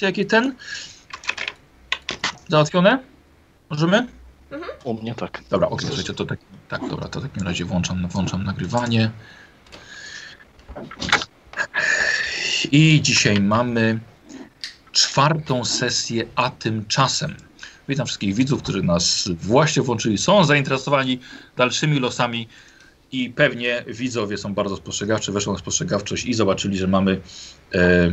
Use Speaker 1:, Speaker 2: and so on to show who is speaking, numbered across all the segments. Speaker 1: jak i ten. Załatwione? Możemy?
Speaker 2: U mnie tak.
Speaker 1: Dobra, ok, słuchajcie, to tak, tak, dobra, to w takim razie włączam, włączam nagrywanie. I dzisiaj mamy czwartą sesję, a tymczasem. Witam wszystkich widzów, którzy nas właśnie włączyli, są zainteresowani dalszymi losami i pewnie widzowie są bardzo spostrzegawczy, weszli na spostrzegawczość i zobaczyli, że mamy, e,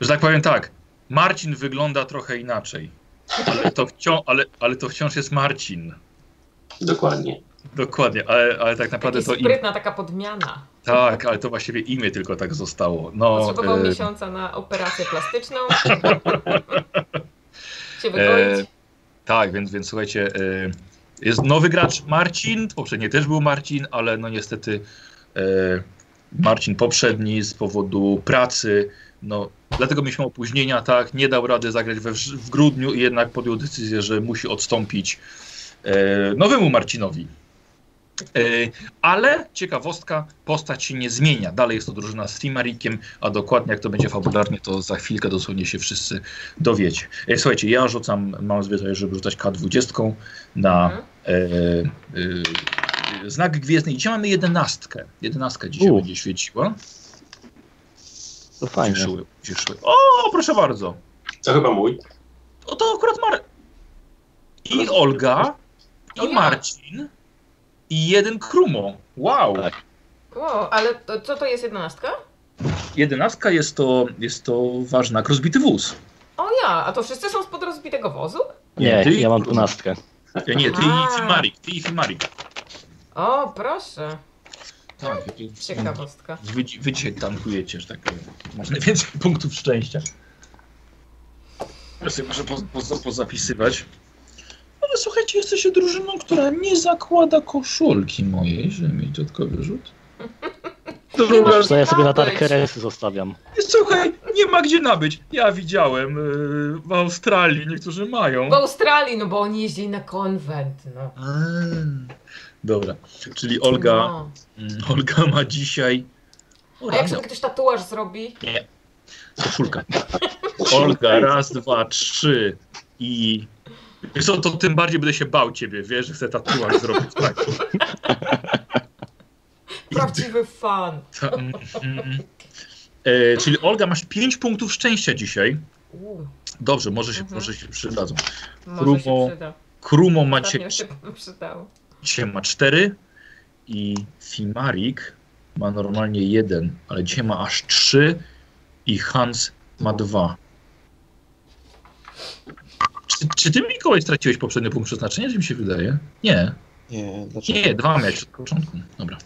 Speaker 1: że tak powiem tak, Marcin wygląda trochę inaczej, ale to, wciąż, ale, ale to wciąż jest Marcin.
Speaker 3: Dokładnie.
Speaker 1: Dokładnie, ale, ale tak naprawdę
Speaker 4: Taka
Speaker 1: to im,
Speaker 4: sprytna taka podmiana.
Speaker 1: tak, ale to właściwie imię tylko tak zostało. No,
Speaker 4: Potrzebował
Speaker 1: e,
Speaker 4: miesiąca na operację plastyczną. się
Speaker 1: e,
Speaker 4: wygoić.
Speaker 1: tak, więc, więc słuchajcie, e, jest nowy gracz Marcin, poprzednie też był Marcin, ale no niestety e, Marcin poprzedni z powodu pracy, no dlatego mieliśmy opóźnienia, tak, nie dał rady zagrać we, wrz- w grudniu i jednak podjął decyzję, że musi odstąpić e, nowemu Marcinowi. E, Ale ciekawostka, postać się nie zmienia. Dalej jest to drużyna z Trimarikiem, a dokładnie jak to będzie fabularnie, to za chwilkę dosłownie się wszyscy dowiecie. E, Słuchajcie, ja rzucam, mam zwyczaj, żeby rzucać K20 na
Speaker 4: Mhm.
Speaker 1: e, e, znak gwiezdny. I Dzisiaj mamy jedenastkę. Jedenastka dzisiaj
Speaker 2: U.
Speaker 1: będzie świeciła.
Speaker 2: To fajnie.
Speaker 1: Cieszyły, cieszyły. O, proszę bardzo.
Speaker 3: To chyba mój.
Speaker 1: O, to akurat Mar... I Olga, i
Speaker 4: Olga.
Speaker 1: Marcin, i jeden Krumo. Wow.
Speaker 2: Tak.
Speaker 4: O, ale to, co to jest jedenastka?
Speaker 1: Jedenastka jest to, jest to ważna rozbity wóz.
Speaker 4: O ja, a to wszyscy są spod rozbitego wozu?
Speaker 2: Nie,
Speaker 1: Ty-
Speaker 2: ja mam dwunastkę.
Speaker 1: Nie, nie, ty
Speaker 4: A.
Speaker 1: i Fimarik, ty i Fimarik.
Speaker 4: O, proszę.
Speaker 1: Tak,
Speaker 4: Ciekawostka.
Speaker 1: wy, wy dzisiaj tankujecie, że tak powiem. Masz najwięcej punktów szczęścia. Ja sobie muszę poz, poz, pozapisywać. Ale słuchajcie, jesteście drużyną, która nie zakłada koszulki mojej, żeby mieć dodatkowy rzut.
Speaker 4: Druga-
Speaker 2: Co ja sobie na
Speaker 4: Nabyć.
Speaker 2: tarkeresy zostawiam.
Speaker 1: Słuchaj, nie ma gdzie nabyć. Ja widziałem yy, w Australii, niektórzy mają.
Speaker 4: W Australii, no bo oni jeździli na konwent, no.
Speaker 1: A, Dobra, czyli Olga,
Speaker 4: No.
Speaker 1: mm, Olga ma dzisiaj... O,
Speaker 4: A jak
Speaker 1: rano.
Speaker 4: sobie ktoś tatuaż zrobi?
Speaker 1: Koszulka. Olga, raz, dwa, trzy i... Wiesz co, to tym bardziej będę się bał ciebie, wiesz, że chcę tatuaż zrobić. Tak.
Speaker 4: Prawdziwy fan.
Speaker 1: Ta- mm, mm. E, czyli Olga, masz pięć punktów szczęścia dzisiaj.
Speaker 4: U,
Speaker 1: Dobrze, może się,
Speaker 4: Mhm.
Speaker 1: może się przydadzą.
Speaker 4: może
Speaker 1: Krumo,
Speaker 4: się przyda.
Speaker 1: Krumo macie,
Speaker 4: Ostatnio się przydało.
Speaker 1: dzisiaj ma cztery i Fimarik ma normalnie jeden, ale dzisiaj ma aż trzy i Hans ma dwa. Czy, czy ty, Mikołaj, straciłeś poprzedni punkt przeznaczenia, czy mi się wydaje? Nie.
Speaker 2: Nie, dlaczego?
Speaker 1: Nie, dwa miałeś od początku. Dobra.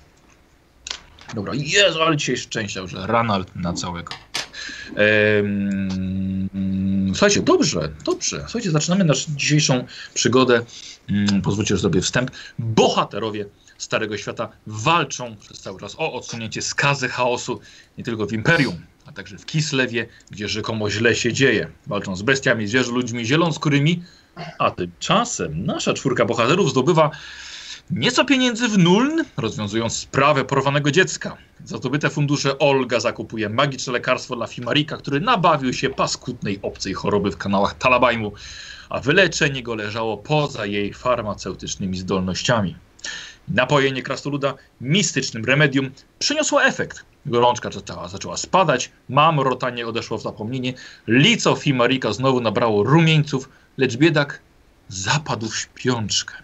Speaker 1: Dobra, Jezu, ale dzisiaj szczęścia, że Ranald na całego. Em, słuchajcie, dobrze, dobrze. Słuchajcie, zaczynamy naszą dzisiejszą przygodę. Mm, pozwólcie, że zrobię wstęp. Bohaterowie Starego Świata walczą przez cały czas o odsunięcie skazy chaosu nie tylko w Imperium, a także w Kislewie, gdzie rzekomo źle się dzieje. Walczą z bestiami, zwierzę, ludźmi zielonskórymi, a tymczasem nasza czwórka bohaterów zdobywa Nieco pieniędzy w Nuln, rozwiązując sprawę porwanego dziecka. Za zdobyte fundusze Olga zakupuje magiczne lekarstwo dla Fimarika, który nabawił się paskudnej obcej choroby w kanałach Talabajmu, a wyleczenie go leżało poza jej farmaceutycznymi zdolnościami. Napojenie krasnoluda mistycznym remedium przyniosło efekt. Gorączka zaczęła, zaczęła spadać, mamrotanie odeszło w zapomnienie, lico Fimarika znowu nabrało rumieńców, lecz biedak zapadł w śpiączkę.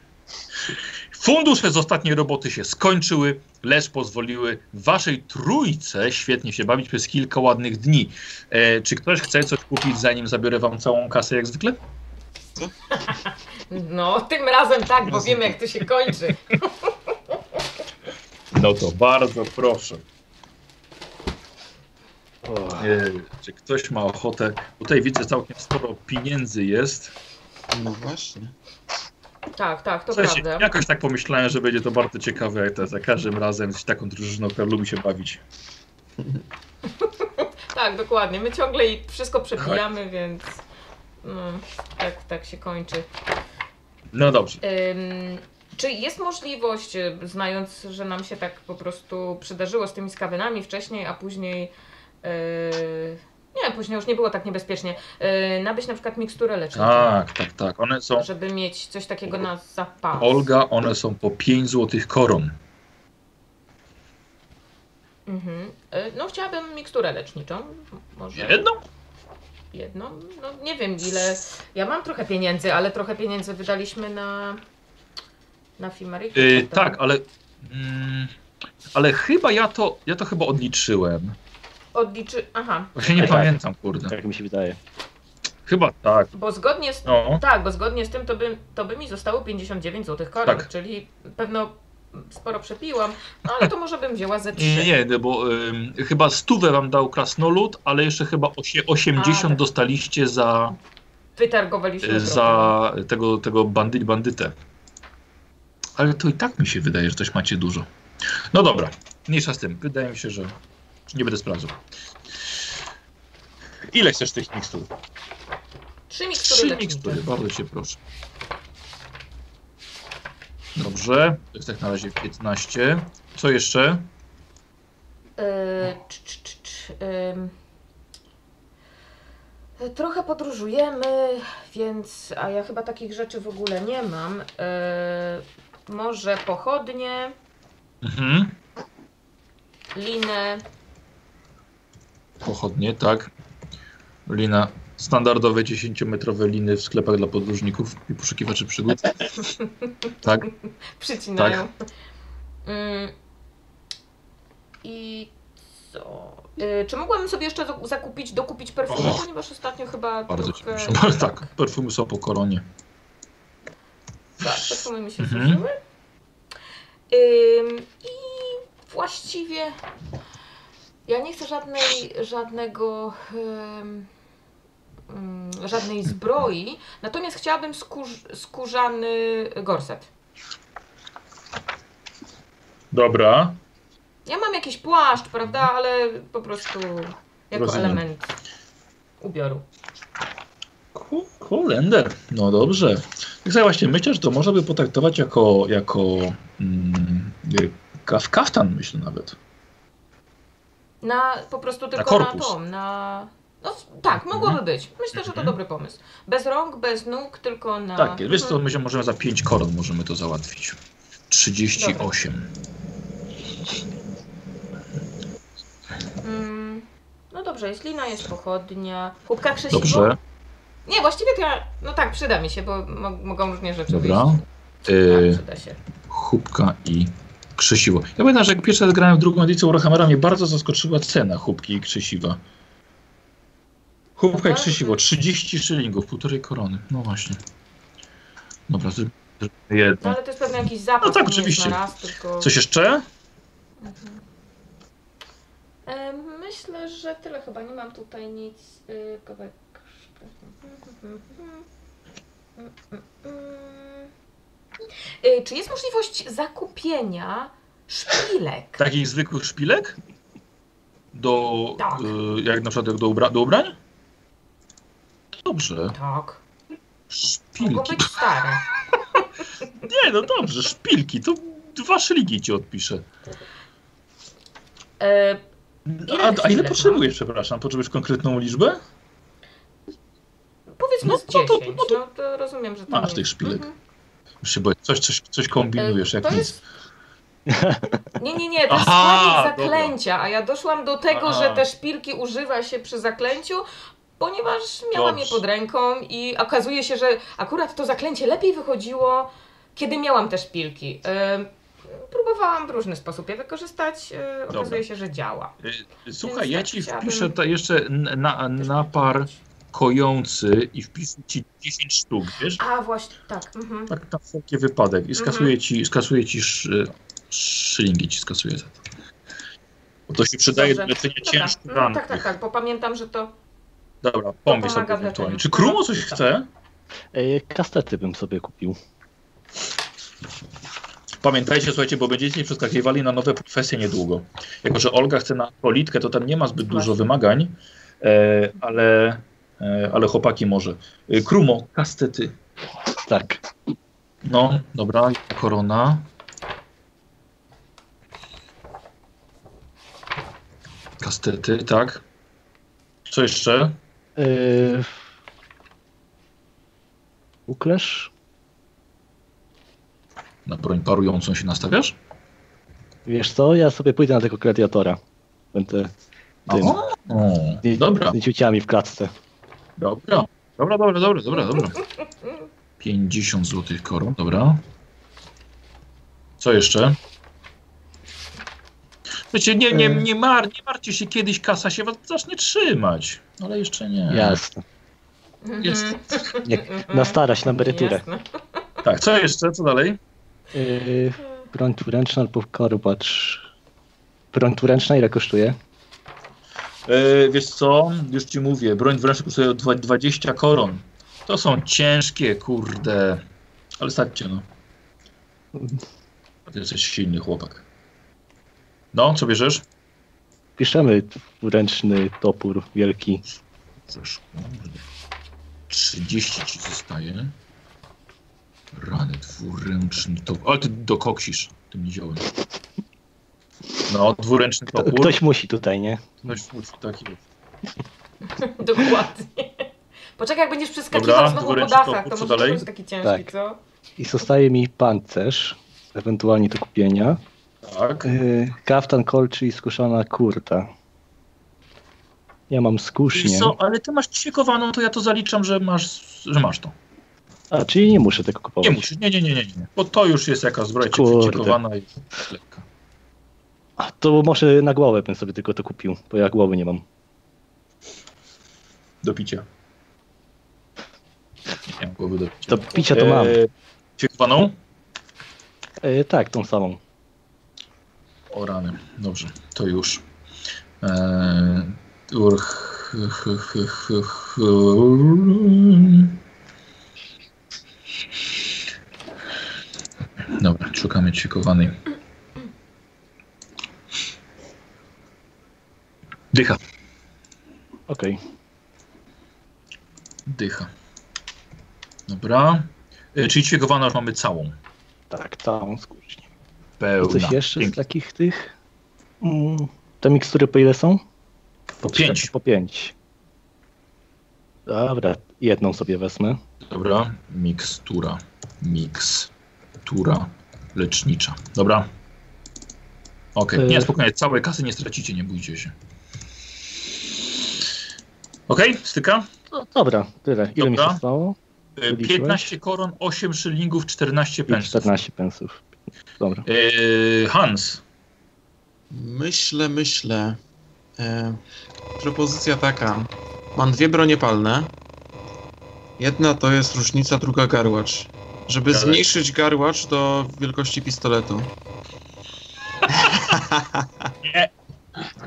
Speaker 1: Fundusze z ostatniej roboty się skończyły, lecz pozwoliły waszej trójce świetnie się bawić przez kilka ładnych dni. E, czy ktoś chce coś kupić, zanim zabiorę wam całą kasę jak zwykle?
Speaker 4: No, tym razem tak, bo wiemy jak to się kończy.
Speaker 1: No to bardzo proszę. E, czy ktoś ma ochotę? Tutaj widzę całkiem sporo pieniędzy jest.
Speaker 5: No właśnie.
Speaker 4: Tak, tak, to
Speaker 1: W sensie,
Speaker 4: prawda.
Speaker 1: jakoś tak pomyślałem, że będzie to bardzo ciekawe, jak to za każdym razem z taką drużyną, która lubi się bawić.
Speaker 4: Tak, dokładnie. My ciągle i wszystko przebijamy, więc no, tak, tak się kończy.
Speaker 1: No dobrze.
Speaker 4: Ym, czy jest możliwość, y, znając, że nam się tak po prostu przydarzyło z tymi skawenami wcześniej, a później. Yy, Nie, później już nie było tak niebezpiecznie. Yy, nabyć na przykład miksturę leczniczą.
Speaker 1: Tak, tak, tak. One są.
Speaker 4: Żeby mieć coś takiego na zapas.
Speaker 1: Olga, one są po 5 złotych koron.
Speaker 4: Mhm. Y, No chciałabym miksturę leczniczą. M- Może
Speaker 1: Jedną?
Speaker 4: jedną. No nie wiem ile. Ja mam trochę pieniędzy, ale trochę pieniędzy wydaliśmy na na Fimarykę.
Speaker 1: Y, tak, ale. Mm, ale chyba ja to. Ja to chyba odliczyłem.
Speaker 4: Odliczy... Aha,
Speaker 1: Właśnie nie
Speaker 2: Tak.
Speaker 1: pamiętam, kurde.
Speaker 2: Tak mi się wydaje.
Speaker 1: Chyba tak.
Speaker 4: bo zgodnie z...
Speaker 1: No.
Speaker 4: Tak, bo zgodnie z tym to by, to by mi zostało 59 zł koron,
Speaker 1: Tak.
Speaker 4: czyli pewno sporo przepiłam, no ale to może bym wzięła ze 3.
Speaker 1: Nie, nie, nie, bo ym, chyba stówę wam dał krasnolud, ale jeszcze chyba osie, 80
Speaker 4: A, tak.
Speaker 1: dostaliście za,
Speaker 4: Wytargowaliśmy
Speaker 1: y,
Speaker 4: trochę.
Speaker 1: za tego, tego bandy, bandytę. Ale to i tak mi się wydaje, że coś macie dużo. No dobra, mniejsza z tym. Wydaje mi się, że nie będę sprawdzał. Ile chcesz tych mikstur?
Speaker 4: Trzy mikstury
Speaker 1: Trzy
Speaker 4: lecznicze.
Speaker 1: mikstury, bardzo cię proszę. Dobrze, to jest tak na razie 15. Co jeszcze?
Speaker 4: E,
Speaker 1: No.
Speaker 4: cz, cz, cz, cz, em. E, Trochę podróżujemy, więc. A ja chyba takich rzeczy w ogóle nie mam. E, Może pochodnie,
Speaker 1: Mhm.
Speaker 4: linę.
Speaker 1: Pochodnie, tak. Lina. Standardowe 10-metrowe liny w sklepach dla podróżników i poszukiwaczy przygód. Tak,
Speaker 4: Przycinają. Mm. I co? E, Czy mogłabym sobie jeszcze do- zakupić, dokupić perfumy?
Speaker 1: Och.
Speaker 4: Ponieważ ostatnio chyba.
Speaker 1: bardzo cię
Speaker 4: trochę...
Speaker 1: proszę. Tak, perfumy są po koronie.
Speaker 4: Tak, perfumy mi się
Speaker 1: Mhm.
Speaker 4: zużyły. Ym, I właściwie ja nie chcę żadnej, żadnego, ym, ym, żadnej zbroi, natomiast chciałabym skórz, skórzany gorset.
Speaker 1: Dobra.
Speaker 4: Ja mam jakiś płaszcz, prawda, ale po prostu jako
Speaker 1: Mhm. Rozumiem.
Speaker 4: element ubioru.
Speaker 1: Ku- Kolender. No dobrze. Tak sobie właśnie myślę, że to można by potraktować jako, jako mm, y, kaf- kaftan, myślę nawet.
Speaker 4: Na po prostu tylko na,
Speaker 1: korpus.
Speaker 4: tom, na. No s- tak, mogłoby być. Myślę, że to
Speaker 1: Mhm.
Speaker 4: dobry pomysł. Bez rąk, bez nóg, tylko na.
Speaker 1: Tak, wiesz
Speaker 4: Mhm.
Speaker 1: co, my się możemy za 5 koron możemy to załatwić. 38.
Speaker 4: Mm, no dobrze, jest lina, jest pochodnia. Kubka krzesiwo?
Speaker 1: Dobrze,
Speaker 4: Nie, właściwie to ja... No tak, przyda mi się, bo mo mogą różnie rzeczy
Speaker 1: dobra.
Speaker 4: wyjść. Tak,
Speaker 1: Y,
Speaker 4: przyda się.
Speaker 1: chubka i krzesiwo. Ja pamiętam, że jak pierwszy raz grałem w drugą edycję Warhammera, mnie bardzo zaskoczyła cena chubki i krzesiwa. Chubka i krzesiwo, 30 szylingów, półtorej korony. No właśnie. Dobra, zróbmy
Speaker 4: No
Speaker 1: jedno.
Speaker 4: ale to jest pewnie jakiś zapach.
Speaker 1: No tak,
Speaker 4: to nie jest
Speaker 1: oczywiście.
Speaker 4: Na raz, tylko...
Speaker 1: Coś jeszcze?
Speaker 4: Mhm. E, myślę, że tyle chyba. Nie mam tutaj nic. Y, kawałek. Y, Czy jest możliwość zakupienia szpilek?
Speaker 1: Takich zwykłych szpilek? Do,
Speaker 4: Tak.
Speaker 1: y, jak na przykład jak do, ubra do ubrań? Dobrze.
Speaker 4: Tak. Mogą
Speaker 1: Szpilki.
Speaker 4: być stare.
Speaker 1: Nie, no dobrze, szpilki, to dwa szyligi ci odpiszę.
Speaker 4: E, Ile
Speaker 1: A, a ile
Speaker 4: szpilek
Speaker 1: potrzebujesz, przepraszam? Potrzebujesz konkretną liczbę?
Speaker 4: Powiedzmy
Speaker 1: No
Speaker 4: z
Speaker 1: to-
Speaker 4: 10.
Speaker 1: to-
Speaker 4: No to,
Speaker 1: no to-
Speaker 4: rozumiem, że to
Speaker 1: Masz
Speaker 4: nie-
Speaker 1: tych szpilek.
Speaker 4: Mhm. E,
Speaker 1: Już się boję, coś, coś, coś kombinujesz,
Speaker 4: to
Speaker 1: jak nic.
Speaker 4: jest... Nie, nie, nie, to jest
Speaker 1: Aha,
Speaker 4: składnik
Speaker 1: dobra.
Speaker 4: zaklęcia, a ja doszłam do tego,
Speaker 1: Aha.
Speaker 4: że te szpilki używa się przy zaklęciu, ponieważ miałam
Speaker 1: Dobrze.
Speaker 4: je pod ręką i okazuje się, że akurat to zaklęcie lepiej wychodziło, kiedy miałam te szpilki. Ym, próbowałam w różny sposób je wykorzystać, yy,
Speaker 1: Dobra.
Speaker 4: okazuje się, że działa.
Speaker 1: Y, Słuchaj, ja
Speaker 4: tak
Speaker 1: ci
Speaker 4: chciałabym-
Speaker 1: wpiszę ta jeszcze n- na, napar kojący i wpiszę ci 10 sztuk, wiesz?
Speaker 4: A właśnie, tak. Mhm.
Speaker 1: Tak na wszelki wypadek. I skasuję ci, skasuję ci szy, szylingi, ci skasuję za to. Bo to się przydaje do
Speaker 4: Dobrze.
Speaker 1: leczenia
Speaker 4: Dobra.
Speaker 1: ciężkich
Speaker 4: No,
Speaker 1: ran.
Speaker 4: tak, tak, tak, bo pamiętam, że to...
Speaker 1: Dobra, pomyśl
Speaker 4: pomaga w
Speaker 1: sobie
Speaker 4: leczeniu.
Speaker 1: ewentualnie. Czy Krumo coś chce?
Speaker 2: E, kastety bym sobie kupił.
Speaker 1: Pamiętajcie, słuchajcie, bo będziecie przeskakiwali na nowe profesje niedługo. Jako, że Olga chce na politkę, to tam nie ma zbyt dużo
Speaker 4: Właśnie.
Speaker 1: wymagań, e, ale, e, ale chłopaki może. E, Krumo, kastety.
Speaker 2: Tak.
Speaker 1: No, dobra, korona. Kastety, tak. Co jeszcze?
Speaker 2: Yy... Uklesz?
Speaker 1: Na broń parującą się nastawiasz?
Speaker 2: Wiesz co, ja sobie pójdę na tego gladiatora. Będę tym,
Speaker 1: O, o, dobra,
Speaker 2: z nieciuciami w klatce.
Speaker 1: dobra, dobra, dobra, dobra, dobra, dobra. 50 złotych koron, dobra. Co jeszcze? Wiecie, nie, nie, nie, mar, nie martwcie się, kiedyś kasa się was zacznie trzymać. Ale jeszcze nie.
Speaker 2: Jasne.
Speaker 4: Mhm.
Speaker 1: Jest.
Speaker 2: Nie,
Speaker 4: Mhm.
Speaker 2: na starość, na emeryturę.
Speaker 4: Jasne.
Speaker 1: Tak, co jeszcze? Co dalej?
Speaker 2: Yy, broń tu ręczna albo korbacz. Broń tu ręczna ile kosztuje?
Speaker 1: E, wiesz co, już ci mówię, broń w ręce kosztuje dwa- 20 koron. To są ciężkie, kurde. Ale staćcie, no. Ty jesteś silny chłopak. No, co bierzesz?
Speaker 2: Piszemy ręczny topór wielki.
Speaker 1: Bierzesz, kurde. 30 ci zostaje. Rany dwuręczny topór. Ale ty dokoksisz tym niziołem. No, dwuręczny
Speaker 2: To,
Speaker 1: topór.
Speaker 2: ktoś musi tutaj, nie?
Speaker 1: Ktoś musi, tak jest.
Speaker 4: Dokładnie. Poczekaj, jak będziesz przeskakiwał
Speaker 1: Dobra,
Speaker 4: znowu po
Speaker 1: dworęczy
Speaker 4: dachach,
Speaker 1: topór,
Speaker 4: to
Speaker 1: co
Speaker 4: może
Speaker 1: dalej?
Speaker 4: to taki ciężki,
Speaker 2: Tak.
Speaker 4: co?
Speaker 2: I zostaje mi pancerz, ewentualnie do kupienia.
Speaker 1: Tak.
Speaker 2: Yy, kaftan kolczy i skuszona kurta. Ja mam
Speaker 1: Wiesz
Speaker 2: skusznię.
Speaker 1: co, ale ty masz ćwikowaną, to ja to zaliczam, że masz, że masz to.
Speaker 2: A, czyli nie muszę tego kupować.
Speaker 1: Nie musisz, nie, nie, nie, nie, nie. Bo to już jest jakaś zbroja
Speaker 2: Kurde.
Speaker 1: ćwikowana i lekka.
Speaker 2: A, to może na głowę bym sobie tylko to kupił, bo ja głowy nie mam.
Speaker 1: Do picia. Nie mam głowy do picia.
Speaker 2: Do picia to mam.
Speaker 1: Eee, ćwikowaną?
Speaker 2: Yy, tak, tą samą.
Speaker 1: O rany, dobrze, to już. Eee, ur- ch- ch- ch- ch- ch- Dobra, szukamy ćwikowanej. Dycha.
Speaker 2: Okej.
Speaker 1: Dycha. Dobra. E, Czyli ćwikowaną już mamy całą.
Speaker 2: Tak, całą skusznię. I
Speaker 1: Pełna.
Speaker 2: coś jeszcze z
Speaker 1: Pięknie.
Speaker 2: takich tych? Mm, te mikstury po ile są?
Speaker 1: Po pięć.
Speaker 2: Po pięć. Dobra, jedną sobie wezmę.
Speaker 1: Dobra. Mikstura. Mikstura lecznicza. Dobra. Okej.
Speaker 2: Y-
Speaker 1: Nie, spokojnie. Całej kasy nie stracicie, nie bójcie się. Okej, styka. Y,
Speaker 2: No, dobra, tyle. Ile mi się
Speaker 1: Dobra.
Speaker 2: stało?
Speaker 1: E, 15 koron, 8 szylingów, 14
Speaker 2: I
Speaker 1: pensów.
Speaker 2: 14 pensów. Dobra.
Speaker 1: E, Hans.
Speaker 5: Myślę, myślę. E, propozycja taka. Mam dwie bronie palne. Jedna to jest różnica, druga garłacz. Żeby
Speaker 1: Garłacz.
Speaker 5: zmniejszyć garłacz do wielkości pistoletu.
Speaker 1: Nie.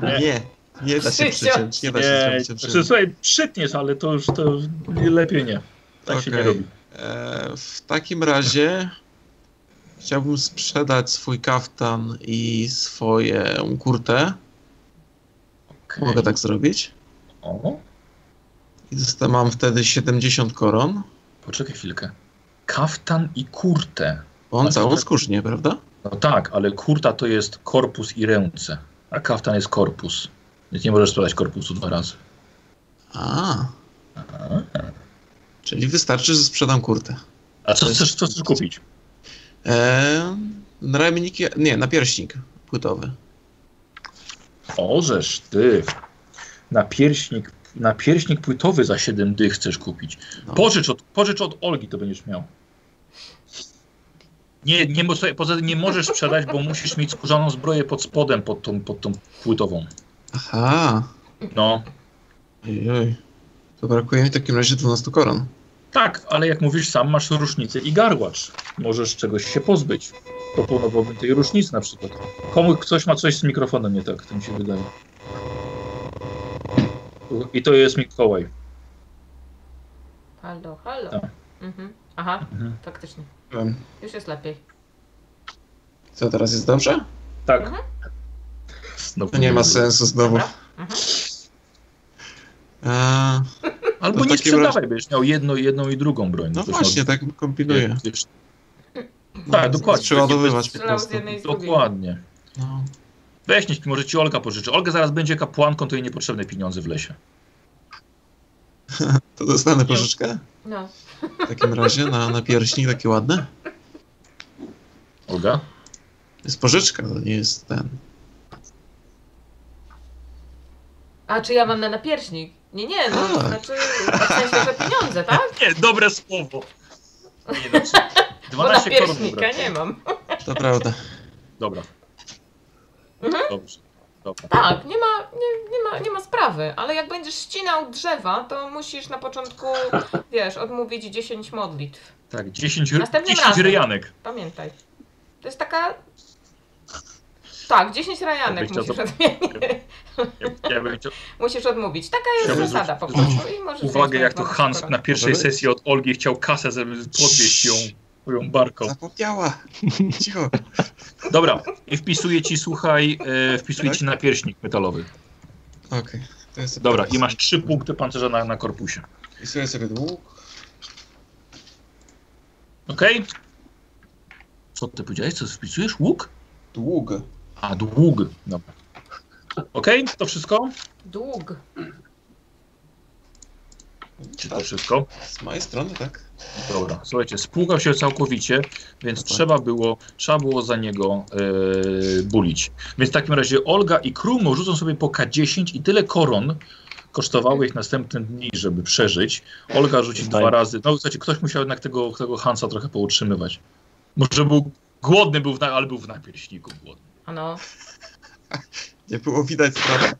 Speaker 1: Nie.
Speaker 5: Nie. Nie. da się
Speaker 4: Krzysiu.
Speaker 5: przyciąć, nie da się
Speaker 1: Nie,
Speaker 5: przyciąć.
Speaker 1: znaczy, słuchaj, przytniesz, ale to już to lepiej nie. Tak się nie
Speaker 5: Okej.
Speaker 1: robi.
Speaker 5: E, w takim razie chciałbym sprzedać swój kaftan i swoją kurtę.
Speaker 1: Okej.
Speaker 5: Mogę tak zrobić?
Speaker 1: O.
Speaker 5: I zosta- mam wtedy 70 koron.
Speaker 1: Poczekaj chwilkę. Kaftan i kurtę.
Speaker 5: Bo on
Speaker 1: Ale
Speaker 5: całą
Speaker 1: tak.
Speaker 5: skórznię, prawda?
Speaker 1: No tak, ale kurta to jest korpus i ręce, a kaftan jest korpus. Więc nie możesz sprzedać korpusu dwa razy.
Speaker 5: A,
Speaker 1: A,
Speaker 5: czyli wystarczy, że sprzedam kurtę.
Speaker 1: a co
Speaker 5: To jest-
Speaker 1: chcesz, co chcesz kupić?
Speaker 5: Eee, ramieniki, nie, napierśnik płytowy.
Speaker 1: Ożesz ty. Napierśnik, napierśnik płytowy za 7 dych chcesz kupić.
Speaker 5: No.
Speaker 1: Pożycz od, pożycz od Olgi, to będziesz miał. Nie, nie, mo- słuchaj, poza tym nie możesz sprzedać, bo musisz mieć skórzaną zbroję pod spodem, pod tą, pod tą płytową.
Speaker 5: Aha,
Speaker 1: No.
Speaker 5: ojoj. To brakuje mi w takim razie 12 koron.
Speaker 1: Tak, ale jak mówisz sam, masz różnicę i garłacz. Możesz czegoś się pozbyć. Proponowałbym tej różnicy na przykład. Komu ktoś ma coś z mikrofonem nie tak, to mi się wydaje. I to jest Mikołaj.
Speaker 4: Halo, halo.
Speaker 1: Tak.
Speaker 4: Mhm. Aha,
Speaker 1: Mhm.
Speaker 4: faktycznie.
Speaker 5: Wiem.
Speaker 4: Już jest lepiej.
Speaker 1: No
Speaker 5: Co, teraz jest dobrze?
Speaker 1: Tak. No,
Speaker 4: Mhm.
Speaker 5: To nie ma sensu znowu.
Speaker 4: Mhm.
Speaker 5: Eee,
Speaker 1: Albo
Speaker 5: To w
Speaker 1: nie
Speaker 5: takim
Speaker 1: sprzedawaj,
Speaker 5: razie-
Speaker 1: będziesz miał jedną, jedną i drugą broń.
Speaker 5: no
Speaker 1: Ktoś ma-
Speaker 5: właśnie, tak kombinuję.
Speaker 1: Wiesz,
Speaker 5: No,
Speaker 1: tak, dokładnie.
Speaker 5: Przeładowywać po
Speaker 4: Strzelał z
Speaker 5: prostu.
Speaker 4: jednej i z drugiej.
Speaker 1: Dokładnie.
Speaker 5: No.
Speaker 1: Weź, niech- może ci Olga pożyczy. Olga zaraz będzie kapłanką, to jej niepotrzebne pieniądze w lesie.
Speaker 5: To dostanę pożyczkę
Speaker 4: No.
Speaker 5: w takim razie na, na pierśni, takie ładne.
Speaker 1: Olga?
Speaker 5: To jest pożyczka, to nie jest ten.
Speaker 4: A czy ja mam na napierśnik? Nie, nie, no to
Speaker 5: Tak.
Speaker 4: znaczy w sensie, że pieniądze, tak?
Speaker 1: Nie, dobre słowo. Nie, dobrze.
Speaker 4: Bo
Speaker 1: 12 koron.
Speaker 4: napierśnika
Speaker 1: brakuje.
Speaker 4: nie mam.
Speaker 5: To prawda.
Speaker 1: Dobra.
Speaker 4: Mhm.
Speaker 1: Dobrze. Dobra.
Speaker 4: Tak, nie ma, nie, nie, ma, nie ma sprawy, ale jak będziesz ścinał drzewa, to musisz na początku, wiesz, odmówić 10 modlitw.
Speaker 1: Tak, 10, ry-
Speaker 4: Następnym
Speaker 1: 10
Speaker 4: razem.
Speaker 1: ryjanek.
Speaker 4: Pamiętaj. To jest taka... Tak, 10 rajanek
Speaker 1: Jakbyś chciał,
Speaker 4: musisz
Speaker 1: to-
Speaker 4: odmienić.
Speaker 1: Ja, ja bym chciał
Speaker 4: Musisz odmówić. Taka jest
Speaker 1: Chciałbym
Speaker 4: zasada po
Speaker 1: zwrócić
Speaker 4: prostu. I możesz
Speaker 1: uwagę,
Speaker 4: mieć
Speaker 1: jak to
Speaker 4: bardzo
Speaker 1: Hans
Speaker 4: sporo.
Speaker 1: na pierwszej
Speaker 5: Możemy?
Speaker 1: sesji od Olgi chciał kasę, żeby podwieźć ją, ją barką.
Speaker 5: Zapomniała. Cicho.
Speaker 1: Dobra, i wpisuję ci, słuchaj, e, wpisuję
Speaker 5: Tak?
Speaker 1: ci na pierśnik metalowy.
Speaker 5: Okej. To jest sobie
Speaker 1: Dobra,
Speaker 5: teraz.
Speaker 1: i masz trzy punkty pancerza na, na korpusie.
Speaker 5: Wpisuję sobie dług.
Speaker 1: Okej? Co ty powiedziałeś? Co wpisujesz? Łuk?
Speaker 5: Dług.
Speaker 1: A, dług. Dobra. Okej, to wszystko?
Speaker 4: Dług.
Speaker 1: Czy to
Speaker 5: Tak,
Speaker 1: wszystko?
Speaker 5: z mojej strony, tak?
Speaker 1: Dobra, słuchajcie, spłukał się całkowicie, więc
Speaker 2: Tak.
Speaker 5: Dobra.
Speaker 1: trzeba, było, trzeba było za niego e, bulić. Więc w takim razie Olga i Krumo rzucą sobie po K10 i tyle koron kosztowało ich następne dni, żeby przeżyć. Olga rzuci
Speaker 2: Daj.
Speaker 1: dwa razy. No słuchajcie, ktoś musiał jednak tego, tego Hansa trochę poutrzymywać. Może był głodny, był w na, ale był w napieśniku głodny.
Speaker 4: Ano.
Speaker 5: Nie było widać sprawy.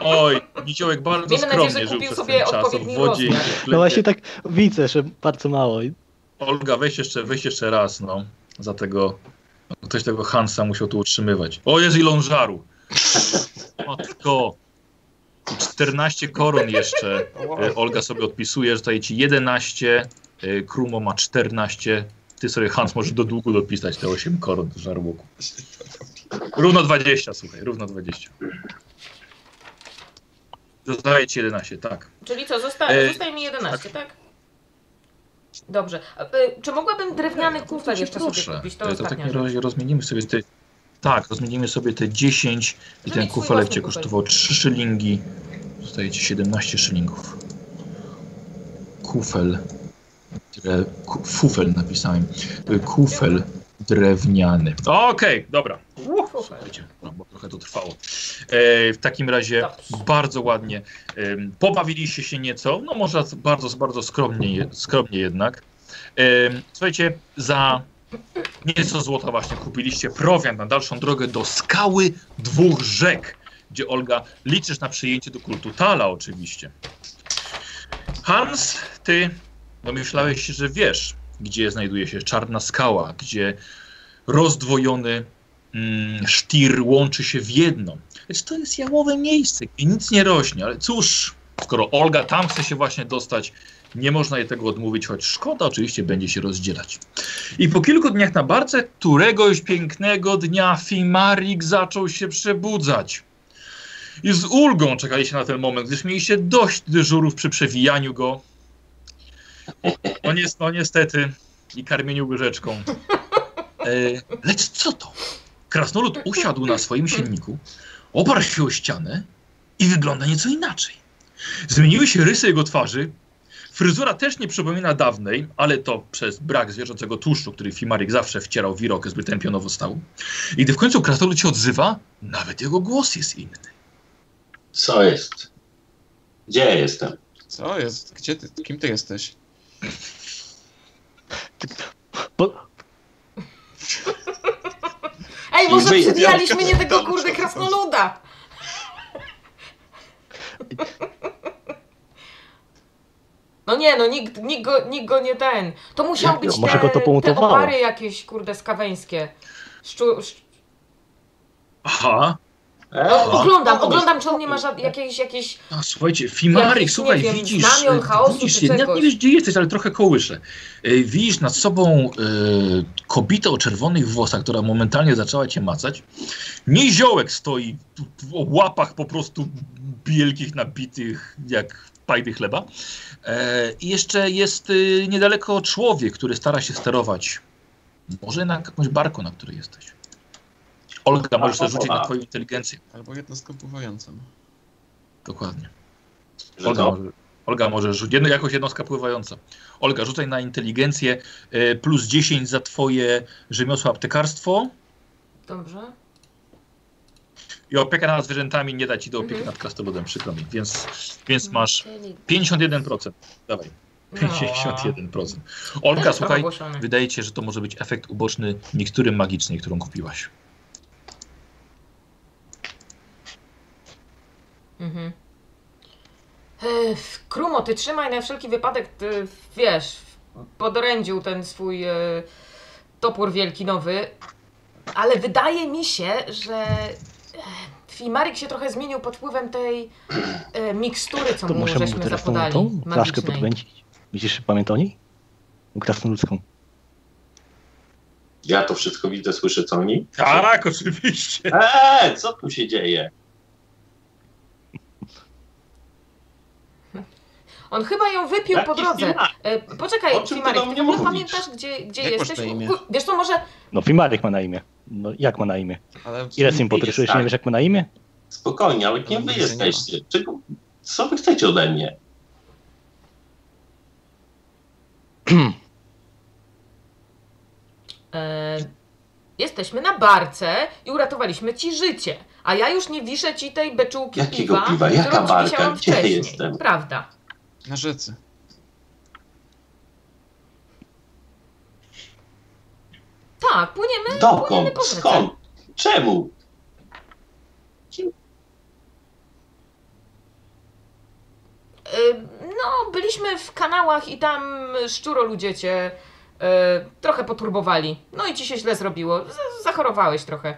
Speaker 1: Oj, Niziołek bardzo
Speaker 4: Miejmy nadzieję,
Speaker 1: skromnie
Speaker 4: że
Speaker 1: żył
Speaker 4: kupił
Speaker 1: przez
Speaker 4: sobie
Speaker 1: ten czas w
Speaker 4: odpowiedni
Speaker 1: wodzie. i
Speaker 4: rozmiar.
Speaker 1: w
Speaker 2: No właśnie
Speaker 1: chlebie.
Speaker 2: tak widzę, że bardzo mało.
Speaker 1: Olga, weź jeszcze, weź jeszcze raz, no. Za tego. no, Ktoś tego Hansa musiał tu utrzymywać. O, jest ilon żaru. Matko. I 14 koron jeszcze. E, Olga sobie odpisuje, że daje ci 11. e, Krumo ma 14. Ty sobie, Hans, możesz do długu dopisać te 8 koron do żarłoku. Równo 20, słuchaj, równo 20. Dodaję ci 11, tak.
Speaker 4: Czyli co, zosta
Speaker 1: E,
Speaker 4: zostaje mi 11, tak? Dobrze. A, y, Czy mogłabym drewniany kufer jeszcze sobie kupić? To
Speaker 1: To, w
Speaker 4: ostatnia
Speaker 1: takim
Speaker 4: rzecz.
Speaker 1: razie rozmienimy sobie te. Tak, rozmienimy sobie te 10 i
Speaker 4: No
Speaker 1: ten
Speaker 4: i swój
Speaker 1: kufelek
Speaker 4: własny
Speaker 1: cię
Speaker 4: kufel.
Speaker 1: kosztował 3 szylingi. Zostaje ci 17 szylingów. Kufel. Dre, ku, fufel napisałem. Y, Kufel drewniany. Okej, dobra. Uff, Słuchajcie, no, bo trochę to trwało. E, w takim razie
Speaker 4: Dobrze.
Speaker 1: bardzo ładnie. em, pobawiliście się nieco, no może bardzo, bardzo skromnie, je- skromnie jednak. Em, słuchajcie, za nieco złota właśnie kupiliście prowiant na dalszą drogę do skały dwóch rzek, gdzie Olga liczysz na przyjęcie do kultu Tala oczywiście. Hans, ty domyślałeś się, że wiesz, gdzie znajduje się czarna skała, gdzie rozdwojony mm, sztir łączy się w jedno. Lecz to jest jałowe miejsce, gdzie nic nie rośnie, ale cóż, skoro Olga tam chce się właśnie dostać, nie można jej tego odmówić, choć szkoda oczywiście będzie się rozdzielać. I po kilku dniach na barce, któregoś pięknego dnia Fimarik zaczął się przebudzać. I z ulgą czekaliście na ten moment, gdyż mieliście dość dyżurów przy przewijaniu go. No, nies- no niestety. I karmieniu łyżeczką. E, lecz co to? Krasnolud usiadł na swoim silniku, oparł się o ścianę i wygląda nieco inaczej. Zmieniły się rysy jego twarzy, Fryzura też nie przypomina dawnej, ale to przez brak zwierzęcego tłuszczu, który Fimarik zawsze wcierał w irok, zbyt pionowo stał. I gdy w końcu krasnolud się odzywa, nawet jego głos jest inny.
Speaker 3: Co jest? Gdzie ja jestem?
Speaker 5: Co jest? Gdzie ty? Kim ty jesteś?
Speaker 2: tak, Bo,
Speaker 4: Ej, może
Speaker 5: Wyjdź,
Speaker 4: przybijaliśmy
Speaker 5: Bianka.
Speaker 4: nie tego
Speaker 5: Dobrze,
Speaker 4: kurde
Speaker 5: dobrze.
Speaker 4: krasnoluda! No nie, no nikt, nikt, go, nikt go nie ten. To musiał
Speaker 2: Jak-
Speaker 4: być
Speaker 2: no, może
Speaker 4: te,
Speaker 2: go to
Speaker 4: te
Speaker 2: pomutowało.
Speaker 4: opary jakieś kurde skaweńskie. Szczu, szcz...
Speaker 1: Aha,
Speaker 3: E,
Speaker 4: no,
Speaker 1: Aha.
Speaker 4: oglądam, oglądam czy on nie ma żad... jakiejś, jakiejś...
Speaker 1: a słuchajcie, Fimarik,
Speaker 4: Jakiś,
Speaker 1: słuchaj,
Speaker 4: nie wiem,
Speaker 1: widzisz,
Speaker 4: znamion
Speaker 1: e,
Speaker 4: chaosu
Speaker 1: widzisz,
Speaker 4: czy
Speaker 1: jednak
Speaker 4: czegoś.
Speaker 1: nie wiesz gdzie jesteś, ale trochę kołyszę. E, Widzisz nad sobą e, kobietę o czerwonych włosach, która momentalnie zaczęła cię macać. Niziołek stoi w- w łapach po prostu wielkich, nabitych jak pajdy chleba. E, I jeszcze jest e, niedaleko człowiek, który stara się sterować. Może na jakąś barko, na której jesteś. Olga, możesz sobie rzucić na twoją inteligencję.
Speaker 5: Albo jednostką pływającą.
Speaker 1: Dokładnie.
Speaker 3: że
Speaker 1: Olga,
Speaker 3: to?
Speaker 1: może- Olga może rzucić. Jedno, jakoś jednostka pływająca. Olga, rzucaj na inteligencję e, plus 10 za twoje rzemiosło aptekarstwo
Speaker 4: Dobrze.
Speaker 1: i opieka nad zwierzętami nie da ci do opieki
Speaker 4: Mhm.
Speaker 1: nad krasnoludem, przykro mi. Więc, więc masz
Speaker 4: No.
Speaker 1: 51%. Dawaj, 51%. Olga, słuchaj, wydaje ci się, że to może być efekt uboczny mikstury magicznej, którą kupiłaś.
Speaker 4: Mhm. E, Krumo, ty trzymaj na wszelki wypadek, ty, wiesz, podorędził ten swój e, topór wielki nowy, ale wydaje mi się, że e, Fimarik się trochę zmienił pod wpływem tej e, mikstury, co
Speaker 2: To
Speaker 4: mu
Speaker 2: muszę mu
Speaker 4: żeśmy
Speaker 2: teraz tą,
Speaker 4: zapodali,
Speaker 2: tą flaszkę
Speaker 4: magicznej.
Speaker 2: podwęcić. Widzisz, pamięta o niej? Krasnoludzką.
Speaker 3: Ja to wszystko widzę, słyszę co oni.
Speaker 1: Tak, oczywiście.
Speaker 3: Eee, co tu się dzieje?
Speaker 4: On chyba ją wypił po
Speaker 3: Jaki
Speaker 4: drodze.
Speaker 3: Fimarik?
Speaker 4: E,
Speaker 3: O
Speaker 4: poczekaj,
Speaker 3: czym ty
Speaker 4: Fimarik,
Speaker 3: do
Speaker 4: ty w
Speaker 3: mnie
Speaker 4: ogóle
Speaker 3: mówisz?
Speaker 4: pamiętasz, gdzie, gdzie
Speaker 5: Jak masz
Speaker 4: jesteś?
Speaker 5: na imię?
Speaker 4: U, wiesz co, może
Speaker 2: No, Wimarek ma na imię. No, jak ma na imię?
Speaker 5: Ale
Speaker 2: Ile z nim
Speaker 3: Jest
Speaker 2: potryszyłeś,
Speaker 3: tak.
Speaker 2: nie wiesz jak ma na imię?
Speaker 3: Spokojnie, ale
Speaker 5: No,
Speaker 3: kim wy
Speaker 5: nic nie ma.
Speaker 3: jesteście? Czego, co wy chcecie ode mnie?
Speaker 4: E, jesteśmy na barce i uratowaliśmy ci życie. A ja już nie wiszę ci tej beczułki
Speaker 3: Jakiego
Speaker 4: piwa,
Speaker 3: piwa? Jaka
Speaker 4: którą ci
Speaker 3: barka?
Speaker 4: wisiałam
Speaker 3: Gdzie
Speaker 4: wcześniej.
Speaker 3: jestem?
Speaker 4: Prawda.
Speaker 5: na rzece.
Speaker 4: Tak, płyniemy, płyniemy
Speaker 3: Dokąd?
Speaker 4: po rzece.
Speaker 3: Skąd? Czemu?
Speaker 4: E, no, byliśmy w kanałach i tam szczuro ludzie cię e, trochę poturbowali. No i ci się źle zrobiło. Z- zachorowałeś trochę.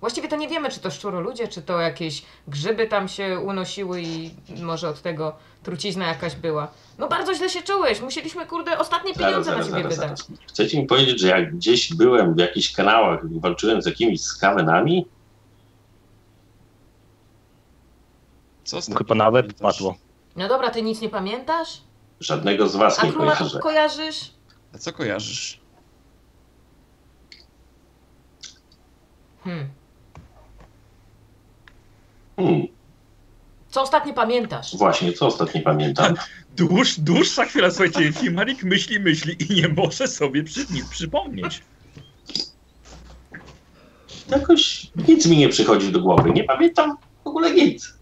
Speaker 4: Właściwie to nie wiemy, czy to szczuro ludzie, czy to jakieś grzyby tam się unosiły i może od tego trucizna jakaś była. No bardzo źle się czułeś. Musieliśmy, kurde, ostatnie
Speaker 3: Tak,
Speaker 4: pieniądze na ciebie wydać.
Speaker 3: Chcecie mi powiedzieć, że jak gdzieś byłem w jakichś kanałach i walczyłem z jakimiś skawenami?
Speaker 5: Co z
Speaker 1: No,
Speaker 2: Mu
Speaker 5: takim
Speaker 2: No, Chyba na łeb
Speaker 5: pamiętasz?
Speaker 2: padło.
Speaker 4: No dobra, ty nic nie pamiętasz?
Speaker 3: Żadnego z was
Speaker 4: A
Speaker 3: tak. nie
Speaker 4: krumatów
Speaker 3: kojarzę.
Speaker 4: kojarzysz?
Speaker 5: A co kojarzysz?
Speaker 4: Hmm.
Speaker 3: Hmm,
Speaker 4: Co ostatnio pamiętasz?
Speaker 3: właśnie, co ostatnio pamiętam?
Speaker 1: Dłuż, dłuższa chwila, słuchajcie, Fimarik myśli, myśli i nie może sobie przy, nic przypomnieć.
Speaker 3: Jakoś nic mi nie przychodzi do głowy. Nie pamiętam w ogóle nic.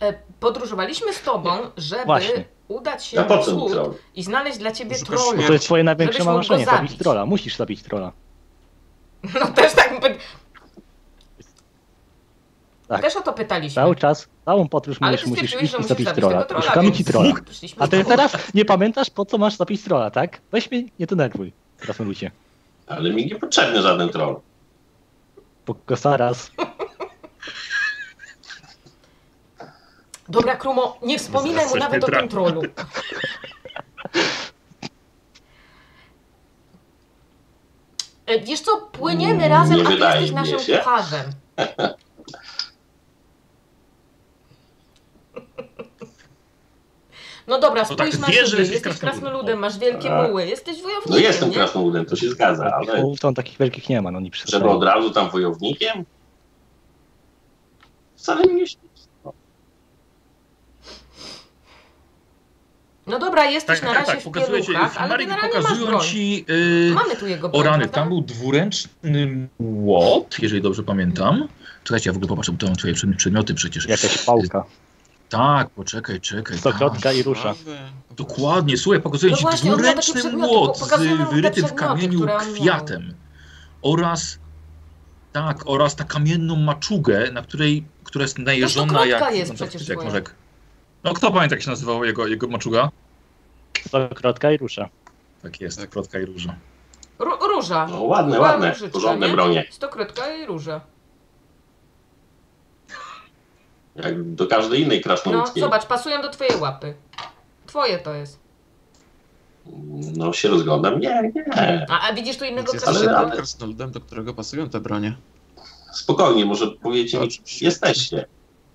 Speaker 4: E, podróżowaliśmy z tobą, żeby
Speaker 2: Właśnie.
Speaker 4: udać się
Speaker 3: A po
Speaker 4: na
Speaker 3: co mi
Speaker 4: wschód
Speaker 3: troll?
Speaker 4: i znaleźć dla ciebie
Speaker 5: Szukasz
Speaker 4: trolla.
Speaker 2: No, To jest twoje największe
Speaker 4: Żebyś mógł
Speaker 2: marzenie,
Speaker 4: go zabić.
Speaker 2: zabić trola. Musisz zabić trola.
Speaker 4: No też tak, by-
Speaker 2: Tak.
Speaker 4: też o to pytaliśmy.
Speaker 2: Cały czas, całą podróż
Speaker 4: Ale
Speaker 2: mówisz,
Speaker 4: ty stwierdziłeś,
Speaker 2: musisz
Speaker 4: że
Speaker 2: iść i
Speaker 4: musisz
Speaker 2: zabić
Speaker 4: zabić
Speaker 2: trola.
Speaker 4: tego trolla,
Speaker 2: Szukamy
Speaker 4: więc
Speaker 2: ci trola.
Speaker 4: Przyszliśmy
Speaker 2: A ty
Speaker 4: z tobą.
Speaker 2: teraz nie pamiętasz, po co masz zabić trola, tak? Weź mnie, nie denerwuj. Krasnoludzie.
Speaker 3: Ale mi niepotrzebny żaden troll.
Speaker 2: Bo Kosaras
Speaker 4: Dobra, Krumo, nie wspominaj mu
Speaker 1: Jesteś
Speaker 4: nawet o
Speaker 1: niepra-
Speaker 4: tym trollu. E, Wiesz co, płyniemy
Speaker 3: Mm,
Speaker 4: razem,
Speaker 3: nie
Speaker 4: a ty
Speaker 3: wydaje
Speaker 4: jesteś
Speaker 3: mi
Speaker 4: naszym
Speaker 3: się.
Speaker 4: kucharzem. No dobra,
Speaker 1: No tak,
Speaker 4: spójrz na
Speaker 1: wie, że
Speaker 4: siebie,
Speaker 1: jesteś
Speaker 4: jesteś
Speaker 1: krasnoludem.
Speaker 4: krasnoludem, masz wielkie
Speaker 3: Tak.
Speaker 4: muły, jesteś wojownikiem,
Speaker 3: No jestem
Speaker 4: nie?
Speaker 3: krasnoludem, to się zgadza,
Speaker 2: Takich
Speaker 3: ale
Speaker 2: połów to on takich wielkich nie ma, no nie
Speaker 3: żeby
Speaker 2: przesadzają.
Speaker 3: od razu tam wojownikiem? Wcale mi nie się...
Speaker 4: No dobra,
Speaker 1: Tak,
Speaker 4: jesteś na razie w
Speaker 1: pokazuje ci-
Speaker 4: pieluchach, ale
Speaker 1: Fimarik,
Speaker 4: generalnie masz
Speaker 1: pokazują
Speaker 4: broń.
Speaker 1: ci y,
Speaker 4: Mamy tu jego broń,
Speaker 1: o rany.
Speaker 4: prawda?
Speaker 1: Tam był dwuręczny łot, jeżeli dobrze pamiętam. Czekajcie, ja w ogóle popatrzę, bo to mam twoje przedmi- przedmioty przecież.
Speaker 2: Jakaś pałka,
Speaker 1: Tak, poczekaj, czekaj. Tak.
Speaker 2: stokrotka i rusza.
Speaker 5: Prawe, po
Speaker 1: Dokładnie, słuchaj, pokazuję
Speaker 4: No
Speaker 1: ci
Speaker 4: właśnie, on miał takie
Speaker 1: dwuręczny
Speaker 4: przedmioty,
Speaker 1: łot
Speaker 4: po- pokazują nam
Speaker 1: z y,
Speaker 4: te
Speaker 1: wyrytym w
Speaker 4: przedmioty,
Speaker 1: kamieniu
Speaker 4: które on miał.
Speaker 1: kwiatem oraz tak, oraz ta kamienną maczugę, na której, która jest najeżona
Speaker 4: krotka
Speaker 1: jak,
Speaker 4: jest
Speaker 1: no, tak,
Speaker 4: przecież
Speaker 1: jak
Speaker 4: była.
Speaker 1: morzek. No kto pamięta jak się nazywała jego, jego maczuga?
Speaker 2: Stokrotka i rusza.
Speaker 1: Tak jest,
Speaker 5: Tak.
Speaker 1: krotka i róża.
Speaker 4: Ró- Róża.
Speaker 3: No ładne,
Speaker 4: Była
Speaker 3: ładne,
Speaker 4: różyczka,
Speaker 3: porządne
Speaker 4: nie?
Speaker 3: bronie.
Speaker 4: Stokrotka i róża.
Speaker 3: Jak do każdej innej
Speaker 4: No,
Speaker 3: krasnoludskiej.
Speaker 4: zobacz, pasują do twojej łapy. Twoje to jest.
Speaker 3: No się rozglądam. Nie, nie.
Speaker 4: A, a widzisz tu innego
Speaker 5: Więc jesteś
Speaker 3: ale-
Speaker 5: jedynym
Speaker 4: krasnoluda?
Speaker 3: ale-
Speaker 5: krasnoludem, do którego pasują te bronie.
Speaker 3: Spokojnie, może powiecie
Speaker 4: No,
Speaker 3: mi,
Speaker 5: Oczywiście.
Speaker 3: czy jesteście.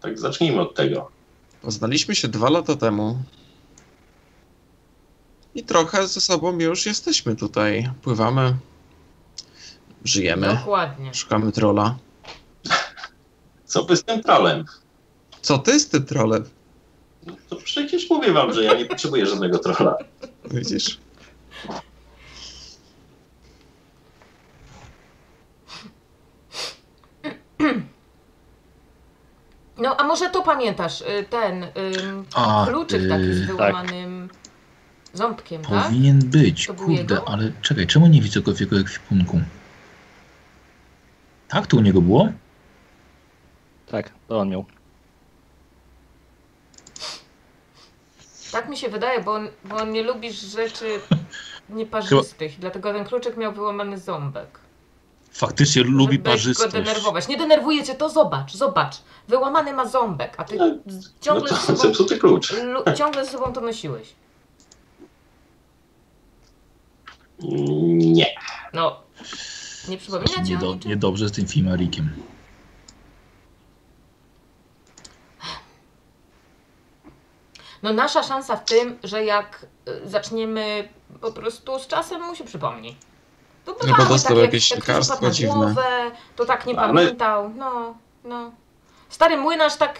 Speaker 3: Tak zacznijmy od tego.
Speaker 5: Poznaliśmy się dwa lata temu. I trochę ze sobą już jesteśmy tutaj. Pływamy. Żyjemy.
Speaker 4: Dokładnie.
Speaker 5: Szukamy trola.
Speaker 3: Co by z tym trolem?
Speaker 5: Co ty z tym trolem?
Speaker 3: No To przecież mówię wam, że ja nie potrzebuję żadnego trola.
Speaker 5: Widzisz?
Speaker 4: No, a może to pamiętasz, y, ten ym,
Speaker 1: A,
Speaker 4: kluczyk
Speaker 1: y,
Speaker 4: taki z
Speaker 1: tak.
Speaker 4: wyłamanym ząbkiem, tak?
Speaker 1: Powinien być,
Speaker 4: To był
Speaker 1: kurde,
Speaker 4: jego?
Speaker 1: ale czekaj, czemu nie widzę go w jego ekwipunku? Tak, to u niego było?
Speaker 2: Tak, to on miał.
Speaker 4: Tak mi się wydaje, bo on, bo on nie lubi rzeczy nieparzystych, dlatego ten kluczyk miał wyłamany ząbek.
Speaker 1: Faktycznie lubi
Speaker 4: żeby
Speaker 1: parzystość.
Speaker 4: go denerwować. Nie denerwuje cię, to zobacz, zobacz. Wyłamany ma ząbek, a ty
Speaker 3: No, No
Speaker 4: ciągle,
Speaker 3: to
Speaker 4: z sobą,
Speaker 3: zepsuty klucz.
Speaker 4: lu, ciągle z sobą to nosiłeś.
Speaker 3: Mm, Nie.
Speaker 4: No, nie przypomina ci o
Speaker 1: Niedo,
Speaker 4: niczym?
Speaker 1: niedobrze z tym filmarikiem.
Speaker 4: No nasza szansa w tym, że jak y, zaczniemy po prostu z czasem mu się przypomni. To
Speaker 5: bo
Speaker 4: bywamy,
Speaker 5: dostał
Speaker 4: jak-
Speaker 5: jakieś
Speaker 4: jak ktoś
Speaker 5: lekarstwo
Speaker 4: wpadł na
Speaker 5: dziwne.
Speaker 4: Głowę, to tak nie
Speaker 3: Ale-
Speaker 4: pamiętał. No, no. Stary młynarz tak...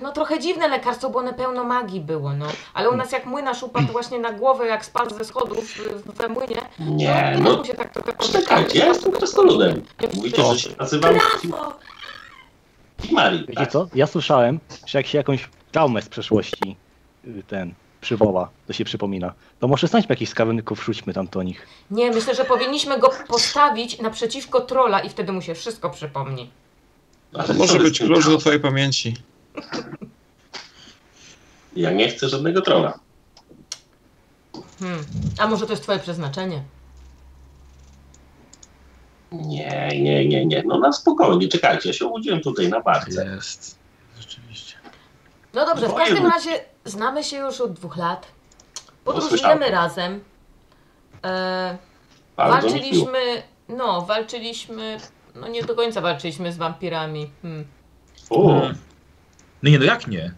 Speaker 4: No trochę dziwne lekarstwo, bo one pełno magii było, no. Ale u nas jak młynarz upadł właśnie na głowę, jak spadł ze schodów y, we młynie,
Speaker 3: Nie,
Speaker 4: to
Speaker 3: no
Speaker 4: mu się tak trochę
Speaker 3: czekajcie, ja jestem krasnoludem. Mówicie, że się nazywam
Speaker 4: No,
Speaker 3: Kimari,
Speaker 2: Wiecie
Speaker 3: tak?
Speaker 2: co? Ja słyszałem, że jak się jakąś traumę z przeszłości y, ten przywoła, to się przypomina. To może znajdźmy jakichś skawenników, wrzućmy tam do nich.
Speaker 4: Nie, myślę, że powinniśmy go postawić naprzeciwko trola i wtedy mu się wszystko przypomni.
Speaker 5: To
Speaker 3: Ale co
Speaker 5: może
Speaker 3: wy z
Speaker 5: być
Speaker 3: tym
Speaker 5: klucz do
Speaker 3: trolem?
Speaker 5: twojej pamięci.
Speaker 3: Ja nie chcę żadnego trola.
Speaker 4: Hmm. A może to jest twoje przeznaczenie?
Speaker 3: Nie, nie, nie, nie. No na spokojnie, czekajcie, ja się obudziłem tutaj na
Speaker 2: Tak,
Speaker 3: barce.
Speaker 1: Jest. Rzeczywiście.
Speaker 4: No dobrze, w
Speaker 3: Moje
Speaker 4: każdym
Speaker 3: lubi-
Speaker 4: razie znamy się już od dwóch lat. Podróżujemy
Speaker 3: Posłyszałem.
Speaker 4: razem. E,
Speaker 3: Bardzo mi miło.
Speaker 4: walczyliśmy, no, walczyliśmy, no nie do końca walczyliśmy z wampirami. Hmm.
Speaker 3: O,
Speaker 1: No nie, no jak nie?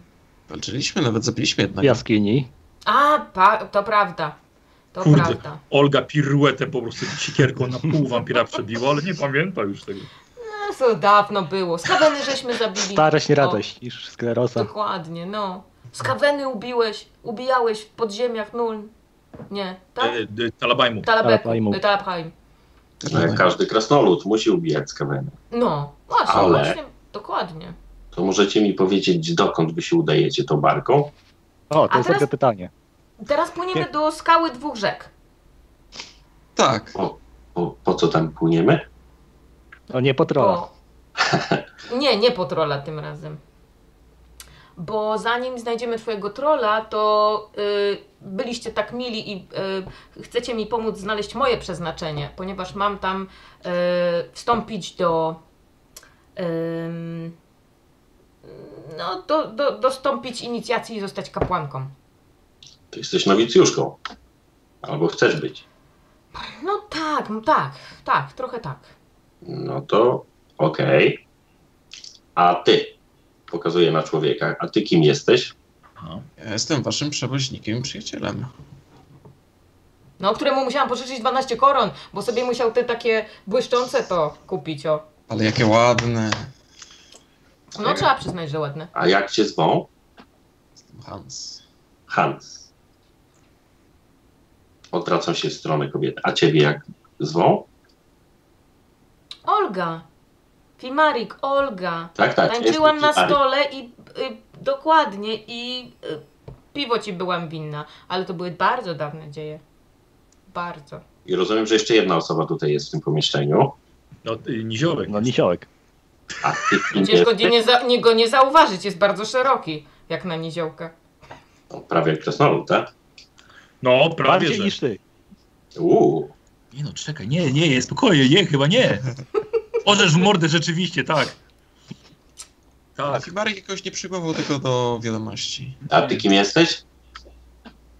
Speaker 5: Walczyliśmy, nawet zabiliśmy
Speaker 2: W
Speaker 3: No
Speaker 5: jednak.
Speaker 2: jaskini.
Speaker 4: A, pa, to prawda. To
Speaker 1: Kurde.
Speaker 4: prawda.
Speaker 1: Olga piruetę po prostu sikierką na pół wampira przebiła, ale nie pamięta już tego.
Speaker 4: No, to dawno było. Skaweny żeśmy zabili.
Speaker 2: Starość, nie
Speaker 4: O.
Speaker 2: radość, niż skleroza.
Speaker 4: Dokładnie, no. Skaweny ubiłeś, ubijałeś w podziemiach nul. Nie, tak?
Speaker 1: E, e, Talabajmu.
Speaker 4: Talabeku,
Speaker 2: Talabaimu.
Speaker 4: y, Talabhaim.
Speaker 3: no jak każdy krasnolud musi ubijać skaweny.
Speaker 4: No, właśnie,
Speaker 3: Ale-
Speaker 4: właśnie, dokładnie.
Speaker 3: To możecie mi powiedzieć, dokąd wy się udajecie tą barką?
Speaker 2: O,
Speaker 4: A
Speaker 2: to jest
Speaker 4: teraz-
Speaker 2: dobre pytanie.
Speaker 4: Teraz płyniemy
Speaker 2: Nie.
Speaker 4: do skały dwóch rzek.
Speaker 5: Tak.
Speaker 3: Po, po co tam płyniemy?
Speaker 2: O, No nie potrola.
Speaker 4: Bo... Nie, nie po trola tym razem. Bo zanim znajdziemy twojego trola, to y, byliście tak mili i y, chcecie mi pomóc znaleźć moje przeznaczenie, ponieważ mam tam y, wstąpić do. ym, no, do, do, dostąpić inicjacji i zostać kapłanką.
Speaker 3: Ty jesteś nowicjuszką. Albo chcesz być.
Speaker 4: No tak, no tak, tak, trochę tak.
Speaker 3: No to okej. A ty? Pokazuję na człowieka. A ty kim jesteś?
Speaker 1: A,
Speaker 5: Ja jestem waszym przewoźnikiem i przyjacielem.
Speaker 4: No, któremu musiałam pożyczyć 12 koron, bo sobie musiał te takie błyszczące to kupić, o.
Speaker 5: Ale jakie ładne.
Speaker 4: No trzeba przyznać, że ładne.
Speaker 3: A jak cię zwą?
Speaker 5: Hans.
Speaker 3: Hans. Odwracam się w stronę kobiety. A ciebie jak zwą?
Speaker 4: Olga. Filmarik, Olga.
Speaker 3: Tak, tak. ja
Speaker 4: Tańczyłam
Speaker 3: jestem
Speaker 4: na
Speaker 3: Filmarik.
Speaker 4: stole i y, dokładnie i y, piwo ci byłam winna, ale to były bardzo dawne dzieje. Bardzo.
Speaker 3: I rozumiem, że jeszcze jedna osoba tutaj jest w tym pomieszczeniu.
Speaker 1: No, y, niziołek.
Speaker 2: No, nisiołek.
Speaker 3: A ty kim
Speaker 4: Przecież go
Speaker 3: jesteś?
Speaker 4: nie, nie, za, nie, go nie zauważyć, jest bardzo szeroki, jak na niziołkę.
Speaker 3: No, prawie jak krasnolud, tak?
Speaker 1: No, prawie
Speaker 2: Bardziej
Speaker 1: że.
Speaker 2: niż ty.
Speaker 3: Uuu.
Speaker 1: Nie no, czekaj, nie, nie, nie, spokojnie, nie, chyba nie. Orzesz w mordę rzeczywiście, tak.
Speaker 5: A
Speaker 1: Tak.
Speaker 5: Fibarek jakoś nie przyjmował tego do wiadomości.
Speaker 3: A ty kim jesteś?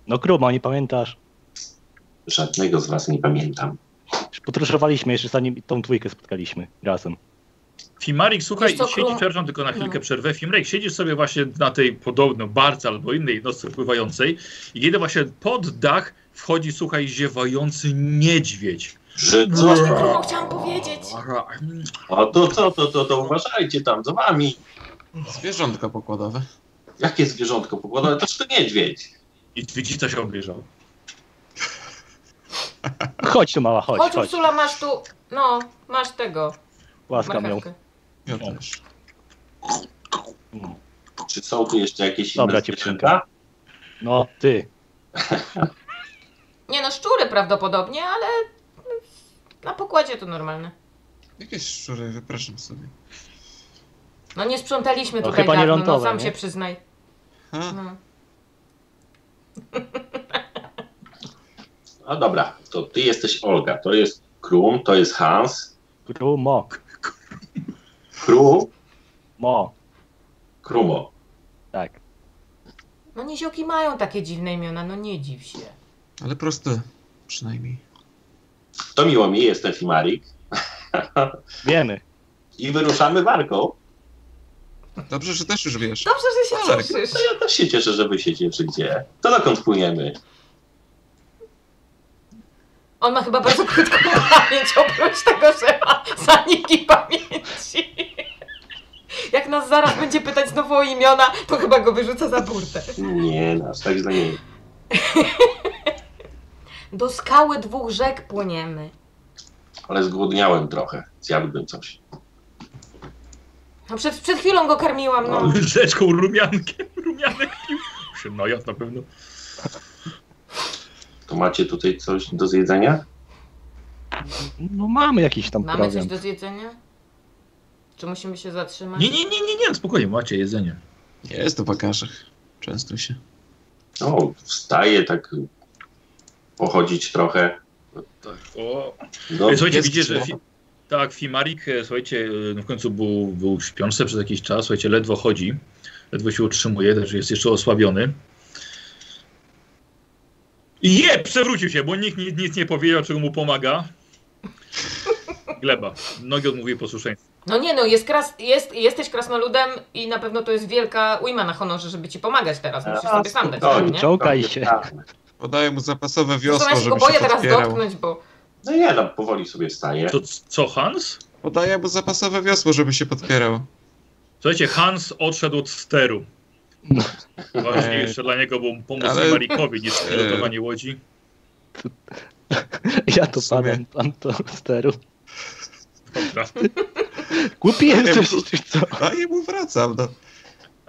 Speaker 2: No, Kruma, nie pamiętasz?
Speaker 3: Żadnego z was nie pamiętam.
Speaker 2: Podróżowaliśmy jeszcze zanim tą dwójkę spotkaliśmy razem.
Speaker 1: Fimarik, słuchaj,
Speaker 4: Wiesz co,
Speaker 1: i siedzi,
Speaker 4: Krum-
Speaker 1: przepraszam, tylko na chwilkę
Speaker 4: No.
Speaker 1: przerwę. Fimarik, siedzisz sobie właśnie na tej podobno barce albo innej nocy pływającej i kiedy właśnie pod dach wchodzi, słuchaj, ziewający niedźwiedź.
Speaker 3: Żyd
Speaker 4: No Właśnie,
Speaker 3: został.
Speaker 4: kurwa, chciałam powiedzieć.
Speaker 3: O, to, to, to, to, to uważajcie tam za wami.
Speaker 5: Zwierzątka pokładowe.
Speaker 3: Jakie zwierzątko pokładowe? Toż to niedźwiedź.
Speaker 1: I Twidzica się obejrzał.
Speaker 2: Chodź tu, mała, chodź,
Speaker 4: Chodź,
Speaker 2: chodź.
Speaker 4: Ursula, masz tu. No, masz tego.
Speaker 2: Łaskam ją.
Speaker 4: marchewkę.
Speaker 5: Ja
Speaker 1: O.
Speaker 5: też.
Speaker 3: Czy są tu jeszcze jakieś
Speaker 2: Dobra,
Speaker 3: inne
Speaker 2: dziewczynka.
Speaker 3: zwierzęta?
Speaker 2: No, ty.
Speaker 4: Nie no, szczury prawdopodobnie, ale na pokładzie to normalne.
Speaker 5: Jakieś szczury, wypraszam sobie.
Speaker 4: No nie sprzątaliśmy
Speaker 2: No,
Speaker 4: tutaj
Speaker 2: chyba nie
Speaker 4: dawno, no
Speaker 2: lądowe,
Speaker 4: sam
Speaker 2: nie?
Speaker 4: się przyznaj.
Speaker 5: Ha?
Speaker 4: No.
Speaker 3: No dobra, to ty jesteś Olga, to jest Krum, to jest Hans.
Speaker 2: Krumo,
Speaker 3: Kru,
Speaker 2: mo.
Speaker 3: Krumo.
Speaker 2: Tak.
Speaker 4: no niziołki mają takie dziwne imiona, no nie dziw się.
Speaker 5: Ale proste, przynajmniej.
Speaker 3: To miło mi, jestem Fimarik.
Speaker 2: Wiemy.
Speaker 3: I wyruszamy warką.
Speaker 5: Dobrze, że też już wiesz.
Speaker 4: Dobrze, że się
Speaker 5: Tak.
Speaker 4: cieszysz.
Speaker 3: No ja też się cieszę, że wy się cieszycie. To dokąd płyniemy?
Speaker 4: On ma chyba bardzo krótką pamięć, oprócz tego, że ma zaniki pamięci. Jak nas zaraz będzie pytać znowu o imiona, to chyba go wyrzuca za burtę.
Speaker 3: Nie, nas tak źle nie.
Speaker 4: Do skały dwóch rzek płyniemy.
Speaker 3: Ale zgłodniałem trochę. Zjadłbym coś.
Speaker 4: No przed, przed chwilą go karmiłam, no.
Speaker 1: Łyżeczką rumiankiem, rumianek pił. Się najadł na pewno.
Speaker 3: To macie tutaj coś do zjedzenia?
Speaker 2: No mamy jakiś tam
Speaker 4: Mamy coś
Speaker 2: program.
Speaker 4: do zjedzenia? Czy musimy się zatrzymać?
Speaker 1: Nie, nie, nie, nie, nie, spokojnie, macie jedzenie.
Speaker 5: Jest w bagażach. Często się.
Speaker 3: No, wstaję tak pochodzić trochę.
Speaker 1: Tak, o.
Speaker 3: No,
Speaker 1: E, Słuchajcie,
Speaker 5: jest
Speaker 1: widzicie, że...
Speaker 5: krzywo.
Speaker 1: Fi- Tak, Fimarik, e, słuchajcie, e, no w końcu był, był w śpiące przez jakiś czas, słuchajcie, ledwo chodzi, ledwo się utrzymuje, także jest jeszcze osłabiony. I Je, przewrócił się, bo nikt nic, nic nie powiedział, czego mu pomaga. Gleba, nogi odmówiły posłuszeństwa.
Speaker 4: No nie no, jest kras, jest, jesteś krasnoludem i na pewno to jest wielka ujma na honorze, żeby ci pomagać teraz. Musisz
Speaker 3: A,
Speaker 4: sobie sam dać radę,
Speaker 3: spokojnie.
Speaker 4: nie?
Speaker 2: Czołgaj się.
Speaker 5: Podaję mu zapasowe
Speaker 4: Zresztą ja
Speaker 5: wiosło,
Speaker 4: się go
Speaker 5: żeby
Speaker 4: boję
Speaker 5: się
Speaker 4: teraz
Speaker 5: podpierał.
Speaker 4: dotknąć, bo
Speaker 3: No ja tam powoli sobie wstaję.
Speaker 1: To c- co, Hans?
Speaker 5: Podaję mu zapasowe wiosło, żeby się podpierał.
Speaker 1: Słuchajcie, Hans odszedł od steru.
Speaker 2: No.
Speaker 1: Ważniejsze dla niego był pomoc
Speaker 5: Ale-
Speaker 1: Fimarikowi niż pilotowanie łodzi.
Speaker 2: Ja to
Speaker 5: W sumie.
Speaker 2: panem, pan to steru.
Speaker 1: Dobra.
Speaker 2: Głupi jesteś,
Speaker 5: wiem.
Speaker 2: czy co?
Speaker 5: Daję mu wracam, no.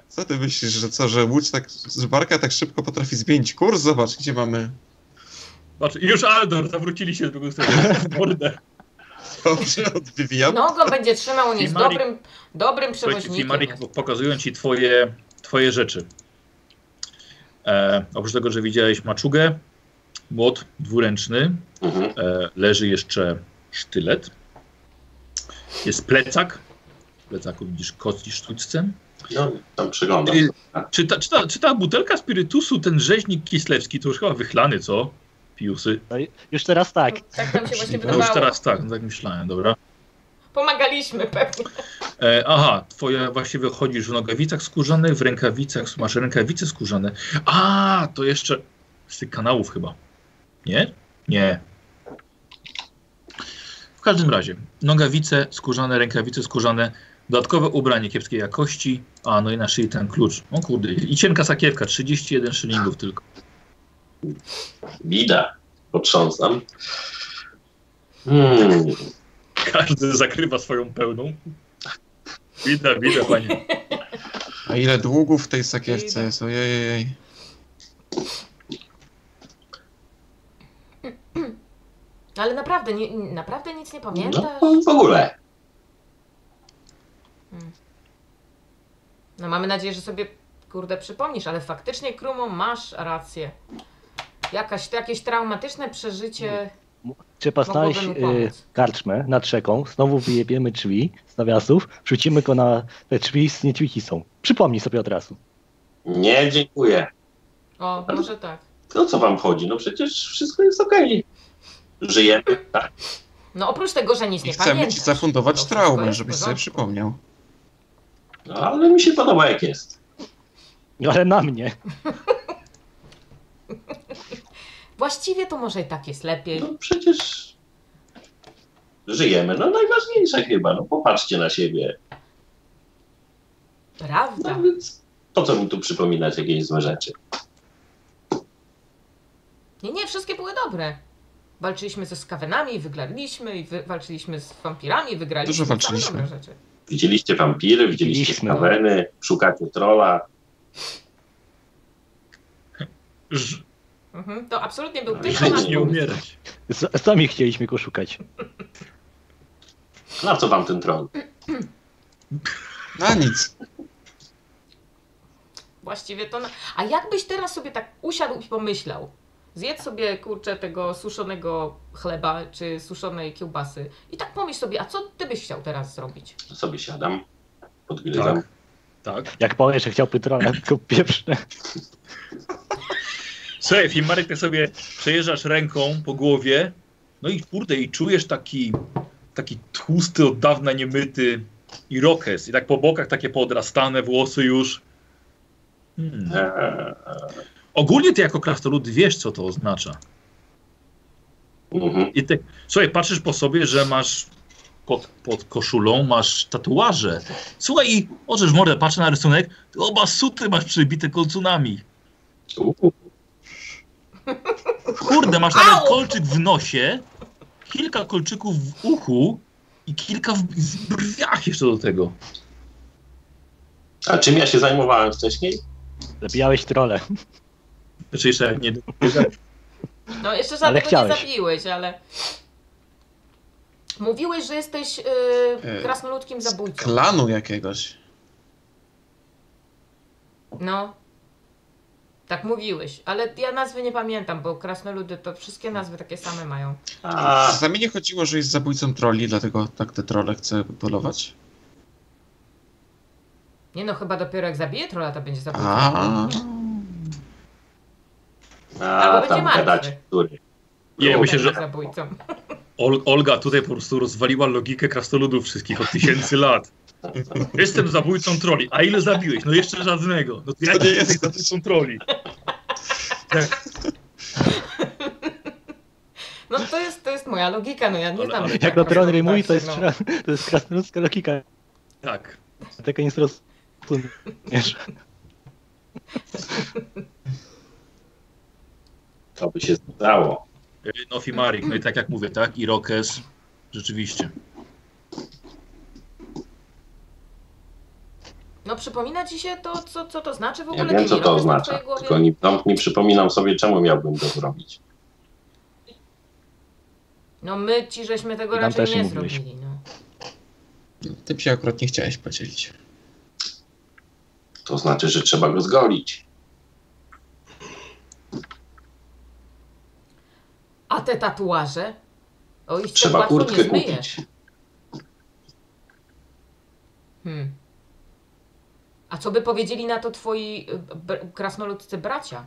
Speaker 5: Co ty myślisz, że co, że łódź tak, że barka tak szybko potrafi zmienić kurs? Zobacz, gdzie mamy.
Speaker 1: Patrz, i już Aldor, zawrócili się z drugą stroną. Mordę.
Speaker 5: Dobrze, odwijam.
Speaker 4: no go będzie trzymał, on jest
Speaker 1: Fimarik-
Speaker 4: dobrym, dobrym
Speaker 1: Słuchajcie,
Speaker 4: przewoźnikiem.
Speaker 1: Fimarik, pokazują ci twoje, twoje rzeczy. E, oprócz tego, że widziałeś maczugę, młot dwuręczny,
Speaker 3: Mhm.
Speaker 1: e, leży jeszcze sztylet, jest plecak, w plecaku widzisz kości sztućce,
Speaker 3: No, tam przeglądam.
Speaker 1: Ty- Czy ta, czy, ta, czy ta butelka spirytusu, ten rzeźnik kislewski, to już chyba wychlany, co? Piusy.
Speaker 2: No i- Już teraz tak.
Speaker 4: Tak nam się właśnie
Speaker 1: No już
Speaker 4: wydawało.
Speaker 1: teraz tak, no tak myślałem, dobra.
Speaker 4: Pomagaliśmy pewnie.
Speaker 1: E, aha, twoja właśnie wychodzisz w nogawicach skórzanych, w rękawicach, masz rękawice skórzane. A, to jeszcze z tych kanałów chyba. Nie? Nie. W każdym razie, nogawice skórzane, rękawice skórzane, dodatkowe ubranie kiepskiej jakości, a no i na szyi ten klucz. O kurde, i cienka sakiewka, 31 szylingów tylko.
Speaker 3: Bida. Potrząsam. Hmm.
Speaker 1: Każdy zakrywa swoją pełną. Widać, widać, panie.
Speaker 5: A ile długów w tej sakiewce jest? Ojej.
Speaker 4: Ale naprawdę, nie, naprawdę nic nie
Speaker 3: No,
Speaker 4: pamiętasz?
Speaker 3: w ogóle.
Speaker 4: No mamy nadzieję, że sobie kurde przypomnisz, ale faktycznie Krumo masz rację. Jakaś, jakieś traumatyczne przeżycie.
Speaker 2: Trzeba
Speaker 4: Mogłoby
Speaker 2: znaleźć
Speaker 4: mu
Speaker 2: y,
Speaker 4: pomóc.
Speaker 2: karczmę nad rzeką, znowu wyjebiemy drzwi z nawiasów, rzucimy go na te drzwi z niedźwiedzicą. Przypomnij sobie od razu.
Speaker 3: Nie, dziękuję.
Speaker 4: O, może tak.
Speaker 3: To co wam chodzi? No przecież wszystko jest okej. Żyjemy, tak?
Speaker 4: No oprócz tego, że nic
Speaker 5: I
Speaker 4: nie
Speaker 5: chcemy
Speaker 4: pamiętasz.
Speaker 5: ci
Speaker 4: to
Speaker 5: zafundować
Speaker 4: wszystko
Speaker 5: traumę,
Speaker 4: jest w
Speaker 5: żebyś sobie
Speaker 4: porządku.
Speaker 5: przypomniał.
Speaker 3: No, ale mi się podoba jak jest.
Speaker 2: No, Ale na mnie.
Speaker 4: Właściwie to może i tak jest lepiej.
Speaker 3: No przecież żyjemy. No najważniejsze chyba, no popatrzcie na siebie.
Speaker 4: Prawda.
Speaker 3: No więc po co mi tu przypominać jakieś złe rzeczy?
Speaker 4: Nie, nie, wszystkie były dobre. Walczyliśmy ze skawenami, wygraliśmy i wy, walczyliśmy z wampirami, wygraliśmy.
Speaker 5: Dużo
Speaker 4: Same
Speaker 5: walczyliśmy.
Speaker 4: dobre rzeczy.
Speaker 3: Widzieliście wampiry, widzieliście
Speaker 2: Widzieliśmy.
Speaker 3: skaweny, szukacie trola.
Speaker 1: Ż-
Speaker 4: Mhm, to absolutnie był
Speaker 3: No,
Speaker 4: tylko
Speaker 3: żyć
Speaker 4: nasz
Speaker 1: nie
Speaker 4: pomysł.
Speaker 1: umierać.
Speaker 2: S- Sami chcieliśmy go szukać.
Speaker 3: Na co wam ten troll?
Speaker 5: Na nic.
Speaker 4: Właściwie to. Na... A jakbyś teraz sobie tak usiadł i pomyślał? Zjedz sobie kurczę tego suszonego chleba czy suszonej kiełbasy i tak pomyśl sobie, a co ty byś chciał teraz zrobić?
Speaker 3: No, Sobie siadam, podgryzam.
Speaker 1: Tak. Tak.
Speaker 2: Jak powiesz, że chciał Pytrona, tylko pieprzne.
Speaker 1: Słuchaj, Fimarek, ty sobie przejeżdżasz ręką po głowie, no i kurde, i czujesz taki, taki tłusty, od dawna niemyty irokes. I tak po bokach takie poodrastane włosy już. Hmm.
Speaker 3: Eee,
Speaker 1: Ogólnie ty jako krasnolud wiesz, co to oznacza.
Speaker 3: mhm.
Speaker 1: I ty, słuchaj, patrzysz po sobie, że masz pod, pod koszulą, masz tatuaże. Słuchaj, i oczesz mordę, patrzę na rysunek, ty oba suty masz przybite kolcunami.
Speaker 3: Uuu,
Speaker 1: Kurde, masz nawet
Speaker 4: Au!
Speaker 1: kolczyk w nosie, kilka kolczyków w uchu i kilka w, w brwiach jeszcze do tego.
Speaker 3: A czym ja się zajmowałem wcześniej?
Speaker 2: Zabijałeś trole.
Speaker 1: Znaczy jeszcze jak nie...
Speaker 4: No jeszcze żadnego nie
Speaker 2: chciałeś.
Speaker 4: zabiłeś, ale. Mówiłeś, że jesteś yy,
Speaker 5: Yy,
Speaker 4: krasnoludkim
Speaker 5: Z
Speaker 4: zabójcą.
Speaker 5: klanu jakiegoś.
Speaker 4: No. Tak mówiłeś, ale ja nazwy nie pamiętam, bo krasnoludy to wszystkie nazwy takie same mają.
Speaker 3: A,
Speaker 5: Za mnie nie chodziło, że jest zabójcą troli, dlatego tak te trole chce polować.
Speaker 4: Nie no, chyba dopiero jak zabije trolla, to będzie zabójcą.
Speaker 5: A,
Speaker 3: a
Speaker 4: będzie
Speaker 3: tam
Speaker 4: martwy.
Speaker 3: gadacie, który.
Speaker 1: Ja myślę, że
Speaker 4: Zabójcą.
Speaker 1: Ol, Olga tutaj po prostu rozwaliła logikę krasnoludów wszystkich od tysięcy lat. Jestem zabójcą troli. A ile zabiłeś? No jeszcze żadnego. No to ja
Speaker 5: To nie
Speaker 1: nie jestem
Speaker 5: jest-
Speaker 1: zabójcą troli.
Speaker 4: No to jest, to jest moja logika, no ja nie
Speaker 1: Ale-
Speaker 4: znam.
Speaker 1: ale-
Speaker 4: ludzi
Speaker 2: Jak na
Speaker 4: krasnoludów,
Speaker 2: trolle mówi, to jest,
Speaker 4: no.
Speaker 2: to jest krasnoludzka logika.
Speaker 1: Tak.
Speaker 2: Tego nie zrozumiesz.
Speaker 3: To by się zdało.
Speaker 1: No Fimarik, no i tak jak mówię, tak? I Rokes. Rzeczywiście.
Speaker 4: No przypomina ci się to, co, co to znaczy w ogóle?
Speaker 3: Ja wiem,
Speaker 4: Ten
Speaker 3: co to
Speaker 4: wirus na
Speaker 3: oznacza.
Speaker 4: twojej głowie?
Speaker 3: Tylko nie, no, nie przypominam sobie, czemu miałbym to zrobić.
Speaker 4: No my ci żeśmy tego
Speaker 2: Nam
Speaker 4: raczej
Speaker 2: też
Speaker 4: nie
Speaker 2: nie mówiłeś.
Speaker 4: zrobili. No.
Speaker 5: tym się akurat nie chciałeś podzielić.
Speaker 3: To znaczy, że trzeba go zgolić.
Speaker 4: A te tatuaże? O ich się
Speaker 3: Trzeba
Speaker 4: łatwo nie
Speaker 3: kurtkę
Speaker 4: zmyjesz.
Speaker 3: kupić.
Speaker 4: Hmm. A co by powiedzieli na to twoi y, br- krasnoludcy bracia?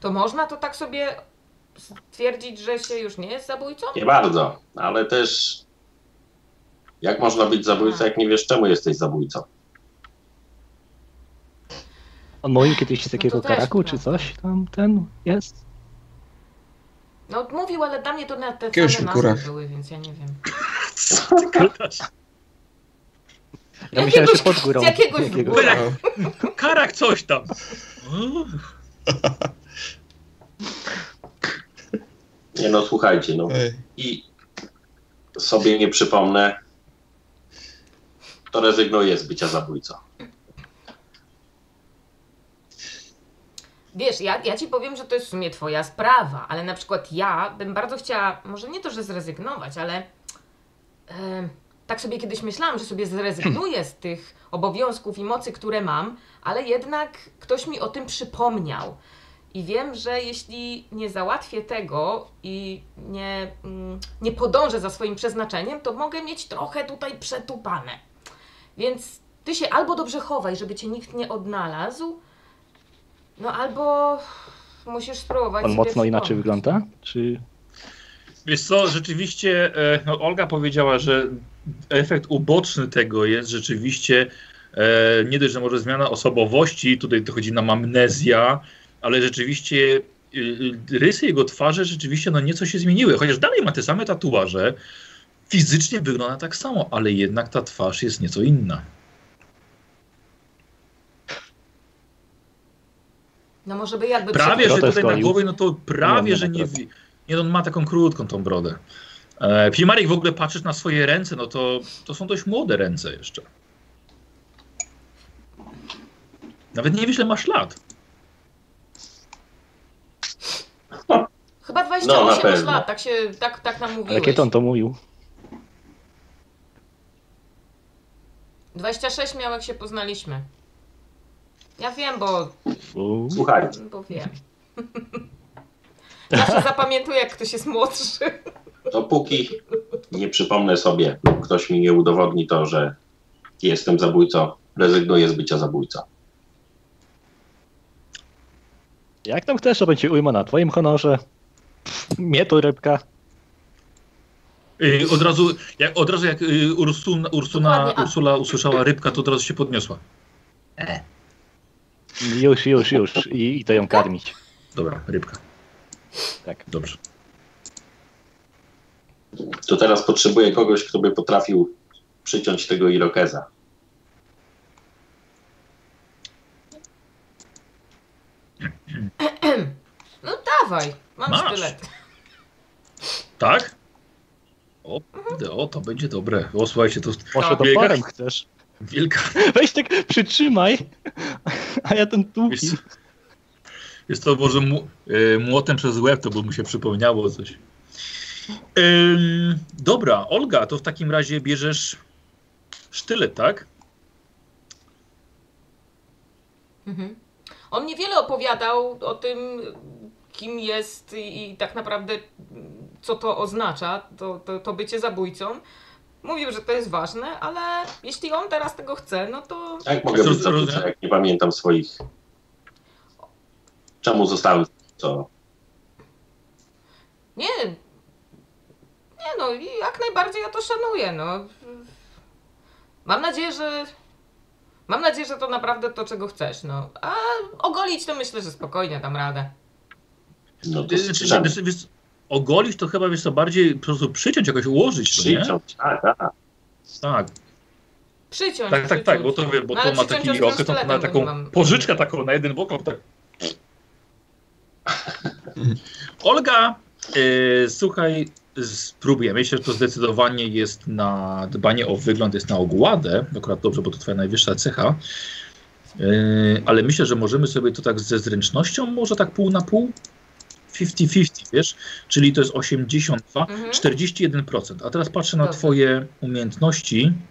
Speaker 4: To można to tak sobie stwierdzić, że się już nie jest zabójcą?
Speaker 3: Nie bardzo, ale też jak można być zabójcą, jak nie wiesz, czemu jesteś zabójcą?
Speaker 2: On mówił kiedyś z takiego
Speaker 4: No to też
Speaker 2: karaku czy
Speaker 4: prawda.
Speaker 2: coś tam ten jest?
Speaker 4: No mówił, ale dla mnie to na te
Speaker 5: Jakiegoś
Speaker 4: same
Speaker 5: wygóra.
Speaker 4: nazwy były, więc ja nie wiem.
Speaker 1: Co ty gadasz?
Speaker 2: Ja myślałem, że
Speaker 4: Jakiegoś-
Speaker 2: pod górą.
Speaker 4: z jakiegoś wgórę.
Speaker 1: Karak, karak coś tam.
Speaker 3: Nie no, słuchajcie, no
Speaker 5: Ej,
Speaker 3: i sobie nie przypomnę, to rezygnuję z bycia zabójcą.
Speaker 4: Wiesz, ja, ja ci powiem, że to jest w sumie twoja sprawa, ale na przykład ja bym bardzo chciała, może nie to, że zrezygnować, ale em, tak sobie kiedyś myślałam, że sobie zrezygnuję z tych obowiązków i mocy, które mam, ale jednak ktoś mi o tym przypomniał. I wiem, że jeśli nie załatwię tego i nie, mm, nie podążę za swoim przeznaczeniem, to mogę mieć trochę tutaj przetupane. Więc ty się albo dobrze chowaj, żeby cię nikt nie odnalazł, no albo musisz spróbować.
Speaker 2: On
Speaker 4: sobie
Speaker 2: mocno inaczej
Speaker 4: przypomnieć.
Speaker 2: wygląda? Czy
Speaker 1: Wiesz co, rzeczywiście e, no, Olga powiedziała, że efekt uboczny tego jest rzeczywiście e, nie dość, że może zmiana osobowości, tutaj dochodzi nam amnezja, ale rzeczywiście e, y, y, rysy jego twarzy rzeczywiście no nieco się zmieniły, chociaż dalej ma te same tatuaże, Fizycznie wygląda tak samo, ale jednak ta twarz jest nieco inna.
Speaker 4: No może by jakby...
Speaker 1: Prawie,
Speaker 4: przy-
Speaker 1: że
Speaker 2: Brodę
Speaker 1: tutaj na
Speaker 2: skroił.
Speaker 1: głowie, no to prawie,
Speaker 2: Nie,
Speaker 1: że
Speaker 2: no,
Speaker 1: nie...
Speaker 2: tak.
Speaker 1: wi- Nie, on ma taką krótką tą brodę. E, Pimarek, w ogóle patrzysz na swoje ręce, no to, to są dość młode ręce jeszcze. Nawet nie wiesz, ile masz lat.
Speaker 4: Chyba
Speaker 3: No, na
Speaker 4: 28
Speaker 3: pewno.
Speaker 4: lat, tak się, tak, tak nam mówiłeś.
Speaker 2: Ale kiedy on to mówił?
Speaker 4: 26 miał jak się poznaliśmy. Ja wiem, bo,
Speaker 2: Uuu.
Speaker 3: Słuchaj,
Speaker 4: bo wiem. Zawsze zapamiętuję, jak ktoś jest młodszy.
Speaker 3: dopóki nie przypomnę sobie, lub ktoś mi nie udowodni to, że jestem zabójcą, rezygnuję z bycia zabójcą.
Speaker 2: Jak tam chcesz, to będzie ujma na twoim honorze. Pff, Mnie to rybka.
Speaker 1: Y, od razu, jak, od razu jak y, Ursuna, Ursuna,
Speaker 4: Dokładnie, a-
Speaker 1: Ursula usłyszała rybka, to od razu się podniosła.
Speaker 2: Już, już, już. I, i to ją karmić.
Speaker 1: Dobra, rybka.
Speaker 2: Tak.
Speaker 1: Dobrze.
Speaker 3: To teraz potrzebuję kogoś, kto by potrafił przyciąć tego Irokeza.
Speaker 4: No dawaj, mam
Speaker 1: Masz.
Speaker 4: sztylet.
Speaker 1: Tak? O,
Speaker 4: Mhm.
Speaker 1: kurde, o, to będzie dobre. O, słuchajcie, to
Speaker 2: Może
Speaker 1: Tak,
Speaker 2: to
Speaker 1: biega.
Speaker 2: parem chcesz.
Speaker 1: wielka,
Speaker 2: Weź tak, przytrzymaj. A ja ten tłuki.
Speaker 1: Jest, jest to może mu, y, młotem przez łeb, to by mu się przypomniało coś. Ym, dobra, Olga, to w takim razie bierzesz sztylet, tak?
Speaker 4: Mhm. On mnie wiele opowiadał o tym, kim jest i, i tak naprawdę mm, co to oznacza, to, to, to bycie zabójcą. Mówił, że to jest ważne, ale jeśli on teraz tego chce, no to
Speaker 3: Jak Tak, mogę
Speaker 1: Roz-
Speaker 3: być zabójcą,
Speaker 1: rozumiem.
Speaker 3: jak nie pamiętam swoich... Czemu zostałem to?
Speaker 4: Nie. Nie no, i jak najbardziej ja to szanuję, no. Mam nadzieję, że... Mam nadzieję, że to naprawdę to, czego chcesz, no. A ogolić to myślę, że spokojnie dam radę.
Speaker 3: No to
Speaker 1: Ty- Znaczy,
Speaker 3: strzelam.
Speaker 1: wiesz- wiesz, ogolić to chyba wiesz co bardziej po prostu przyciąć, jakoś ułożyć, to, nie?
Speaker 3: Przyciąć, tak, tak.
Speaker 1: Tak,
Speaker 4: Przyciąć,
Speaker 1: tak, tak, tak, bo
Speaker 4: przyciąć.
Speaker 1: to wie, bo
Speaker 4: No,
Speaker 1: to
Speaker 4: ale
Speaker 1: ma
Speaker 4: przyciąć
Speaker 1: taki
Speaker 4: ostrym
Speaker 1: okres, to ma
Speaker 4: sztyletem, bo nie
Speaker 1: taką
Speaker 4: mam-
Speaker 1: pożyczkę taką na jeden bok. Tak. Olga, e, słuchaj, spróbuję. Myślę, że to zdecydowanie jest na dbanie o wygląd, jest na ogładę. Akurat dobrze, bo to twoja najwyższa cecha. E, ale myślę, że możemy sobie to tak ze zręcznością, może tak pół na pół? 50-50, wiesz? Czyli to jest 82,
Speaker 4: Mhm.
Speaker 1: 41%. A teraz patrzę na
Speaker 4: Dobrze.
Speaker 1: twoje umiejętności. Znaczy,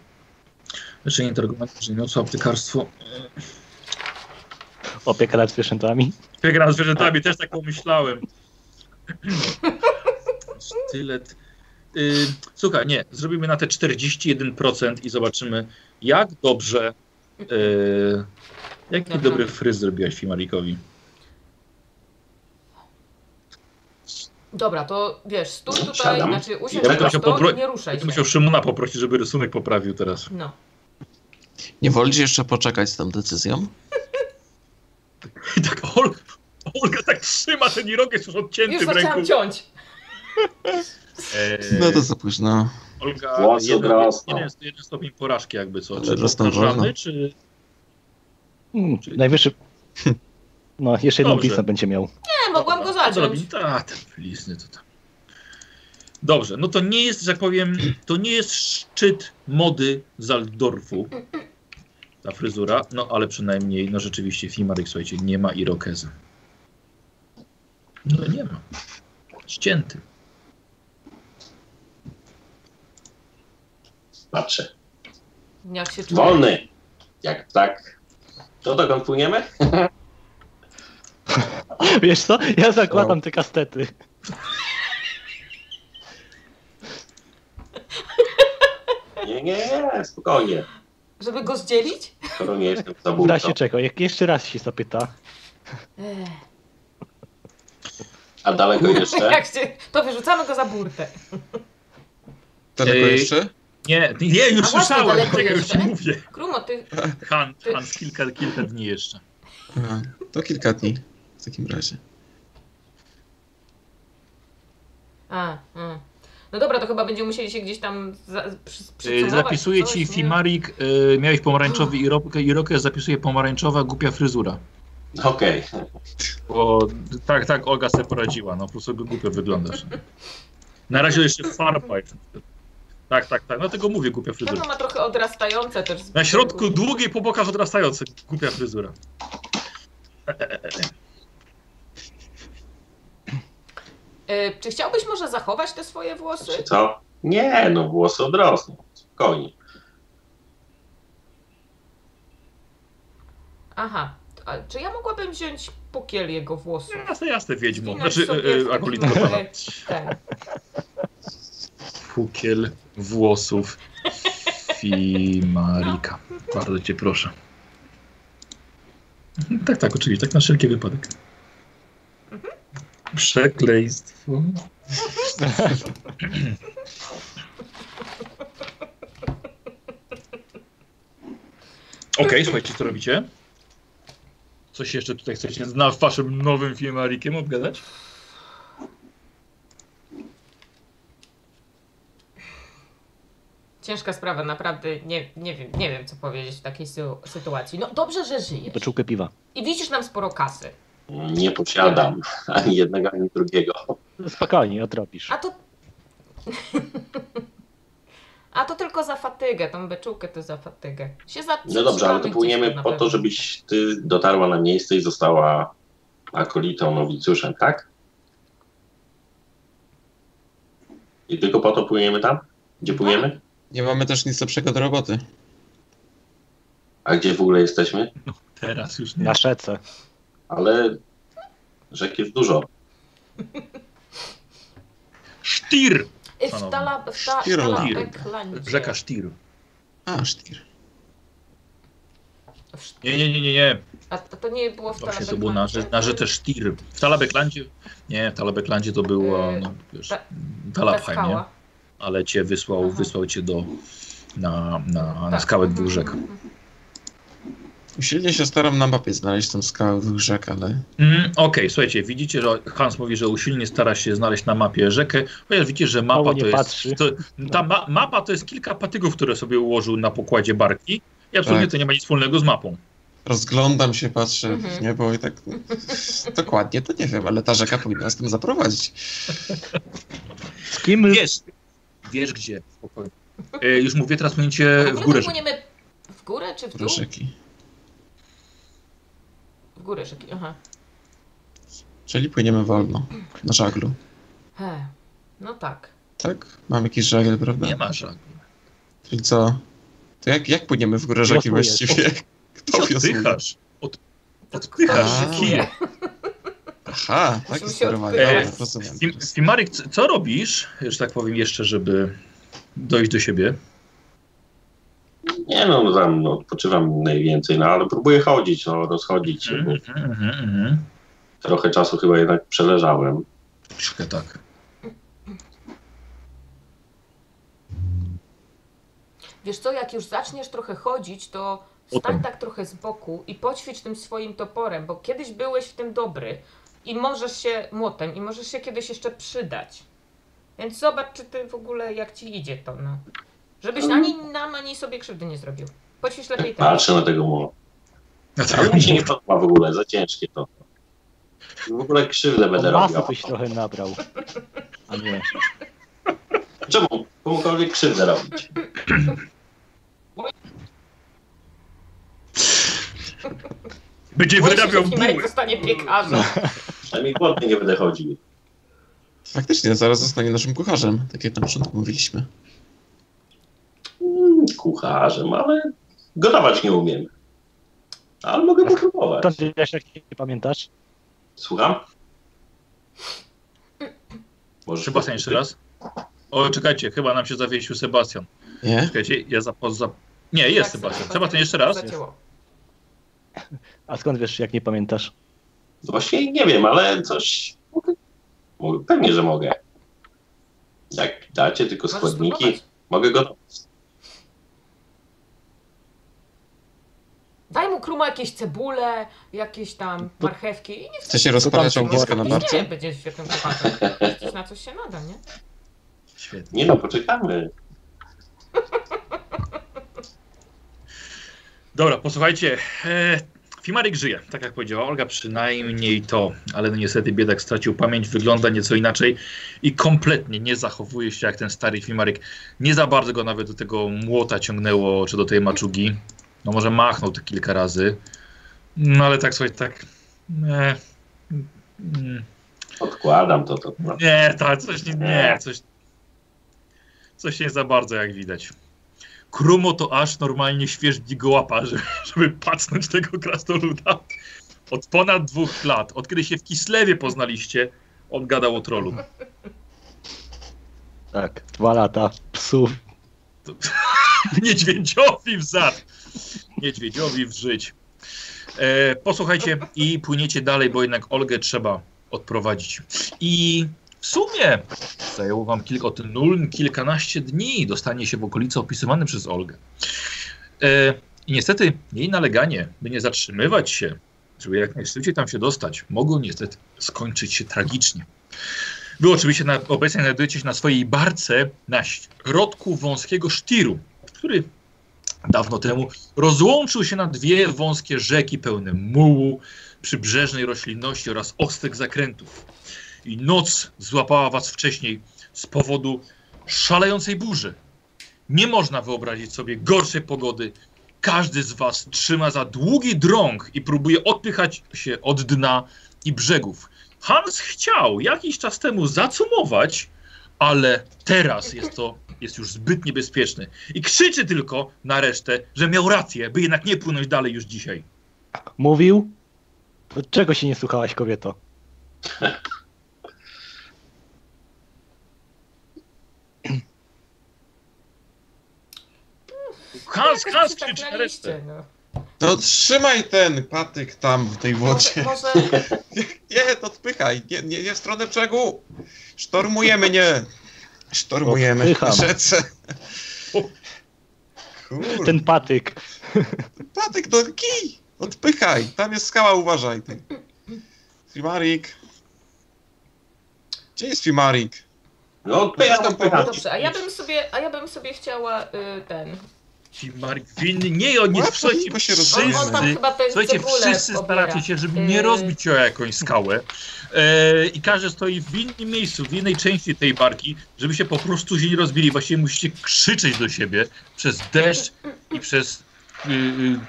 Speaker 1: Leczenie intergomentu, rzemiosło, aptekarstwo.
Speaker 2: Opieka nad zwierzętami.
Speaker 1: Wygram z zwierzętami, też tak pomyślałem. Sztylet. Y, słuchaj, nie, zrobimy na te 41% i zobaczymy, jak dobrze. y, jaki
Speaker 4: Dobra.
Speaker 1: dobry fryz zrobiłaś Fimarikowi.
Speaker 4: Dobra, to wiesz, stój
Speaker 3: No,
Speaker 4: tutaj,
Speaker 3: siadam.
Speaker 4: znaczy usiądź
Speaker 3: Ja
Speaker 4: ja
Speaker 3: bym
Speaker 1: się
Speaker 4: prosto
Speaker 1: popro-
Speaker 4: i nie ruszaj się.
Speaker 1: Będę musiał Szymona poprosić, żeby rysunek poprawił teraz.
Speaker 4: No.
Speaker 6: Nie wolisz jeszcze poczekać z tą decyzją?
Speaker 1: I tak Ol- Olga tak trzyma ten irokes już
Speaker 4: Już
Speaker 1: odcięty w ręku.
Speaker 4: zaczęłam ciąć.
Speaker 1: E,
Speaker 6: No to za późno.
Speaker 1: Olga,
Speaker 3: Włosy
Speaker 1: jeden,
Speaker 3: rosną.
Speaker 1: jeden, jeden stopień porażki jakby co. Czy
Speaker 6: Rosną
Speaker 1: powtarzamy,
Speaker 6: wolno.
Speaker 1: czy...
Speaker 2: Mm, Najwyższy. No, jeszcze jedną
Speaker 1: Dobrze.
Speaker 2: pisę będzie miał.
Speaker 4: Nie, No,
Speaker 1: No,
Speaker 4: mogłam go zacząć.
Speaker 1: Zrobi- Tak, ten blizny to tam. Dobrze, no to nie jest, że tak powiem, to nie jest szczyt mody Zaldorfu, ta fryzura, no ale przynajmniej, no rzeczywiście Fimaryk, słuchajcie, nie ma irokeza. No nie ma. Ścięty.
Speaker 3: Patrzę.
Speaker 4: Jak się czuję.
Speaker 3: Wolny! Jak tak. To dokąd płyniemy?
Speaker 2: Wiesz co? Ja zakładam te kastety.
Speaker 3: Nie, nie, nie, spokojnie.
Speaker 4: Żeby go zdzielić?
Speaker 3: Skoro nie jestem
Speaker 2: Da
Speaker 3: zabójcą,
Speaker 2: się czego? Jak jeszcze raz się zapyta.
Speaker 4: Ech.
Speaker 3: a daleko jeszcze.
Speaker 4: Jak się, to wyrzucamy go za burtę.
Speaker 5: Daleko
Speaker 1: Ej.
Speaker 5: jeszcze?
Speaker 1: Nie, nie, już
Speaker 4: A właśnie
Speaker 1: słyszałem,
Speaker 4: daleko
Speaker 1: czekaj, już
Speaker 4: jeszcze?
Speaker 1: ci mówię.
Speaker 4: Krumo, ty
Speaker 1: Han, Han, kilka, kilka dni jeszcze.
Speaker 5: A, to kilka dni w takim razie.
Speaker 4: A, a. No dobra, to chyba będziemy musieli się gdzieś tam za, przy,
Speaker 1: Y,
Speaker 4: przycumować,
Speaker 1: Zapisuję
Speaker 4: coś,
Speaker 1: ci
Speaker 4: nie?
Speaker 1: Fimarik, y, miałeś pomarańczowy i ro- i rokes, zapisuję pomarańczowa, głupia fryzura.
Speaker 3: Okej.
Speaker 1: Bo tak, tak, Olga sobie poradziła, no po prostu głupio wyglądasz. Na razie jeszcze farpa. jest. Tak, tak, tak, dlatego mówię głupia
Speaker 4: No
Speaker 1: fryzura.
Speaker 4: to ma trochę odrastające też. z
Speaker 1: Na
Speaker 4: boku.
Speaker 1: środku długiej po bokach odrastające, głupia fryzura.
Speaker 4: Y, czy chciałbyś może zachować te swoje
Speaker 3: Czy
Speaker 4: włosy?
Speaker 3: co? Nie, no włosy odrosną. Spokojnie.
Speaker 4: Aha. A, czy ja mogłabym wziąć pukiel jego włosów?
Speaker 1: Jasne, jasne, wiedźmo.
Speaker 4: Zwinąć
Speaker 1: Znaczy,
Speaker 4: sobie
Speaker 1: y,
Speaker 4: w
Speaker 1: y, akolit
Speaker 4: taki,
Speaker 1: Gotama.
Speaker 4: y, ten.
Speaker 1: Pukiel włosów Fimarika. Bardzo cię proszę. Tak, tak, oczywiście, tak na wszelki wypadek. Przekleństwo. Okej, słuchajcie, co robicie? Coś jeszcze tutaj chcecie na waszym nowym filmarikiem obgadać?
Speaker 4: Ciężka sprawa, naprawdę nie, nie, wiem, nie wiem, co powiedzieć w takiej sy- sytuacji. No dobrze, że żyjesz.
Speaker 2: Beczułkę piwa.
Speaker 4: I widzisz nam sporo kasy.
Speaker 3: Nie posiadam ani jednego, ani drugiego.
Speaker 4: No
Speaker 2: Spokojnie, odrobisz.
Speaker 4: A to... A to tylko za fatygę, tą beczułkę to za fatygę. Się za...
Speaker 3: No dobrze, ale to
Speaker 4: gdzieś
Speaker 3: płyniemy
Speaker 4: na
Speaker 3: po
Speaker 4: pewno.
Speaker 3: to, żebyś ty dotarła na miejsce i została akolitą, nowicjuszem, tak? I tylko po to płyniemy tam? Gdzie płyniemy?
Speaker 5: Nie mamy też nic lepszego do roboty.
Speaker 3: A gdzie w ogóle jesteśmy?
Speaker 1: Teraz już nie.
Speaker 2: Na szece.
Speaker 3: Ale rzek jest dużo.
Speaker 1: Sztir!
Speaker 4: Y, W tala... W ta, w tala
Speaker 5: Sztirlandia.
Speaker 1: Rzeka Sztir.
Speaker 5: A, sztir.
Speaker 4: W Szt-
Speaker 1: Nie, nie, nie, nie, nie.
Speaker 4: A to to nie było w
Speaker 1: Właśnie
Speaker 4: Talabeklandzie?
Speaker 1: to było na, rze- na rzece Sztir. W Talabeklandzie, nie, w Talabeklandzie to było, no wiesz,
Speaker 4: E, Ta-
Speaker 1: Talabheim, nie?
Speaker 4: skała.
Speaker 1: Ale cię wysłał,
Speaker 4: Aha.
Speaker 1: wysłał cię do, na, na, na
Speaker 4: Tak.
Speaker 1: skałę
Speaker 4: Mhm,
Speaker 1: dwóch rzek.
Speaker 4: mhm.
Speaker 5: Usilnie się staram na mapie znaleźć tą skałę dwóch rzek, ale...
Speaker 4: Mhm.
Speaker 1: Mm, Okej, słuchajcie, widzicie, że Hans mówi, że usilnie stara się znaleźć na mapie rzekę, chociaż widzicie, że mapa
Speaker 2: Mało
Speaker 1: to
Speaker 2: nie
Speaker 1: jest...
Speaker 2: patrzy.
Speaker 1: To, ta ma, mapa to jest kilka patygów, które sobie ułożył na pokładzie barki i absolutnie
Speaker 5: Tak.
Speaker 1: to nie ma nic wspólnego z mapą.
Speaker 5: Rozglądam się, patrzę
Speaker 4: Mhm.
Speaker 5: w niebo i tak... Dokładnie to nie wiem, ale ta rzeka powinna nas tam zaprowadzić.
Speaker 2: Z kim?
Speaker 1: Wiesz, wiesz gdzie, spokojnie. E, już mówię, teraz będziecie
Speaker 4: A
Speaker 1: E, w
Speaker 4: w
Speaker 1: górę.
Speaker 4: ogóle to płyniemy w górę czy w dół?
Speaker 5: Do rzeki.
Speaker 4: W górę rzeki, aha.
Speaker 5: Czyli płyniemy wolno. Na żaglu.
Speaker 4: He. No tak.
Speaker 5: Tak? Mam jakiś żagiel, prawda?
Speaker 1: Nie ma żadnych.
Speaker 5: Czyli co? To jak, jak płyniemy w górę rzeki
Speaker 2: Wiosłujesz.
Speaker 5: właściwie? Kto
Speaker 1: Ty
Speaker 5: wiosłuje?
Speaker 1: oddychasz. Od,
Speaker 4: To
Speaker 1: oddychasz
Speaker 5: ktoś się
Speaker 1: kije.
Speaker 5: Aha, tak
Speaker 4: Musimy
Speaker 5: jest
Speaker 4: się
Speaker 5: sterowanie.
Speaker 1: odpychać.
Speaker 5: Dobra, rozumiem.
Speaker 1: Fim- Fimarik, c- E, co robisz, że tak powiem, jeszcze, żeby dojść do siebie?
Speaker 3: Nie no, tam no, odpoczywam najwięcej, no ale próbuję chodzić, no, rozchodzić się,
Speaker 4: Mhm,
Speaker 3: bo trochę czasu chyba jednak przeleżałem.
Speaker 1: Troszkę tak.
Speaker 4: Wiesz co, jak już zaczniesz trochę chodzić, to
Speaker 1: Potem.
Speaker 4: stań tak trochę z boku i poćwicz tym swoim toporem, bo kiedyś byłeś w tym dobry i możesz się młotem i możesz się kiedyś jeszcze przydać. Więc zobacz, czy ty w ogóle jak ci idzie to, no. Żebyś ani nam, ani sobie krzywdy nie zrobił. Poćwicz lepiej tak.
Speaker 3: Patrzę na tego molo.
Speaker 1: No
Speaker 3: Ale mi się nie podoba w ogóle, za ciężkie to. W ogóle krzywdę będę
Speaker 2: Masy
Speaker 3: robił.
Speaker 2: byś trochę nabrał. A nie.
Speaker 3: Czemu? Komukolwiek krzywdę robić.
Speaker 1: Będzie
Speaker 4: Boję się, że
Speaker 1: wyrabiał
Speaker 4: Himerek
Speaker 1: buły.
Speaker 4: zostanie piekarzem.
Speaker 1: No.
Speaker 3: Przynajmniej głodny nie będę chodził.
Speaker 5: Faktycznie, zaraz zostanie naszym kucharzem, tak jak na początku mówiliśmy.
Speaker 3: Mm, Kucharzem, ale gotować nie umiem. Ale mogę popróbować.
Speaker 2: Tak. To ty też jak nie pamiętasz?
Speaker 3: Słucham? Może
Speaker 1: Sebastian jeszcze raz. O, czekajcie, chyba nam się zawiesił Sebastian.
Speaker 5: Nie?
Speaker 1: Czekajcie, ja zapoza... Nie, jest
Speaker 4: Tak,
Speaker 1: Sebastian. Sebastian jeszcze raz.
Speaker 4: zacięło.
Speaker 2: A skąd wiesz, jak nie pamiętasz?
Speaker 3: Właśnie nie wiem, ale coś... mogę- mogę- Pewnie, że mogę. Jak dacie tylko
Speaker 4: Możesz
Speaker 3: składniki,
Speaker 4: spróbować.
Speaker 3: mogę gotować.
Speaker 4: Daj mu kruma jakieś cebule, jakieś tam marchewki i nie
Speaker 5: Chce się rozpalać
Speaker 2: tam
Speaker 5: ognisko na
Speaker 2: było?
Speaker 4: wpadnie.
Speaker 5: barce?
Speaker 4: Nie, będziesz świetnym chłopakiem. Coś na coś się nada, nie?
Speaker 1: Świetnie.
Speaker 3: Nie no, poczekamy.
Speaker 1: Dobra, posłuchajcie. E, Fimarik żyje, tak jak powiedziała Olga, przynajmniej to, ale no niestety biedak stracił pamięć, wygląda nieco inaczej i kompletnie nie zachowuje się jak ten stary Fimarik. Nie za bardzo go nawet do tego młota ciągnęło, czy do tej maczugi. No może machnął to kilka razy, no ale tak, słuchaj, tak... E, mm,
Speaker 3: Odkładam to. to no.
Speaker 1: nie, tak, coś nie, nie, coś... Coś nie za bardzo, jak widać. Krumo to aż normalnie świeżdzi go łapa, żeby, żeby pacnąć tego krasnoluda. Od ponad dwóch lat, od kiedy się w Kislewie poznaliście, on gadał o trolu.
Speaker 2: Tak, dwa lata psów.
Speaker 1: Niedźwiedziowi w zad. Niedźwiedziowi w żyć. E, posłuchajcie i płyniecie dalej, bo jednak Olgę trzeba odprowadzić. I w sumie zajęło wam kilka, od nul kilkanaście dni dostanie się w okolice opisywane przez Olgę. E, I niestety jej naleganie, by nie zatrzymywać się, żeby jak najszybciej tam się dostać, mogło niestety skończyć się tragicznie. Wy oczywiście na, obecnie znajdujecie się na swojej barce na środku wąskiego sztiru, który dawno temu rozłączył się na dwie wąskie rzeki pełne mułu, przybrzeżnej roślinności oraz ostrych zakrętów. I noc złapała was wcześniej z powodu szalejącej burzy. Nie można wyobrazić sobie gorszej pogody. Każdy z was trzyma za długi drąg i próbuje odpychać się od dna i brzegów. Hans chciał jakiś czas temu zacumować, ale teraz jest to jest już zbyt niebezpieczny. I krzyczy tylko na resztę, że miał rację, by jednak nie płynąć dalej już dzisiaj.
Speaker 2: Mówił? To czego się nie słuchałaś, kobieto?
Speaker 1: Hans,
Speaker 4: Jakoś
Speaker 1: Hans
Speaker 4: się
Speaker 1: krzyczy na
Speaker 4: zaklaliście,
Speaker 1: resztę.
Speaker 4: no.
Speaker 5: No trzymaj ten patyk tam w tej
Speaker 4: Może,
Speaker 5: wodzie.
Speaker 4: może,
Speaker 5: Nie, to odpychaj. Nie, nie, nie w stronę brzegu. Sztormujemy, nie. Sztormujemy
Speaker 2: Odpycham.
Speaker 5: rzece.
Speaker 1: O.
Speaker 5: Kurde,
Speaker 2: Ten patyk.
Speaker 5: patyk do no kij. Odpychaj. Tam jest skała, uważaj. Ten. Fimarik. Gdzie jest Fimarik?
Speaker 3: No odpycham, odpycham.
Speaker 4: dobrze, a ja bym sobie, a ja bym sobie chciała y, ten.
Speaker 1: Ci Mark winny, nie, oni
Speaker 5: Łatwo
Speaker 1: słuchajcie,
Speaker 5: tylko się
Speaker 1: wszyscy,
Speaker 5: rozejrzeć.
Speaker 4: On tam chyba te
Speaker 1: słuchajcie,
Speaker 4: cebule
Speaker 1: wszyscy
Speaker 4: pobiera.
Speaker 1: staracie się, żeby
Speaker 4: Yy.
Speaker 1: nie rozbić się o jakąś skałę e, i każdy stoi w innym miejscu, w innej części tej barki, żeby się po prostu się nie rozbili. Właściwie musicie krzyczeć do siebie przez deszcz i przez y, y,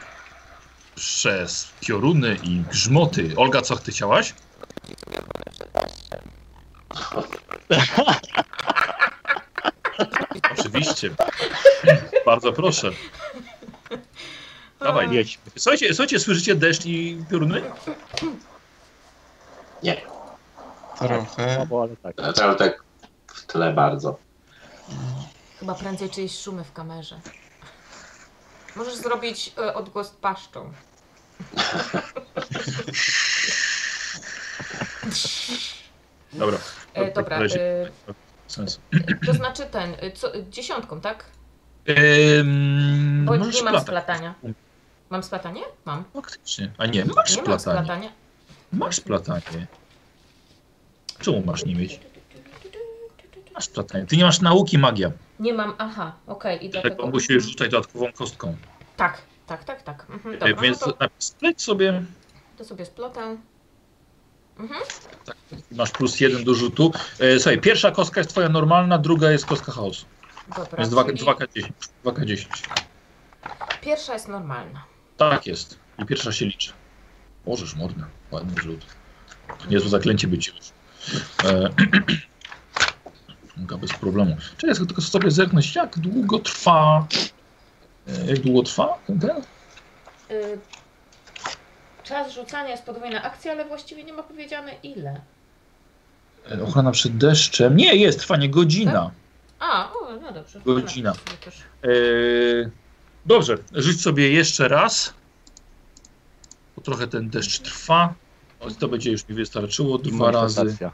Speaker 1: przez pioruny i grzmoty. Olga, co ty chciałaś? Oczywiście. Bardzo proszę.
Speaker 4: Hmm.
Speaker 1: Dawaj,
Speaker 2: Jedź.
Speaker 1: Słuchajcie, słuchajcie, słyszycie deszcz i pioruny?
Speaker 5: Trochę.
Speaker 2: Słabo, ale tak.
Speaker 3: Znaczy, ale tak w tle bardzo.
Speaker 4: Chyba prędzej czyjeś szumy w kamerze. Możesz zrobić y, odgłos paszczą.
Speaker 1: Dobra.
Speaker 4: E, dobra,
Speaker 1: Razie-
Speaker 4: e,
Speaker 1: Sens.
Speaker 4: to znaczy ten, y, co, y, dziesiątką, tak?
Speaker 1: Ehm,
Speaker 4: Bo
Speaker 1: możesz
Speaker 4: nie mam
Speaker 1: splatać.
Speaker 4: splatania. Mam splatanie? Mam.
Speaker 1: Faktycznie. A nie, masz
Speaker 4: Nie mam
Speaker 1: splatanie.
Speaker 4: splatania.
Speaker 1: Masz splatanie. Czemu masz nie mieć? Masz splatanie. Ty nie masz nauki magia.
Speaker 4: Nie mam, aha, okej, i
Speaker 1: Dlatego
Speaker 4: dlatego...
Speaker 1: musisz rzucać dodatkową kostką.
Speaker 4: Tak, tak, tak, tak. Mhm,
Speaker 1: E,
Speaker 4: dobra,
Speaker 1: Więc
Speaker 4: no to,
Speaker 1: na- spleć sobie.
Speaker 4: to sobie splatę.
Speaker 1: Masz plus jeden do rzutu. E, słuchaj, pierwsza kostka jest twoja normalna, druga jest kostka chaosu.
Speaker 4: Dobra,
Speaker 1: Więc dwa-
Speaker 4: czyli
Speaker 1: 2K10. 2K10.
Speaker 4: pierwsza jest normalna.
Speaker 1: Tak jest. I pierwsza się liczy. Możesz, mordę. Ładny rzut. To niezłe zaklęcie być już. E, Mogę bez problemu. Czekaj, tylko sobie zerknąć, jak długo trwa... e, Jak długo trwa ten? ten?
Speaker 4: Y, czas rzucania jest podwójna akcja, ale właściwie nie ma powiedziane ile.
Speaker 1: E, Ochrona przed deszczem. Nie, jest, trwa nie godzina.
Speaker 4: A, o, no dobrze.
Speaker 1: Godzina.
Speaker 4: Dobra, to już.
Speaker 1: E, Dobrze, rzuć sobie jeszcze raz. Bo trochę ten deszcz trwa. O, To będzie już mi wystarczyło dwa razy.
Speaker 2: Manifestacja.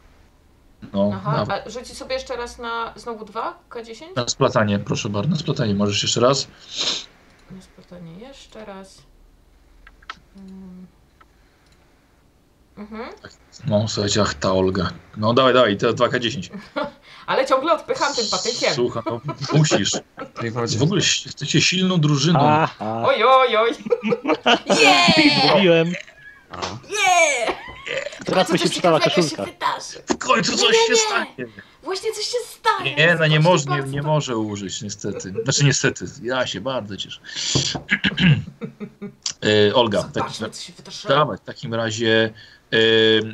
Speaker 1: No,
Speaker 4: Aha,
Speaker 1: nawet.
Speaker 4: a rzuci sobie jeszcze raz na znowu 2 K10?
Speaker 1: Na splatanie, proszę bardzo, na splatanie możesz jeszcze raz.
Speaker 4: No spytanie jeszcze raz. Mm. Mhm.
Speaker 1: No, słuchajcie, ach ta Olga. No dawaj, dawaj, teraz 2K10.
Speaker 4: A ale ciągle odpycham tym patykiem.
Speaker 1: Słuchaj, no, musisz.
Speaker 5: w tej wodzie.
Speaker 1: W ogóle jesteście silną drużyną.
Speaker 2: Aha,
Speaker 4: Oj, oj, oj. Yeah!
Speaker 2: mówiłem.
Speaker 4: Yeah!
Speaker 2: Teraz
Speaker 4: Co
Speaker 2: mi się
Speaker 4: coś
Speaker 2: przydała
Speaker 4: ciekawego
Speaker 2: koszulka.
Speaker 4: Się wydarzy.
Speaker 1: W końcu coś
Speaker 4: Nie, nie,
Speaker 1: się
Speaker 4: nie.
Speaker 1: stanie.
Speaker 4: Właśnie coś się stanie.
Speaker 1: Nie, no nie
Speaker 4: Proszę
Speaker 1: może, nie,
Speaker 4: bardzo,
Speaker 1: nie
Speaker 4: to-
Speaker 1: może użyć, niestety. Znaczy niestety, ja się bardzo cieszę. E, Olga, tak,
Speaker 4: Zobaczmy, co się wydarzyło.
Speaker 1: Dawaj, w takim razie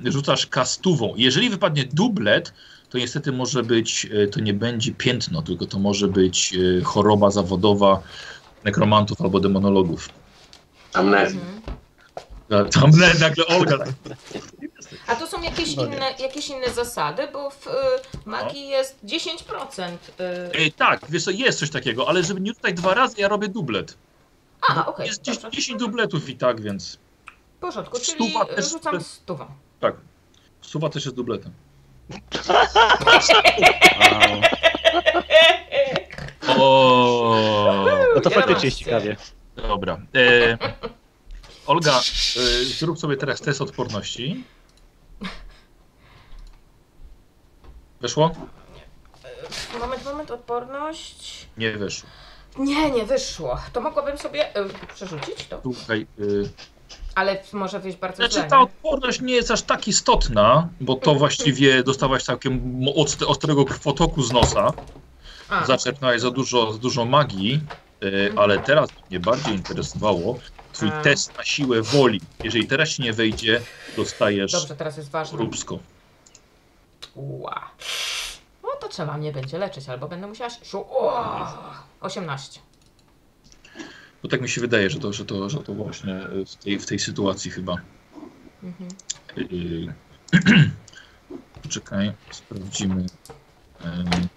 Speaker 1: e, rzucasz kastową. Jeżeli wypadnie dublet, to niestety może być, e, to nie będzie piętno, tylko to może być e, choroba zawodowa nekromantów albo demonologów.
Speaker 3: Tam na,
Speaker 4: Mhm.
Speaker 1: A Tam le- nagle Olga. tak.
Speaker 4: A to są jakieś,
Speaker 1: No
Speaker 4: inne, jakieś inne zasady, bo w y, magii jest 10%. Y,
Speaker 1: E, tak, wiesz co, jest coś takiego, ale żeby nie rzucać dwa razy, ja robię dublet.
Speaker 4: a, okej,
Speaker 1: No, Jest
Speaker 4: dobrze.
Speaker 1: 10, 10 dubletów i tak, więc
Speaker 4: W porządku, czyli
Speaker 1: Stuwa
Speaker 4: y,
Speaker 1: też-
Speaker 4: rzucam stówą.
Speaker 1: tak. Suwa też jest dubletem.
Speaker 6: Wow.
Speaker 1: O,
Speaker 2: No to faktycznie
Speaker 4: 11.
Speaker 2: jest ciekawie.
Speaker 1: dobra. E, Olga, e, zrób sobie teraz test odporności. Wyszło?
Speaker 4: Moment, moment, odporność.
Speaker 1: Nie wyszło.
Speaker 4: Nie, nie wyszło. To mogłabym sobie y, przerzucić to,
Speaker 1: Słuchaj, y,
Speaker 4: ale może wyjść bardzo
Speaker 1: znaczy
Speaker 4: źle.
Speaker 1: ta
Speaker 4: nie?
Speaker 1: odporność nie jest aż tak istotna, bo to właściwie dostałaś całkiem mo- ost- ostrego krwotoku z nosa,
Speaker 4: A, Mhm.
Speaker 1: zaczerpnąłeś za dużo, za dużo magii, y, ale teraz mnie bardziej interesowało twój
Speaker 4: A.
Speaker 1: test na siłę woli. Jeżeli teraz ci nie wejdzie, dostajesz
Speaker 4: dobrze, teraz jest ważne.
Speaker 1: róbsko.
Speaker 4: Ła. No to trzeba mnie będzie leczyć, albo będę musiała... się- Siu- O, 18.
Speaker 1: Bo tak mi się wydaje, że to, że to, że to właśnie y, w tej, w tej sytuacji chyba.
Speaker 4: Mhm.
Speaker 1: Yy, Poczekaj, sprawdzimy. Yy,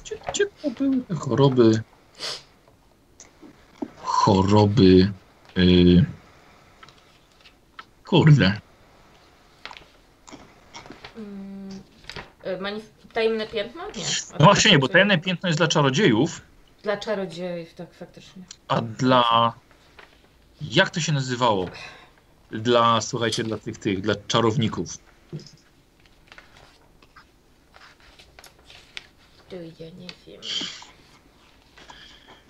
Speaker 1: Gdzie, gdzie to były te choroby? Choroby. Yy, kurde.
Speaker 4: Mm, y, Manif- tajemne piętno? Nie. znaczy,
Speaker 1: No właśnie nie, bo tajemne piętno jest dla czarodziejów,
Speaker 4: Dla czarodziejów, tak faktycznie.
Speaker 1: a dla. Jak to się nazywało? Dla, słuchajcie, dla tych, tych, dla czarowników.
Speaker 4: Ty, ja nie wiem.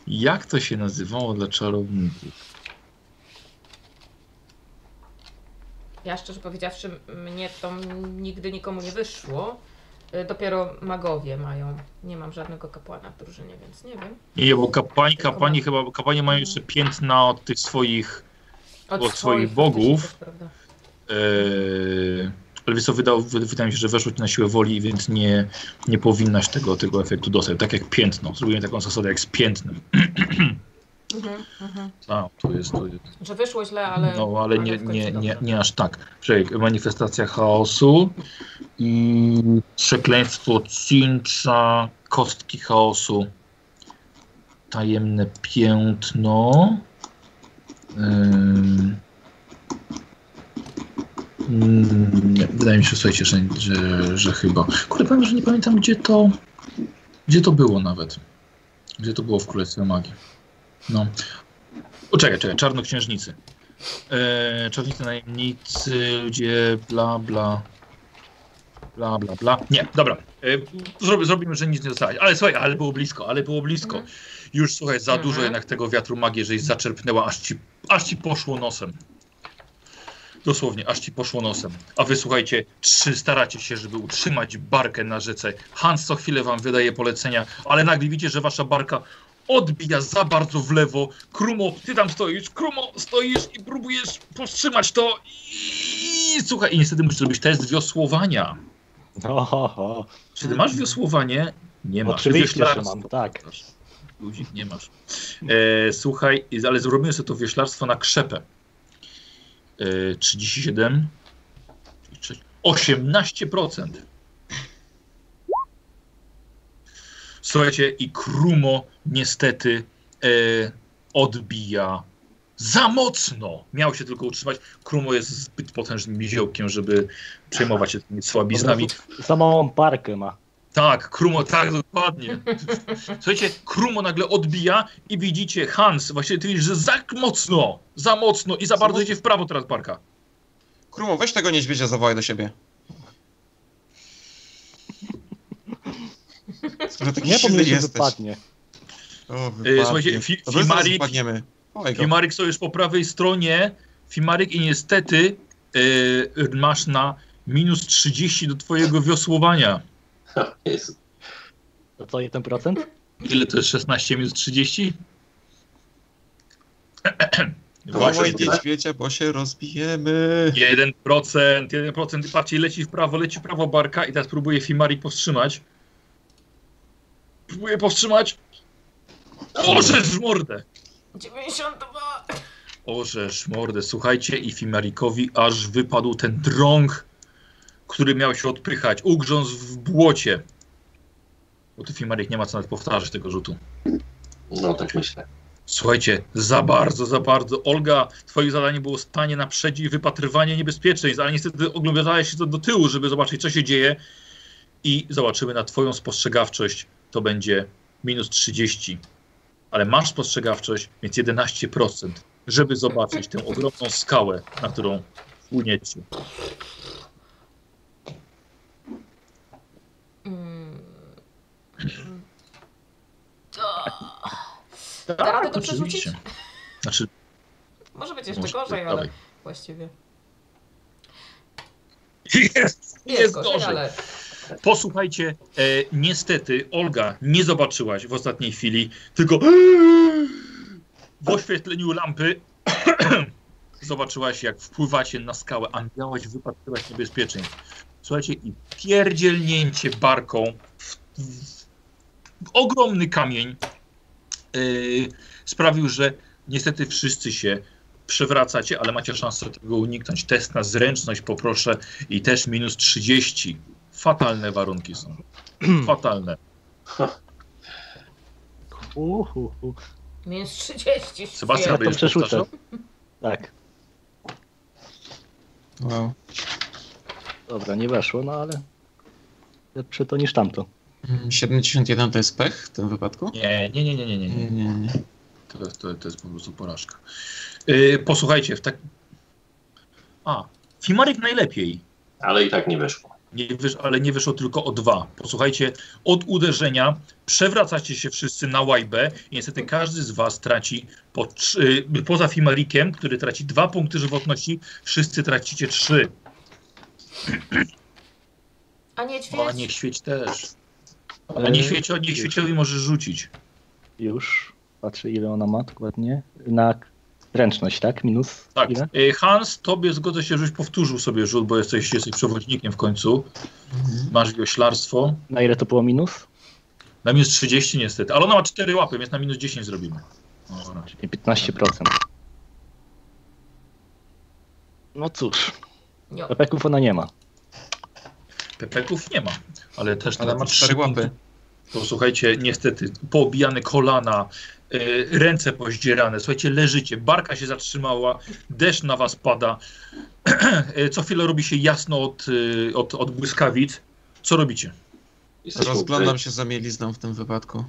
Speaker 1: Jak to się nazywało dla czarowników?
Speaker 4: Ja szczerze powiedziawszy, mnie to nigdy nikomu nie wyszło. Y, Dopiero magowie mają. Nie mam żadnego kapłana w drużynie, więc nie wiem.
Speaker 1: Nie, bo kapłani, kapłani chyba, kapłani mają jeszcze piętna od tych swoich Od swoich bogów.
Speaker 4: faktycznie, to prawda.
Speaker 1: Eee, ale wiesz co, wydał, wy- wydaje mi się, że weszło ci na siłę woli, więc nie, nie powinnaś tego, tego efektu dostać. Tak jak piętno. Zrobimy taką zasadę jak z piętnem.
Speaker 4: Mhm, mhm.
Speaker 1: A, tu jest, tu jest.
Speaker 4: Że wyszło źle, ale.
Speaker 1: No, ale nie,
Speaker 4: w końcu
Speaker 1: nie, nie,
Speaker 4: dobrze.
Speaker 1: nie aż tak. Przejek, manifestacja chaosu i przekleństwo cincza, kostki chaosu, tajemne piętno. Ym. Mm, nie, wydaje mi się, słuchajcie, że, że, że chyba. Kurde, powiem, że nie pamiętam, gdzie to, gdzie to było nawet. Gdzie to było w Królestwie Magii. No. O, czekaj, czekaj, Czarnoksiężnicy. E, czarnicy najemnicy, ludzie, bla, bla. Bla, bla, bla. Nie, dobra. E, zrobi, zrobimy, że nic nie zostaje. Ale słuchaj, ale było blisko, ale było blisko.
Speaker 4: Mhm.
Speaker 1: Już słuchaj, za
Speaker 4: Mhm.
Speaker 1: dużo jednak tego wiatru magii, żeś zaczerpnęła, aż ci, aż ci poszło nosem. Dosłownie, aż ci poszło nosem. A wy słuchajcie, trzy, staracie się, żeby utrzymać barkę na rzece. Hans co chwilę wam wydaje polecenia, ale nagle widzicie, że wasza barka odbija za bardzo w lewo. Krumo, ty tam stoisz, Krumo, stoisz i próbujesz powstrzymać to. I słuchaj, i niestety musisz zrobić test wiosłowania.
Speaker 2: No, Oho,
Speaker 1: Czy ty masz wiosłowanie? Nie masz.
Speaker 2: oczywiście, że
Speaker 1: Wioślarstwo.
Speaker 2: mam, tak.
Speaker 1: Masz. Guzik nie masz. E, słuchaj, i- ale zrobimy sobie to wioślarstwo na krzepę. E, 37. i trze- 18%. Słuchajcie, i Krumo niestety e, odbija za mocno. Miał się tylko utrzymać. Krumo jest zbyt potężnym niziołkiem, żeby przejmować się tymi słabiznami.
Speaker 2: Samą parkę ma.
Speaker 1: Tak, Krumo, tak, dokładnie. Słuchajcie, Krumo nagle odbija i widzicie Hans, właściwie ty widzisz, że za mocno, za mocno i za
Speaker 5: Za
Speaker 1: bardzo
Speaker 5: mocno.
Speaker 1: idzie w prawo teraz parka.
Speaker 5: Krumo, weź tego niedźwiedzia zawołaj do siebie. Że taki
Speaker 2: Nie, bo mnie
Speaker 5: silny
Speaker 2: się
Speaker 5: jesteś.
Speaker 2: wypadnie.
Speaker 5: O,
Speaker 1: Y, słuchajcie, fi-
Speaker 5: to bez nas
Speaker 1: Fimarik-
Speaker 5: wypadniemy. Chowaj go.
Speaker 1: Fimarik są już po prawej stronie. Fimarik i niestety y, masz na minus 30 do twojego wiosłowania.
Speaker 3: Jest.
Speaker 2: To co, 1%?
Speaker 1: Ile to jest 16 minus 30?
Speaker 5: Chowaj
Speaker 3: Właśnie.
Speaker 5: niedźwiedzia, bo się rozbijemy.
Speaker 1: 1%, 1%. I Patrzcie, leci w prawo, leci w prawo barka i teraz próbuje Fimarik powstrzymać. Próbuje powstrzymać. Orzesz mordę!
Speaker 4: 92.
Speaker 1: Orzesz mordę, słuchajcie, i Fimarikowi aż wypadł ten drąg, który miał się odpychać, ugrząc w błocie. Bo tu Fimarik nie ma co nawet powtarzać tego rzutu.
Speaker 3: No tak myślę.
Speaker 1: Słuchajcie, za bardzo, za bardzo. Olga, twoje zadanie było stanie na przedzie i wypatrywanie niebezpieczeństw, ale niestety oglądałeś się do, do tyłu, żeby zobaczyć, co się dzieje i zobaczymy na twoją spostrzegawczość. To będzie minus 30. Ale masz spostrzegawczość, więc 11%, żeby zobaczyć tę ogromną skałę, na którą płyniecie.
Speaker 4: Mm. To... Teraz
Speaker 1: Tak,
Speaker 4: by to przerzucić?
Speaker 1: oczywiście. Znaczy,
Speaker 4: Może być jeszcze
Speaker 1: może-
Speaker 4: gorzej, ale
Speaker 1: dawaj.
Speaker 4: właściwie.
Speaker 1: Jest! Jest gorzej!
Speaker 4: ale
Speaker 1: Posłuchajcie, e, niestety Olga nie zobaczyłaś w ostatniej chwili, tylko w oświetleniu lampy zobaczyłaś, jak wpływacie na skałę, a miałaś wypatrywać niebezpieczeństw. Słuchajcie, i pierdzielnięcie barką w, w, w ogromny kamień e, sprawił, że niestety wszyscy się przewracacie, ale macie szansę tego uniknąć. Test na zręczność poproszę i też minus 30. Fatalne warunki są. Fatalne.
Speaker 2: Uhu, uhu.
Speaker 4: minus
Speaker 1: Sebastian,
Speaker 4: 30.
Speaker 2: Ja
Speaker 4: świetnie.
Speaker 2: to
Speaker 1: będziesz
Speaker 2: przerzucę.
Speaker 1: powtarzał?
Speaker 2: Tak,
Speaker 5: Wow.
Speaker 2: dobra, nie weszło, no ale lepsze to niż tamto.
Speaker 5: Mm, 71 to jest pech w tym wypadku?
Speaker 1: Nie, nie, nie, nie, nie, nie. nie.
Speaker 5: Nie, nie, nie.
Speaker 1: To, to, to jest po prostu porażka. Yy, posłuchajcie, w tak. A, Fimarek najlepiej.
Speaker 3: Ale i tak nie wyszło.
Speaker 1: Nie wysz... Ale nie wyszło tylko o dwa. Posłuchajcie, od uderzenia przewracacie się wszyscy na łajbę i niestety każdy z was traci, po trzy... yy, poza Fimarikiem, który traci dwa punkty żywotności, wszyscy tracicie trzy.
Speaker 4: A
Speaker 1: O,
Speaker 4: niedźwiedź?
Speaker 1: nie świeć też. A
Speaker 2: Y,
Speaker 1: nie świeci, nie świeciowi możesz rzucić.
Speaker 2: E, Już, patrzę ile ona ma dokładnie. Na k- ręczność, tak? Minus
Speaker 1: Tak.
Speaker 2: ile?
Speaker 1: Y, Hans, tobie zgodzę się, żebyś powtórzył sobie rzut, bo jesteś, jesteś przewodnikiem w końcu. Masz wioślarstwo.
Speaker 2: Na ile to było minus?
Speaker 1: Na minus 30 niestety, ale ona ma 4 łapy, więc na minus 10 zrobimy. Dobra.
Speaker 2: Czyli 15%. No cóż,
Speaker 4: Nie.
Speaker 5: No
Speaker 2: pepeków ona nie ma.
Speaker 1: Pepeków nie ma, ale też
Speaker 5: Ale ma
Speaker 1: traci
Speaker 5: cztery
Speaker 1: trzy
Speaker 5: łapy.
Speaker 1: To słuchajcie, niestety, poobijane kolana, y, ręce pozdzierane, słuchajcie, leżycie, barka się zatrzymała, deszcz na was pada. Y, Co chwilę robi się jasno od, y, od, od błyskawic. Co robicie?
Speaker 3: Jesteśmy
Speaker 5: Rozglądam się za mielizną w tym wypadku.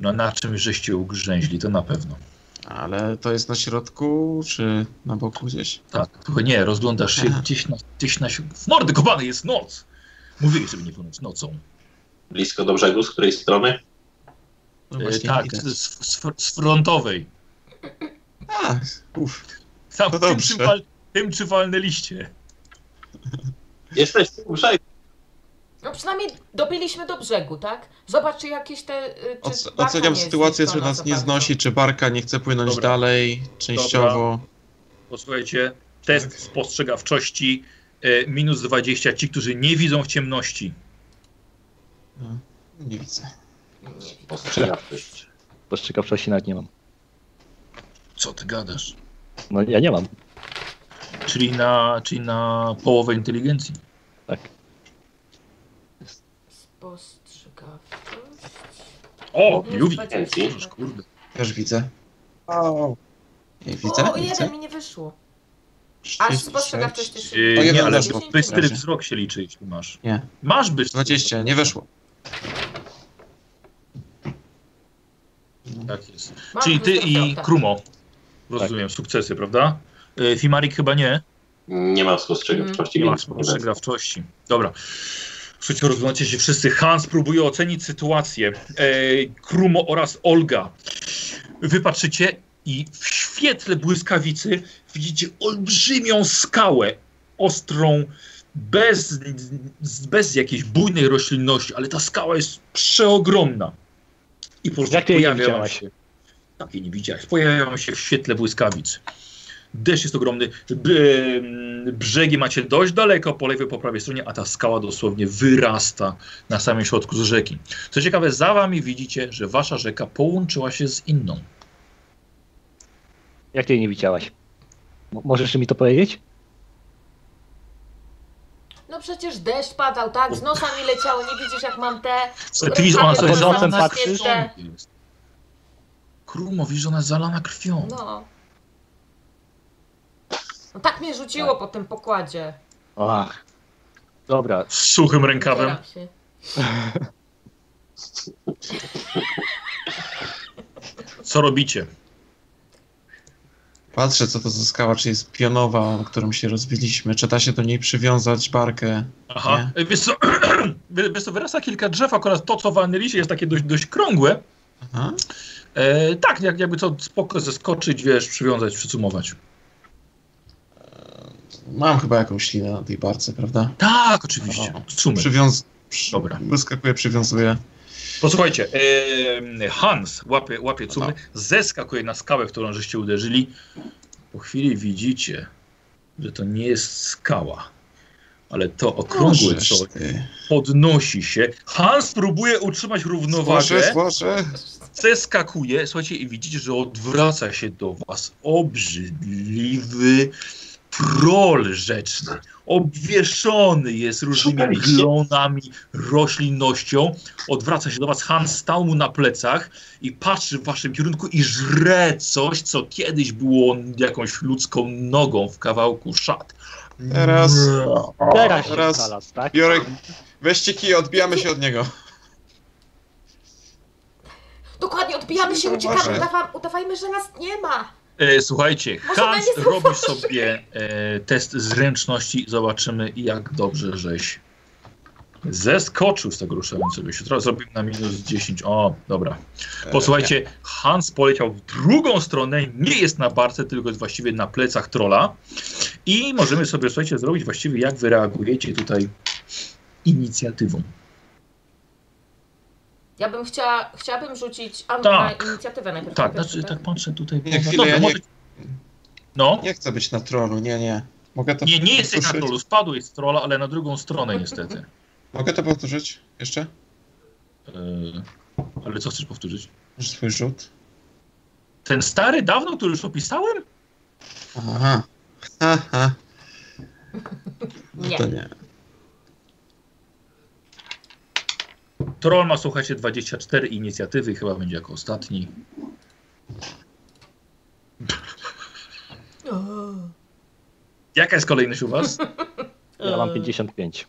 Speaker 1: No na czymś żeście ugrzęźli, to na pewno.
Speaker 5: Ale to jest na środku, czy na boku gdzieś?
Speaker 1: Tak, tylko nie, rozglądasz się
Speaker 5: Aha.
Speaker 1: gdzieś na, gdzieś na... si- W mordy kopany jest noc! Mówiłeś, żeby nie płynąć nocą.
Speaker 3: blisko do brzegu, z której strony?
Speaker 5: No
Speaker 1: E,
Speaker 5: właśnie
Speaker 1: tak,
Speaker 5: widzę.
Speaker 1: z, z, z frontowej.
Speaker 5: A, uff.
Speaker 1: Tam,
Speaker 5: No
Speaker 1: tym,
Speaker 5: dobrze.
Speaker 1: czym wal, tym czy walnęliście.
Speaker 3: Jesteś u brzegu.
Speaker 4: No przynajmniej dobiliśmy do brzegu, tak? Zobacz, czy jakieś te... y, Czy
Speaker 5: Oce-
Speaker 4: barka
Speaker 5: Oceniam
Speaker 4: nie jest
Speaker 5: sytuację, czy
Speaker 4: zniszczona za
Speaker 5: nas nie
Speaker 4: bardzo.
Speaker 5: znosi, czy barka nie chce płynąć
Speaker 1: Dobra.
Speaker 5: dalej, częściowo.
Speaker 1: Posłuchajcie,
Speaker 5: Tak.
Speaker 1: test spostrzegawczości e, minus 20. Ci, którzy nie widzą w ciemności.
Speaker 5: No, nie widzę.
Speaker 3: Ostrzegawczość.
Speaker 2: Postrzegawczości nawet nie mam.
Speaker 1: Co ty gadasz?
Speaker 2: No ja nie mam,
Speaker 1: Czyli na, czyli na połowę inteligencji.
Speaker 2: tak.
Speaker 4: Spostrzegawczość.
Speaker 1: O, E,
Speaker 4: Minus
Speaker 1: Juwi!
Speaker 4: 20.
Speaker 3: Dzięki.
Speaker 1: Kurde.
Speaker 5: Też widzę. Nie widzę,
Speaker 4: O,
Speaker 5: widzę.
Speaker 4: jeden mi nie wyszło. Aż spostrzegawczość też...
Speaker 1: E,
Speaker 5: To
Speaker 1: nie,
Speaker 5: jeden
Speaker 1: ale
Speaker 5: zeszło.
Speaker 1: bystry
Speaker 5: Dobrze.
Speaker 1: wzrok się liczy, jeśli masz.
Speaker 5: Nie,
Speaker 1: Masz bystry.
Speaker 5: 20, nie weszło.
Speaker 1: Tak jest.
Speaker 4: Mam
Speaker 1: Czyli ty
Speaker 4: plus do
Speaker 1: i
Speaker 4: piąta.
Speaker 1: Krumo.
Speaker 2: Tak.
Speaker 1: Rozumiem, sukcesy, prawda? E, Fimarik chyba nie.
Speaker 3: Nie ma spostrzegawczości.
Speaker 1: Nie ma
Speaker 3: więc-
Speaker 1: spostrzegawczości. Dobra. Słuchajcie, rozglądacie się wszyscy. Hans próbuje ocenić sytuację. E, Krumo oraz Olga. Wypatrzycie i w świetle błyskawicy widzicie olbrzymią skałę, ostrą, bez, z- bez jakiejś bujnej roślinności, ale ta skała jest przeogromna. I po prostu
Speaker 2: Jak ty jej nie
Speaker 1: pojawia wam
Speaker 2: widziałaś?
Speaker 1: się. Tak, jej nie widziałeś. Pojawiają się w świetle błyskawic. Deszcz jest ogromny. B- brzegi macie dość daleko po lewej, po prawej stronie, a ta skała dosłownie wyrasta na samym środku z rzeki. Co ciekawe, za wami widzicie, że wasza rzeka połączyła się z inną.
Speaker 2: Jak ty jej nie widziałaś? Mo- Możesz mi to powiedzieć?
Speaker 4: No przecież deszcz padał, tak? Z nosa mi leciało, nie widzisz jak mam te...
Speaker 1: Ty widzisz, ona
Speaker 4: Pod
Speaker 1: sobie
Speaker 2: nocem
Speaker 1: zalana
Speaker 4: patrzysz?
Speaker 1: krwią jest. Krumo, widzisz, ona jest zalana krwią.
Speaker 4: No. no tak mnie rzuciło po tym pokładzie.
Speaker 2: Ach. Dobra,
Speaker 1: Z suchym rękawem.
Speaker 4: Zbieram się.
Speaker 1: Co robicie?
Speaker 5: Patrzę, co to za skała, czy jest pionowa, o którą się rozbiliśmy. Czy da się do niej przywiązać barkę?
Speaker 1: Aha. Nie? Wiesz co, wy- wiesz co, wyrasta kilka drzew, akurat to, co w Anelisie jest takie dość, dość krągłe.
Speaker 5: Aha.
Speaker 1: E, tak, jak, jakby co spoko zeskoczyć, wiesz, przywiązać, przycumować.
Speaker 5: Mam chyba jakąś linę na tej barce, prawda?
Speaker 1: Tak, oczywiście.
Speaker 5: Aha.
Speaker 1: Sumy.
Speaker 5: Przywiąz... Przy...
Speaker 1: Dobra.
Speaker 5: Wyskakuję, przywiązuję.
Speaker 1: Posłuchajcie, em, Hans łapie, łapie cumy, zeskakuje na skałę, w którą żeście uderzyli. Po chwili widzicie, że to nie jest skała, ale to okrągłe
Speaker 5: Możesz
Speaker 1: coś
Speaker 5: ty.
Speaker 1: podnosi się. Hans próbuje utrzymać równowagę,
Speaker 5: Złożę, złożę.
Speaker 1: zeskakuje, słuchajcie, i widzicie, że odwraca się do was obrzydliwy troll rzeczny. Obwieszony jest różnymi
Speaker 3: Szukaliście.
Speaker 1: glonami, roślinnością. Odwraca się do was, Hans stał mu na plecach i patrzy w waszym kierunku i żre coś, co kiedyś było jakąś ludzką nogą w kawałku szat.
Speaker 5: Teraz-
Speaker 2: teraz się
Speaker 5: Raz.
Speaker 2: znalazł, tak?
Speaker 5: Biorę... Weźcie kij, odbijamy się od niego.
Speaker 4: Dokładnie, odbijamy się,
Speaker 5: Zauważy.
Speaker 4: uciekamy, udawa udawajmy, że nas nie ma.
Speaker 1: E, słuchajcie,
Speaker 4: Może ona
Speaker 1: Hans
Speaker 4: nie
Speaker 1: robi
Speaker 4: zauważy.
Speaker 1: sobie e, test zręczności i zobaczymy, jak dobrze żeś zeskoczył z tego ruszającego się. Teraz zrobimy na minus 10. O, dobra.
Speaker 5: E,
Speaker 1: Posłuchajcie, Hans poleciał w drugą stronę, nie jest na barce, tylko jest właściwie na plecach trola. I możemy sobie, słuchajcie, zrobić właściwie, jak wy reagujecie tutaj inicjatywą.
Speaker 4: Ja bym chciała, chciałabym rzucić Anu
Speaker 1: Tak.
Speaker 4: na inicjatywę najpierw.
Speaker 1: Tak,
Speaker 4: najpierw,
Speaker 1: znaczy, tak patrzę tutaj.
Speaker 5: Nie, chwilę,
Speaker 1: Dobra,
Speaker 5: ja nie-
Speaker 1: może- No,
Speaker 5: Nie chcę być na trolu, nie, nie. Mogę
Speaker 4: Tak.
Speaker 5: to
Speaker 1: nie, nie jesteś na
Speaker 5: powtórzyć?
Speaker 1: trolu, spadłeś z trola, ale na drugą stronę niestety.
Speaker 5: Mogę to powtórzyć? Jeszcze?
Speaker 1: Yy, Ale co chcesz powtórzyć?
Speaker 5: Może swój rzut?
Speaker 1: Ten stary dawno, który już opisałem?
Speaker 5: Aha. Aha. No
Speaker 4: Nie.
Speaker 5: to nie.
Speaker 1: Troll ma, słuchajcie, 24 inicjatywy, chyba będzie jako ostatni.
Speaker 4: O,
Speaker 1: Jaka jest kolejność u was?
Speaker 2: Ja
Speaker 4: e,
Speaker 2: mam 55.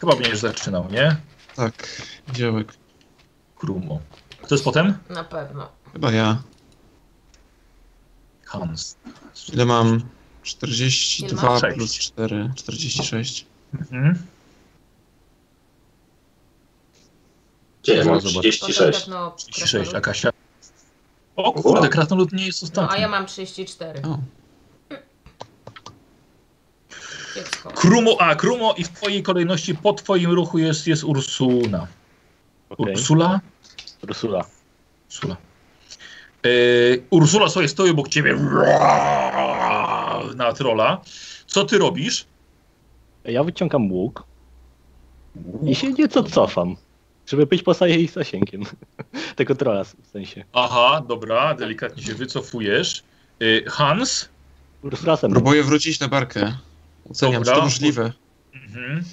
Speaker 1: Chyba będziesz zaczynał, nie?
Speaker 5: Tak, dziełek.
Speaker 1: Krumo. Kto jest potem?
Speaker 4: Na pewno.
Speaker 5: Chyba ja.
Speaker 1: Hans.
Speaker 5: Ile mam?
Speaker 4: Ile masz?
Speaker 5: 42
Speaker 1: Sześć.
Speaker 5: plus 4, 46.
Speaker 1: Mhm.
Speaker 3: Gdzie ja mam
Speaker 1: Zobacz.
Speaker 4: To na
Speaker 3: 36.
Speaker 4: pewno
Speaker 1: 36, a
Speaker 4: krasnolud.
Speaker 1: Kasia? O kurde, Krasnolud nie jest
Speaker 4: No, a
Speaker 1: ostatni.
Speaker 4: ja mam 34.
Speaker 5: O,
Speaker 4: Dziecko.
Speaker 1: Krumo, a Krumo i w twojej kolejności po twoim ruchu jest, jest Ursuna.
Speaker 2: Okej.
Speaker 1: Ursula?
Speaker 2: Ursula.
Speaker 1: Ursula. Yy, Ursula sobie stoi obok ciebie na trola. Co ty robisz?
Speaker 2: Ja wyciągam łuk i się nieco cofam, żeby być poza jej zasięgiem. Tego trolla w sensie.
Speaker 1: Aha, dobra, delikatnie się wycofujesz. Yy, Hans?
Speaker 2: Ursula ze mną.
Speaker 5: próbuję wrócić na barkę. Oceniam,
Speaker 1: Dobra.
Speaker 5: czy to możliwe.
Speaker 1: Mhm.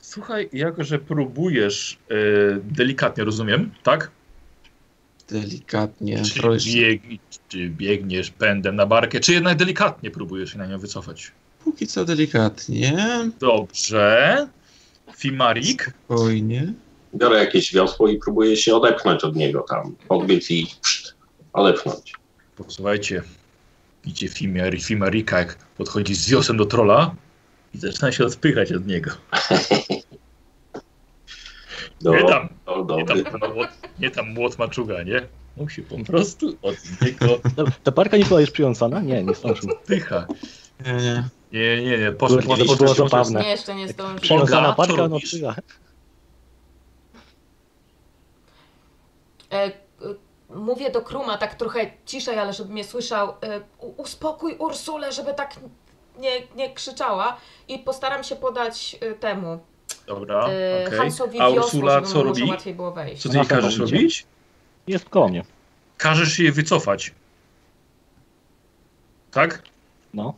Speaker 1: Słuchaj, jako że próbujesz yy, delikatnie, rozumiem, tak?
Speaker 5: Delikatnie.
Speaker 1: czy,
Speaker 5: prośbę.
Speaker 1: bieg, czy biegniesz pędem na barkę, czy jednak delikatnie próbujesz się na nią wycofać?
Speaker 5: Póki co delikatnie.
Speaker 1: Dobrze. Fimarik?
Speaker 5: Spokojnie.
Speaker 3: Biorę jakieś wiosło i próbuję się odepchnąć od niego tam. Podbiec i pszt, odepchnąć.
Speaker 1: Posłuchajcie, widzicie Fimar, Fimarika, jak podchodzi z wiosem do trola i zaczyna się odpychać od niego.
Speaker 3: Do,
Speaker 1: Nie dam.
Speaker 3: do, do,
Speaker 1: Nie tam, młot, nie tam młot maczuga, nie? Musi po prostu od niego
Speaker 2: Ta, ta parka nie była już przywiązana? Nie, nie zdążył.
Speaker 1: dycha.
Speaker 5: Nie, nie.
Speaker 1: Nie, nie, nie, poszło,
Speaker 2: Było-
Speaker 1: poszło,
Speaker 2: było
Speaker 1: poszło,
Speaker 2: zabawne.
Speaker 4: Nie, jeszcze nie zdążył.
Speaker 2: Przywiązana
Speaker 1: Olga, co
Speaker 2: parka, no
Speaker 1: robisz?
Speaker 2: tyle.
Speaker 4: E, e, mówię do Kruma tak trochę ciszej, ale żeby mnie słyszał. E, u- uspokój Ursulę, żeby tak nie, nie krzyczała. I postaram się podać e, temu.
Speaker 1: Dobra,
Speaker 4: E,
Speaker 1: okej.
Speaker 4: Hansowi
Speaker 1: A
Speaker 4: wiosło,
Speaker 1: Ursula
Speaker 4: żeby
Speaker 1: co
Speaker 4: mu
Speaker 1: robi?
Speaker 4: Może łatwiej było wejść.
Speaker 1: Co ty jej
Speaker 2: Aha,
Speaker 1: każesz
Speaker 2: idzie.
Speaker 1: robić?
Speaker 2: Jest koło mnie.
Speaker 1: Każesz jej wycofać. Tak?
Speaker 2: No.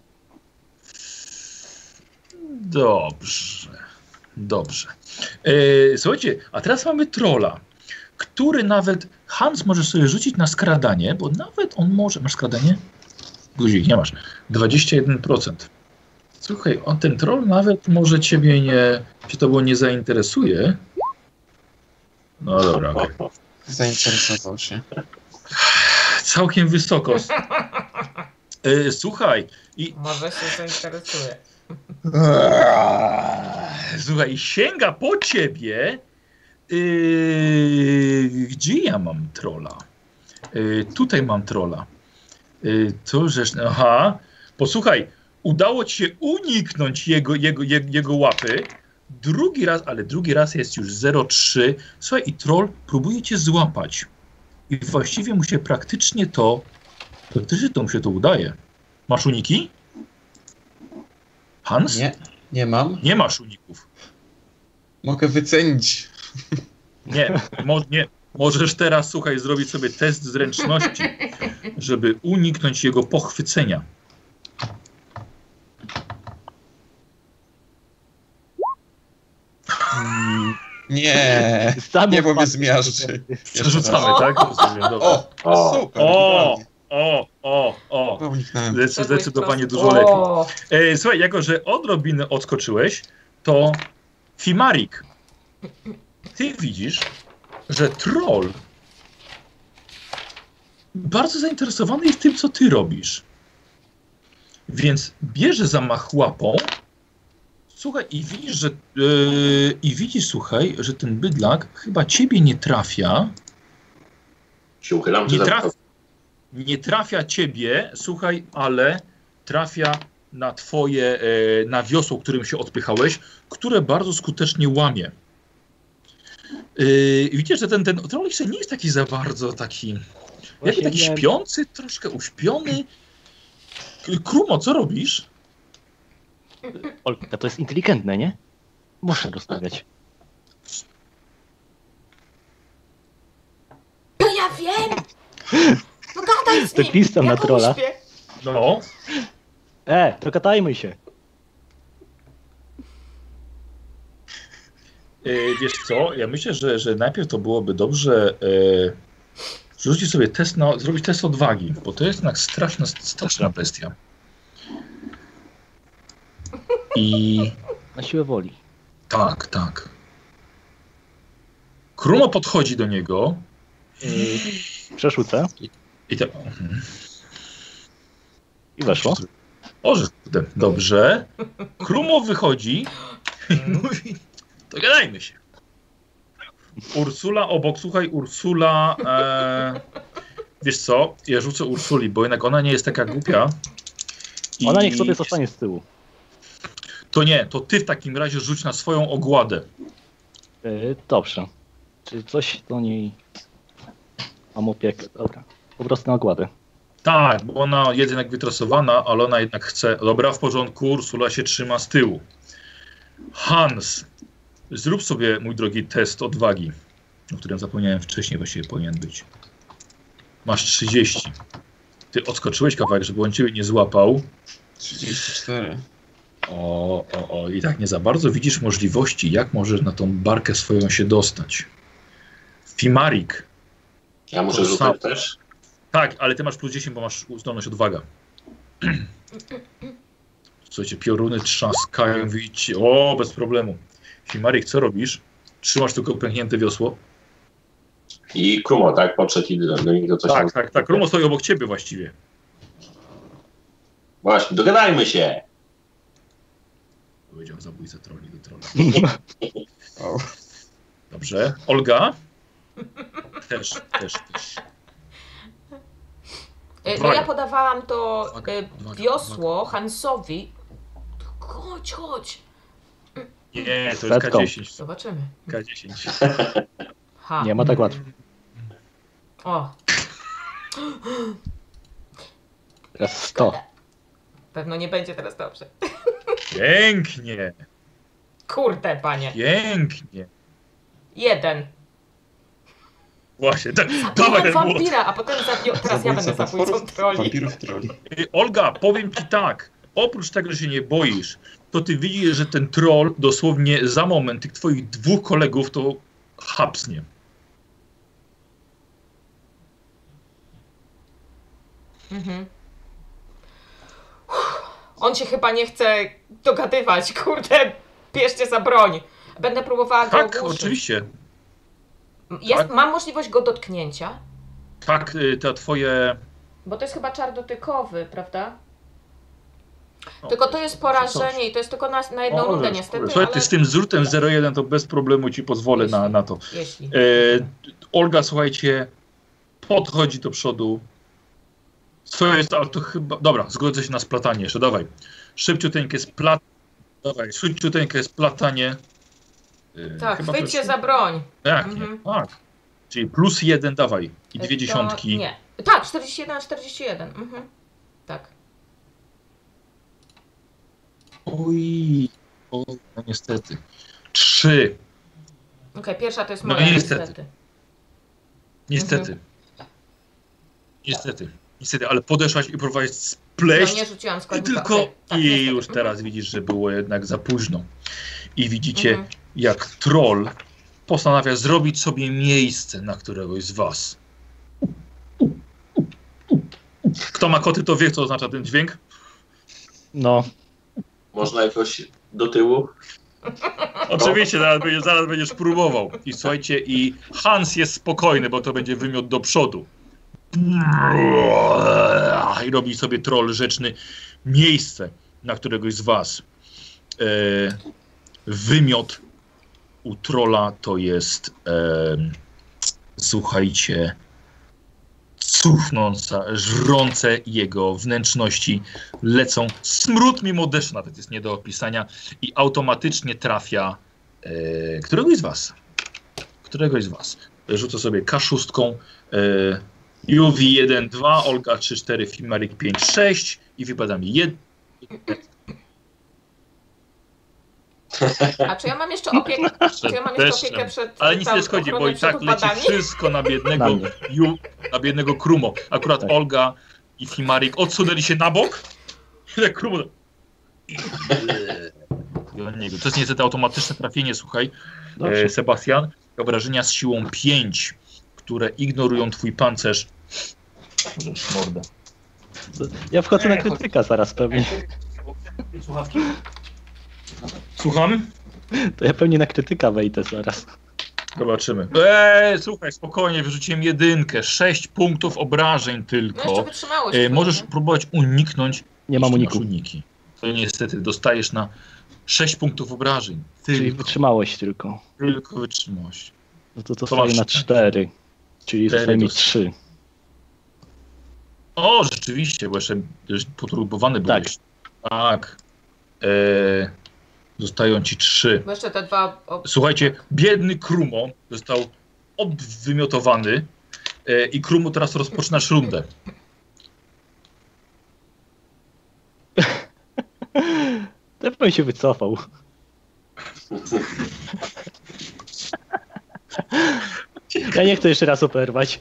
Speaker 1: Dobrze. Dobrze. E, słuchajcie, a teraz mamy trola, który nawet Hans może sobie rzucić na skradanie, bo nawet on może. Masz skradanie? Guzik, nie masz. 21%. Słuchaj, on ten troll nawet może ciebie nie. się tobą nie zainteresuje. No dobra. okej.
Speaker 5: Zainteresował się.
Speaker 1: Całkiem wysoko. E, słuchaj,
Speaker 4: Może się zainteresuje.
Speaker 1: Eee, Słuchaj, sięga po ciebie. Yy, gdzie ja mam trola? Yy, tutaj mam trola. Yy, to rzecz. Aha. Posłuchaj, udało ci się uniknąć jego, jego, jego, jego łapy. Drugi raz, ale drugi raz jest już 0,3. Słuchaj, i troll próbuje cię złapać. I właściwie mu się praktycznie to. Praktycznie to mu się to udaje. Masz uniki? Hans?
Speaker 5: Nie, nie mam.
Speaker 1: Nie masz uników.
Speaker 5: Mogę wycenić.
Speaker 1: Nie, mo, nie. Możesz teraz, słuchaj, zrobić sobie test zręczności, żeby uniknąć jego pochwycenia.
Speaker 5: Nie.
Speaker 2: Sam
Speaker 5: Nie, bo mnie
Speaker 2: odpadł.
Speaker 5: zmiażdży.
Speaker 1: Przerzucamy, tak? Rozumiem, dobra.
Speaker 5: O,
Speaker 3: O,
Speaker 5: super.
Speaker 1: O!
Speaker 5: idealnie.
Speaker 1: O, o, o.
Speaker 5: Chyba uniknąłem.
Speaker 1: Zdecy- Zdecydowanie dużo lepiej.
Speaker 4: O,
Speaker 1: E, słuchaj, jako że odrobinę odskoczyłeś, to Fimarik, ty widzisz, że troll bardzo zainteresowany jest tym, co ty robisz. Więc bierze zamach łapą, słuchaj, i widzisz, że, yy, i widzisz, słuchaj, że ten bydlak chyba ciebie nie trafia,
Speaker 3: się uchylam, czy
Speaker 1: nie,
Speaker 3: za...
Speaker 1: traf, nie trafia ciebie, słuchaj, ale trafia na twoje, e, na wiosło, którym się odpychałeś, które bardzo skutecznie łamie. Yy, widzisz, że ten, ten troll jeszcze nie jest taki za bardzo taki, jakby
Speaker 2: Właśnie
Speaker 1: taki
Speaker 2: miałem-
Speaker 1: śpiący, troszkę uśpiony. K- Krumo, co robisz?
Speaker 2: Olka, to jest inteligentne, nie? Muszę rozmawiać.
Speaker 4: to ja wiem! No gadaj z
Speaker 2: To
Speaker 4: nim!
Speaker 2: pisem
Speaker 4: ja
Speaker 2: na
Speaker 4: go
Speaker 2: trolla.
Speaker 4: uśpię.
Speaker 1: No,
Speaker 2: E, to katajmy się.
Speaker 1: Yy, wiesz co, ja myślę, że, że najpierw to byłoby dobrze yy, rzucić sobie test, na, zrobić test odwagi, bo to jest jednak straszna, straszna bestia. I
Speaker 2: Na siłę woli.
Speaker 1: tak, tak. Krumo podchodzi do niego
Speaker 2: Przerzucę
Speaker 1: i tak, mhm.
Speaker 2: i weszło.
Speaker 1: o, że kurde, dobrze. Krumo wychodzi i mówi, dogadajmy się. Ursula obok, słuchaj, Ursula, e, wiesz co, ja rzucę Ursuli, bo jednak ona nie jest taka głupia. I-
Speaker 2: Ona niech sobie zostanie z tyłu.
Speaker 1: To nie, to ty w takim razie rzuć na swoją ogładę.
Speaker 2: E, dobrze. Czy coś do niej... Mam opiekę, dobra. Po prostu na ogładę.
Speaker 1: Tak, bo ona jest jednak wytrasowana, ale ona jednak chce. Dobra, w porządku, Ursula się trzyma z tyłu. Hans, zrób sobie, mój drogi, test odwagi, o którym zapomniałem wcześniej, właściwie powinien być. Masz 30. Ty odskoczyłeś kawałek, żeby on ciebie nie złapał.
Speaker 5: 34.
Speaker 1: O, o, o, i tak nie za bardzo widzisz możliwości, jak możesz na tą barkę swoją się dostać. Fimarik.
Speaker 3: Ja muszę
Speaker 1: To
Speaker 3: rzucać
Speaker 1: samo.
Speaker 3: też?
Speaker 1: Tak, ale ty masz plus 10, bo masz zdolność odwaga. Słuchajcie, pioruny trzaskają, widzicie. O, bez problemu. Simarik, co robisz? Trzymasz tylko pęknięte wiosło?
Speaker 3: I Krumo, tak? Podszedł i do, do niego coś tam...
Speaker 1: Tak, tak, tak. Rumo stoi obok ciebie właściwie.
Speaker 3: Właśnie, dogadajmy się!
Speaker 1: Powiedział zabójca troli do trola.
Speaker 5: O.
Speaker 1: Dobrze. Olga? Też, też, też.
Speaker 4: E, No
Speaker 1: Uwaga.
Speaker 4: ja podawałam to
Speaker 1: Uwaga,
Speaker 4: e,
Speaker 1: uwaga,
Speaker 4: wiosło Hansowi. Chodź, chodź.
Speaker 1: Nie, to jest
Speaker 2: Setką.
Speaker 1: K10.
Speaker 4: Zobaczymy.
Speaker 1: K10.
Speaker 4: Ha.
Speaker 2: Nie ma tak łatwo.
Speaker 4: O,
Speaker 2: Teraz 100.
Speaker 4: pewno nie będzie teraz dobrze.
Speaker 1: Pięknie,
Speaker 4: Kurde, panie.
Speaker 1: pięknie.
Speaker 4: Jeden.
Speaker 1: Właśnie, tak, dawaj
Speaker 4: Zabiłem
Speaker 1: ten młot.
Speaker 4: wampira, a potem zabił... Teraz ja będę zabójcą troli.
Speaker 5: wampirów troli.
Speaker 1: Ej, Olga, powiem ci tak. Oprócz tego, że się nie boisz, to ty widzisz, że ten troll dosłownie za moment tych twoich dwóch kolegów to hapsnie.
Speaker 4: Mhm. Uff, On się chyba nie chce dogadywać, kurde. Bierzcie za broń. Będę próbowała go
Speaker 1: Tak,
Speaker 4: ogłuszyć.
Speaker 1: oczywiście.
Speaker 4: Jest,
Speaker 1: tak.
Speaker 4: Mam możliwość go dotknięcia,
Speaker 1: Tak, y, te twoje...
Speaker 4: bo to jest chyba czar dotykowy, prawda?
Speaker 1: no,
Speaker 4: Tylko to jest porażenie i to jest tylko na, na jedną
Speaker 1: O,
Speaker 4: rundę
Speaker 1: możesz,
Speaker 4: niestety,
Speaker 1: Słuchaj, ty
Speaker 4: ale
Speaker 1: z tym zrutem 01 to bez problemu ci pozwolę na, na to.
Speaker 4: jeśli.
Speaker 1: E, Olga, słuchajcie, podchodzi do przodu. Co jest, ale to chyba... Dobra, zgodzę się na splatanie jeszcze, dawaj. Szybciuteńkie splatanie. Dawaj, szybciuteńkie splatanie. E,
Speaker 4: Tak,
Speaker 1: chyba to
Speaker 4: chwyć się
Speaker 1: jest-
Speaker 4: za broń.
Speaker 1: Tak,
Speaker 4: Mhm.
Speaker 1: nie, tak. Czyli plus jeden, dawaj. I
Speaker 4: To-
Speaker 1: dwie dziesiątki.
Speaker 4: Nie. Tak, 41, 41. Mhm. Tak.
Speaker 1: Oj, o, no niestety. Trzy,
Speaker 4: Okej, pierwsza to jest
Speaker 1: No
Speaker 4: moja,
Speaker 1: niestety.
Speaker 4: niestety. Mhm.
Speaker 1: niestety. Niestety, niestety, ale podeszłaś i próbowałaś
Speaker 4: No nie
Speaker 1: spleść.
Speaker 4: rzuciłam
Speaker 1: I
Speaker 4: składnika.
Speaker 1: tylko,
Speaker 4: Okej, tak,
Speaker 1: i
Speaker 4: niestety.
Speaker 1: już
Speaker 4: Mhm.
Speaker 1: teraz widzisz, że było jednak za późno. I widzicie,
Speaker 4: Mhm.
Speaker 1: jak troll postanawia zrobić sobie miejsce na któregoś z was. Kto ma koty, to wie, co oznacza ten dźwięk.
Speaker 2: No,
Speaker 3: Można jakoś do tyłu?
Speaker 1: Oczywiście, zaraz będziesz, zaraz będziesz próbował. I słuchajcie, i Hans jest spokojny, bo to będzie wymiot do przodu. I robi sobie troll rzeczny miejsce na któregoś z was. E, wymiot u trola to jest em, słuchajcie cuchnąca, żrące jego wnętrzności lecą. Smród mimo deszczu nawet jest nie do opisania i automatycznie trafia e, któregoś z was. Któregoś z was. Rzucę sobie K6, e, UV 1, 2, Olga 3, 4, Fimarik 5, 6 i wypada mi jed...
Speaker 4: A czy ja mam jeszcze
Speaker 1: No,
Speaker 4: opiekę, czy ja mam jeszcze opiekę
Speaker 1: deszczem.
Speaker 4: przed
Speaker 1: Ale nic
Speaker 4: tam
Speaker 1: nie szkodzi, bo
Speaker 4: ochroną
Speaker 1: i tak
Speaker 4: przed
Speaker 1: leci
Speaker 4: upadami?
Speaker 1: wszystko na
Speaker 2: na
Speaker 1: biednego,
Speaker 2: mnie.
Speaker 1: Ju, na biednego Krumo. Akurat
Speaker 2: Tak.
Speaker 1: Olga i Fimarik odsunęli się na bok. Tak Krumo...
Speaker 2: Yy,
Speaker 1: I on nie- To jest niestety automatyczne trafienie, słuchaj.
Speaker 2: dobrze.
Speaker 1: E, Sebastian, obrażenia z siłą 5, które ignorują twój pancerz. Możesz mordę.
Speaker 2: Ja wchodzę
Speaker 1: e,
Speaker 2: na krytyka zaraz pewnie.
Speaker 1: Słuchawki? Słucham?
Speaker 2: To ja pewnie na krytyka wejdę zaraz.
Speaker 1: Zobaczymy. Eee, słuchaj, spokojnie, wyrzuciłem jedynkę. 6 punktów obrażeń
Speaker 4: No jeszcze
Speaker 1: tylko.
Speaker 4: wytrzymałość.
Speaker 1: E,
Speaker 4: chyba,
Speaker 1: możesz
Speaker 4: nie?
Speaker 1: próbować uniknąć.
Speaker 2: Nie mam
Speaker 1: jeśli masz
Speaker 2: uniku.
Speaker 1: uniki. To niestety dostajesz na 6 punktów obrażeń.
Speaker 2: Czyli
Speaker 1: Tylko,
Speaker 2: wytrzymałość tylko.
Speaker 1: tylko wytrzymałość.
Speaker 2: No to to
Speaker 1: To
Speaker 2: staje
Speaker 1: masz
Speaker 2: na
Speaker 1: cztery.
Speaker 2: 4. Czyli
Speaker 1: Cztery
Speaker 2: zostaje mi
Speaker 1: dosyć.
Speaker 2: 3.
Speaker 1: O, rzeczywiście, bo jeszcze jeszcze poturbowany
Speaker 2: Tak.
Speaker 1: byłeś. Tak. Eee, zostają ci 3.
Speaker 4: Bo jeszcze te dwa... O...
Speaker 1: Słuchajcie, biedny Krumo został obwymiotowany e, i Krumo teraz rozpoczynasz rundę.
Speaker 2: Ja bym się wycofał. Ja nie chcę jeszcze raz operwać.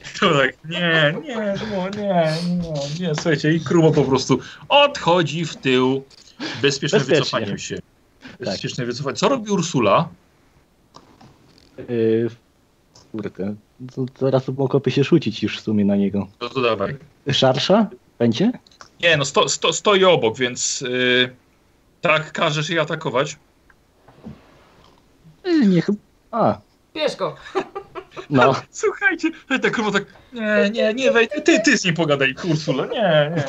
Speaker 1: To tak, nie, nie, no, nie, nie, nie, słuchajcie, i Krumo po prostu odchodzi w tył. Bezpieczne
Speaker 2: Bezpiecznie. Tak.
Speaker 1: wycofanie się. Bezpieczne wycofanie. Co robi Ursula?
Speaker 2: Yy, kurde. To zaraz mogłoby się rzucić już w sumie na niego.
Speaker 1: No to dawaj.
Speaker 2: Szarsza? Będzie?
Speaker 1: Nie, no sto, sto, stoi obok, więc y, tak każesz jej atakować.
Speaker 2: Yy, nie chyba. A,
Speaker 4: Bierz go.
Speaker 2: no.
Speaker 1: Słuchajcie, tak Krumo tak, nie, nie, nie, wejdź, ty, ty z nim pogadaj, Ursula, nie, nie,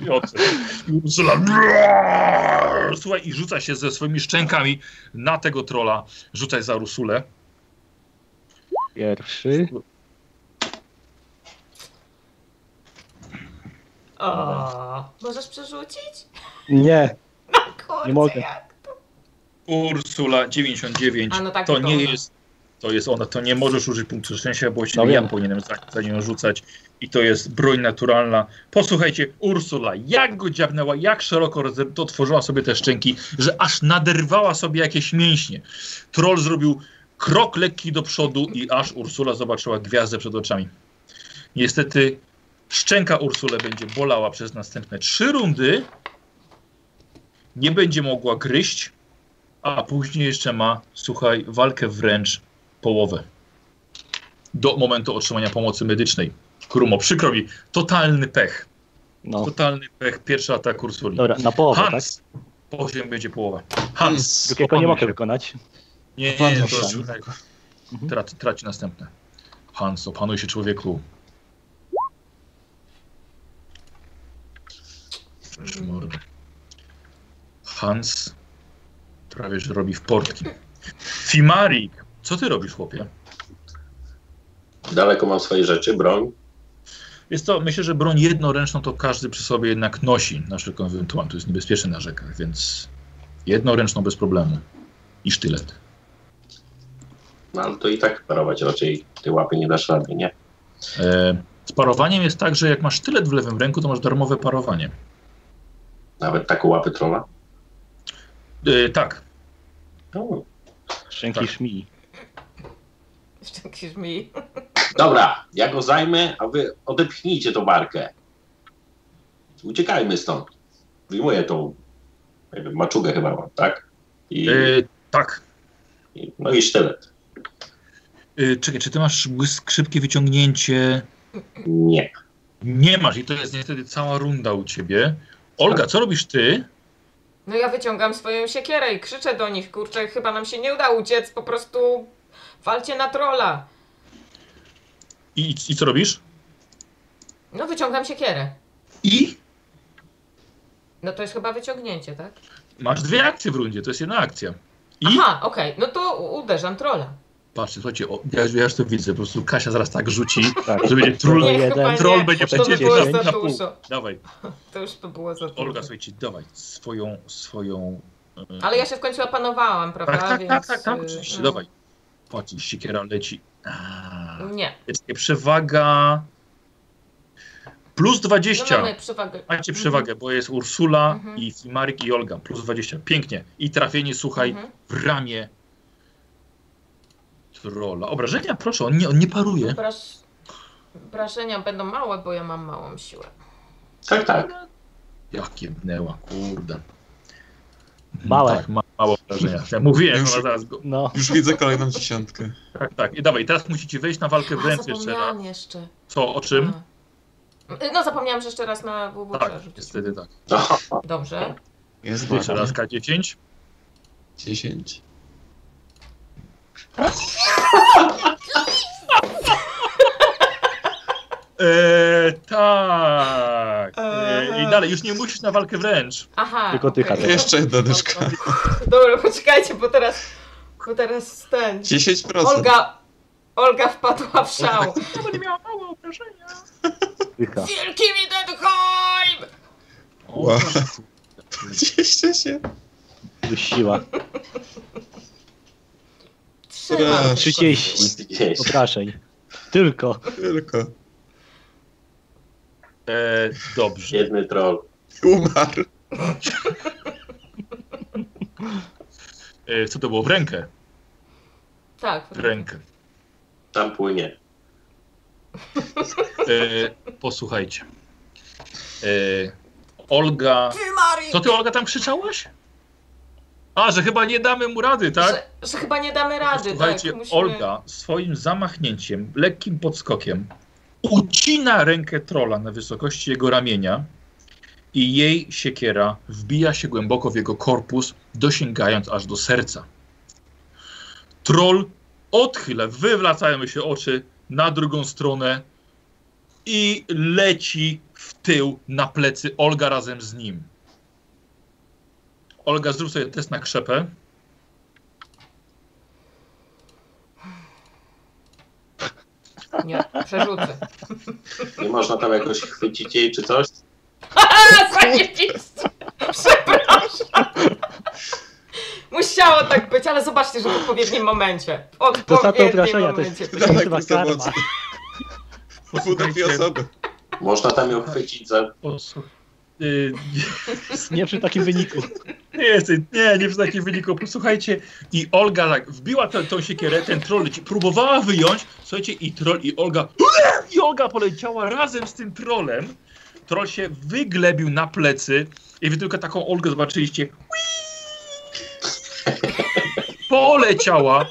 Speaker 1: nie, i odszedł. I Ursula, brrr, słuchaj, i rzuca się ze swoimi szczękami na tego trola, rzucaj za Ursulę.
Speaker 2: Pierwszy.
Speaker 4: O, możesz przerzucić?
Speaker 2: Nie.
Speaker 1: Tak,
Speaker 4: Kurczę,
Speaker 2: Nie mogę.
Speaker 4: jak-
Speaker 1: Ursula 99.
Speaker 4: A no tak,
Speaker 1: to
Speaker 4: to
Speaker 1: nie
Speaker 4: ona.
Speaker 1: jest. To jest ona, to nie możesz użyć punktu szczęścia, bo
Speaker 2: No
Speaker 1: właściwie
Speaker 2: wiem.
Speaker 1: ja powinienem za, za nią rzucać. I to jest broń naturalna. Posłuchajcie, Ursula, jak go dziabnęła, jak szeroko roz- otworzyła sobie te szczęki, że aż naderwała sobie jakieś mięśnie. Troll zrobił krok lekki do przodu i aż Ursula zobaczyła gwiazdę przed oczami. Niestety szczęka Ursule będzie bolała przez następne trzy rundy. Nie będzie mogła gryźć, a później jeszcze ma, słuchaj, walkę wręcz połowę. Do momentu otrzymania pomocy medycznej. Krumo, przykro mi, totalny pech.
Speaker 2: No.
Speaker 1: Totalny pech, pierwszy atak Ursuli.
Speaker 2: Dobra, na połowę, tak?
Speaker 1: Hans, poziom będzie połowa. Hans,
Speaker 2: Drugiego nie
Speaker 1: opanuj
Speaker 2: mogę
Speaker 1: się.
Speaker 2: wykonać.
Speaker 1: Nie, nie,
Speaker 5: Opanuj
Speaker 1: nie,
Speaker 5: się.
Speaker 1: to już traci, traci następne. Hans, opanuj się człowieku. Rzecz mordy. Hans prawie że robi w portki. Fimarik, co ty robisz, chłopie?
Speaker 3: Daleko mam swoje rzeczy, broń.
Speaker 1: Jest to, myślę, że broń jednoręczną to każdy przy sobie jednak nosi na wszelką ewentualność. To jest niebezpieczne na rzekach, więc jednoręczną bez problemu. I sztylet.
Speaker 3: No ale to i tak parować raczej ty łapy nie dasz rady, nie?
Speaker 1: E, z parowaniem jest tak, że jak masz sztylet w lewym ręku, to masz darmowe parowanie.
Speaker 3: Nawet taką łapy trolla.
Speaker 1: E, tak,
Speaker 3: No.
Speaker 2: Szczęki
Speaker 1: Tak.
Speaker 2: szmii.
Speaker 4: Szczęki żmii.
Speaker 3: Dobra, ja go zajmę, a wy odepchnijcie tą barkę. Uciekajmy stąd. Wyjmuję tą nie wiem, maczugę chyba mam, tak? I,
Speaker 1: e, tak.
Speaker 3: i- no i sztylet.
Speaker 1: E, czekaj, czy ty masz błysk, szybkie wyciągnięcie?
Speaker 3: Nie.
Speaker 1: Nie masz i to jest niestety cała runda u ciebie. Olga, co robisz ty?
Speaker 4: No ja wyciągam swoją siekierę i krzyczę do nich, kurczę, chyba nam się nie uda uciec, po prostu walcie na trola.
Speaker 1: I, i co robisz?
Speaker 4: No wyciągam siekierę.
Speaker 1: I?
Speaker 4: No to jest chyba wyciągnięcie, tak?
Speaker 1: Masz dwie akcje w rundzie, to jest jedna akcja. I?
Speaker 4: Aha, okej, no to u- uderzam trolla.
Speaker 1: Patrzcie, słuchajcie, o, ja, ja już to widzę, po prostu Kasia zaraz tak rzuci,
Speaker 2: Tak.
Speaker 1: że będzie trul,
Speaker 4: Nie, chyba nie.
Speaker 1: troll będzie
Speaker 4: To by
Speaker 2: przecież
Speaker 4: było
Speaker 2: dziesięć
Speaker 4: za
Speaker 1: na pół.
Speaker 4: dużo.
Speaker 1: Dawaj,
Speaker 4: To już by było za dużo.
Speaker 1: Olga, słuchajcie, dawaj swoją, swoją... e,
Speaker 4: Ale ja się w końcu opanowałam, prawda?
Speaker 1: Tak, tak,
Speaker 4: Więc,
Speaker 1: tak, tak, tak,
Speaker 4: y,
Speaker 1: oczywiście,
Speaker 4: no.
Speaker 1: dawaj. Płaci, siekiera leci. A,
Speaker 4: Nie, no
Speaker 1: Jest przewaga... Plus
Speaker 4: no
Speaker 1: 20.
Speaker 4: mamy przewagę.
Speaker 1: Macie
Speaker 4: Mhm.
Speaker 1: przewagę, bo jest Ursula
Speaker 4: Mhm.
Speaker 1: i Fimarik i Olga. Plus 20. Pięknie. I trafienie, słuchaj,
Speaker 4: Mhm.
Speaker 1: w ramię trolla. Obrażenia, proszę, on nie, on nie
Speaker 4: No
Speaker 1: paruje.
Speaker 4: Braż... Brażenia będą małe, bo ja mam małą siłę.
Speaker 3: Tak, tak.
Speaker 1: Jak jebnęła, kurde.
Speaker 2: Małe.
Speaker 1: Tak, ma, mało obrażenia. Ja mówiłem,
Speaker 5: Już-
Speaker 1: że zaraz go...
Speaker 2: No.
Speaker 5: Już widzę kolejną dziesiątkę.
Speaker 1: Tak, tak. I dawaj, teraz musicie wejść na walkę
Speaker 4: A,
Speaker 1: wręcz jeszcze raz.
Speaker 4: zapomniałam jeszcze.
Speaker 1: Co, o czym?
Speaker 4: A. Y, No zapomniałam, że jeszcze raz na WW
Speaker 1: Tak,
Speaker 4: trzeba rzucić.
Speaker 1: niestety tak.
Speaker 3: No,
Speaker 4: Dobrze.
Speaker 5: Jest
Speaker 1: Jeszcze raz
Speaker 5: ładnie.
Speaker 1: K10.
Speaker 5: 10.
Speaker 1: Eee, tak. Eee,
Speaker 4: Aha.
Speaker 1: I dalej, już nie musisz na walkę wręcz.
Speaker 4: Aha.
Speaker 2: Tylko ty,
Speaker 4: okej.
Speaker 2: Kasia.
Speaker 5: Jeszcze jedna dyszka.
Speaker 4: Dobra, poczekajcie, bo teraz... Bo teraz ten...
Speaker 5: 10%.
Speaker 4: Olga... Olga wpadła w szał.
Speaker 1: Ona No, nie miała mało obrażenia.
Speaker 2: Dycha.
Speaker 4: Wielki Widenheim!
Speaker 1: O,
Speaker 5: Wow.
Speaker 1: proszę.
Speaker 5: 27.
Speaker 2: Siła.
Speaker 4: Trzymam
Speaker 5: Raz.
Speaker 4: tylko.
Speaker 2: 30. Obrażeń. Tylko.
Speaker 5: Tylko.
Speaker 1: E, dobrze.
Speaker 3: Jedny troll.
Speaker 5: Umarł.
Speaker 1: E, co to było? W rękę.
Speaker 4: Tak.
Speaker 1: W rękę.
Speaker 3: Tam płynie.
Speaker 1: E, posłuchajcie. E, Olga.
Speaker 4: Ty, Mari!
Speaker 1: To ty, Olga, tam krzyczałaś? A, że chyba nie damy mu rady, tak?
Speaker 4: Że, że chyba nie damy rady,
Speaker 1: Słuchajcie,
Speaker 4: tak? Musimy...
Speaker 1: Olga swoim zamachnięciem, lekkim podskokiem, ucina rękę trola na wysokości jego ramienia i jej siekiera wbija się głęboko w jego korpus, dosięgając aż do serca. Troll odchyla, wywracają się oczy na drugą stronę i leci w tył na plecy Olga razem z nim. Olga, zrób sobie test na krzepę.
Speaker 4: Nie, przerzucę.
Speaker 3: Nie można tam jakoś chwycić jej czy coś?
Speaker 4: A, zajebiście! Przepraszam! Musiało tak być, ale zobaczcie, że w odpowiednim momencie. W
Speaker 2: Zasada
Speaker 4: odpowiednim
Speaker 2: obrażenia to
Speaker 4: momencie.
Speaker 2: jest
Speaker 5: Tak,
Speaker 2: nazywa
Speaker 5: tak,
Speaker 2: karma.
Speaker 5: tak. Budę dwie osoby.
Speaker 3: Można tam ją chwycić za...
Speaker 1: Posłuch- y,
Speaker 2: Nie przy takim wyniku.
Speaker 1: Nie, jest- nie, nie przy takim wyniku. Posłuchajcie, i Olga tak wbiła tę- tą siekierę, ten troll leci, próbowała wyjąć, słuchajcie, i troll, i Olga, i Olga poleciała razem z tym trolem. Troll się wyglebił na plecy i wy tylko taką Olgę zobaczyliście. Uiii! Poleciała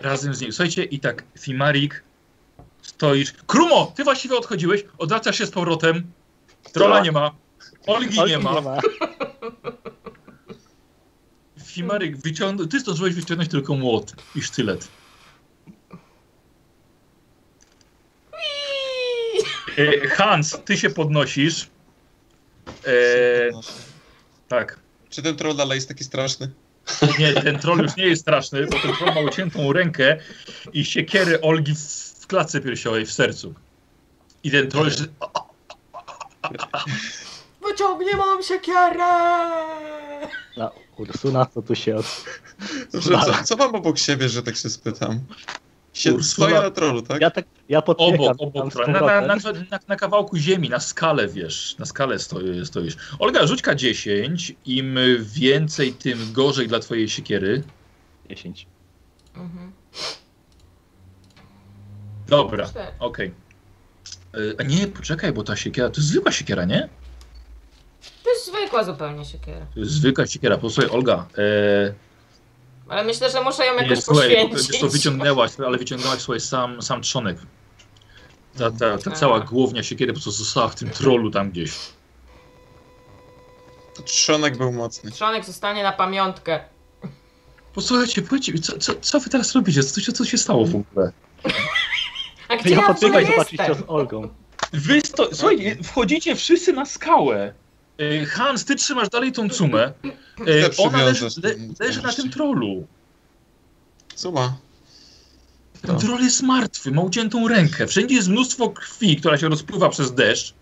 Speaker 1: razem z nim. Słuchajcie, i tak Fimarik, stoisz. Krumo, ty właściwie odchodziłeś, odwracasz się z powrotem. Trolla nie ma, Olgi nie ma. Fimaryk wyciągnął. Ty zdążyłeś wyciągnąć tylko młot i sztylet.
Speaker 4: Iii.
Speaker 1: E, Hans, ty się podnosisz. E, tak.
Speaker 5: Eee, Czy ten troll dalej jest taki straszny?
Speaker 1: Nie, ten troll już nie jest straszny, bo ten troll ma uciętą rękę i siekierę Olgi w, w klatce piersiowej, w sercu. I ten troll.
Speaker 4: Wyciągnie mam siekierę!
Speaker 2: Na Ursuna, co tu się od...
Speaker 5: Dobrze, co, co mam obok siebie, że tak się spytam? Siedzę,
Speaker 1: Ursula.
Speaker 5: stoję na trollu, tak?
Speaker 2: Ja tak, ja podpiekam
Speaker 1: Obok,
Speaker 2: tam
Speaker 1: obok
Speaker 2: z
Speaker 1: trolla. na, na, na,
Speaker 2: powrotem.
Speaker 1: na, na kawałku ziemi, na skalę wiesz, na skalę stoi, stoisz. Olga, rzuć K10, im więcej, tym gorzej dla twojej siekiery.
Speaker 2: 10.
Speaker 4: Mhm.
Speaker 2: Tak.
Speaker 1: Dobra,
Speaker 4: Cztery.
Speaker 1: okej. Y, A nie, poczekaj, bo ta siekiera, to jest zwykła siekiera, nie?
Speaker 4: To jest zwykła zupełnie siekiera.
Speaker 1: To jest zwykła siekiera. Posłuchaj, Olga, e,
Speaker 4: Ale myślę, że muszę ją
Speaker 1: nie,
Speaker 4: jakoś
Speaker 1: słuchaj,
Speaker 4: poświęcić.
Speaker 1: to wyciągnęłaś, ale wyciągnęłaś słuchaj, sam, sam trzonek. Ta, ta, ta cała głownia siekiery po prostu została w tym trolu tam gdzieś.
Speaker 5: To Trzonek był mocny.
Speaker 4: Trzonek zostanie na pamiątkę.
Speaker 1: Posłuchajcie, powiedzcie mi, co, co, co wy teraz robicie? Co, się- co się stało w ogóle?
Speaker 4: A gdzie ja,
Speaker 2: Ja
Speaker 4: w ogóle
Speaker 2: podbiegam zobaczyć co
Speaker 4: jestem?
Speaker 2: z Olgą.
Speaker 1: Wy sto... Słuchaj, wchodzicie wszyscy na skałę. E, Hans, ty trzymasz dalej tą cumę. E, ona leży,
Speaker 5: przywiążesz
Speaker 1: le,
Speaker 5: ten-
Speaker 1: leży na tym trolu.
Speaker 5: Suma. Tak.
Speaker 1: Ten troll jest martwy, ma uciętą rękę. Wszędzie jest mnóstwo krwi, która się rozpływa przez deszcz.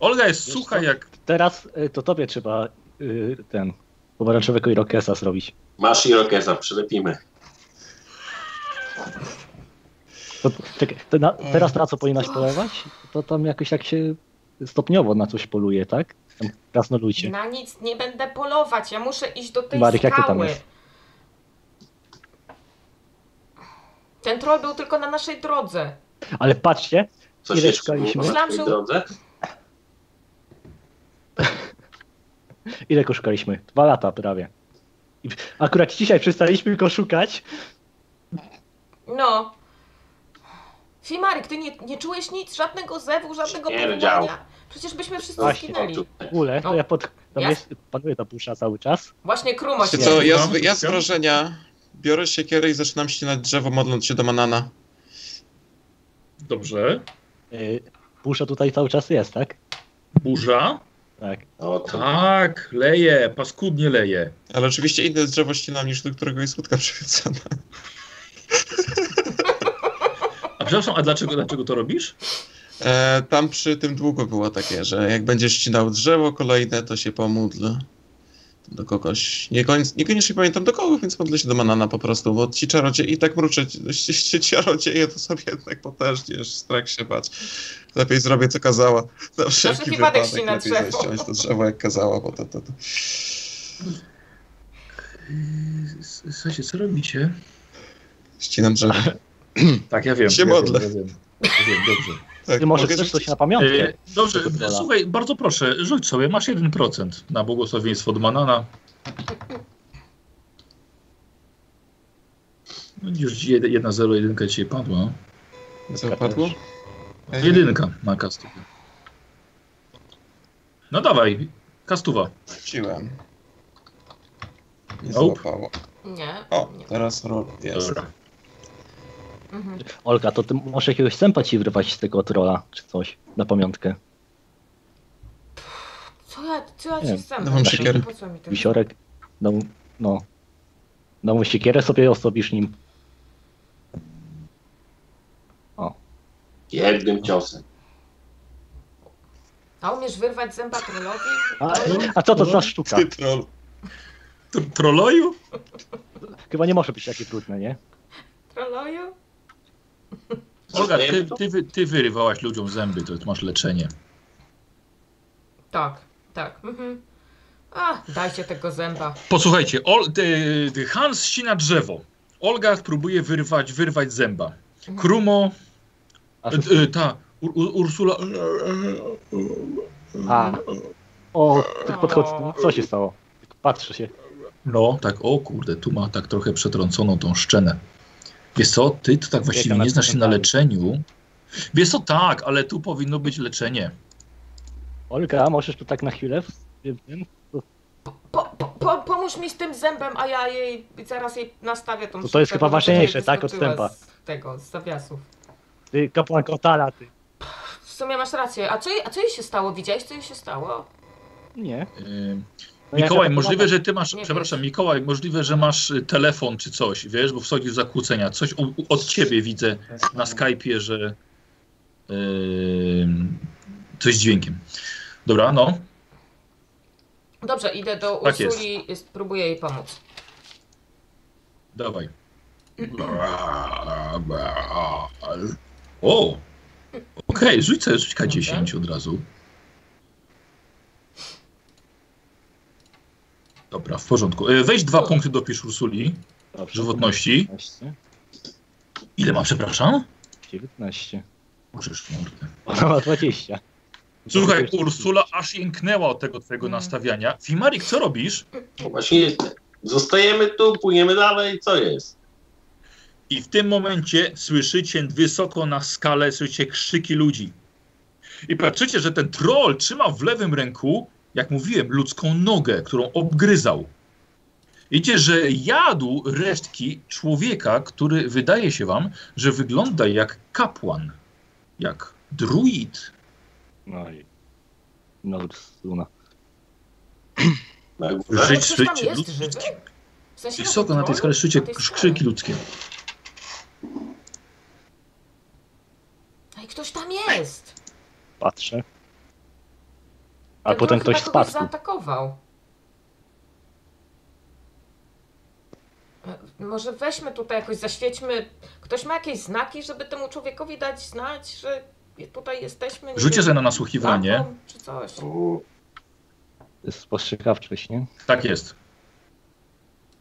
Speaker 1: Olga jest sucha jak.
Speaker 2: Teraz y, to tobie trzeba y, ten pomarańczowego irokesa zrobić.
Speaker 3: Masz Irokeza, przylepimy.
Speaker 2: To, czekaj, to na, teraz na co powinnaś polować? To tam jakoś tak się stopniowo na coś poluje, tak? Tam krasnoludzie.
Speaker 4: Na nic nie będę polować, ja muszę iść do tej
Speaker 2: Marek, jak to
Speaker 4: skały.
Speaker 2: tam jest?
Speaker 4: Ten troll był tylko na naszej drodze.
Speaker 2: Ale patrzcie,
Speaker 3: Coś
Speaker 2: Ile
Speaker 3: jeszcze
Speaker 2: szukaliśmy?
Speaker 3: było na
Speaker 4: Myślałam,
Speaker 3: tej
Speaker 4: że-
Speaker 3: drodze?
Speaker 2: ile go szukaliśmy? Dwa lata prawie. I akurat dzisiaj przestaliśmy go szukać.
Speaker 4: No. Fimarik, ty nie, nie czułeś nic, żadnego zewu, żadnego
Speaker 3: Śmierdział.
Speaker 4: powołania. Przecież byśmy wszyscy
Speaker 2: Właśnie.
Speaker 4: zginęli.
Speaker 2: W ogóle,
Speaker 4: No.
Speaker 2: to ja pod... Tam
Speaker 4: Ja-
Speaker 2: jest, panuje ta busza cały czas.
Speaker 4: Właśnie Krumo się...
Speaker 5: Czy co, ja,
Speaker 1: No,
Speaker 5: z- ja z
Speaker 1: no.
Speaker 5: wrażenia biorę siekierę i zaczynam ścinać drzewo, modląc się do Manana.
Speaker 1: Dobrze.
Speaker 2: Y, Busza tutaj cały czas jest, tak?
Speaker 1: Burza.
Speaker 2: Tak.
Speaker 3: O, no, to...
Speaker 1: Tak, leje, paskudnie leje.
Speaker 5: Ale oczywiście inne drzewo ścinam niż do którego jest łódka przywiązana.
Speaker 1: A przepraszam, a dlaczego, dlaczego to robisz?
Speaker 5: E, tam przy tym długo było takie, że jak będziesz ścinał drzewo kolejne, to się pomódl do kogoś. Nie koń- Niekoniecznie pamiętam do kogo, więc modlę się do Manana po prostu, bo ci czarodzieje, i tak mruczę, ci, ci czarodzieje to są jednak potężni, aż strach się bać. Lepiej zrobię co kazała. Na wszelki
Speaker 4: wypadek
Speaker 5: wypadek
Speaker 4: ścina
Speaker 5: lepiej
Speaker 4: drzewo.
Speaker 5: zaściąć to drzewo jak kazała, bo to... to, to.
Speaker 1: Słuchajcie, co robicie?
Speaker 5: Ścinam drzewo.
Speaker 1: Tak, ja wiem.
Speaker 5: Się
Speaker 1: ja wiem,
Speaker 5: modlę.
Speaker 1: Ja wiem, ja wiem, dobrze.
Speaker 5: Tak,
Speaker 2: Ty możesz
Speaker 5: mogę
Speaker 2: też
Speaker 5: rzucić?
Speaker 2: coś na pamiątkę.
Speaker 1: E, dobrze,
Speaker 2: To pozwala.
Speaker 1: słuchaj, bardzo proszę, rzuć sobie, masz 1% na błogosławieństwo od Manana. No, Już jed- jedna zero, jedynka dzisiaj padła.
Speaker 5: Co padło? Ej,
Speaker 1: Jedynka na kastówę. No dawaj, kastuwa.
Speaker 5: Rzuciłem. Nie
Speaker 1: Nope.
Speaker 5: złapało.
Speaker 4: Nie,
Speaker 5: O,
Speaker 4: nie.
Speaker 5: teraz robię. Jest.
Speaker 1: Dobra.
Speaker 4: Mhm.
Speaker 2: Olga, to ty może jakiegoś sępa ci wyrwać z tego trola, czy coś, na pamiątkę.
Speaker 4: Co ja, co ja
Speaker 2: Nie,
Speaker 4: ci chcę?
Speaker 5: no mam siekierę.
Speaker 4: Po co mi to?
Speaker 2: Wisiorek, no, no. No mu siekierę sobie osobisz nim.
Speaker 3: Jednym ciosem.
Speaker 4: A umiesz wyrwać zęba trollowi?
Speaker 2: A, a co to za sztuka?
Speaker 5: Ty troll.
Speaker 1: Tr- Troloju?
Speaker 2: Chyba nie może być takie trudne, nie?
Speaker 4: Trolloju?
Speaker 1: Olga, ty, ty, wy- ty wyrywałaś ludziom zęby, to masz leczenie.
Speaker 4: Tak, tak. Mhm. A, dajcie tego zęba.
Speaker 1: Posłuchajcie, Ol, ty, ty Hans ścina drzewo. Olga próbuje wyrwać, wyrwać zęba. Krumo,
Speaker 2: A,
Speaker 1: e, e, ta, Ur, Ur- Ursula...
Speaker 2: a. O, ty podchodź, co się stało? Patrzę się.
Speaker 1: No, tak, o kurde, tu ma tak trochę przetrąconą tą szczenę. Wiesz co, ty to tak właściwie
Speaker 2: Jaka
Speaker 1: nie znasz się na
Speaker 2: nadprzętana.
Speaker 1: leczeniu. Wiesz co, tak, ale tu powinno być leczenie.
Speaker 2: Olga, możesz tu tak na chwilę? Wiem,
Speaker 4: Po, po, po, pomóż mi z tym zębem, a ja jej zaraz jej nastawię tą
Speaker 2: To to jest
Speaker 4: sztukę,
Speaker 2: chyba
Speaker 4: bo
Speaker 2: ważniejsze,
Speaker 4: tutaj
Speaker 2: tak, od
Speaker 4: wyskoczyła
Speaker 2: zęba.
Speaker 4: Z tego, z zawiasów.
Speaker 2: Ty kapłan Kotala, ty.
Speaker 4: W sumie masz rację. A co, jej- a co jej się stało? Widziałeś, co jej się stało?
Speaker 2: Nie.
Speaker 1: Ym,
Speaker 2: No
Speaker 1: Y, Mikołaj,
Speaker 2: jaka-
Speaker 1: możliwe, że ty masz,
Speaker 4: Nie
Speaker 1: przepraszam, Mikołaj, możliwe, że masz y, telefon czy coś, wiesz, bo wchodzisz w zakłócenia. Coś u, u, od ciebie widzę na Skype'ie, że ym, coś z dźwiękiem. Dobra, no.
Speaker 4: Dobrze, idę do
Speaker 1: Tak jest.
Speaker 4: Ursuli i spróbuję jej pomóc.
Speaker 1: Dawaj. O! Okej, rzuć sobie rzuć K10 od razu. Dobra, w porządku. E, Weź dwa punkty dopisz Ursuli
Speaker 2: Dobrze,
Speaker 1: żywotności.
Speaker 2: 19.
Speaker 1: Ile mam, przepraszam?
Speaker 2: 19.
Speaker 1: Możesz mordę.
Speaker 2: Ona ma 20.
Speaker 1: Słuchaj, Ursula aż jęknęła od tego twojego
Speaker 4: Mm.
Speaker 1: nastawiania. Fimarik, co robisz?
Speaker 3: No właśnie zostajemy tu, płyniemy dalej, co jest?
Speaker 1: I w tym momencie słyszycie wysoko na skalę, słyszycie krzyki ludzi. I patrzycie, że ten troll trzyma w lewym ręku, jak mówiłem, ludzką nogę, którą obgryzał. Widzicie, że jadł resztki człowieka, który wydaje się wam, że wygląda jak kapłan, jak druid.
Speaker 2: No i... No, Ursula.
Speaker 3: Na górę?
Speaker 4: Ale
Speaker 1: Żyć,
Speaker 4: przecież tam
Speaker 1: żyć,
Speaker 4: jest
Speaker 1: lud-
Speaker 4: żywy? W sensie
Speaker 1: Wysoko na tej skale
Speaker 4: trollu?
Speaker 1: słyszycie
Speaker 4: Na tej skale.
Speaker 1: krzyki ludzkie.
Speaker 4: Ej, ktoś tam jest!
Speaker 2: Patrzę. A
Speaker 4: Ten
Speaker 2: potem
Speaker 4: troll
Speaker 2: ktoś
Speaker 4: chyba kogoś
Speaker 2: spadł.
Speaker 4: zaatakował. E, Może weźmy tutaj jakoś, zaświećmy. Ktoś ma jakieś znaki, żeby temu człowiekowi dać znać, że tutaj jesteśmy. nie
Speaker 1: Rzucie
Speaker 4: wiem,
Speaker 1: sobie na nasłuchiwanie.
Speaker 4: lampą Czy coś.
Speaker 3: U,
Speaker 2: Spostrzegawczość, nie?
Speaker 1: Tak jest.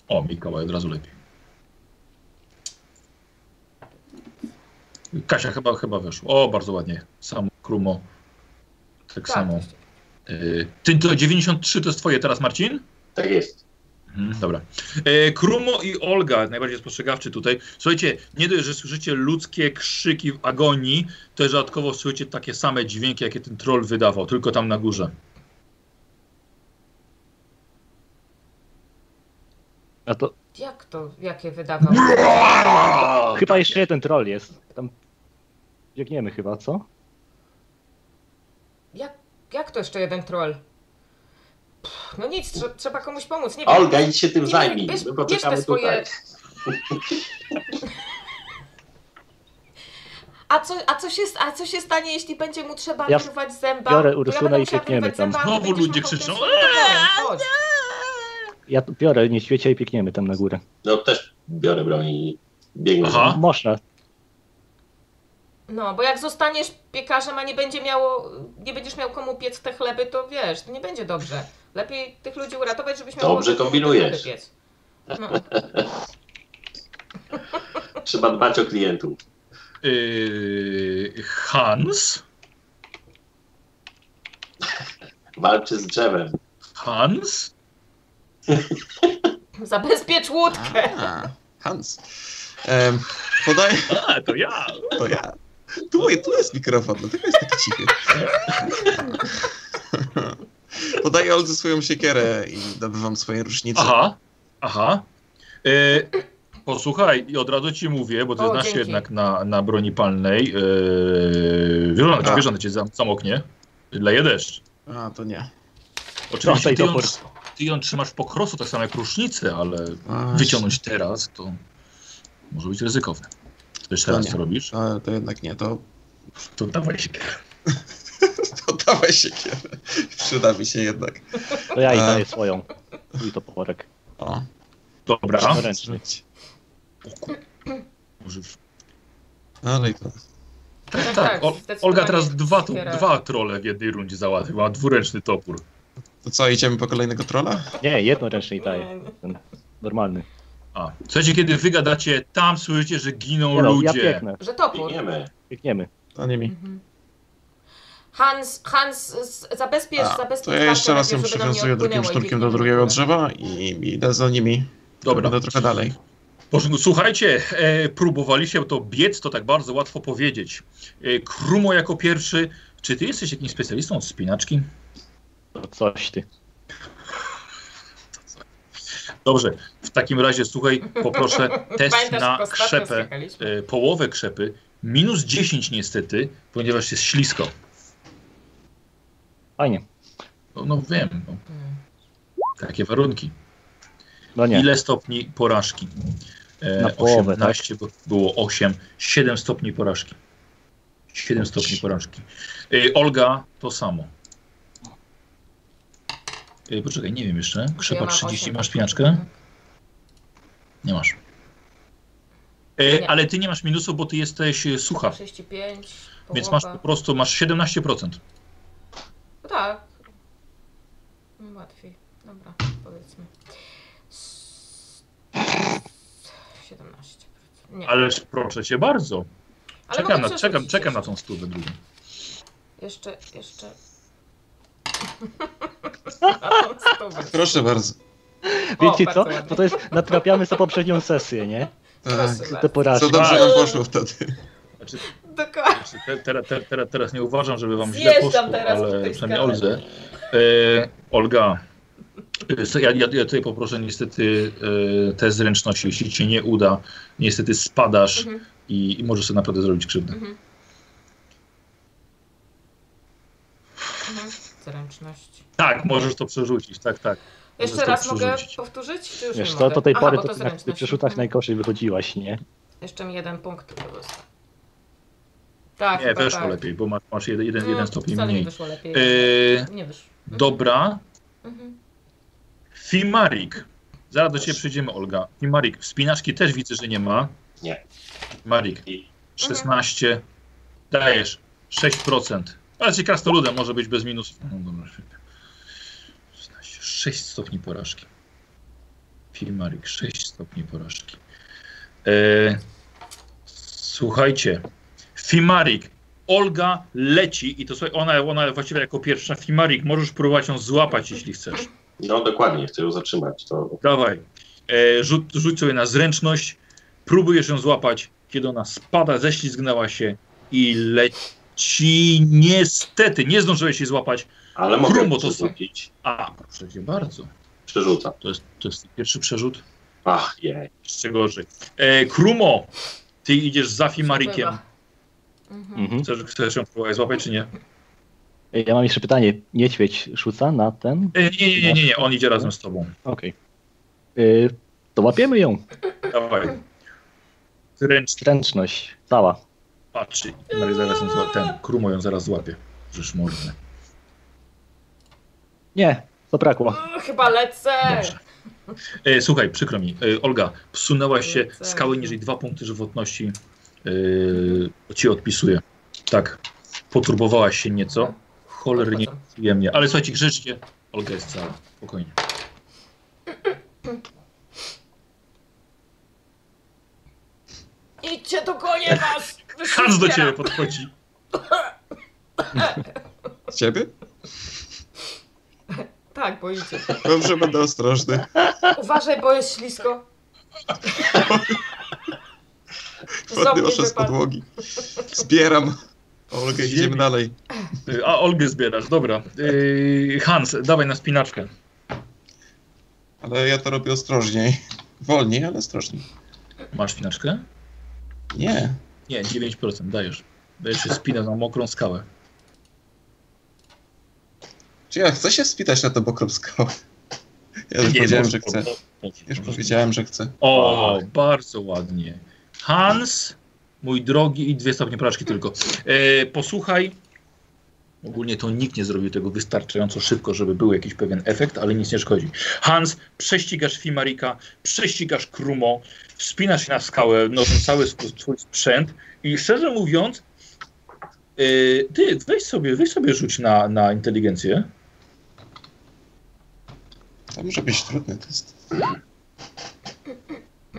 Speaker 1: O, Mikołaj, od razu lepiej. Kasia chyba, chyba weszła. O, bardzo ładnie. Samo, krumo. Tak, samo.
Speaker 4: właśnie.
Speaker 1: Y, Ty to 93 to jest twoje teraz, Marcin?
Speaker 3: Tak jest.
Speaker 1: Mhm, dobra. E, Krumo i Olga, najbardziej spostrzegawczy tutaj. Słuchajcie, nie dość, że słyszycie ludzkie krzyki w agonii, to też dodatkowo słyszycie takie same dźwięki, jakie ten troll wydawał, tylko tam na górze.
Speaker 2: A to
Speaker 4: Jak to, jakie wydawał?
Speaker 1: tak.
Speaker 2: chyba jeszcze jeden troll jest. Tam biegniemy chyba, co?
Speaker 4: Jak, jak to jeszcze jeden troll? Pff, No nic, trze, trzeba komuś pomóc. Nie wiem.
Speaker 3: Olga, idź się tym
Speaker 4: Nie, bierz-
Speaker 3: zajmij. My
Speaker 4: bierz te
Speaker 3: poczekamy
Speaker 4: swoje...
Speaker 3: tutaj.
Speaker 4: A co, a, co się, a co się stanie, jeśli będzie mu trzeba
Speaker 2: Ja
Speaker 4: wyrwać zęba?
Speaker 2: biorę
Speaker 4: Bo
Speaker 2: Ursuna
Speaker 4: będę
Speaker 2: i
Speaker 4: musiała
Speaker 2: piekniemy
Speaker 4: wyrwać
Speaker 2: tam.
Speaker 4: zęba, a ty
Speaker 1: Znowu
Speaker 4: będziesz
Speaker 1: ludzie
Speaker 4: machał tym
Speaker 1: krzyczą, Eee,
Speaker 4: swoim toporem. No Chodź.
Speaker 2: Ja tu biorę niedźwiedzia i biegniemy tam na górę.
Speaker 3: No też biorę broń i biegnę.
Speaker 1: Aha. A?
Speaker 2: Można.
Speaker 4: No, bo jak zostaniesz piekarzem, a nie będzie miało, nie będziesz miał komu piec te chleby, to wiesz, nie będzie dobrze. Lepiej tych ludzi uratować, żebyś miał
Speaker 3: Dobrze
Speaker 4: komu te
Speaker 3: kombinujesz.
Speaker 4: chleby piec. No,
Speaker 3: Trzeba dbać o klientów.
Speaker 1: Yy, Hans?
Speaker 3: Walczy z drzewem.
Speaker 1: Hans?
Speaker 4: zabezpiecz łódkę.
Speaker 5: A, Hans. Em, podaję.
Speaker 1: A, to ja.
Speaker 5: To ja. Tu, tu jest mikrofon, dlatego jest taki cichy. Podaję Oldze swoją siekierę i dobywam swoje różnice.
Speaker 1: Aha, aha. E, posłuchaj, i od razu ci mówię, bo ty
Speaker 4: O,
Speaker 1: znasz się
Speaker 4: dzięki.
Speaker 1: jednak na, na broni palnej. E, Wierzona cię,
Speaker 5: A.
Speaker 1: wierzona cię zam- zamoknie. Leje deszcz.
Speaker 5: A, to nie.
Speaker 1: Oczywiście
Speaker 2: Dawaj
Speaker 1: ty ją,
Speaker 2: topór.
Speaker 1: ty ją trzymasz po krosu, tak samo jak rusznicę, ale
Speaker 5: A,
Speaker 1: wyciągnąć teraz to może być ryzykowne. Wiesz teraz,
Speaker 5: nie. No.
Speaker 1: co robisz?
Speaker 5: A, to jednak nie, to
Speaker 1: To dawaj się.
Speaker 5: To dawaj siekierę. Przyda mi się jednak.
Speaker 2: To ja i
Speaker 5: A.
Speaker 2: daję swoją. I to pochorek.
Speaker 5: O,
Speaker 1: Dobra.
Speaker 2: Ręczny.
Speaker 1: Może-
Speaker 5: ale i to.
Speaker 4: Tak,
Speaker 1: Tak, o,
Speaker 4: zdecydowanie
Speaker 1: Olga teraz dwa, to,
Speaker 4: wspiera.
Speaker 1: dwa trole w jednej rundzie załatwiła, dwuręczny topór.
Speaker 5: To co, idziemy po kolejnego trolla?
Speaker 2: Nie, jednoręczny i daję.
Speaker 4: No,
Speaker 2: Ten normalny.
Speaker 1: A, słuchajcie, kiedy wy gadacie, tam słyszycie, że giną
Speaker 2: Nie no, ja
Speaker 1: ludzie.
Speaker 2: pieknę.
Speaker 4: Że topór.
Speaker 3: Biegniemy.
Speaker 2: Piekniemy.
Speaker 5: To nie mi.
Speaker 4: Mhm. Hans, Hans, z- zabezpiecz,
Speaker 5: A,
Speaker 4: zabezpiecz.
Speaker 5: to ja
Speaker 4: kartę
Speaker 5: jeszcze raz ją
Speaker 4: najpierw, żeby do mnie
Speaker 5: przywiązuję drugim
Speaker 4: odpłynęła i
Speaker 5: szturkiem do
Speaker 4: biegniemy.
Speaker 5: drugiego drzewa i idę za nimi.
Speaker 1: Dobra.
Speaker 5: Będę trochę dalej.
Speaker 1: Boże, słuchajcie, e, próbowaliście to biec, to tak bardzo łatwo powiedzieć. E, Krumo jako pierwszy, czy ty jesteś jakimś specjalistą od spinaczki?
Speaker 2: To coś ty.
Speaker 1: Dobrze, w takim razie słuchaj, poproszę test
Speaker 4: Pamiętasz, jak
Speaker 1: na
Speaker 4: ostatnio
Speaker 1: krzepę,
Speaker 4: skakaliśmy?
Speaker 1: e, połowę krzepy, minus 10 niestety, ponieważ jest ślisko.
Speaker 2: Fajnie.
Speaker 1: No, no wiem, no.
Speaker 4: Mm.
Speaker 1: takie warunki.
Speaker 2: No nie.
Speaker 1: Ile stopni porażki? E,
Speaker 2: Na połowę, tak?
Speaker 1: 18 bo- było 8, 7 stopni porażki. 7 stopni porażki. E, Olga to samo. E, poczekaj, nie wiem jeszcze. Krzepa
Speaker 4: Ja mam
Speaker 1: 30,
Speaker 4: osiem.
Speaker 1: masz pinaczkę? Nie masz. E,
Speaker 4: Nie.
Speaker 1: Ale ty nie masz minusu, bo ty jesteś e, sucha,
Speaker 4: 35, połowa.
Speaker 1: więc masz po prostu masz 17%.
Speaker 4: No tak. Mm, Łatwiej. Dobra, powiedzmy. S- 17. Nie, ale,
Speaker 1: Ależ proszę cię bardzo.
Speaker 4: mogę
Speaker 1: Czekam na,
Speaker 4: przerzucić
Speaker 1: czekam, czekam na
Speaker 4: jeszcze.
Speaker 1: tą stówę drugą.
Speaker 4: Jeszcze, jeszcze. Na tą stówę.
Speaker 5: Proszę bardzo.
Speaker 2: Wiecie co?
Speaker 4: O, bardzo ładnie.
Speaker 2: Bo to jest, natrapiamy sobie poprzednią sesję, nie?
Speaker 5: Tak.
Speaker 4: Proszę
Speaker 2: Te
Speaker 4: bardzo.
Speaker 5: Co
Speaker 2: porażki.
Speaker 5: dobrze wam poszło wtedy.
Speaker 1: Znaczy,
Speaker 4: Dokładnie.
Speaker 1: Znaczy, te, teraz, te, teraz, teraz nie uważam, żeby wam źle
Speaker 4: Zjeżdżam
Speaker 1: poszło,
Speaker 4: teraz od
Speaker 1: ale
Speaker 4: tej
Speaker 1: przynajmniej
Speaker 4: skały.
Speaker 1: Olze. E, Olga, e, so- ja, ja, ja tutaj poproszę niestety e, test zręczności. Jeśli ci nie uda, niestety spadasz
Speaker 4: Mhm,
Speaker 1: i, i możesz sobie naprawdę zrobić krzywdę.
Speaker 4: mhm. Mhm, Zręczność.
Speaker 1: Tak, możesz to przerzucić, tak, tak.
Speaker 4: Jeszcze
Speaker 1: Możesz to
Speaker 4: raz mogę
Speaker 1: przerzucić.
Speaker 4: powtórzyć? Czy już
Speaker 2: Wiesz
Speaker 4: nie
Speaker 2: co,
Speaker 4: mogę?
Speaker 2: do tej pory
Speaker 4: Aha, bo
Speaker 2: to ty na tych
Speaker 4: zręczność.
Speaker 2: przerzutach
Speaker 4: Mhm.
Speaker 2: najgorzej wychodziłaś, nie?
Speaker 4: Jeszcze mi jeden punkt tylko dostał. Tak,
Speaker 1: Nie,
Speaker 4: chyba
Speaker 1: weszło
Speaker 4: tak.
Speaker 1: lepiej, bo masz, masz jeden, jeden, jeden
Speaker 4: Mm,
Speaker 1: stopień
Speaker 4: wcale nie
Speaker 1: mniej.
Speaker 4: wyszło lepiej.
Speaker 1: E,
Speaker 4: Nie wyszło. Mhm,
Speaker 1: dobra,
Speaker 4: mhm.
Speaker 1: Fimarik. Zaraz do ciebie przyjdziemy, Olga. Fimarik, wspinaczki też widzę, że nie ma.
Speaker 3: Nie.
Speaker 1: Marik,
Speaker 3: I-
Speaker 1: 16. Dajesz 6%. Ale ci krasnoludem może być bez minusów. No dobra, świetnie. 16, 6 stopni porażki. Fimarik, 6 stopni porażki. E, słuchajcie. Fimarik. Olga leci i to słuchaj, ona, ona właściwie jako pierwsza. Fimarik, możesz próbować ją złapać, jeśli chcesz.
Speaker 3: No dokładnie, chcę ją zatrzymać. To
Speaker 1: Dawaj. E, rzut, rzuć sobie na zręczność. Próbujesz ją złapać. Kiedy ona spada, ześlizgnęła się i leci. Niestety, nie zdążyłeś jej złapać.
Speaker 3: Ale mogę
Speaker 1: Grubo
Speaker 3: Grumo
Speaker 1: to są.
Speaker 3: przerzucić.
Speaker 1: A, proszę cię bardzo.
Speaker 3: Przerzucam.
Speaker 1: To jest, to jest pierwszy przerzut.
Speaker 3: Ach, jej.
Speaker 1: Jeszcze gorzej. E, Krumo, ty idziesz za Fimarikiem.
Speaker 4: Bywa. Mhm.
Speaker 2: Mhm.
Speaker 1: Chcesz, chcesz ją próbować złapać, czy nie?
Speaker 2: Ej, Mhm. Ja mam jeszcze pytanie. Niedźwiedź rzuca na ten?
Speaker 1: E, nie, nie, nie, nie, nie, on idzie razem z tobą.
Speaker 2: Okej. Y, to łapiemy ją.
Speaker 1: Dawaj. Ręcz
Speaker 2: Ręczność. Cała.
Speaker 1: patrzy. Fimari Zaraz ją zła- ten, Krumo ją zaraz złapie. Rzesz mordę.
Speaker 2: Nie, zabrakło.
Speaker 4: Mm, Chyba lecę.
Speaker 1: Dobrze. E, słuchaj, przykro mi. E, Olga, wsunęłaś się
Speaker 4: Lecę.
Speaker 1: skały niżej dwa punkty żywotności. E, ci odpisuję. Tak. Poturbowałaś się nieco. Cholernie
Speaker 4: Odchodzę.
Speaker 1: przyjemnie. Ale słuchajcie, grzeczcie. Olga jest cała. Spokojnie.
Speaker 4: Idźcie, to konie was! Wy
Speaker 1: Hans do
Speaker 4: się
Speaker 1: ciebie podchodzi.
Speaker 5: Ciebie?
Speaker 4: Tak, bo idzie.
Speaker 5: Dobrze, będę ostrożny.
Speaker 4: Uważaj, bo jest ślisko. Ząbki
Speaker 5: Podnoszę z
Speaker 4: wypadły.
Speaker 5: podłogi. Zbieram. Olgę, idziemy
Speaker 1: Ziemi.
Speaker 5: dalej.
Speaker 1: E, A Olgę zbierasz, dobra. E, Hans, dawaj na spinaczkę.
Speaker 5: Ale ja to robię ostrożniej. Wolniej, ale ostrożniej.
Speaker 1: Masz spinaczkę?
Speaker 5: Nie.
Speaker 1: Nie, 9% dajesz. Dajesz się spina na mokrą skałę.
Speaker 5: Czy ja chcę się wspitać na tę bokrą skałę? Ja już
Speaker 1: Nie,
Speaker 5: powiedziałem, że
Speaker 1: możesz-
Speaker 5: chcę.
Speaker 1: możesz-
Speaker 5: Już
Speaker 1: możesz-
Speaker 5: powiedziałem, że chcę.
Speaker 1: O, bardzo ładnie. Hans, mój drogi, i dwie stopnie porażki tylko. E, posłuchaj. Ogólnie to nikt nie zrobił tego wystarczająco szybko, żeby był jakiś pewien efekt, ale nic nie szkodzi. Hans, prześcigasz Fimarika, prześcigasz Krumo, wspinasz się na skałę, nosząc cały sp- swój sprzęt i szczerze mówiąc, e, ty weź sobie, weź sobie rzuć na, na inteligencję.
Speaker 5: To może być trudny test.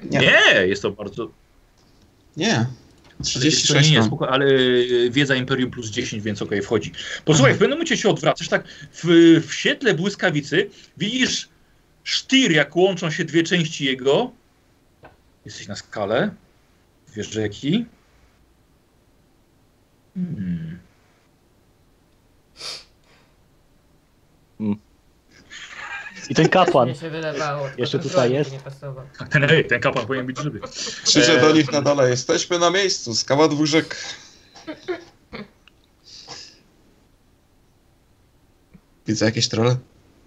Speaker 1: Nie,
Speaker 5: Nie.
Speaker 1: jest to bardzo...
Speaker 5: Nie.
Speaker 1: Ale
Speaker 5: 36
Speaker 1: Nie, nie,
Speaker 5: mam.
Speaker 1: spoko, ale y, wiedza Imperium plus 10, więc okej, wchodzi. Posłuchaj, w pewnym momencie się odwracasz, tak w, w świetle błyskawicy widzisz sztyr, jak łączą się dwie części jego. Jesteś na skale. Wiesz, że jaki? Hmm.
Speaker 2: I ten kapłan.
Speaker 4: Mnie się wydawało. tylko
Speaker 2: Jeszcze
Speaker 4: ten
Speaker 2: tutaj
Speaker 4: słoik
Speaker 2: jest?
Speaker 4: Nie pasował.
Speaker 1: Ten, ej, ten kapłan powinien być żywy.
Speaker 5: Krzyczę do
Speaker 1: Eee.
Speaker 5: nich na dole. Jesteśmy na miejscu. Skała dwóch rzek. Widzę jakieś trolle?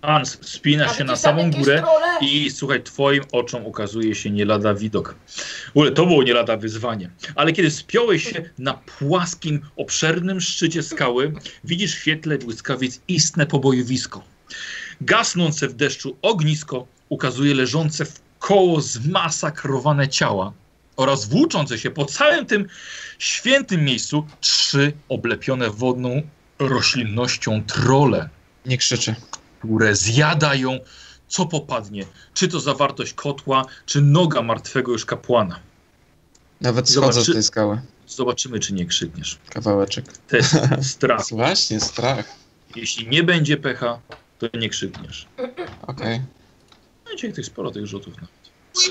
Speaker 1: Hans, spinasz
Speaker 4: A
Speaker 1: się na
Speaker 4: widzisz tam
Speaker 1: samą
Speaker 4: jakieś
Speaker 1: górę.
Speaker 4: trolle?
Speaker 1: I słuchaj, twoim oczom ukazuje się nie lada widok. W ogóle to było nie lada wyzwanie. Ale kiedy spiąłeś się na płaskim, obszernym szczycie skały, widzisz w świetle błyskawic istne pobojowisko. Gasnące w deszczu ognisko ukazuje leżące w koło zmasakrowane ciała oraz włóczące się po całym tym świętym miejscu trzy oblepione wodną roślinnością trole
Speaker 5: Nie krzyczę.
Speaker 1: które zjadają, co popadnie. Czy to zawartość kotła, czy noga martwego już kapłana.
Speaker 5: Nawet
Speaker 1: Zobacz,
Speaker 5: schodzę
Speaker 1: czy-
Speaker 5: z tej skały.
Speaker 1: Zobaczymy, czy nie krzykniesz.
Speaker 5: Kawałeczek.
Speaker 1: Test strach.
Speaker 5: Właśnie, strach.
Speaker 1: Jeśli nie będzie pecha, to nie krzykniesz.
Speaker 5: Okej.
Speaker 1: No dzisiaj tych sporo tych rzutów nawet.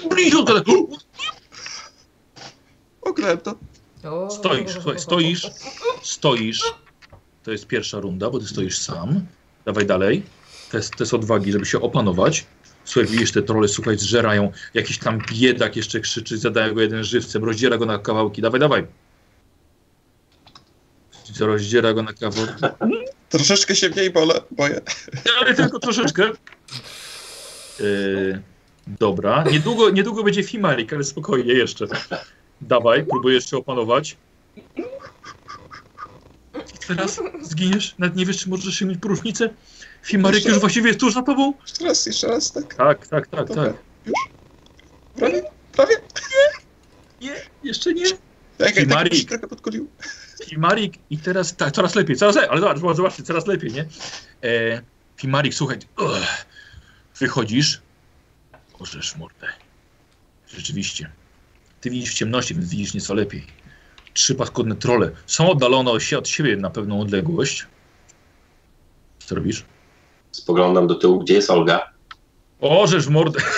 Speaker 1: Ui, Bliziutko, tak, u, u,
Speaker 5: Ograłem to.
Speaker 4: O.
Speaker 1: Stoisz, słuchaj, stoisz, stoisz. To jest pierwsza runda, bo ty stoisz sam. Dawaj dalej. Test, test odwagi, żeby się opanować. Słuchaj, widzisz, te trole, słuchaj, zżerają. Jakiś tam biedak jeszcze krzyczy, zadaje go jeden żywcem, rozdziera go na kawałki. Dawaj, dawaj. Rozdziera go na kawałki.
Speaker 5: Troszeczkę się mniej bole, boję.
Speaker 1: Ale tylko troszeczkę. Yy, dobra. Niedługo, niedługo będzie Fimarik, ale spokojnie jeszcze. Dawaj, próbujesz się opanować. I teraz zginiesz, nawet nie wiesz, czy możesz mieć próżnicę. Fimarik już właściwie jest tuż za tobą.
Speaker 5: Jeszcze raz, jeszcze raz, tak.
Speaker 1: Tak, tak, tak,
Speaker 5: Dobra.
Speaker 1: tak.
Speaker 5: Już? Prawie? Prawie?
Speaker 1: Nie, jeszcze nie.
Speaker 5: Tak, tak, tak,
Speaker 1: Marii.
Speaker 5: już trochę podkulił.
Speaker 1: Fimarik i teraz tak, coraz lepiej, coraz lepiej, ale zobacz, zobaczcie, coraz lepiej, nie? E, Fimarik, słuchaj, ugh, wychodzisz, orzesz mordę. Rzeczywiście. Ty widzisz w ciemności, więc widzisz nieco lepiej. Trzy paskudne trole są oddalone się od siebie na pewną odległość. Co robisz?
Speaker 3: Spoglądam do tyłu, gdzie jest Olga.
Speaker 1: Orzesz mordę.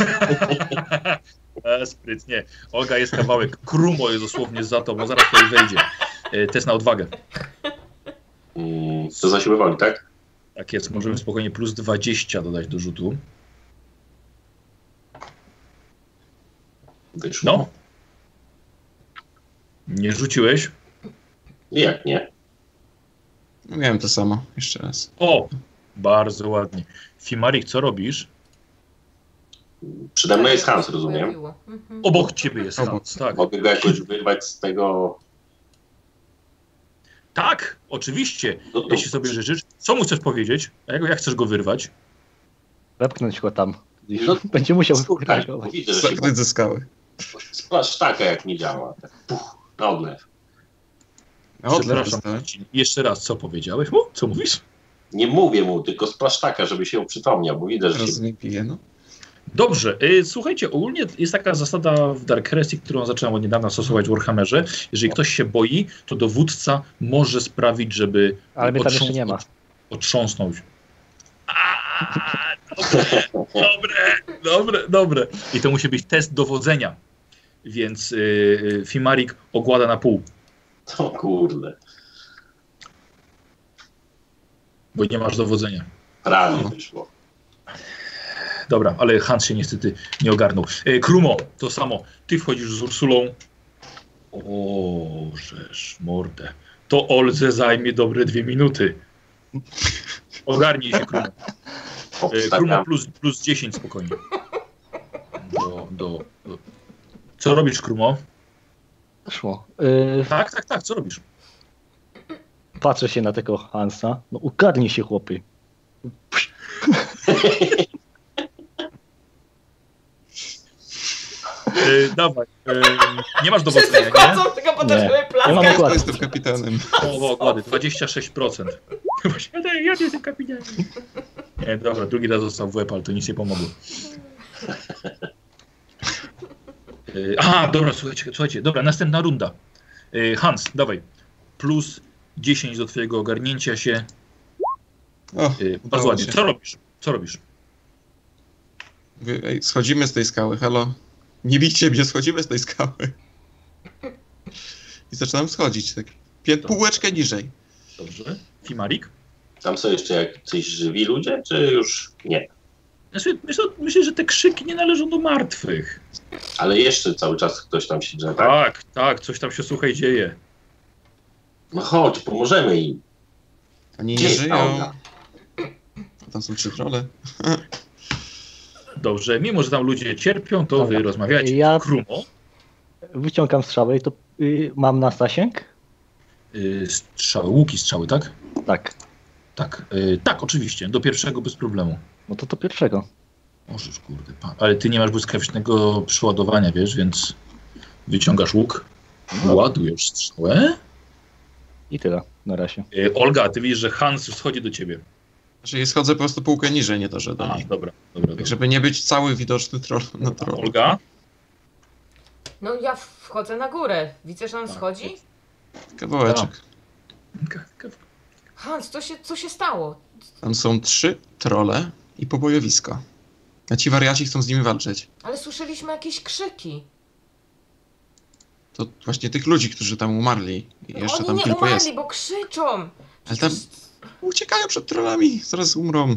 Speaker 1: E, Sprytnie. Olga jest kawałek. Krumo jest dosłownie za tobą, zaraz tutaj wejdzie. E, Test na odwagę.
Speaker 3: Mm, To za siebie woli, tak?
Speaker 1: Tak jest, możemy
Speaker 2: Mhm.
Speaker 1: spokojnie plus 20 dodać do rzutu.
Speaker 3: Wyszło.
Speaker 1: No. Nie rzuciłeś?
Speaker 3: Jak nie?
Speaker 5: No, Miałem to samo. Jeszcze raz.
Speaker 1: O! Bardzo ładnie. Fimarik, co robisz?
Speaker 3: Przede mną jest Hans,
Speaker 4: się
Speaker 3: rozumiem.
Speaker 4: pojawiło. Mhm.
Speaker 1: Obok ciebie jest
Speaker 5: Obok.
Speaker 1: Hans, tak.
Speaker 3: Mogę go jakoś wyrwać z tego...
Speaker 1: Tak, oczywiście,
Speaker 3: No, to...
Speaker 1: jeśli sobie życzysz. Co mu chcesz powiedzieć? A Jak, jak chcesz go wyrwać?
Speaker 2: Wepchnąć go tam.
Speaker 3: No,
Speaker 2: Będzie musiał
Speaker 3: tak,
Speaker 2: reagować.
Speaker 3: widzę, że się
Speaker 5: Zakryć ze skały.
Speaker 3: Spa- sztaka jak nie działa. Tak. Puch, na odlew.
Speaker 5: Na odlew
Speaker 1: Przepraszam,
Speaker 2: tak.
Speaker 5: dostałem.
Speaker 1: Marcin. jeszcze raz, co powiedziałeś mu? Co mówisz?
Speaker 3: Nie mówię mu, tylko splasztaka, żeby się uprzytomniał, bo widzę, że
Speaker 5: Teraz
Speaker 3: się...
Speaker 5: nie piję, no.
Speaker 1: Dobrze, y, słuchajcie, ogólnie jest taka zasada w Dark Heresy, którą zacząłem od niedawna stosować w Warhammerze. Jeżeli ktoś się boi, to dowódca może sprawić, żeby
Speaker 2: Ale mnie tam jeszcze
Speaker 1: otrząs-
Speaker 2: nie ma.
Speaker 1: otrząsnął się. Aaa, dobre, dobre, dobre, dobre. I to musi być test dowodzenia. Więc yy, Fimarik ogłada na pół,
Speaker 3: To kurde.
Speaker 1: bo nie masz dowodzenia.
Speaker 3: Prawie
Speaker 1: No.
Speaker 3: wyszło.
Speaker 1: Dobra, ale Hans się niestety nie ogarnął. E, Krumo, to samo. Ty wchodzisz z Ursulą. O, żeż mordę. To Olze zajmie dobre dwie minuty. Ogarnij się, Krumo. E, Krumo
Speaker 3: Obstawiam.
Speaker 1: plus, plus 10 spokojnie. Do, do, do. Co robisz, Krumo?
Speaker 2: Poszło. Y,
Speaker 1: Tak, tak, tak, co robisz?
Speaker 2: patrzę się na tego Hansa. No ugarnij się, chłopy.
Speaker 1: Yy, dawaj. Yy, nie masz dowodzenia,
Speaker 4: Wszyscy
Speaker 1: nie?
Speaker 4: wchodzą, tylko
Speaker 2: Nie.
Speaker 4: potem
Speaker 2: Ja mam
Speaker 4: plaskę.
Speaker 5: Ja
Speaker 2: okładkę.
Speaker 5: jestem kapitanem.
Speaker 1: Połowa ogłady, 26%. Właśnie, ja, ja jestem kapitanem. Nie, dobra, drugi raz został w łeb, ale to nic nie pomogło. Yy, Aha, dobra, słuchajcie, słuchajcie, dobra, następna runda. Yy, Hans, dawaj. Plus 10 do twojego ogarnięcia się.
Speaker 5: O,
Speaker 1: Yy, Bardzo
Speaker 5: Udało
Speaker 1: ładnie.
Speaker 5: się.
Speaker 1: Co robisz? Co robisz?
Speaker 5: mówię, ej, schodzimy z tej skały, halo. Nie bijcie mnie, schodzimy z tej skały. I zaczynam schodzić, tak. Pię- półeczkę niżej.
Speaker 1: Dobrze. Fimarik?
Speaker 3: Tam są jeszcze jacyś żywi ludzie, czy już nie?
Speaker 1: Znaczy, myślę, myślę, że te krzyki nie należą do martwych.
Speaker 3: Ale jeszcze cały czas ktoś tam się drze, tak?
Speaker 1: Tak, tak, coś tam się słuchaj dzieje.
Speaker 3: No chodź, pomożemy im.
Speaker 5: Oni
Speaker 3: Gdzie
Speaker 5: nie
Speaker 3: jest ta
Speaker 5: żyją.
Speaker 1: no.
Speaker 3: Olga?
Speaker 5: Tam są trzy trole.
Speaker 1: Dobrze, mimo że tam ludzie cierpią, to
Speaker 2: Dobra.
Speaker 1: wy rozmawiacie
Speaker 2: Ja-
Speaker 1: krumo.
Speaker 2: Wyciągam strzałę i to y, mam na zasięg?
Speaker 1: Y, strzały, łuki strzały, tak?
Speaker 2: Tak.
Speaker 1: Tak, y, tak, oczywiście, do pierwszego bez problemu.
Speaker 2: No to to pierwszego.
Speaker 1: Możesz, kurde, pan. Ale ty nie masz błyskawicznego przeładowania, wiesz, więc wyciągasz łuk, ładujesz strzałę.
Speaker 2: I tyle na razie.
Speaker 1: Y, Olga, ty widzisz, że Hans schodzi do ciebie.
Speaker 5: Znaczy, schodzę po prostu półkę niżej, nie to, że do
Speaker 1: A,
Speaker 5: niej.
Speaker 1: dobra, dobra,
Speaker 5: Tak,
Speaker 1: dobra.
Speaker 5: żeby nie być cały widoczny troll na trolu.
Speaker 1: Olga,
Speaker 4: No ja wchodzę na górę. Widzę, że on
Speaker 1: Tak.
Speaker 4: schodzi.
Speaker 5: Kawałeczek.
Speaker 4: Hans, co się, co się stało?
Speaker 5: Tam są trzy trole i pobojowisko. A ci wariaci chcą z nimi walczyć.
Speaker 4: Ale słyszeliśmy jakieś krzyki.
Speaker 5: To właśnie tych ludzi, którzy tam umarli. I
Speaker 4: No,
Speaker 5: jeszcze
Speaker 4: Oni
Speaker 5: tam
Speaker 4: nie
Speaker 5: kilku
Speaker 4: umarli,
Speaker 5: jest.
Speaker 4: bo krzyczą.
Speaker 5: Ale tam uciekają przed trollami, zaraz umrą.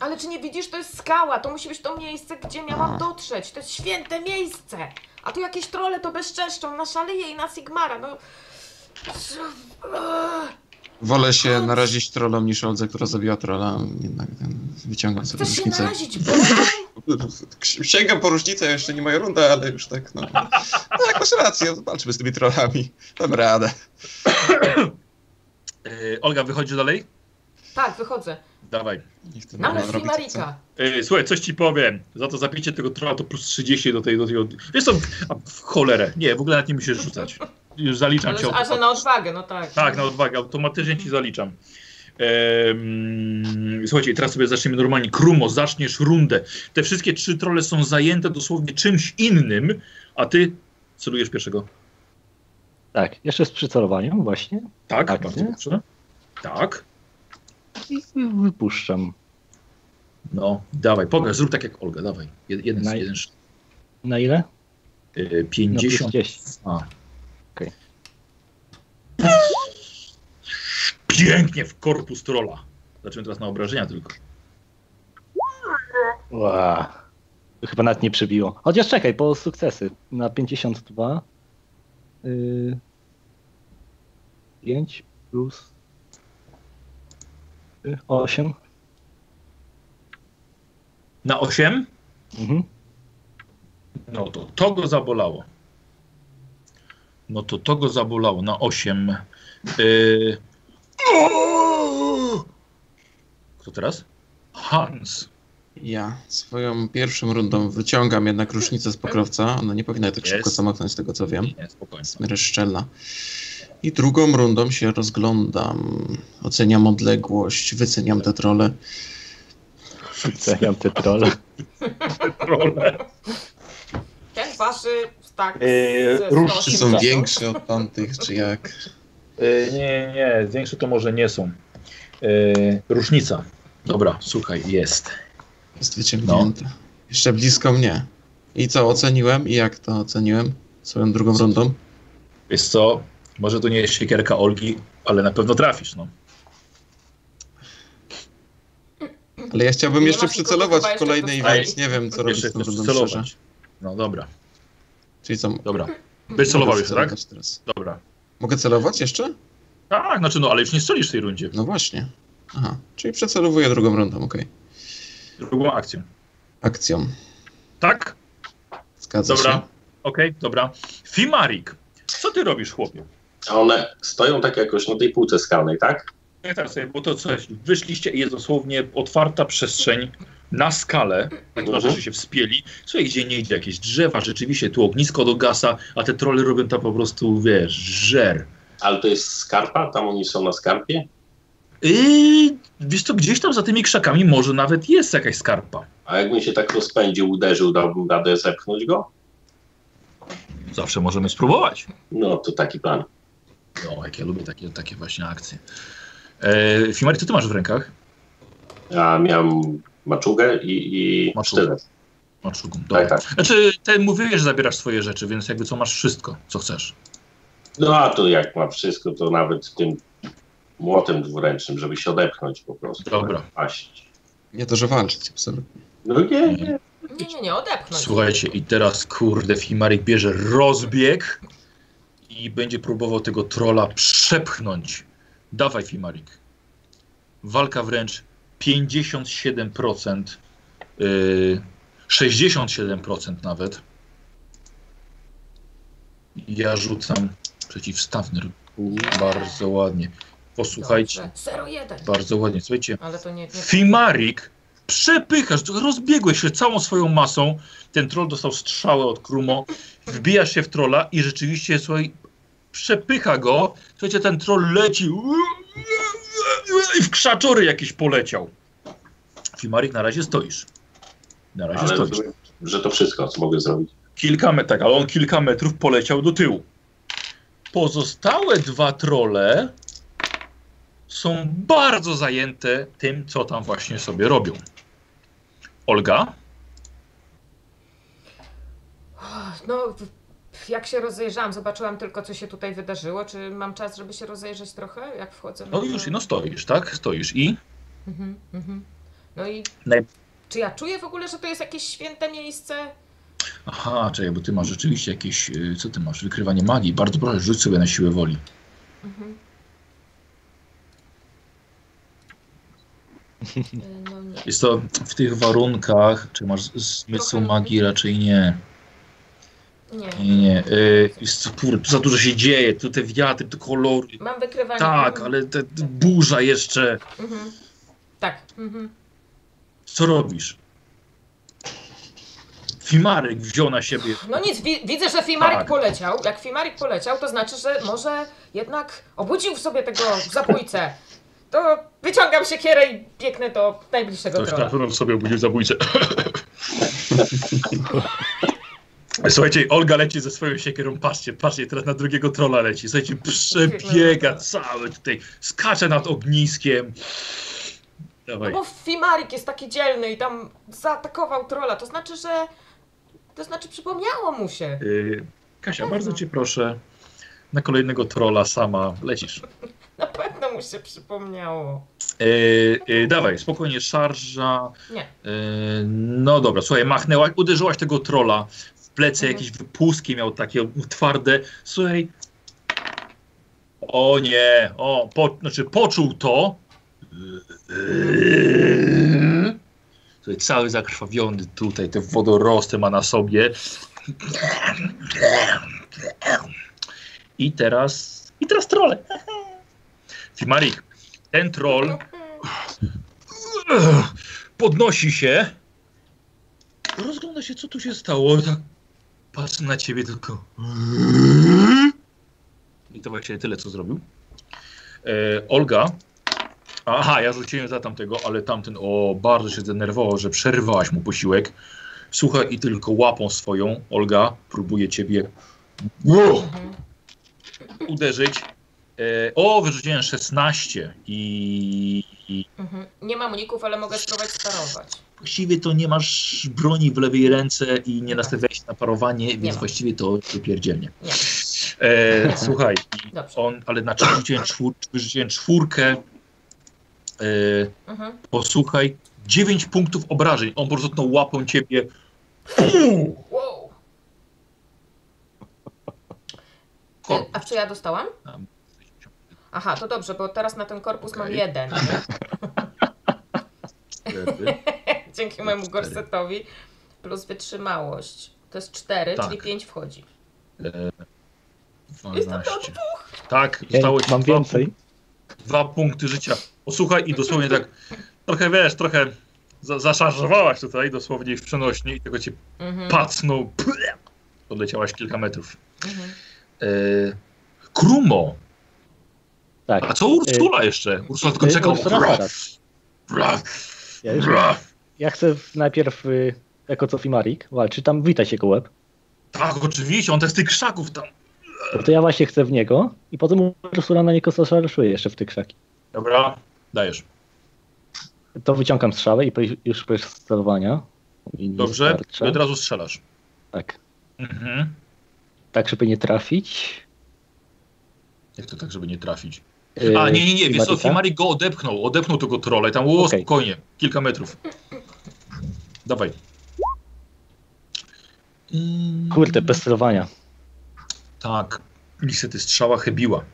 Speaker 4: Ale czy nie widzisz, to jest skała, to musi być to miejsce, gdzie miałam dotrzeć. To jest święte miejsce. A tu jakieś trole to bezczeszczą na Szaleję i na Sigmara, no... Co- Eee,
Speaker 5: Wolę się narazić trollom niż Oldze, która zabiła trolla. Jednak ten, wyciągam sobie
Speaker 4: Chcesz się
Speaker 5: różnicę.
Speaker 4: narazić, Boże?
Speaker 5: Sięgam po różnicę, jeszcze nie moja runda, ale już tak, no. Tak, masz rację, walczymy z tymi trollami. Dam radę.
Speaker 1: y, Olga, wychodzisz dalej?
Speaker 4: Tak, wychodzę.
Speaker 1: Dawaj.
Speaker 5: Niech ten
Speaker 4: Mamy
Speaker 5: troll robi, co chce.
Speaker 4: Frimarika.
Speaker 1: Ej, E, słuchaj, coś ci powiem. Za to zabicie tego trolla to plus 30 do tej... Do tej od... Wiesz co, a, w cholerę. Nie, w ogóle nawet nie musisz rzucać. Już zaliczam
Speaker 4: Ale,
Speaker 1: cię.
Speaker 4: a, że na odwagę, no tak.
Speaker 1: Tak, na odwagę. Automatycznie ci zaliczam. Ehm, słuchajcie, teraz sobie zaczniemy normalnie. Krumo, zaczniesz rundę. Te wszystkie trzy trole są zajęte dosłownie czymś innym, a ty celujesz pierwszego.
Speaker 2: Tak, jeszcze z przycelowaniem właśnie.
Speaker 1: Tak,
Speaker 2: Tak,
Speaker 1: bardzo
Speaker 2: nie?
Speaker 1: dobrze. Tak.
Speaker 2: I wypuszczam.
Speaker 1: No, dawaj, pokaż, zrób tak jak Olga, dawaj. Jed- Jeden,
Speaker 2: Naj-
Speaker 1: jeden,
Speaker 2: Na ile?
Speaker 1: yy,
Speaker 2: Na plus
Speaker 1: 50.
Speaker 2: 10.
Speaker 1: A.
Speaker 2: Okej.
Speaker 1: Pięknie w korpus trolla. Zaczynamy teraz na obrażenia tylko.
Speaker 2: Ła. Chyba nawet nie przebiło. Chociaż czekaj, po sukcesy. Na 52. Yy, 5 plus 8.
Speaker 1: Na 8?
Speaker 2: Mhm.
Speaker 1: No to to go zabolało. No to to go zabolało na 8. Yy... Kto teraz? Hans.
Speaker 5: Ja swoją pierwszą rundą wyciągam jednak różnicę z pokrowca. Ona nie powinna tak szybko
Speaker 1: Jest.
Speaker 5: zamknąć, z tego co wiem.
Speaker 1: Nie, spokojnie.
Speaker 5: Jest Ryszczelna. I drugą rundą się rozglądam. Oceniam odległość, wyceniam te trole.
Speaker 2: Ceniam te trolle.
Speaker 4: Ten waszy, tak,
Speaker 1: Yy,
Speaker 4: ze
Speaker 1: różdżki
Speaker 5: Czy
Speaker 4: stołkiem
Speaker 5: są
Speaker 4: wziął.
Speaker 5: większe od tamtych, czy jak?
Speaker 1: Y, nie, nie, większe to może nie są. Yy, różnica. Dobra, słuchaj, jest.
Speaker 5: Jest wyciągnięte. No. Jeszcze blisko mnie. I co oceniłem? I jak to oceniłem? Swoją drugą rundą?
Speaker 1: Wiesz co, może to nie jest siekierka Olgi, ale na pewno trafisz, no.
Speaker 5: Ale ja chciałbym
Speaker 4: Nie
Speaker 5: jeszcze
Speaker 4: masz nikogo
Speaker 5: przycelować
Speaker 4: chyba
Speaker 5: w
Speaker 4: jeszcze
Speaker 5: kolejnej,
Speaker 1: tutaj.
Speaker 5: więc nie wiem co robić
Speaker 1: Jeszcze
Speaker 5: z tą
Speaker 1: chcesz
Speaker 5: rundą szczerze.
Speaker 1: celować. No dobra,
Speaker 5: Czyli co? mogę
Speaker 1: dobra. Będziesz celował jeszcze, tak?
Speaker 5: celować Teraz.
Speaker 1: Dobra.
Speaker 5: Mogę celować jeszcze?
Speaker 1: Tak, znaczy no, ale już nie strzelisz w tej rundzie.
Speaker 5: No właśnie. Aha, czyli przecelowuję drugą rundą, okej.
Speaker 1: Drugą akcją.
Speaker 5: Akcją.
Speaker 1: Tak?
Speaker 5: Zgadza
Speaker 1: Dobra.
Speaker 5: się.
Speaker 1: Okej, dobra. Fimarik, ty robisz, chłopie?
Speaker 3: A one stoją tak jakoś na tej półce skalnej, tak?
Speaker 1: Pamiętam sobie, bo to coś, wyszliście i jest dosłownie otwarta przestrzeń na skalę, tak na
Speaker 3: Mhm.
Speaker 1: rzeczy się wspięli, co idzie, nie idzie, jakieś drzewa, rzeczywiście tu ognisko do gasa, a te trolle robią tam po prostu, wiesz, żer.
Speaker 3: Ale to jest skarpa? Tam oni są na skarpie?
Speaker 1: Yy, wiesz to gdzieś tam za tymi krzakami może nawet jest jakaś skarpa.
Speaker 3: A jakbym się tak rozpędził, uderzył, dałbym radę zepchnąć go?
Speaker 1: Zawsze możemy spróbować.
Speaker 3: No, to taki plan.
Speaker 1: No, jak ja lubię takie, takie właśnie akcje. E, Fimari, co ty masz w rękach?
Speaker 3: Ja miałem maczugę i, i
Speaker 1: Maczugę.
Speaker 3: sztylet.
Speaker 1: Maczugu. Dobra.
Speaker 3: Tak, tak.
Speaker 1: Znaczy, ty mówiłeś, że zabierasz swoje rzeczy, więc jakby co, masz wszystko, co chcesz.
Speaker 3: No a to jak ma wszystko, to nawet tym młotem dwuręcznym, żeby się odepchnąć po prostu.
Speaker 1: Dobra.
Speaker 3: Paść.
Speaker 5: Nie to, że walczyć, absolutnie.
Speaker 3: No nie, nie.
Speaker 4: Nie, nie, nie, odepchnąć.
Speaker 1: Słuchajcie, i teraz kurde, Fimarik bierze rozbieg i będzie próbował tego trola przepchnąć. Dawaj, Fimarik. Walka wręcz 57%, yy, 67% nawet. Ja rzucam przeciwstawny. Bardzo ładnie. Posłuchajcie,
Speaker 4: 01.
Speaker 1: bardzo ładnie. Słuchajcie,
Speaker 4: Ale to nie. nie...
Speaker 1: Fimarik, przepychasz, rozbiegłeś się całą swoją masą. Ten troll dostał strzałę od Krumo. Wbijasz się w trolla i rzeczywiście, słuchaj, przepycha go. Słuchajcie, ten troll leci i w krzaczory jakiś poleciał. Fimarik, na razie stoisz. Na razie
Speaker 3: Ale
Speaker 1: stoisz.
Speaker 3: że, że to wszystko, co mogę zrobić.
Speaker 1: Kilka metrów, tak, ale on kilka metrów poleciał do tyłu. Pozostałe dwa trole są bardzo zajęte tym, co tam właśnie sobie robią. Olga,
Speaker 4: No, w- jak się rozejrzałam, zobaczyłam tylko, co się tutaj wydarzyło. Czy mam czas, żeby się rozejrzeć trochę, jak wchodzę?
Speaker 1: no już, no stoisz, tak? Stoisz i
Speaker 4: Mhm, mhm. No i
Speaker 1: Naj-
Speaker 4: czy ja czuję w ogóle, że to jest jakieś święte miejsce?
Speaker 1: aha, czekaj, bo ty masz rzeczywiście jakieś, y, co ty masz, wykrywanie magii. Bardzo proszę, rzuć sobie na siłę woli.
Speaker 4: Mhm. E, No nie.
Speaker 1: Jest to w tych warunkach, czy masz zmysł
Speaker 4: Trochę-
Speaker 1: magii? Raczej nie.
Speaker 4: Nie.
Speaker 1: Nie, nie. Y, jest to, kur- za dużo się dzieje, tu te wiatry, te kolory.
Speaker 4: Mam wykrywanie.
Speaker 1: Tak,
Speaker 4: Mhm.
Speaker 1: ale te, te burza jeszcze.
Speaker 4: Mhm. Tak. Mhm.
Speaker 1: Co robisz? Fimarek wziął na siebie.
Speaker 4: No nic, wi widzę, że Fimarik
Speaker 1: Tak.
Speaker 4: poleciał. Jak Fimarik poleciał, to znaczy, że może jednak obudził w sobie tego zabójcę. To wyciągam siekierę i biegnę do najbliższego
Speaker 1: Ktoś na
Speaker 4: trolla.
Speaker 1: pewno sobie obudził zabójcę. Słuchajcie, Olga leci ze swoją siekierą, patrzcie, patrzcie, teraz na drugiego trola leci. Słuchajcie, przebiega cały tutaj, skacze nad ogniskiem.
Speaker 4: No
Speaker 1: Dawaj.
Speaker 4: bo Fimarik jest taki dzielny i tam zaatakował trolla, to znaczy, że... To znaczy przypomniało mu się.
Speaker 1: Y, Kasia, bardzo cię proszę, na kolejnego trola sama lecisz.
Speaker 4: Na pewno mu się przypomniało.
Speaker 1: Yy, yy, dawaj, spokojnie, szarża.
Speaker 4: Nie.
Speaker 1: Yy, no dobra, słuchaj, machnęłaś, uderzyłaś tego trola w plecy,
Speaker 4: Mhm.
Speaker 1: jakieś wypustki miał takie twarde. Słuchaj. O nie, o, po, znaczy poczuł to. Słuchaj, cały zakrwawiony tutaj, te wodorosty ma na sobie. I teraz, i teraz trole. Fimarik, ten troll podnosi się. Rozgląda się, co tu się stało. Tak patrzy na ciebie tylko. I to właściwie tyle, co zrobił. E, Olga. Aha, ja rzuciłem za tamtego, ale tamten o bardzo się zdenerwował, że przerwałaś mu posiłek. Słuchaj i tylko łapą swoją, Olga, próbuje ciebie
Speaker 4: Mhm.
Speaker 1: uderzyć. E, o, wyrzuciłem 16 i, i
Speaker 4: Mhm. Nie mam uników, ale mogę spróbować sparować.
Speaker 1: Właściwie to nie masz broni w lewej ręce i nie nastawiałeś się na parowanie, więc
Speaker 4: mam.
Speaker 1: właściwie to wypierdzielnie.
Speaker 4: Nie.
Speaker 1: E, słuchaj, i
Speaker 4: Dobrze.
Speaker 1: on, ale na czym rzuciłem, czwór, rzuciłem czwórkę. E,
Speaker 4: Mhm.
Speaker 1: posłuchaj, 9 punktów obrażeń. On po prostu tą łapą ciebie.
Speaker 4: Wow.
Speaker 1: Kor-
Speaker 4: A czy ja dostałam?
Speaker 1: Tam.
Speaker 4: Aha, to dobrze, bo teraz na ten korpus mam
Speaker 1: Okej.
Speaker 4: jeden. Dzięki mojemu
Speaker 1: No, Cztery.
Speaker 4: gorsetowi. Plus wytrzymałość. To jest cztery,
Speaker 1: Tak.
Speaker 4: czyli pięć wchodzi.
Speaker 1: 12. Tak, zostało ci
Speaker 2: Mam
Speaker 1: dwa,
Speaker 2: więcej.
Speaker 1: dwa punkty życia. Posłuchaj i dosłownie tak trochę wiesz, trochę za, zaszarżowałaś tutaj dosłownie w przenośni i tego cię
Speaker 4: Mhm.
Speaker 1: pacnął. Odleciałaś kilka metrów.
Speaker 4: Mhm.
Speaker 1: E, Krumo. A
Speaker 2: Tak.
Speaker 1: co Ursula jeszcze? Ursula tylko
Speaker 2: e,
Speaker 1: czekał.
Speaker 2: Ursula
Speaker 1: Braf,
Speaker 2: zaraz.
Speaker 1: braf,
Speaker 2: Ja, już,
Speaker 1: braf.
Speaker 2: ja chcę w- najpierw, y, jako co Fimarik walczy, tam wita się go łeb.
Speaker 1: Tak, oczywiście, on też z tych krzaków tam.
Speaker 2: No to ja właśnie chcę w niego i potem Ursula na niego zaszarszuje jeszcze w te krzaki.
Speaker 1: Dobra, dajesz.
Speaker 2: To wyciągam strzałę i poj- już bez sterowania. I nie
Speaker 1: Dobrze, i
Speaker 2: starcza.
Speaker 1: od razu strzelasz.
Speaker 2: Tak.
Speaker 1: Mhm.
Speaker 2: tak, żeby nie trafić.
Speaker 1: Jak to tak, żeby nie trafić?
Speaker 2: Yy,
Speaker 1: A, nie, nie, nie, wiesz co,
Speaker 2: Fimarika?
Speaker 1: Fimari go odepchnął, odepchnął tego trolla i tam było
Speaker 2: Okej.
Speaker 1: spokojnie, kilka metrów. Dawaj. Mm,
Speaker 2: Kurde, bez sterowania.
Speaker 1: Tak, niestety strzała chybiła.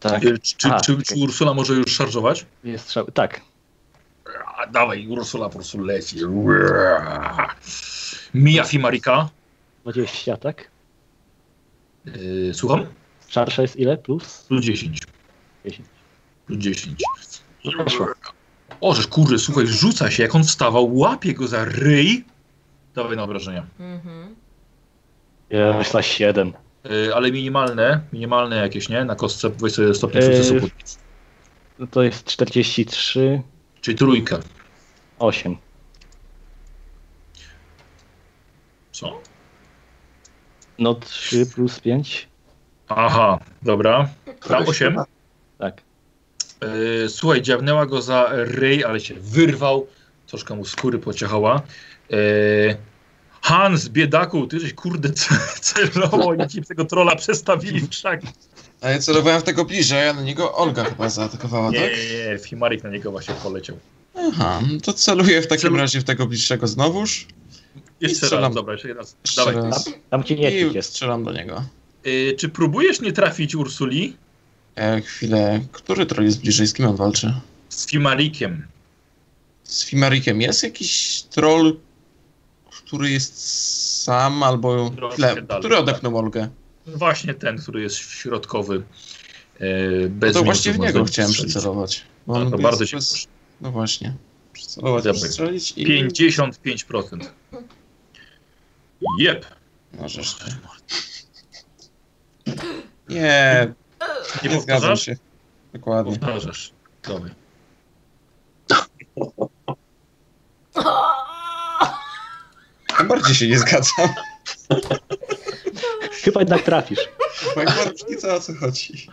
Speaker 2: Tak.
Speaker 1: E, Czy, czy,
Speaker 2: Aha,
Speaker 1: czy,
Speaker 2: okej.
Speaker 1: czy Ursula może już szarżować?
Speaker 2: Jest strzał. Tak.
Speaker 1: A, dawaj, Ursula po prostu leci. Uaa. Mija Fimarika.
Speaker 2: 20 atak.
Speaker 1: E, Słucham?
Speaker 2: Szarsza jest ile? Plus?
Speaker 1: Plus 10.
Speaker 2: 10.
Speaker 1: Plus 10.
Speaker 2: Weszło.
Speaker 1: Ożeż, kurde, słuchaj, rzuca się, jak on wstawał, łapie go za ryj. Dawaj na obrażenia.
Speaker 4: Mhm.
Speaker 2: Jest na 7.
Speaker 1: Y, ale minimalne, minimalne jakieś, nie? Na kostce weź sobie stopnie
Speaker 2: Y,
Speaker 1: sukcesu.
Speaker 2: No to jest 43,
Speaker 1: Czyli trójkę.
Speaker 2: 8.
Speaker 1: Co?
Speaker 2: No 3 plus 5.
Speaker 1: Aha, dobra. Na 8.
Speaker 2: Tak.
Speaker 1: Y, słuchaj, dziabnęła go za ryj, ale się wyrwał. Troszkę mu skóry pociechała. Y, Hans, biedaku, ty żeś kurde ce- celowo, oni ci tego trola przestawili w krzaki.
Speaker 5: A ja celowałem w tego bliżej, a na niego Olga chyba zaatakowała,
Speaker 1: Nie,
Speaker 5: tak?
Speaker 1: nie, nie, Fimarik na niego właśnie poleciał.
Speaker 5: Aha, no to celuję w takim
Speaker 1: Celu-
Speaker 5: razie w tego bliższego znowuż.
Speaker 1: Jeszcze raz,
Speaker 5: strzelam.
Speaker 1: dobra, jeszcze raz.
Speaker 5: Jeszcze
Speaker 1: Dawaj.
Speaker 5: raz.
Speaker 2: Tam ci nie
Speaker 5: I
Speaker 2: jest.
Speaker 5: strzelam do niego.
Speaker 1: Y, czy próbujesz nie trafić Ursuli
Speaker 5: E, chwilę, który troll jest bliżej, z kim on walczy?
Speaker 1: z Fimarikiem?
Speaker 5: Z Fimarikiem jest jakiś troll, który jest sam albo...
Speaker 1: Trochę
Speaker 5: Chwilę,
Speaker 1: dalej.
Speaker 5: który odepnął Olgę?
Speaker 1: Właśnie ten, który jest środkowy. E,
Speaker 5: No
Speaker 1: bez
Speaker 5: to właśnie w
Speaker 1: minusów
Speaker 5: niego
Speaker 1: można
Speaker 5: chciałem
Speaker 1: strzelić.
Speaker 5: przycelować. Bo
Speaker 1: Ale
Speaker 5: on
Speaker 1: To
Speaker 5: jest
Speaker 1: bardzo cię
Speaker 5: bez-
Speaker 1: proszę.
Speaker 5: No właśnie. Przycelować,
Speaker 1: Dobra.
Speaker 5: strzelić i...
Speaker 1: 55%. Jep.
Speaker 5: No żeż ty. Nie,
Speaker 1: Nie
Speaker 5: nie zgadzam
Speaker 1: powtarzasz?
Speaker 5: się. Dokładnie.
Speaker 1: Powtarzasz. Dobra.
Speaker 4: Mhm.
Speaker 5: Tym bardziej się nie zgadzam.
Speaker 2: Chyba jednak trafisz.
Speaker 5: Bo jak ma różnica, o co chodzi?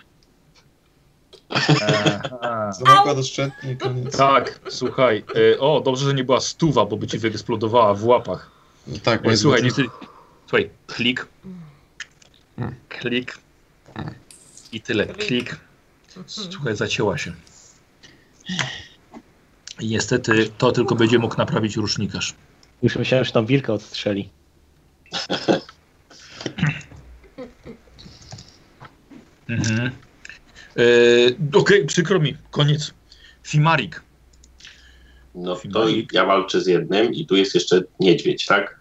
Speaker 1: Aha.
Speaker 5: Znowu doszczętnie i koniec.
Speaker 1: Tak, słuchaj. E, o, dobrze, że nie była stuwa, bo by ci wyeksplodowała w łapach.
Speaker 5: No tak, bo
Speaker 1: E,
Speaker 5: jest
Speaker 1: słuchaj,
Speaker 5: godzina.
Speaker 1: niestety. Słuchaj, klik.
Speaker 5: Hmm.
Speaker 1: Klik. I tyle. Klik.
Speaker 4: Hmm.
Speaker 1: Słuchaj, zacięła się. I niestety to tylko będzie mógł naprawić rusznikarz.
Speaker 2: Już myślałem, że tam wilka odstrzeli.
Speaker 1: Mhm. Yy, Okej, przykro mi, koniec. Fimarik.
Speaker 3: No to i ja walczę z jednym i tu jest jeszcze niedźwiedź, tak?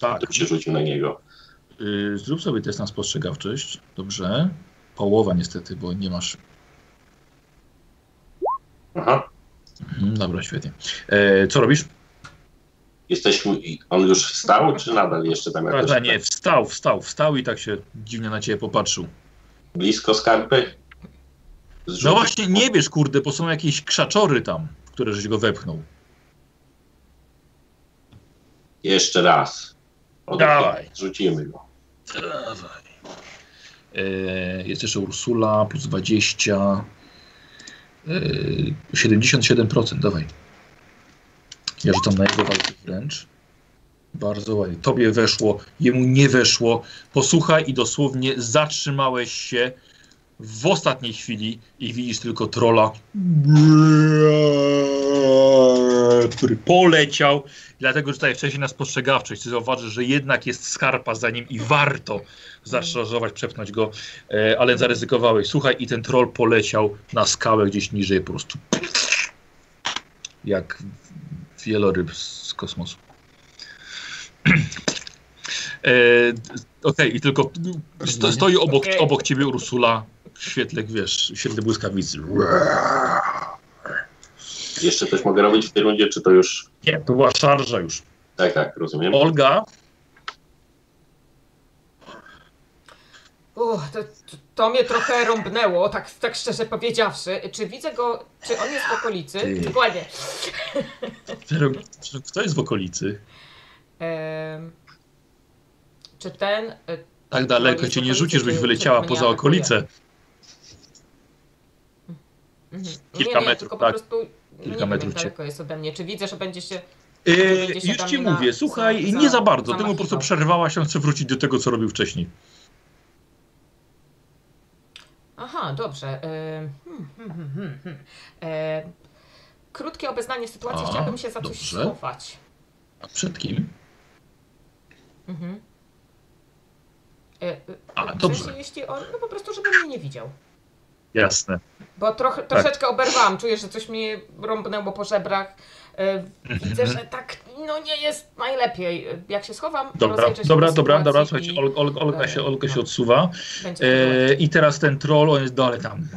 Speaker 1: Tak.
Speaker 3: To się rzucił na niego.
Speaker 1: Yy, zrób sobie test na spostrzegawczość. Dobrze. Połowa niestety, bo nie masz.
Speaker 3: Aha.
Speaker 1: Mhm, dobra, świetnie. E, co robisz?
Speaker 3: Jesteśmy, i on już wstał, czy nadal jeszcze tam jakoś tak
Speaker 1: Prawda, nie, wstał, wstał, wstał i tak się dziwnie na ciebie popatrzył.
Speaker 3: blisko skarpy?
Speaker 1: No
Speaker 3: Zrzucił.
Speaker 1: właśnie, nie wiesz, kurde, bo są jakieś krzaczory tam, w które żeś go wepchnął.
Speaker 3: Jeszcze raz. Od-
Speaker 1: Dawaj.
Speaker 3: Zrzucimy go.
Speaker 1: Dawaj. E, jest jeszcze Ursula, plus 20. E, 77%, dawaj. Ja rzucam na jego walkę wręcz. Bardzo ładnie. Tobie weszło, jemu nie weszło. Posłuchaj i dosłownie zatrzymałeś się w ostatniej chwili i widzisz tylko trola, który poleciał. Dlatego, że tutaj wcześniej na spostrzegawczość ty zauważysz, że jednak jest skarpa za nim i warto zaszarżować, przepchnąć go, e, ale zaryzykowałeś. Słuchaj, i ten troll poleciał na skałę gdzieś niżej po prostu. Jak wieloryb z kosmosu. E, Okej, i tylko sto, stoi obok,
Speaker 4: Okej.
Speaker 1: obok ciebie Ursula w świetle, wiesz, w świetle błyskawicy.
Speaker 3: Jeszcze coś mogę robić w tej rundzie, czy to już...
Speaker 1: Nie, to była szarża już.
Speaker 3: Tak, tak, rozumiem.
Speaker 1: Olga,
Speaker 4: Uch, to, to, to mnie trochę rąbnęło, tak, tak szczerze powiedziawszy. Czy widzę go, czy on jest w okolicy?
Speaker 1: Ty.
Speaker 4: Dokładnie.
Speaker 1: kto jest w okolicy?
Speaker 4: Em, czy ten... e,
Speaker 1: Tak daleko cię nie rzucisz, byś wyleciała poza okolicę.
Speaker 4: mhm.
Speaker 1: Kilka
Speaker 4: nie, nie,
Speaker 1: metrów,
Speaker 4: tylko
Speaker 1: tak.
Speaker 4: po prostu...
Speaker 1: Kilka
Speaker 4: nie wiem,
Speaker 1: metrów
Speaker 4: jak
Speaker 1: cię-
Speaker 4: daleko jest ode mnie. Czy widzę, że będzie się...
Speaker 1: E,
Speaker 4: Gdzieś
Speaker 1: już
Speaker 4: tam
Speaker 1: ci
Speaker 4: na-
Speaker 1: mówię, słuchaj,
Speaker 4: za-
Speaker 1: nie za bardzo,
Speaker 4: za
Speaker 1: ty mu po prostu
Speaker 4: machina.
Speaker 1: przerwałaś, on chce wrócić do tego, co robił wcześniej.
Speaker 4: Aha, dobrze. E, hmm, hmm, hmm, hmm, hmm. E, krótkie obeznanie sytuacji,
Speaker 1: A,
Speaker 4: chciałabym się za coś
Speaker 1: dobrze.
Speaker 4: schować.
Speaker 1: A przed kim?
Speaker 4: Mhm. E, e,
Speaker 1: A,
Speaker 4: w
Speaker 1: dobrze.
Speaker 4: sensie, jeśli on, no po prostu, żeby mnie nie widział.
Speaker 1: Jasne.
Speaker 4: Bo trochę,
Speaker 1: Tak.
Speaker 4: troszeczkę oberwałam, czuję, że coś mnie rąbnęło po żebrach. E, Widzę,
Speaker 1: Mhm.
Speaker 4: że tak no nie jest najlepiej. E, Jak się schowam,
Speaker 1: Dobra,
Speaker 4: rozejrzę się
Speaker 1: dobra,
Speaker 4: po
Speaker 1: dobra, dobra,
Speaker 4: sytuacji
Speaker 1: słuchajcie,
Speaker 4: i
Speaker 1: Ol, Ol, Olga, się, Olga się
Speaker 4: No.
Speaker 1: odsuwa.
Speaker 4: będzie
Speaker 1: E,
Speaker 4: próbować.
Speaker 1: I teraz ten troll, on jest dalej tam.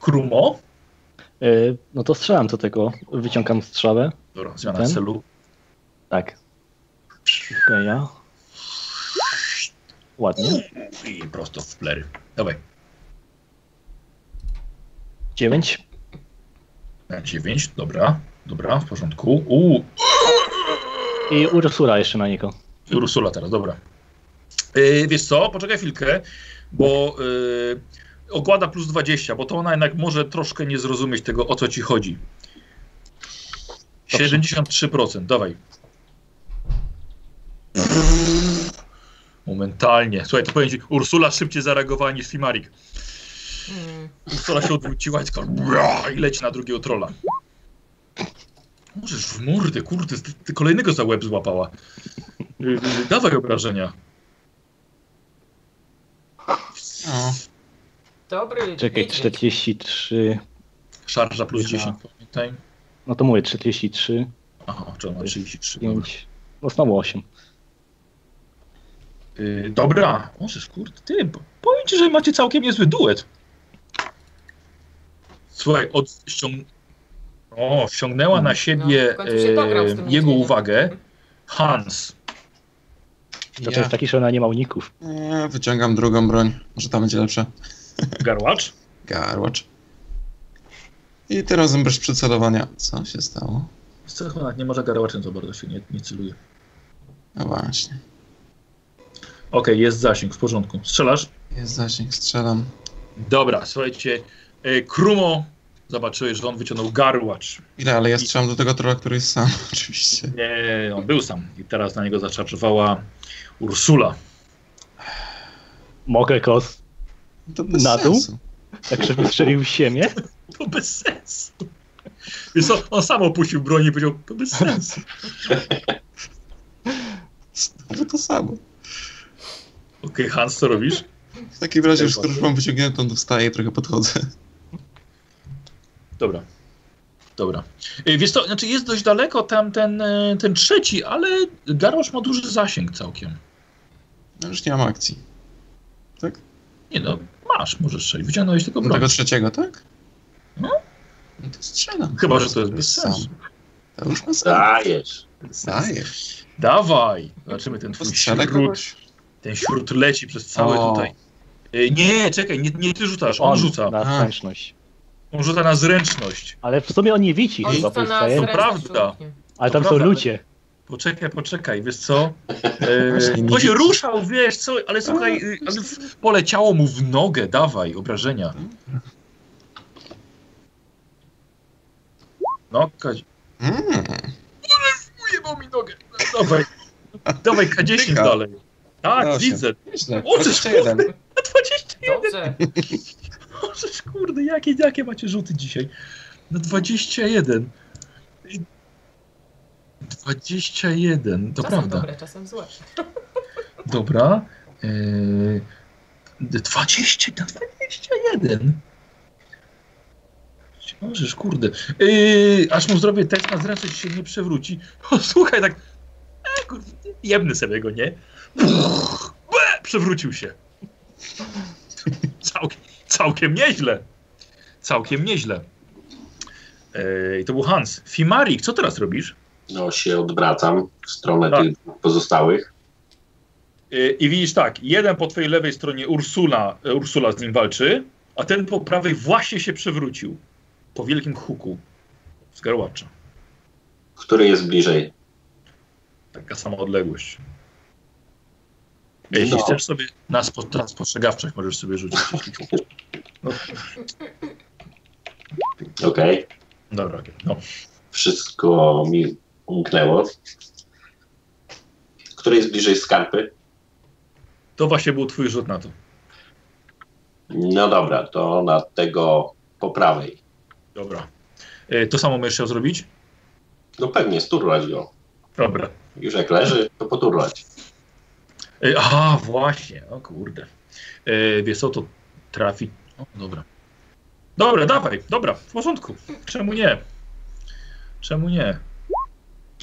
Speaker 1: Krumo.
Speaker 2: E, no to strzelam do tego. Wyciągam strzałę.
Speaker 1: Dobra, zmiana
Speaker 2: Ten?
Speaker 1: celu.
Speaker 2: Tak. Okej, ja. Ładnie.
Speaker 1: I prosto w plery. Dawaj,
Speaker 2: 9.
Speaker 1: na 9, dobra, dobra, w porządku. Uuu,
Speaker 2: I Ursula jeszcze na niego.
Speaker 1: I Ursula teraz, dobra. Yy, wiesz co, poczekaj chwilkę, bo yy, ogłada plus 20, bo to ona jednak może troszkę nie zrozumieć tego, o co ci chodzi.
Speaker 2: Dobrze.
Speaker 1: 73%, dawaj. Momentalnie. Słuchaj, to powiem ci, Ursula szybciej zareagowała niż Fimarik.
Speaker 4: Mm.
Speaker 1: Ursula się odwróciła i tylko bra, i leci na drugiego trola. Możesz w mordę, kurde, ty, ty kolejnego za łeb złapała. Y, y, Dawaj obrażenia.
Speaker 5: No.
Speaker 4: Dobry
Speaker 2: Czekaj,
Speaker 4: niedźwiedź.
Speaker 2: 43.
Speaker 1: Szarża plus
Speaker 2: Dwa.
Speaker 1: 10, pamiętaj.
Speaker 2: No to mówię 43,
Speaker 1: Aha, czy on ma 33. Dobra.
Speaker 2: 5. No znowu 8.
Speaker 1: Y, dobra, możesz, kurde, ty, bo- powiem ci, że macie całkiem niezły duet. Słuchaj, od, ściąg... o, ściągnęła na siebie
Speaker 4: No, w końcu się dograł z tym
Speaker 1: e, jego
Speaker 4: niedźwiedziem.
Speaker 1: uwagę Hans.
Speaker 2: To, to
Speaker 5: Ja.
Speaker 2: jest taki, że ona nie ma uników.
Speaker 5: Nie, E, wyciągam drugą broń. Może ta będzie lepsza.
Speaker 1: Garłacz?
Speaker 5: Garwacz. I tym razem bez przycelowania. Co się stało?
Speaker 1: Cechona, nie może garłaczem za bardzo się nie, nie celuje.
Speaker 5: No właśnie.
Speaker 1: Okej, jest zasięg, w porządku. Strzelasz?
Speaker 5: Jest zasięg, strzelam.
Speaker 1: Dobra, słuchajcie, e, Krumo, zobaczyłeś, że on wyciągnął garłacz.
Speaker 5: Ile, ale ja strzelam do tego trolla, który jest sam, oczywiście.
Speaker 1: Nie, on był sam i teraz na niego zaczarczowała Ursula.
Speaker 2: Mogę kos,
Speaker 5: No To bez
Speaker 2: Na dół?
Speaker 5: sensu.
Speaker 2: tak żeby strzelił w siemię.
Speaker 1: To bez sensu. Więc on, on sam opuścił broń i powiedział, to bez sensu.
Speaker 5: Znowu to samo.
Speaker 1: Okej, Hans, co robisz?
Speaker 5: W takim razie już,
Speaker 1: Tylko.
Speaker 5: skoro już mam wyciągniętą, to wstaję i trochę podchodzę.
Speaker 1: Dobra. Dobra. E, Wiesz co, znaczy jest dość daleko tam ten, e, ten trzeci, ale garłasz ma duży zasięg całkiem.
Speaker 5: No już nie mam akcji.
Speaker 1: Nie no, masz, możesz strzelić. Wyciągnąłeś tylko
Speaker 5: Do
Speaker 1: broń.
Speaker 5: No tego trzeciego, tak?
Speaker 1: No.
Speaker 5: No to strzelam.
Speaker 1: Chyba, że to jest bez
Speaker 5: Sam.
Speaker 1: sensu. Tak.
Speaker 5: To już ma sens.
Speaker 3: Dajesz.
Speaker 5: Dajesz.
Speaker 1: Dawaj! Zobaczymy ten
Speaker 5: To
Speaker 1: twój
Speaker 5: strzelę
Speaker 1: śród.
Speaker 5: kogoś.
Speaker 1: Ten śród leci przez całe
Speaker 5: O.
Speaker 1: tutaj. E, Nie, czekaj, nie, nie ty rzucasz, on, rzuca.
Speaker 2: Na
Speaker 5: A.
Speaker 2: zręczność.
Speaker 1: On rzuca na zręczność.
Speaker 2: Ale w sumie on nie widzi
Speaker 4: On
Speaker 2: chyba
Speaker 4: to na
Speaker 2: powstaje,
Speaker 1: zrę- prawda.
Speaker 2: ale
Speaker 1: to
Speaker 2: tam są
Speaker 1: prawda,
Speaker 2: ludzie.
Speaker 1: Poczekaj, poczekaj, wiesz co? E,
Speaker 5: Właśnie no nie
Speaker 1: bo się
Speaker 5: widzę.
Speaker 1: ruszał, wiesz co, ale słuchaj, y, ale w- poleciało mu w nogę, dawaj, obrażenia. No, Kazik,
Speaker 5: Mm.
Speaker 1: ujebał mi nogę. Dawaj, dawaj K10
Speaker 5: Dycha.
Speaker 1: dalej. Tak,
Speaker 5: Proszę.
Speaker 1: widzę.
Speaker 5: Nieźle.
Speaker 1: O, też
Speaker 5: Jeszcze No jeden.
Speaker 1: 20.
Speaker 4: Dobrze.
Speaker 1: Możesz, kurde, jakie, jakie macie rzuty dzisiaj? Na 21. I- 21, to
Speaker 4: czasem
Speaker 1: prawda.
Speaker 4: dobre, czasem złe.
Speaker 1: Dobra. Yy, 20 na 21. Czy Możesz, kurde. Yy, aż mu zrobię test na zręczność się nie przewróci. O, słuchaj, tak. kurwa, jebny sobie go, nie? Łe, Przewrócił się. Całkiem, całkiem nieźle. Całkiem nieźle. Ej, I to był Hans. Fimarik, co teraz robisz?
Speaker 3: No się odwracam w stronę
Speaker 1: Tak.
Speaker 3: tych dwóch pozostałych.
Speaker 1: Yy, I widzisz tak, jeden po twojej lewej stronie Ursula, e, Ursula z nim walczy, a ten po prawej właśnie się przewrócił. Po wielkim huku z garłacza.
Speaker 3: Który jest bliżej?
Speaker 1: Taka sama odległość. Jeśli
Speaker 3: No.
Speaker 1: chcesz sobie na, spo, na spostrzegawczych możesz sobie rzucić.
Speaker 3: Okej.
Speaker 1: Dobra, okej, no.
Speaker 3: Wszystko mi umknęło. Który jest bliżej skarpy?
Speaker 1: To właśnie był twój rzut na to.
Speaker 3: No dobra, to na tego po prawej.
Speaker 1: Dobra. E, To samo możesz chciał zrobić?
Speaker 3: No pewnie, sturlać go.
Speaker 1: Dobra.
Speaker 3: Już jak leży, to poturlać.
Speaker 1: E, Aha, właśnie, o kurde. E, Wiesz co, to trafi. O, dobra. Dobra, dawaj, dobra, w porządku. Czemu nie? Czemu nie?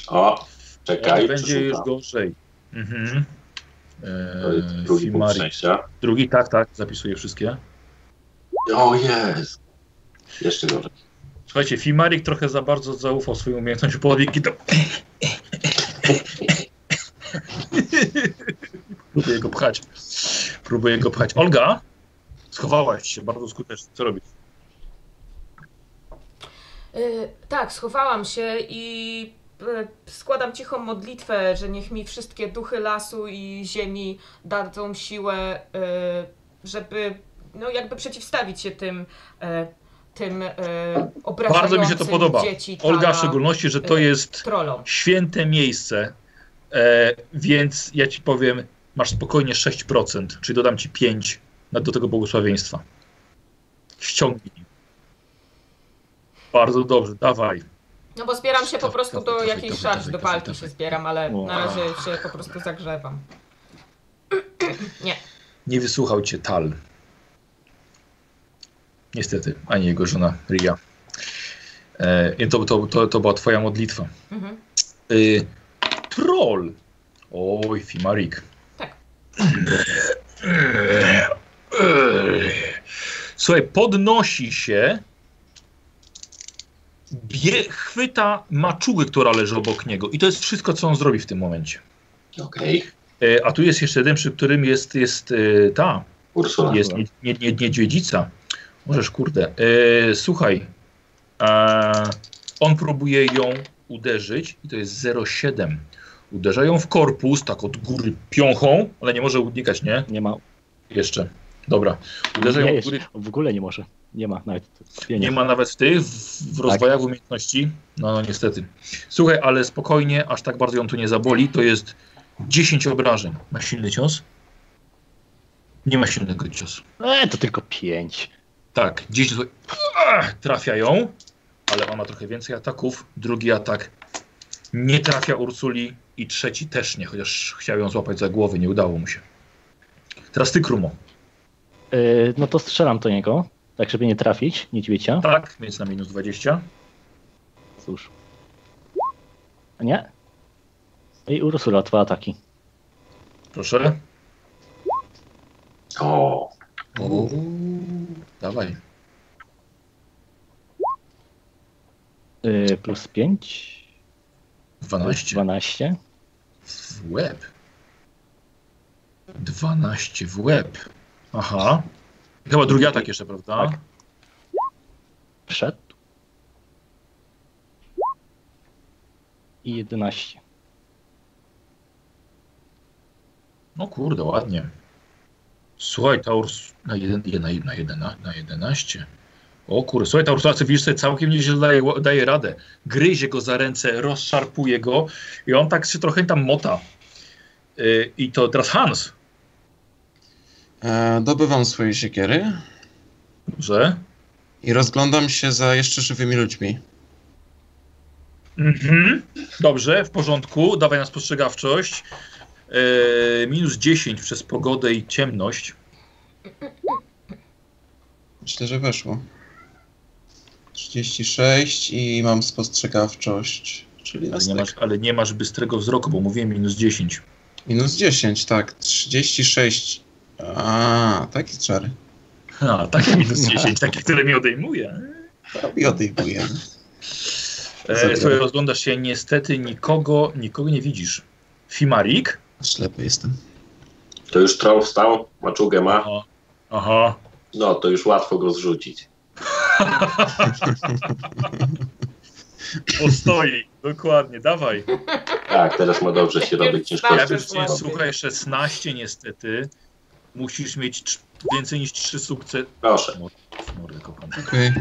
Speaker 3: O, czekaj.
Speaker 1: Nie będzie już
Speaker 3: przeszukam.
Speaker 1: gorzej. Mhm.
Speaker 3: To jest
Speaker 1: E,
Speaker 3: drugi punkt
Speaker 1: Fimari.
Speaker 3: szczęścia.
Speaker 1: Drugi, tak, tak, zapisuję wszystkie.
Speaker 3: O jest! Jeszcze gorzej.
Speaker 1: Słuchajcie, Fimarik trochę za bardzo zaufał swoim umiejętnościom podwiki, to... Próbuję go pchać. Próbuję go pchać. Olga, schowałaś się bardzo skutecznie. Co robisz?
Speaker 4: Y, tak, schowałam się i y, składam cichą modlitwę, że niech mi wszystkie duchy lasu i ziemi dadzą siłę, y, żeby no jakby przeciwstawić się tym, y, tym y,
Speaker 1: Bardzo
Speaker 4: obrażającym
Speaker 1: mi się to podoba.
Speaker 4: dzieci
Speaker 1: Olga,
Speaker 4: tala
Speaker 1: w szczególności, że to jest
Speaker 4: trolom.
Speaker 1: święte miejsce, e, więc ja ci powiem, masz spokojnie 6%, czyli dodam ci 5 na- do tego błogosławieństwa. Ściągnij. Bardzo dobrze, dawaj.
Speaker 4: No bo zbieram się po
Speaker 1: Dawaj,
Speaker 4: prostu do
Speaker 1: dawaj,
Speaker 4: jakiejś
Speaker 1: dawaj,
Speaker 4: szarży, do
Speaker 1: dawaj,
Speaker 4: walki
Speaker 1: dawaj.
Speaker 4: się zbieram, ale
Speaker 2: O.
Speaker 4: na razie się po prostu zagrzewam.
Speaker 1: Nie wysłuchał cię Tal. Niestety, ani jego żona Ria. E, i to, to, to, to była twoja modlitwa.
Speaker 4: Mhm.
Speaker 1: Y, troll. Oj, Fimarik.
Speaker 4: Tak.
Speaker 1: Słuchaj, podnosi się. Bie, chwyta maczugę, która leży obok niego. I to jest wszystko, co on zrobi w tym momencie.
Speaker 3: Okej,
Speaker 1: E, a tu jest jeszcze jeden, przy którym jest, jest e, ta.
Speaker 3: Ursula.
Speaker 1: Jest nie, nie, nie, niedźwiedzica. Możesz, kurde. E, słuchaj. E, on próbuje ją uderzyć i to jest 0,7. Uderza ją w korpus, tak od góry piąchą, ale nie może unikać, nie?
Speaker 2: Nie ma.
Speaker 1: Jeszcze. Dobra. Uderza
Speaker 2: nie
Speaker 1: ją od
Speaker 2: jest.
Speaker 1: góry.
Speaker 2: W ogóle nie może. Nie ma nawet. Nie, Tak.
Speaker 1: Nie ma nawet w tych, w, w rozwojach umiejętności. No, no niestety. Słuchaj, ale spokojnie, aż tak bardzo ją tu nie zaboli. To jest 10 obrażeń. Ma silny cios? Nie ma silnego ciosu.
Speaker 2: E, to tylko pięć.
Speaker 1: Tak, dziś tutaj Ach, trafia ją, ale ona trochę więcej ataków. Drugi atak nie trafia Ursuli i trzeci też nie, chociaż chciał ją złapać za głowę, nie udało mu się. Teraz ty, Krumo.
Speaker 2: E, no to strzelam do niego, tak żeby nie trafić niedźwiedzia.
Speaker 1: Tak, więc na minus 20.
Speaker 2: Cóż. A Nie? No I Ursula, dwa ataki.
Speaker 1: Proszę.
Speaker 3: O,
Speaker 1: O, dawaj.
Speaker 2: E, plus pięć.
Speaker 1: 12
Speaker 2: 12.
Speaker 1: w łeb. 12 w łeb. Aha. Chyba drugi atak jeszcze, prawda?
Speaker 2: Tak. Przed. I 11.
Speaker 1: No kurde, ładnie. Słuchaj, ta Urs... Na, jeden, je- na, na, jedena, na 11. O kurde, słuchaj, ta Ursula, co widzisz, sobie całkiem nieźle daje, daje radę. Gryzie go za ręce, rozszarpuje go i on tak się trochę tam mota. Yy, I to teraz Hans,
Speaker 5: E, dobywam swoje siekiery
Speaker 1: że?
Speaker 5: i rozglądam się za jeszcze żywymi ludźmi.
Speaker 1: Mhm. Dobrze, w porządku, dawaj na spostrzegawczość. Yy, minus 10 przez pogodę i ciemność.
Speaker 5: Myślę, że weszło. 36 i mam spostrzegawczość. Czyli na
Speaker 1: Ale nie, masz,
Speaker 5: styk.
Speaker 1: ale nie masz bystrego wzroku, bo mówiłem minus 10.
Speaker 5: Minus 10, tak. 36. A, taki czar.
Speaker 1: A, takie minus 10, takie, które mi odejmuje.
Speaker 5: I odejmuję.
Speaker 1: E,
Speaker 5: Zagra.
Speaker 1: słuchaj, rozglądasz się, niestety nikogo, nikogo nie widzisz. Fimarik?
Speaker 5: Ślepy jestem.
Speaker 3: To już troll wstał, maczugę ma.
Speaker 1: Aha. Aha.
Speaker 3: No, to już łatwo go zrzucić.
Speaker 1: Postoi, dokładnie, dawaj.
Speaker 3: Tak, teraz ma dobrze środek
Speaker 1: Ja
Speaker 3: ciężkości.
Speaker 1: wiesz,
Speaker 4: Bardzo słabo.
Speaker 1: słuchaj, 16 niestety. Musisz mieć cz- więcej niż 3 sukcesy.
Speaker 3: Proszę.
Speaker 1: Mordę kopane.
Speaker 5: Okej.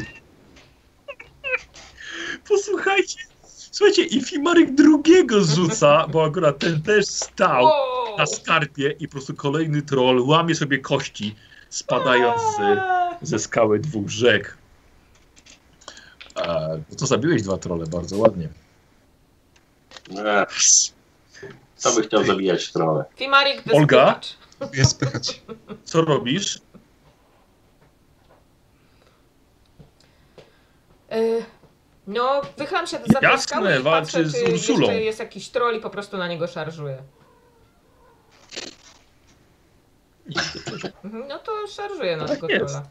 Speaker 1: Posłuchajcie, słuchajcie, i Fimarik drugiego rzuca, bo akurat ten też stał
Speaker 4: Wow.
Speaker 1: na skarpie i po prostu kolejny troll łamie sobie kości, spadając z, ze skały dwóch rzek. E, no to zabiłeś dwa trole, bardzo ładnie.
Speaker 3: Eee, Co by chciał zabijać trolle?
Speaker 4: Fimarik bez
Speaker 1: Olga?
Speaker 4: pytacz.
Speaker 5: Próbuję spychać.
Speaker 1: Co robisz?
Speaker 4: Y, No, wychylam się za
Speaker 1: Jasne,
Speaker 4: tą skałę i
Speaker 1: walczy
Speaker 4: patrzę,
Speaker 1: z
Speaker 4: czy
Speaker 1: Ursulą.
Speaker 4: jeszcze jest jakiś troll i po prostu na niego szarżuję. Mhm, No to szarżuję na
Speaker 1: Tak
Speaker 4: tego
Speaker 1: jest.
Speaker 4: trolla.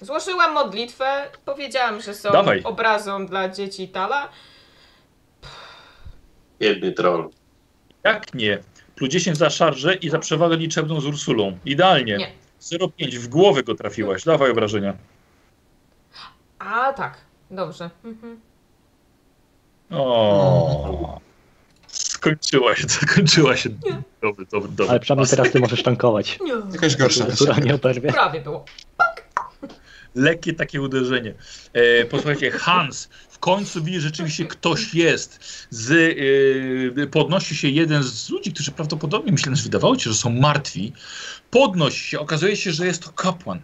Speaker 4: Złożyłam modlitwę, powiedziałam, że są
Speaker 1: Dawaj.
Speaker 4: obrazą dla dzieci Tala.
Speaker 3: Biedny troll.
Speaker 1: Jak nie? Plus 10 za szarżę i za przewagę liczebną z Ursulą. Idealnie.
Speaker 4: Nie.
Speaker 1: 0,5 w głowę go trafiłaś. Dawaj obrażenia.
Speaker 4: A tak, dobrze. Mhm.
Speaker 1: O. Skończyła się, zakończyła się. Dobry, dobry, dobry.
Speaker 2: Ale przynajmniej teraz ty możesz tankować.
Speaker 4: Nie.
Speaker 5: Jakaś
Speaker 1: Tak.
Speaker 5: gorsza.
Speaker 2: Która nie oberwie.
Speaker 4: Prawie było.
Speaker 1: Lekkie takie uderzenie. E, posłuchajcie, Hans, w końcu widzisz, rzeczywiście ktoś jest. Z, e, podnosi się jeden z ludzi, którzy prawdopodobnie, myślę, że wydawało ci, się, że są martwi. Podnosi się, okazuje się, że jest to kapłan.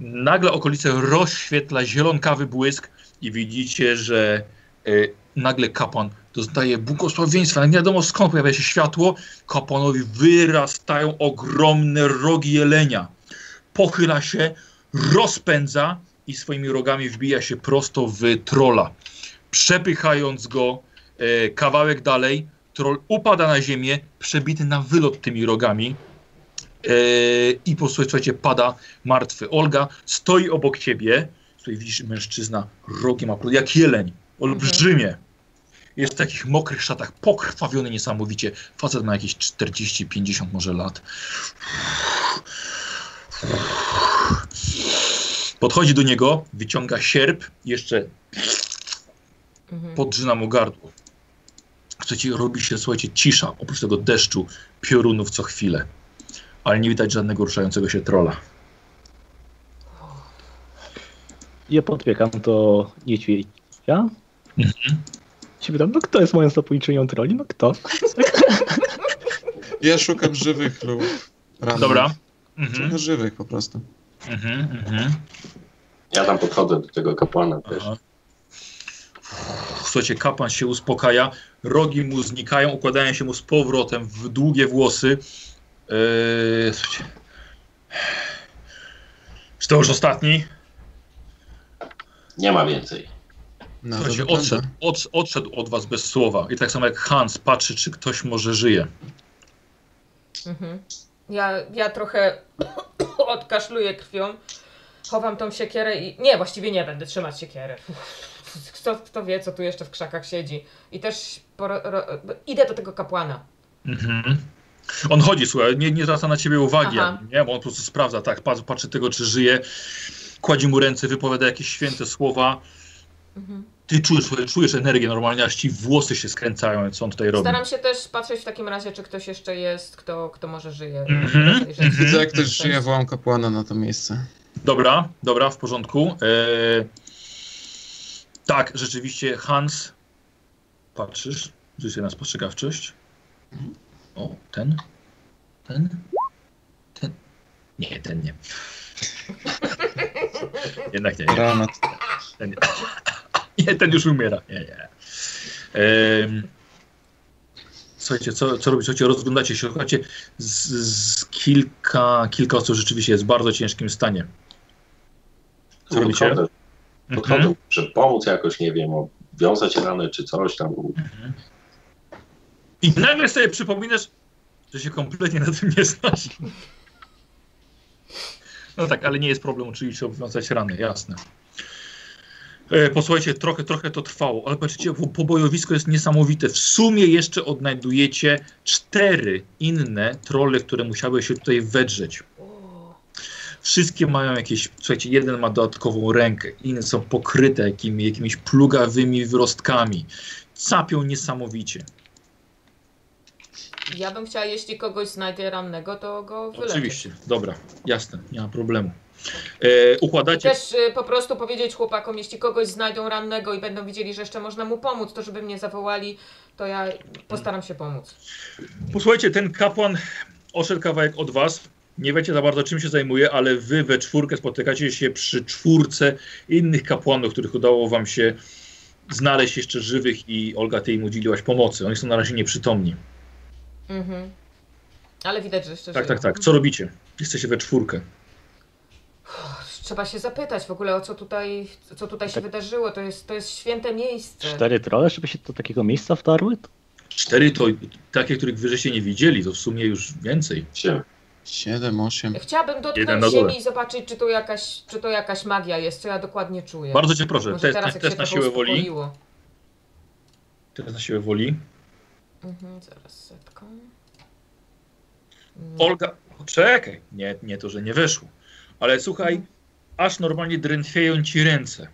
Speaker 1: Nagle okolice rozświetla zielonkawy błysk i widzicie, że e, nagle kapłan dostaje błogosławieństwa. Nie wiadomo skąd pojawia się światło. Kapłanowi wyrastają ogromne rogi jelenia. Pochyla się, rozpędza i swoimi rogami wbija się prosto w trola. Przepychając go e, kawałek dalej, troll upada na ziemię, przebity na wylot tymi rogami. E, I posłuchajcie, pada martwy. Olga stoi obok ciebie. Tutaj widzisz mężczyzna rogiem, akurat jak jeleń, olbrzymie. Jest w takich mokrych szatach, pokrwawiony niesamowicie. Facet ma jakieś 40-50 może lat. Podchodzi do niego, wyciąga sierp, jeszcze
Speaker 4: Mhm.
Speaker 1: podrzyna mu gardło. Słuchajcie, robi się, słuchajcie, cisza, oprócz tego deszczu, piorunów co chwilę. Ale nie widać żadnego ruszającego się trola.
Speaker 2: Ja podbiegam do niedźwiedzia.
Speaker 5: Mhm.
Speaker 2: Ci pytam, no kto jest moją stopniczynią troli? No kto?
Speaker 5: E. Ja szukam żywych lub rannych.
Speaker 1: Dobra. Mhm,
Speaker 5: Trochę żywych po prostu.
Speaker 1: mhm, mhm.
Speaker 3: Ja tam podchodzę do tego kapłana też.
Speaker 1: Aha. Słuchajcie, kapan się uspokaja, rogi mu znikają, układają się mu z powrotem w długie włosy. Eee, słuchajcie. Czy to już ostatni?
Speaker 3: Nie ma więcej.
Speaker 5: No, to
Speaker 1: Słuchajcie,
Speaker 5: wygląda.
Speaker 1: odszedł, od, odszedł od was bez słowa. I tak samo jak Hans patrzy, czy ktoś może żyje.
Speaker 4: Mhm. Ja, ja trochę odkaszluję krwią. Chowam tą siekierę i. Nie, właściwie nie będę trzymać siekiery. Uff, Kto, kto wie, co tu jeszcze w krzakach siedzi. I też poro, ro, idę do tego kapłana.
Speaker 1: Mhm. On chodzi, słuchaj, nie, nie zwraca na ciebie uwagi,
Speaker 4: Aha.
Speaker 1: nie? bo on po prostu sprawdza, tak, pat- patrzy tego, czy żyje, kładzie mu ręce, wypowiada jakieś święte słowa.
Speaker 4: Mhm.
Speaker 1: Ty czujesz, słuchaj, czujesz energię normalnie, aż ci włosy się skręcają, co on tutaj robi.
Speaker 4: Staram się też patrzeć w takim razie, czy ktoś jeszcze jest, kto, kto może żyje.
Speaker 1: Mhm,
Speaker 4: Rozejrzeć się.
Speaker 1: mhm.
Speaker 5: Widzę, jak ktoś żyje, wołam kapłana na to miejsce.
Speaker 1: Dobra, dobra, w porządku. Eee, tak, rzeczywiście, Hans, patrzysz, rzuć sobie na spostrzegawczość. O, ten, ten, ten. Nie, ten nie. Jednak nie, nie,
Speaker 5: Dramat.
Speaker 1: ten, nie. nie ten już umiera. Nie, nie. Ehm, słuchajcie, co, co robicie? Słuchajcie, rozglądacie się, słuchajcie, z, z kilka, kilka osób rzeczywiście jest w bardzo ciężkim stanie. Co robicie? Mhm.
Speaker 3: Podchodzę. podchodzą, żeby pomóc jakoś, nie wiem, obwiązać rany czy coś tam.
Speaker 1: I nagle sobie przypominasz, że się kompletnie na tym nie znasz. No tak, ale nie jest problem oczywiście obwiązać rany, jasne. E, Posłuchajcie, trochę, trochę to trwało, ale patrzcie, bo pobojowisko jest niesamowite. W sumie jeszcze odnajdujecie cztery inne trolle, które musiały się tutaj wedrzeć. Wszystkie mają jakieś, słuchajcie, jeden ma dodatkową rękę, inne są pokryte jakimi, jakimiś plugawymi wyrostkami. Capią niesamowicie.
Speaker 4: Ja bym chciała, jeśli kogoś znajdę rannego, to go wyleczyć.
Speaker 1: Oczywiście, dobra, jasne, nie ma problemu. E, układacie.
Speaker 4: Też y, po prostu powiedzieć chłopakom, jeśli kogoś znajdą rannego i będą widzieli, że jeszcze można mu pomóc, to żeby mnie zawołali, to ja postaram się pomóc.
Speaker 1: Posłuchajcie, ten kapłan oszedł kawałek od was. Nie wiecie za bardzo, czym się zajmuje, ale wy we czwórkę spotykacie się przy czwórce innych kapłanów, których udało wam się znaleźć jeszcze żywych i Olga, ty im udzieliłaś pomocy. Oni są na razie nieprzytomni.
Speaker 4: Mhm. Ale widać, że jeszcze
Speaker 1: Tak,
Speaker 4: żyją.
Speaker 1: tak, tak. Co robicie? Jesteście we czwórkę.
Speaker 4: Trzeba się zapytać w ogóle o co tutaj, co tutaj się
Speaker 2: Tak.
Speaker 4: wydarzyło. To jest, to jest święte miejsce.
Speaker 2: Cztery trolle, żeby się do takiego miejsca wtarły?
Speaker 1: Cztery to takie, których wy żeście nie widzieli, to w sumie już więcej.
Speaker 3: Się.
Speaker 5: 7, 8.
Speaker 4: Chciałabym
Speaker 1: Jeden na
Speaker 4: dotknąć
Speaker 1: dole.
Speaker 4: ziemi i zobaczyć, czy to, jakaś, czy to jakaś magia jest, co ja dokładnie czuję.
Speaker 1: Bardzo cię proszę,
Speaker 4: Może
Speaker 1: test,
Speaker 4: teraz,
Speaker 1: test,
Speaker 4: jak
Speaker 1: test
Speaker 4: się
Speaker 1: na
Speaker 4: trochę
Speaker 1: siłę woli.
Speaker 4: uspokoiło.
Speaker 1: Test na siłę woli.
Speaker 4: Mhm, zaraz setką. Mm.
Speaker 1: Olga, czekaj, nie, nie to, że nie weszło, ale słuchaj, aż normalnie drętwieją ci ręce.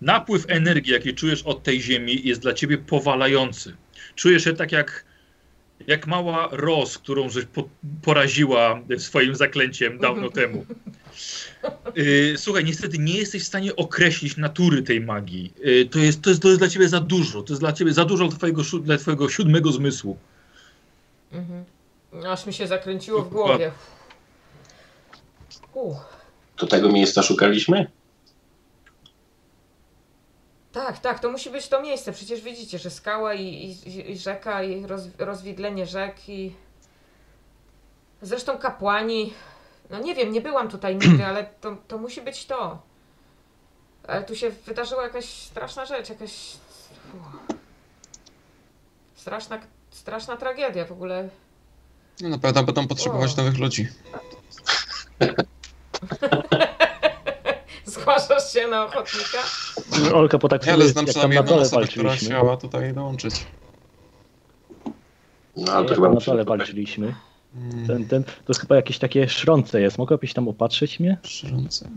Speaker 1: Napływ energii, jaki czujesz od tej ziemi, jest dla ciebie powalający. Czujesz się tak jak, jak mała roz, którą żeś po, poraziła swoim zaklęciem dawno temu. Y, Słuchaj, niestety nie jesteś w stanie określić natury tej magii. Y, To jest, to jest, to jest dla ciebie za dużo. To jest dla ciebie za dużo dla twojego, siu- dla twojego siódmego zmysłu.
Speaker 4: Mhm. Aż mi się zakręciło w głowie. Uch.
Speaker 3: Do tego miejsca szukaliśmy?
Speaker 4: Tak, tak, to musi być to miejsce. Przecież widzicie, że skała i, i, i rzeka, i roz, rozwidlenie rzek i... Zresztą kapłani... No nie wiem, nie byłam tutaj nigdy, ale to, to musi być to. Ale tu się wydarzyła jakaś straszna rzecz, jakaś... Uch. Straszna, straszna tragedia w ogóle.
Speaker 5: No, na pewno będą potrzebować
Speaker 4: O.
Speaker 5: nowych ludzi.
Speaker 4: Zgłaszasz się na ochotnika?
Speaker 2: Olka potaksuje,
Speaker 5: Ja, ale znam
Speaker 2: Tak, jak tam
Speaker 5: przynajmniej
Speaker 2: na
Speaker 5: jedną
Speaker 2: dole
Speaker 5: osobę, która
Speaker 2: walczyliśmy.
Speaker 5: chciała tutaj dołączyć.
Speaker 3: No, ale to
Speaker 2: Jak
Speaker 3: chyba
Speaker 2: tam na
Speaker 3: muszę-
Speaker 2: dole walczyliśmy.
Speaker 5: Mm,
Speaker 2: Ten, ten, to chyba jakieś takie szronce jest. Mogłabyś tam opatrzyć mnie?
Speaker 5: Szrące.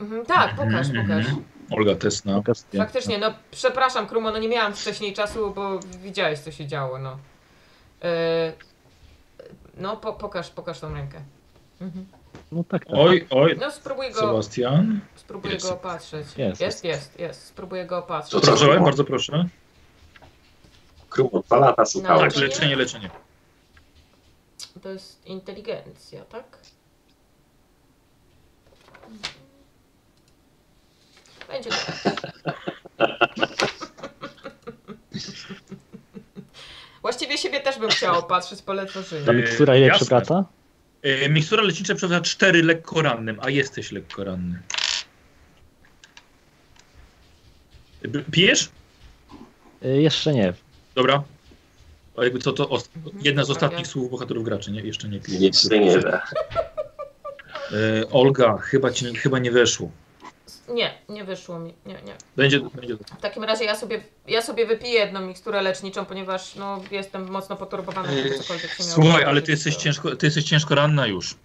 Speaker 4: Mhm, tak, pokaż, pokaż.
Speaker 1: Olga, test na
Speaker 2: Pokazuję.
Speaker 4: Faktycznie, no przepraszam Krumo, no nie miałam wcześniej czasu, bo widziałeś co się działo, no. E, no po, pokaż, pokaż tą rękę. Mhm.
Speaker 2: No tak, tak.
Speaker 1: Oj, oj,
Speaker 4: No spróbuj go,
Speaker 1: Sebastian.
Speaker 4: spróbuj
Speaker 1: jest.
Speaker 4: go opatrzyć. Jest,
Speaker 2: Jest,
Speaker 4: jest,
Speaker 2: jest.
Speaker 4: jest, Spróbuję go opatrzyć.
Speaker 3: To co?
Speaker 1: Proszę,
Speaker 3: Dobra.
Speaker 1: bardzo proszę.
Speaker 3: Krumo, dwa lata
Speaker 4: Ale
Speaker 3: szukałeś.
Speaker 1: Tak,
Speaker 4: to nie-
Speaker 1: leczenie, leczenie.
Speaker 4: To jest inteligencja, tak? Będzie dobrze. Właściwie siebie też bym chciała opatrzyć, polecę żyję.
Speaker 2: Ta mikstura
Speaker 1: Yy,
Speaker 2: ile
Speaker 1: jasne.
Speaker 2: przewraca?
Speaker 1: Yy, mikstura lecznicza przeważa 4 lekko rannym, a jesteś lekko ranny. B- Pijesz?
Speaker 2: Yy, Jeszcze nie.
Speaker 1: Dobra. A jakby co to ost-
Speaker 4: Mhm,
Speaker 1: jedna z ostatnich
Speaker 4: prawie.
Speaker 1: słów bohaterów graczy, nie? Jeszcze nie pijesz.
Speaker 3: Nic nie da.
Speaker 1: Yy, Olga, chyba ci chyba nie weszło.
Speaker 4: Nie, nie wyszło mi. Nie, nie.
Speaker 1: Będzie, będzie
Speaker 4: W takim razie ja sobie, ja sobie wypiję jedną miksturę leczniczą, ponieważ no, jestem mocno poturbowana, żeby cokolwiek się miało.
Speaker 1: Słuchaj, ale
Speaker 4: wydarzyć,
Speaker 1: ty jesteś
Speaker 4: to-
Speaker 1: ciężko, ty jesteś ciężko ranna już.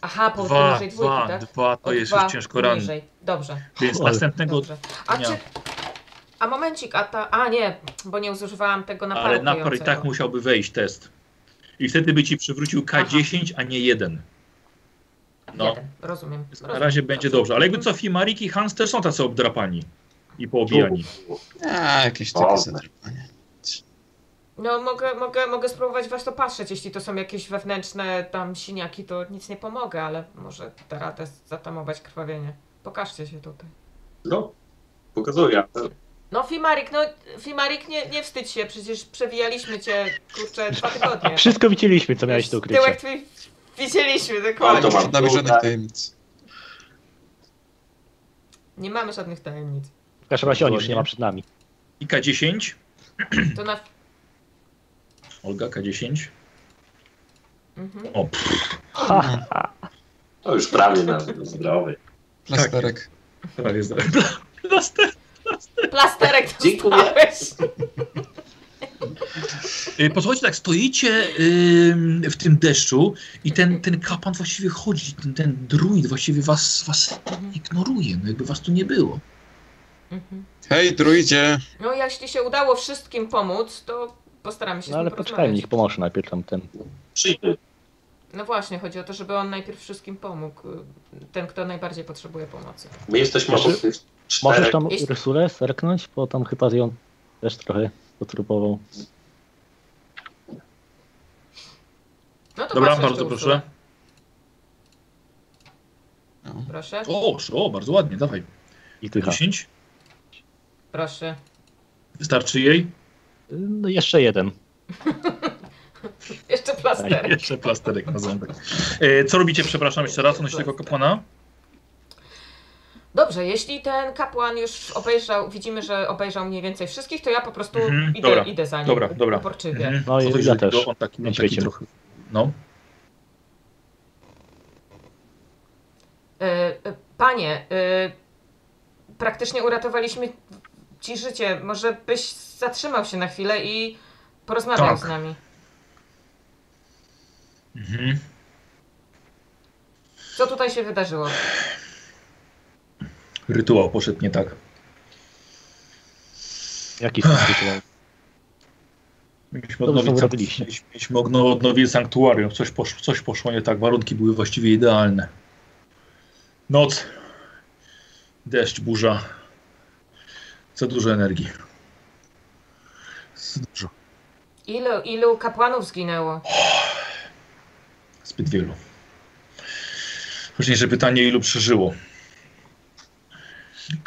Speaker 4: Aha, po
Speaker 1: Dwa,
Speaker 4: poniżej dwójki,
Speaker 1: dwa,
Speaker 4: tak?
Speaker 1: dwa, to
Speaker 4: O,
Speaker 1: jest
Speaker 4: dwa
Speaker 1: już ciężko ranny.
Speaker 4: poniżej. Dobrze,
Speaker 1: Więc
Speaker 2: Ale-
Speaker 1: następnego
Speaker 4: dobrze. A
Speaker 1: Nie.
Speaker 4: czy... A momencik, a ta... A nie, bo nie używałam tego naparu
Speaker 1: Ale napar i
Speaker 4: kojącego.
Speaker 1: tak musiałby wejść test. I wtedy by ci przywrócił K10, a nie 1. No,
Speaker 4: Jeden, rozumiem.
Speaker 1: na
Speaker 4: rozumiem.
Speaker 1: razie będzie dobrze. Ale jakby co, Fimarik i Hans też są tacy obdrapani i poobijani.
Speaker 5: A, jakieś
Speaker 3: O.
Speaker 5: takie zadrpanie.
Speaker 4: No mogę, mogę, mogę spróbować was to patrzeć, jeśli to są jakieś wewnętrzne tam siniaki, to nic nie pomogę, ale może da radę zatamować krwawienie. Pokażcie się tutaj.
Speaker 3: No, pokazuję.
Speaker 4: No Fimarik, no Fimarik, nie, nie wstydź się, przecież przewijaliśmy cię, kurczę, dwa tygodnie.
Speaker 2: Wszystko widzieliśmy, co miałeś do
Speaker 4: Tyłek
Speaker 2: ukrycia.
Speaker 4: twój widzieliśmy,
Speaker 3: O, to
Speaker 4: dokładnie.
Speaker 3: mam.
Speaker 5: Nawet żadnych
Speaker 3: Tak.
Speaker 5: tajemnic.
Speaker 4: Nie mamy żadnych tajemnic.
Speaker 2: W każdym razie on już nie ma przed nami.
Speaker 1: I K10.
Speaker 4: To na...
Speaker 1: Olga K10.
Speaker 4: Mhm.
Speaker 1: O, pff,
Speaker 2: Ha,
Speaker 3: To już prawie na zdrowy.
Speaker 5: Plasterek.
Speaker 1: prawie zda- Plaster.
Speaker 4: Plasterek
Speaker 3: Dziękuję.
Speaker 4: dostałeś.
Speaker 1: Y, Posłuchajcie, tak, stoicie ym, w tym deszczu i ten, ten kapłan właściwie chodzi, ten, ten druid właściwie was, was ignoruje, no jakby was tu nie było.
Speaker 4: Mhm.
Speaker 5: Hej, druidzie!
Speaker 4: No jeśli się udało wszystkim pomóc, to postaramy się z
Speaker 2: no
Speaker 4: nim
Speaker 2: ale
Speaker 4: porozmawiać.
Speaker 2: poczekajmy, niech pomoże najpierw tam ten.
Speaker 3: Przyjdę.
Speaker 4: No właśnie, chodzi o to, żeby on najpierw wszystkim pomógł. y, Ten, kto najbardziej potrzebuje pomocy.
Speaker 3: My jesteśmy
Speaker 2: Znaczy,
Speaker 3: obok tych
Speaker 2: Możesz
Speaker 3: czterech.
Speaker 2: tam
Speaker 4: Jeśli-
Speaker 2: Ursulę serknąć? Bo tam chyba ją też trochę potrupował.
Speaker 4: No to
Speaker 1: Dobra,
Speaker 4: proszę,
Speaker 1: bardzo
Speaker 4: jeszcze
Speaker 1: proszę.
Speaker 4: Ursula.
Speaker 5: No.
Speaker 4: Proszę,
Speaker 1: O, o, bardzo ładnie, dawaj.
Speaker 2: I tycha.
Speaker 1: 10.
Speaker 4: proszę.
Speaker 1: Wystarczy jej?
Speaker 2: No jeszcze jeden.
Speaker 4: Jeszcze plasterek.
Speaker 1: Jeszcze plasterek na ząbek. E, co robicie, przepraszam, jeszcze raz odnośnie tego kapłana?
Speaker 4: Dobrze, jeśli ten kapłan już obejrzał, widzimy, że obejrzał mniej więcej wszystkich, to ja po prostu
Speaker 1: Mhm,
Speaker 4: idę,
Speaker 1: dobra,
Speaker 4: idę za nim.
Speaker 1: Dobra, dobra.
Speaker 4: Uporczywie.
Speaker 1: Mhm.
Speaker 2: No i
Speaker 1: Co to
Speaker 2: ja
Speaker 1: jeżeli
Speaker 2: też.
Speaker 1: go On taki, on taki
Speaker 2: Niedźwiedziem.
Speaker 1: trochę... No.
Speaker 4: E, e, Panie, e, praktycznie uratowaliśmy ci życie. Może byś zatrzymał się na chwilę i porozmawiał
Speaker 1: Tak.
Speaker 4: z nami.
Speaker 1: Mhm.
Speaker 4: Co tutaj się wydarzyło?
Speaker 1: Rytuał poszedł nie tak.
Speaker 2: Jaki sytuacja?
Speaker 1: Mieliśmy
Speaker 2: Dobrze,
Speaker 1: odnowić,
Speaker 2: że
Speaker 1: sank-
Speaker 2: robiliście.
Speaker 1: mieliśmy- mieliśmy odno- odnowili sanktuarium. Coś poszło, coś poszło nie tak. Warunki były właściwie idealne. Noc, deszcz, burza. Za dużo energii. Za dużo.
Speaker 4: Ilu, ilu kapłanów zginęło?
Speaker 1: Zbyt wielu. Ważniejsze pytanie, ilu przeżyło?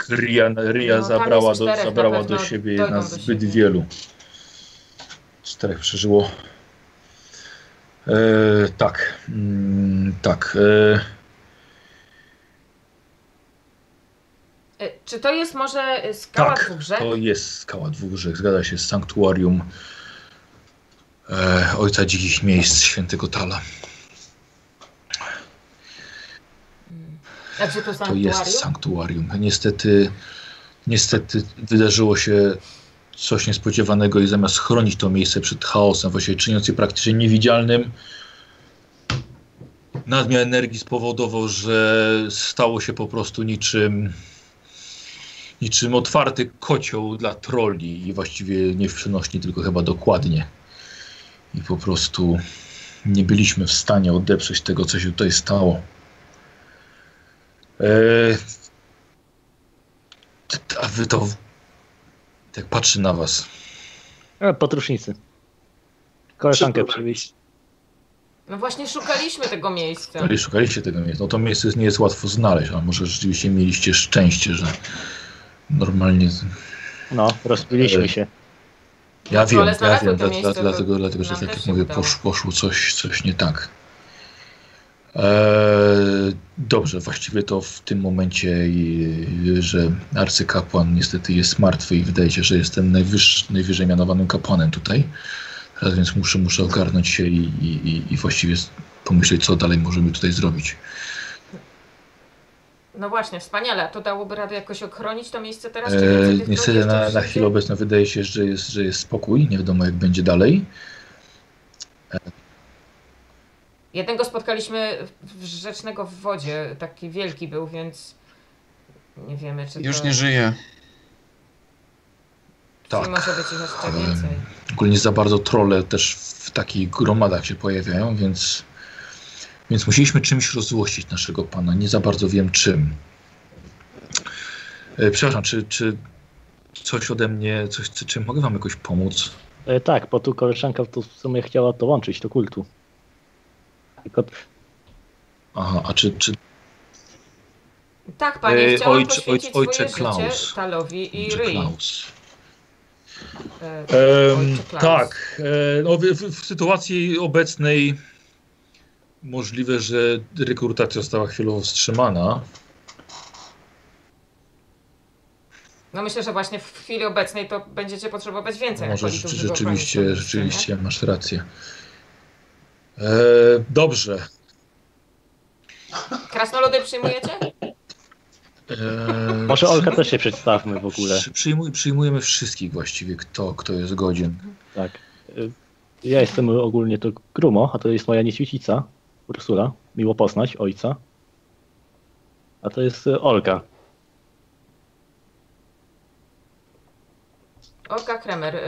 Speaker 1: Ria, Ria
Speaker 4: No, tam
Speaker 1: zabrała,
Speaker 4: jest
Speaker 1: do,
Speaker 4: czterech, na
Speaker 1: zabrała do
Speaker 4: pewno
Speaker 1: siebie
Speaker 4: dojdą
Speaker 1: nas
Speaker 4: do
Speaker 1: zbyt
Speaker 4: siebie.
Speaker 1: wielu. Czterech przeżyło. E, tak, mm, tak. E,
Speaker 4: E, Czy to jest może e, skała
Speaker 1: tak,
Speaker 4: dwóch rzek?
Speaker 1: to jest skała dwóch rzek, zgadza się, z sanktuarium e, Ojca Dzikich Miejsc, Świętego Tala.
Speaker 4: A gdzie to
Speaker 1: To
Speaker 4: sanktuarium?
Speaker 1: jest sanktuarium. No Niestety, niestety wydarzyło się coś niespodziewanego i zamiast chronić to miejsce przed chaosem, właśnie czyniąc je praktycznie niewidzialnym, nadmiar energii spowodował, że stało się po prostu niczym niczym otwarty kocioł dla trolli i właściwie nie w przenośni, tylko chyba dokładnie. I po prostu nie byliśmy w stanie odeprzeć tego, co się tutaj stało. Eee, t- a wy to. Tak patrzy na was.
Speaker 2: E, Potrusznicy. Koleżankę
Speaker 3: Przeprowadź.
Speaker 2: przywieźć.
Speaker 4: No właśnie szukaliśmy tego miejsca.
Speaker 1: Ale szukaliście tego miejsca. No to miejsce nie jest łatwo znaleźć, a może rzeczywiście mieliście szczęście, że normalnie. z-
Speaker 2: No,
Speaker 1: E,
Speaker 2: rozbiliśmy się.
Speaker 1: Ja
Speaker 4: No,
Speaker 1: wiem,
Speaker 4: ale
Speaker 1: ja
Speaker 4: znalazłem
Speaker 1: wiem,
Speaker 4: to
Speaker 1: dla, dla,
Speaker 4: miejsce, to
Speaker 1: dlatego, dlatego, że
Speaker 4: nam
Speaker 1: tak
Speaker 4: też
Speaker 1: jak
Speaker 4: się
Speaker 1: mówię,
Speaker 4: udało.
Speaker 1: posz, poszło coś, coś nie tak. Eee, dobrze, właściwie to w tym momencie, i, że arcykapłan niestety jest martwy i wydaje się, że jestem najwyższy, najwyżej mianowanym kapłanem tutaj. Teraz więc muszę, muszę ogarnąć się i, i, i- i właściwie s- pomyśleć, co dalej możemy tutaj zrobić.
Speaker 4: No właśnie, wspaniale. A To dałoby radę jakoś ochronić to miejsce teraz? Czy więcej
Speaker 1: Eee,
Speaker 4: tych ludzi
Speaker 1: niestety
Speaker 4: jeszcze
Speaker 1: na, na
Speaker 4: przyjdzie?
Speaker 1: chwilę obecną wydaje się, że jest, że jest spokój, nie wiadomo jak będzie dalej.
Speaker 4: Jednego spotkaliśmy w rzecznego w wodzie, taki wielki był, więc nie wiemy, czy
Speaker 5: Już
Speaker 4: to
Speaker 5: nie żyje.
Speaker 4: czy
Speaker 1: Tak.
Speaker 4: może być ich jeszcze
Speaker 1: Ale-
Speaker 4: więcej.
Speaker 1: Ogólnie za bardzo trolle też w takich gromadach się pojawiają, więc, więc musieliśmy czymś rozzłościć naszego pana. Nie za bardzo wiem czym. E, Przepraszam, czy, czy coś ode mnie, coś, czy, czy mogę wam jakoś pomóc?
Speaker 2: E, tak, bo tu koleżanka to w sumie chciała dołączyć do kultu. Tylko
Speaker 1: Aha, a czy, czy
Speaker 4: Tak, panie,
Speaker 1: Eee,
Speaker 4: chciałam
Speaker 1: ojcze-
Speaker 4: poświęcić
Speaker 1: ojcze-
Speaker 4: swoje
Speaker 1: ojcze
Speaker 4: życie
Speaker 1: Klaus.
Speaker 4: Talowi i
Speaker 1: czy
Speaker 4: Ryi.
Speaker 1: Klaus?
Speaker 4: Eee,
Speaker 1: Em,
Speaker 4: Ojcze Klaus.
Speaker 1: tak. E, no, w, w, w sytuacji obecnej możliwe, że rekrutacja została chwilowo wstrzymana.
Speaker 4: No myślę, że właśnie w chwili obecnej to będziecie potrzebować więcej.
Speaker 1: Może
Speaker 4: akolitów,
Speaker 1: rzeczy,
Speaker 4: żeby
Speaker 1: rzeczywiście,
Speaker 4: ochronić ten system, nie?
Speaker 1: rzeczywiście, masz rację. E, dobrze.
Speaker 4: Krasnoludy przyjmujecie?
Speaker 1: E,
Speaker 2: Może Olka też się przedstawmy w ogóle.
Speaker 1: przy, przyjmuj, przyjmujemy wszystkich właściwie, kto, kto jest godzien.
Speaker 2: Tak. Y, Ja jestem ogólnie to Grumo, a to jest moja nieświecica, Ursula. Miło poznać ojca. A to jest y, Olka.
Speaker 4: Olga Kremer. Y...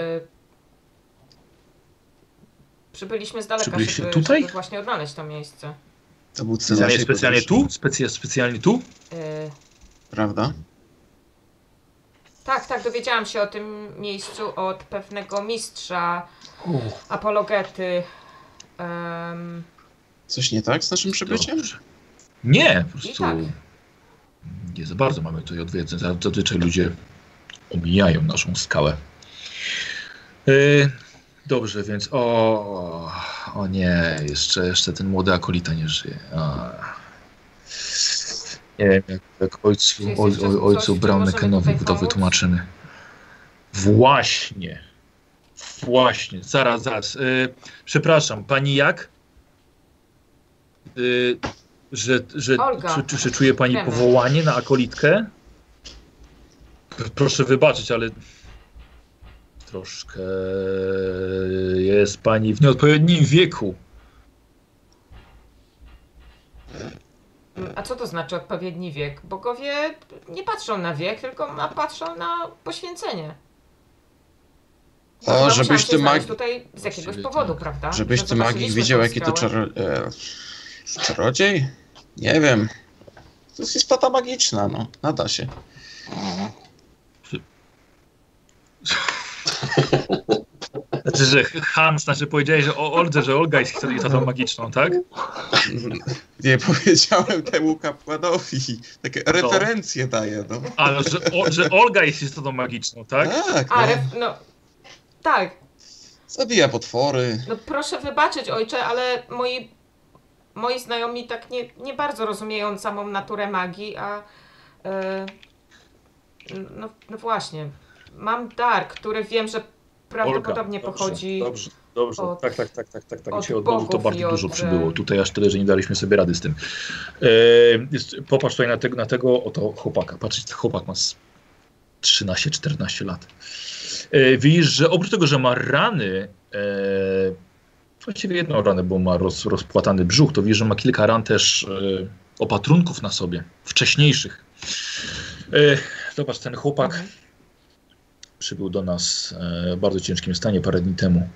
Speaker 4: Przybyliśmy z daleka,
Speaker 1: Przybyliście
Speaker 4: żeby,
Speaker 1: tutaj?
Speaker 4: żeby właśnie odnaleźć to miejsce.
Speaker 5: To był cel
Speaker 1: Specjalnie,
Speaker 5: naszej
Speaker 1: specjalnie
Speaker 5: podróży,
Speaker 1: tu? Specja, specjalnie tu?
Speaker 4: Y...
Speaker 5: Prawda?
Speaker 4: Tak, tak, dowiedziałam się o tym miejscu od pewnego mistrza apologety. Em,
Speaker 5: Coś nie tak z naszym przybyciem?
Speaker 1: Dobrze. Nie, po prostu
Speaker 4: tak.
Speaker 1: nie za bardzo mamy tutaj odwiedzy. Zazwyczaj ludzie omijają naszą skałę. Yy, dobrze, więc o, o nie, jeszcze, jeszcze ten młody akolita nie żyje. A. Nie wiem, jak, jak ojcu,
Speaker 4: Czy jest
Speaker 1: oj,
Speaker 4: jeszcze
Speaker 1: oj,
Speaker 4: coś,
Speaker 1: ojcu
Speaker 4: czym
Speaker 1: Brown
Speaker 4: możemy
Speaker 1: Kenowi
Speaker 4: tutaj
Speaker 1: to
Speaker 4: pomóc?
Speaker 1: wytłumaczymy. Właśnie. Właśnie, zaraz, zaraz. Yy, przepraszam, pani jak? Y, że, że
Speaker 4: Olga.
Speaker 1: czy, czy, czy czuje pani
Speaker 4: Kreml.
Speaker 1: powołanie na akolitkę? P- Proszę wybaczyć, ale troszkę jest pani w nieodpowiednim wieku.
Speaker 4: a co to znaczy odpowiedni wiek? Bogowie nie patrzą na wiek, tylko na- patrzą na poświęcenie.
Speaker 5: O,
Speaker 4: No,
Speaker 5: żebyś
Speaker 4: musiałam się
Speaker 5: ty
Speaker 4: znaleźć
Speaker 5: mag...
Speaker 4: tutaj z jakiegoś
Speaker 1: Właściwie
Speaker 4: powodu,
Speaker 1: tak.
Speaker 4: prawda?
Speaker 5: Żebyś
Speaker 4: Że
Speaker 5: ty magik
Speaker 4: zobaczyliśmy
Speaker 5: widział,
Speaker 4: tą
Speaker 5: jaki to
Speaker 4: skałę.
Speaker 5: czar... E... Czarodziej? Nie wiem. To jest istota magiczna, no. Nada się.
Speaker 1: Znaczy, że Hans, znaczy powiedziałeś, że o Oldze, że Olga jest istotą magiczną, tak?
Speaker 5: Nie powiedziałem temu kapłanowi. Takie referencje daję, no.
Speaker 1: Ale że, o, że Olga jest istotą magiczną, tak?
Speaker 5: Tak,
Speaker 4: A,
Speaker 5: no.
Speaker 4: ref, no. Tak,
Speaker 5: Zabija potwory.
Speaker 4: no proszę wybaczyć, ojcze, ale moi, moi znajomi tak nie, nie bardzo rozumieją samą naturę magii, a. e, no, no właśnie. Mam dar, który wiem, że prawdopodobnie pochodzi.
Speaker 1: Dobrze, dobrze.
Speaker 4: od-
Speaker 1: tak, tak, tak, tak, tak, tak.
Speaker 4: od
Speaker 1: Dzisiaj od Bogu to
Speaker 4: bogów i
Speaker 1: bardzo
Speaker 4: od,
Speaker 1: dużo
Speaker 4: e,
Speaker 1: przybyło. Tutaj aż tyle, że nie daliśmy sobie rady z tym. E, jest, popatrz tutaj na, te, na tego oto chłopaka. Patrz, ten chłopak ma z 13-14 lat. E, widzisz, że oprócz tego, że ma rany, e, właściwie jedną ranę, bo ma roz, rozpłatany brzuch, to widzisz, że ma kilka ran też e, opatrunków na sobie, wcześniejszych. E, zobacz, ten chłopak
Speaker 4: Mhm.
Speaker 1: przybył do nas e, w bardzo ciężkim stanie parę dni temu.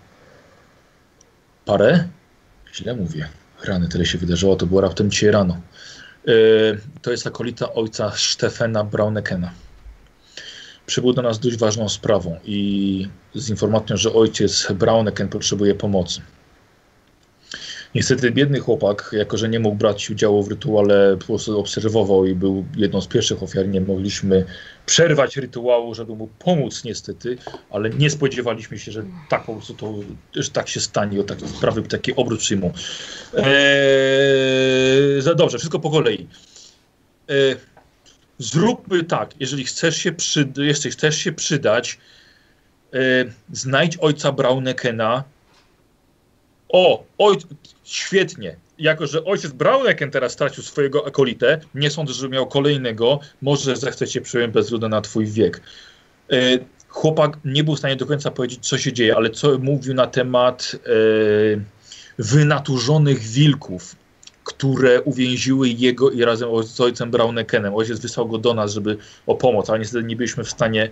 Speaker 1: Parę? Źle mówię. Rany, tyle się wydarzyło, to było raptem dzisiaj rano. E, to jest akolita ojca Stefana Braunekena. Przybył do nas dość ważną sprawą i z informacją, że ojciec Brauneken potrzebuje pomocy. Niestety biedny chłopak, jako że nie mógł brać udziału w rytuale, po prostu obserwował i był jedną z pierwszych ofiar, nie mogliśmy przerwać rytuału, żeby mu pomóc niestety, ale nie spodziewaliśmy się, że tak po prostu to, że tak się stanie, o takie sprawy taki obrót przyjmą. Eee, za dobrze, wszystko po kolei. Eee, zróbmy tak, jeżeli chcesz się, przy, jeśli chcesz się przydać, eee, znajdź ojca Braunekena. O, oj, świetnie. Jako, że ojciec Brauneken teraz stracił swojego akolitę, nie sądzę, że miał kolejnego, może zechce cię przyjąć bez względu na twój wiek. E, chłopak nie był w stanie do końca powiedzieć, co się dzieje, ale co mówił na temat e, wynaturzonych wilków, które uwięziły jego i razem z ojcem Braunekenem. Ojciec wysłał go do nas, żeby o pomoc, ale niestety nie byliśmy w stanie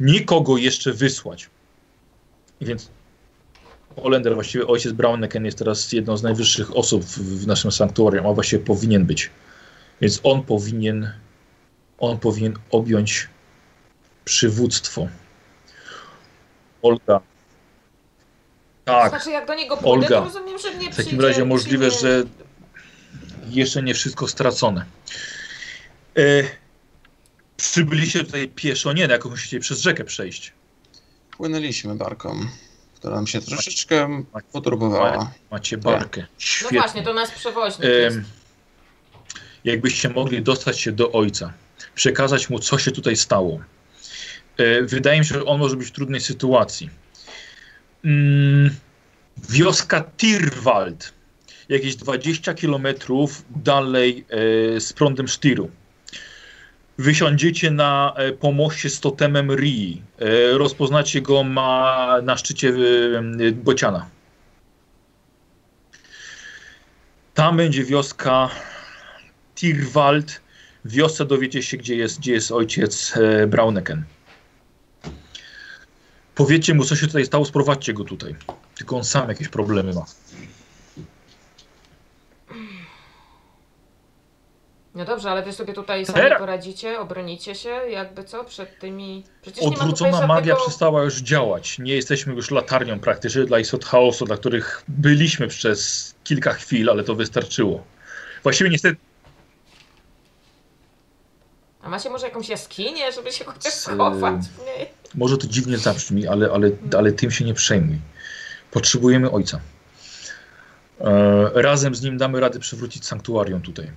Speaker 1: nikogo jeszcze wysłać. Więc Olender, właściwie ojciec Brauneken jest teraz jedną z najwyższych osób w, w naszym sanktuarium, a właściwie powinien być. Więc on powinien, on powinien objąć przywództwo. Olga. Tak.
Speaker 4: Znaczy, jak do niego pójdę,
Speaker 1: Olga,
Speaker 4: to rozumiem, że mnie
Speaker 1: W takim razie możliwe,
Speaker 4: przyjmie.
Speaker 1: że jeszcze nie wszystko stracone. E, przybyliście tutaj pieszo, nie, no, jakoś musicie przez rzekę przejść.
Speaker 5: Płynęliśmy barką, która nam się troszeczkę poturbowała.
Speaker 1: Macie barkę.
Speaker 4: No
Speaker 1: Świetnie.
Speaker 4: właśnie, to nas przewoźnik jest.
Speaker 1: Em, jakbyście mogli dostać się do ojca, przekazać mu, co się tutaj stało. E, Wydaje mi się, że on może być w trudnej sytuacji. Mm, Wioska Tirwald, jakieś 20 km dalej e, z prądem Sztiru. Wysiądziecie na e, pomoście z totemem Rii. E, rozpoznacie go ma na szczycie e, Bociana. Tam będzie wioska Tirwald. W wiosce dowiecie się, gdzie jest, gdzie jest ojciec e, Brauneken. Powiedzcie mu, co się tutaj stało, sprowadźcie go tutaj. Tylko on sam jakieś problemy ma.
Speaker 4: No dobrze, ale wy sobie tutaj sami
Speaker 1: Teraz-
Speaker 4: poradzicie, obronicie się, jakby co, przed tymi... Przecież nie ma tutaj
Speaker 1: Odwrócona
Speaker 4: żadnego-
Speaker 1: magia przestała już działać. Nie jesteśmy już latarnią praktycznie dla istot chaosu, dla których byliśmy przez kilka chwil, ale to wystarczyło. Właściwie niestety
Speaker 4: A macie może jakąś jaskinię, żeby się chociaż
Speaker 1: Z-
Speaker 4: schować w niej?
Speaker 1: Może to dziwnie zabrzmi, ale, ale, ale tym się nie przejmuj. Potrzebujemy ojca. E, razem z nim damy radę przywrócić sanktuarium tutaj.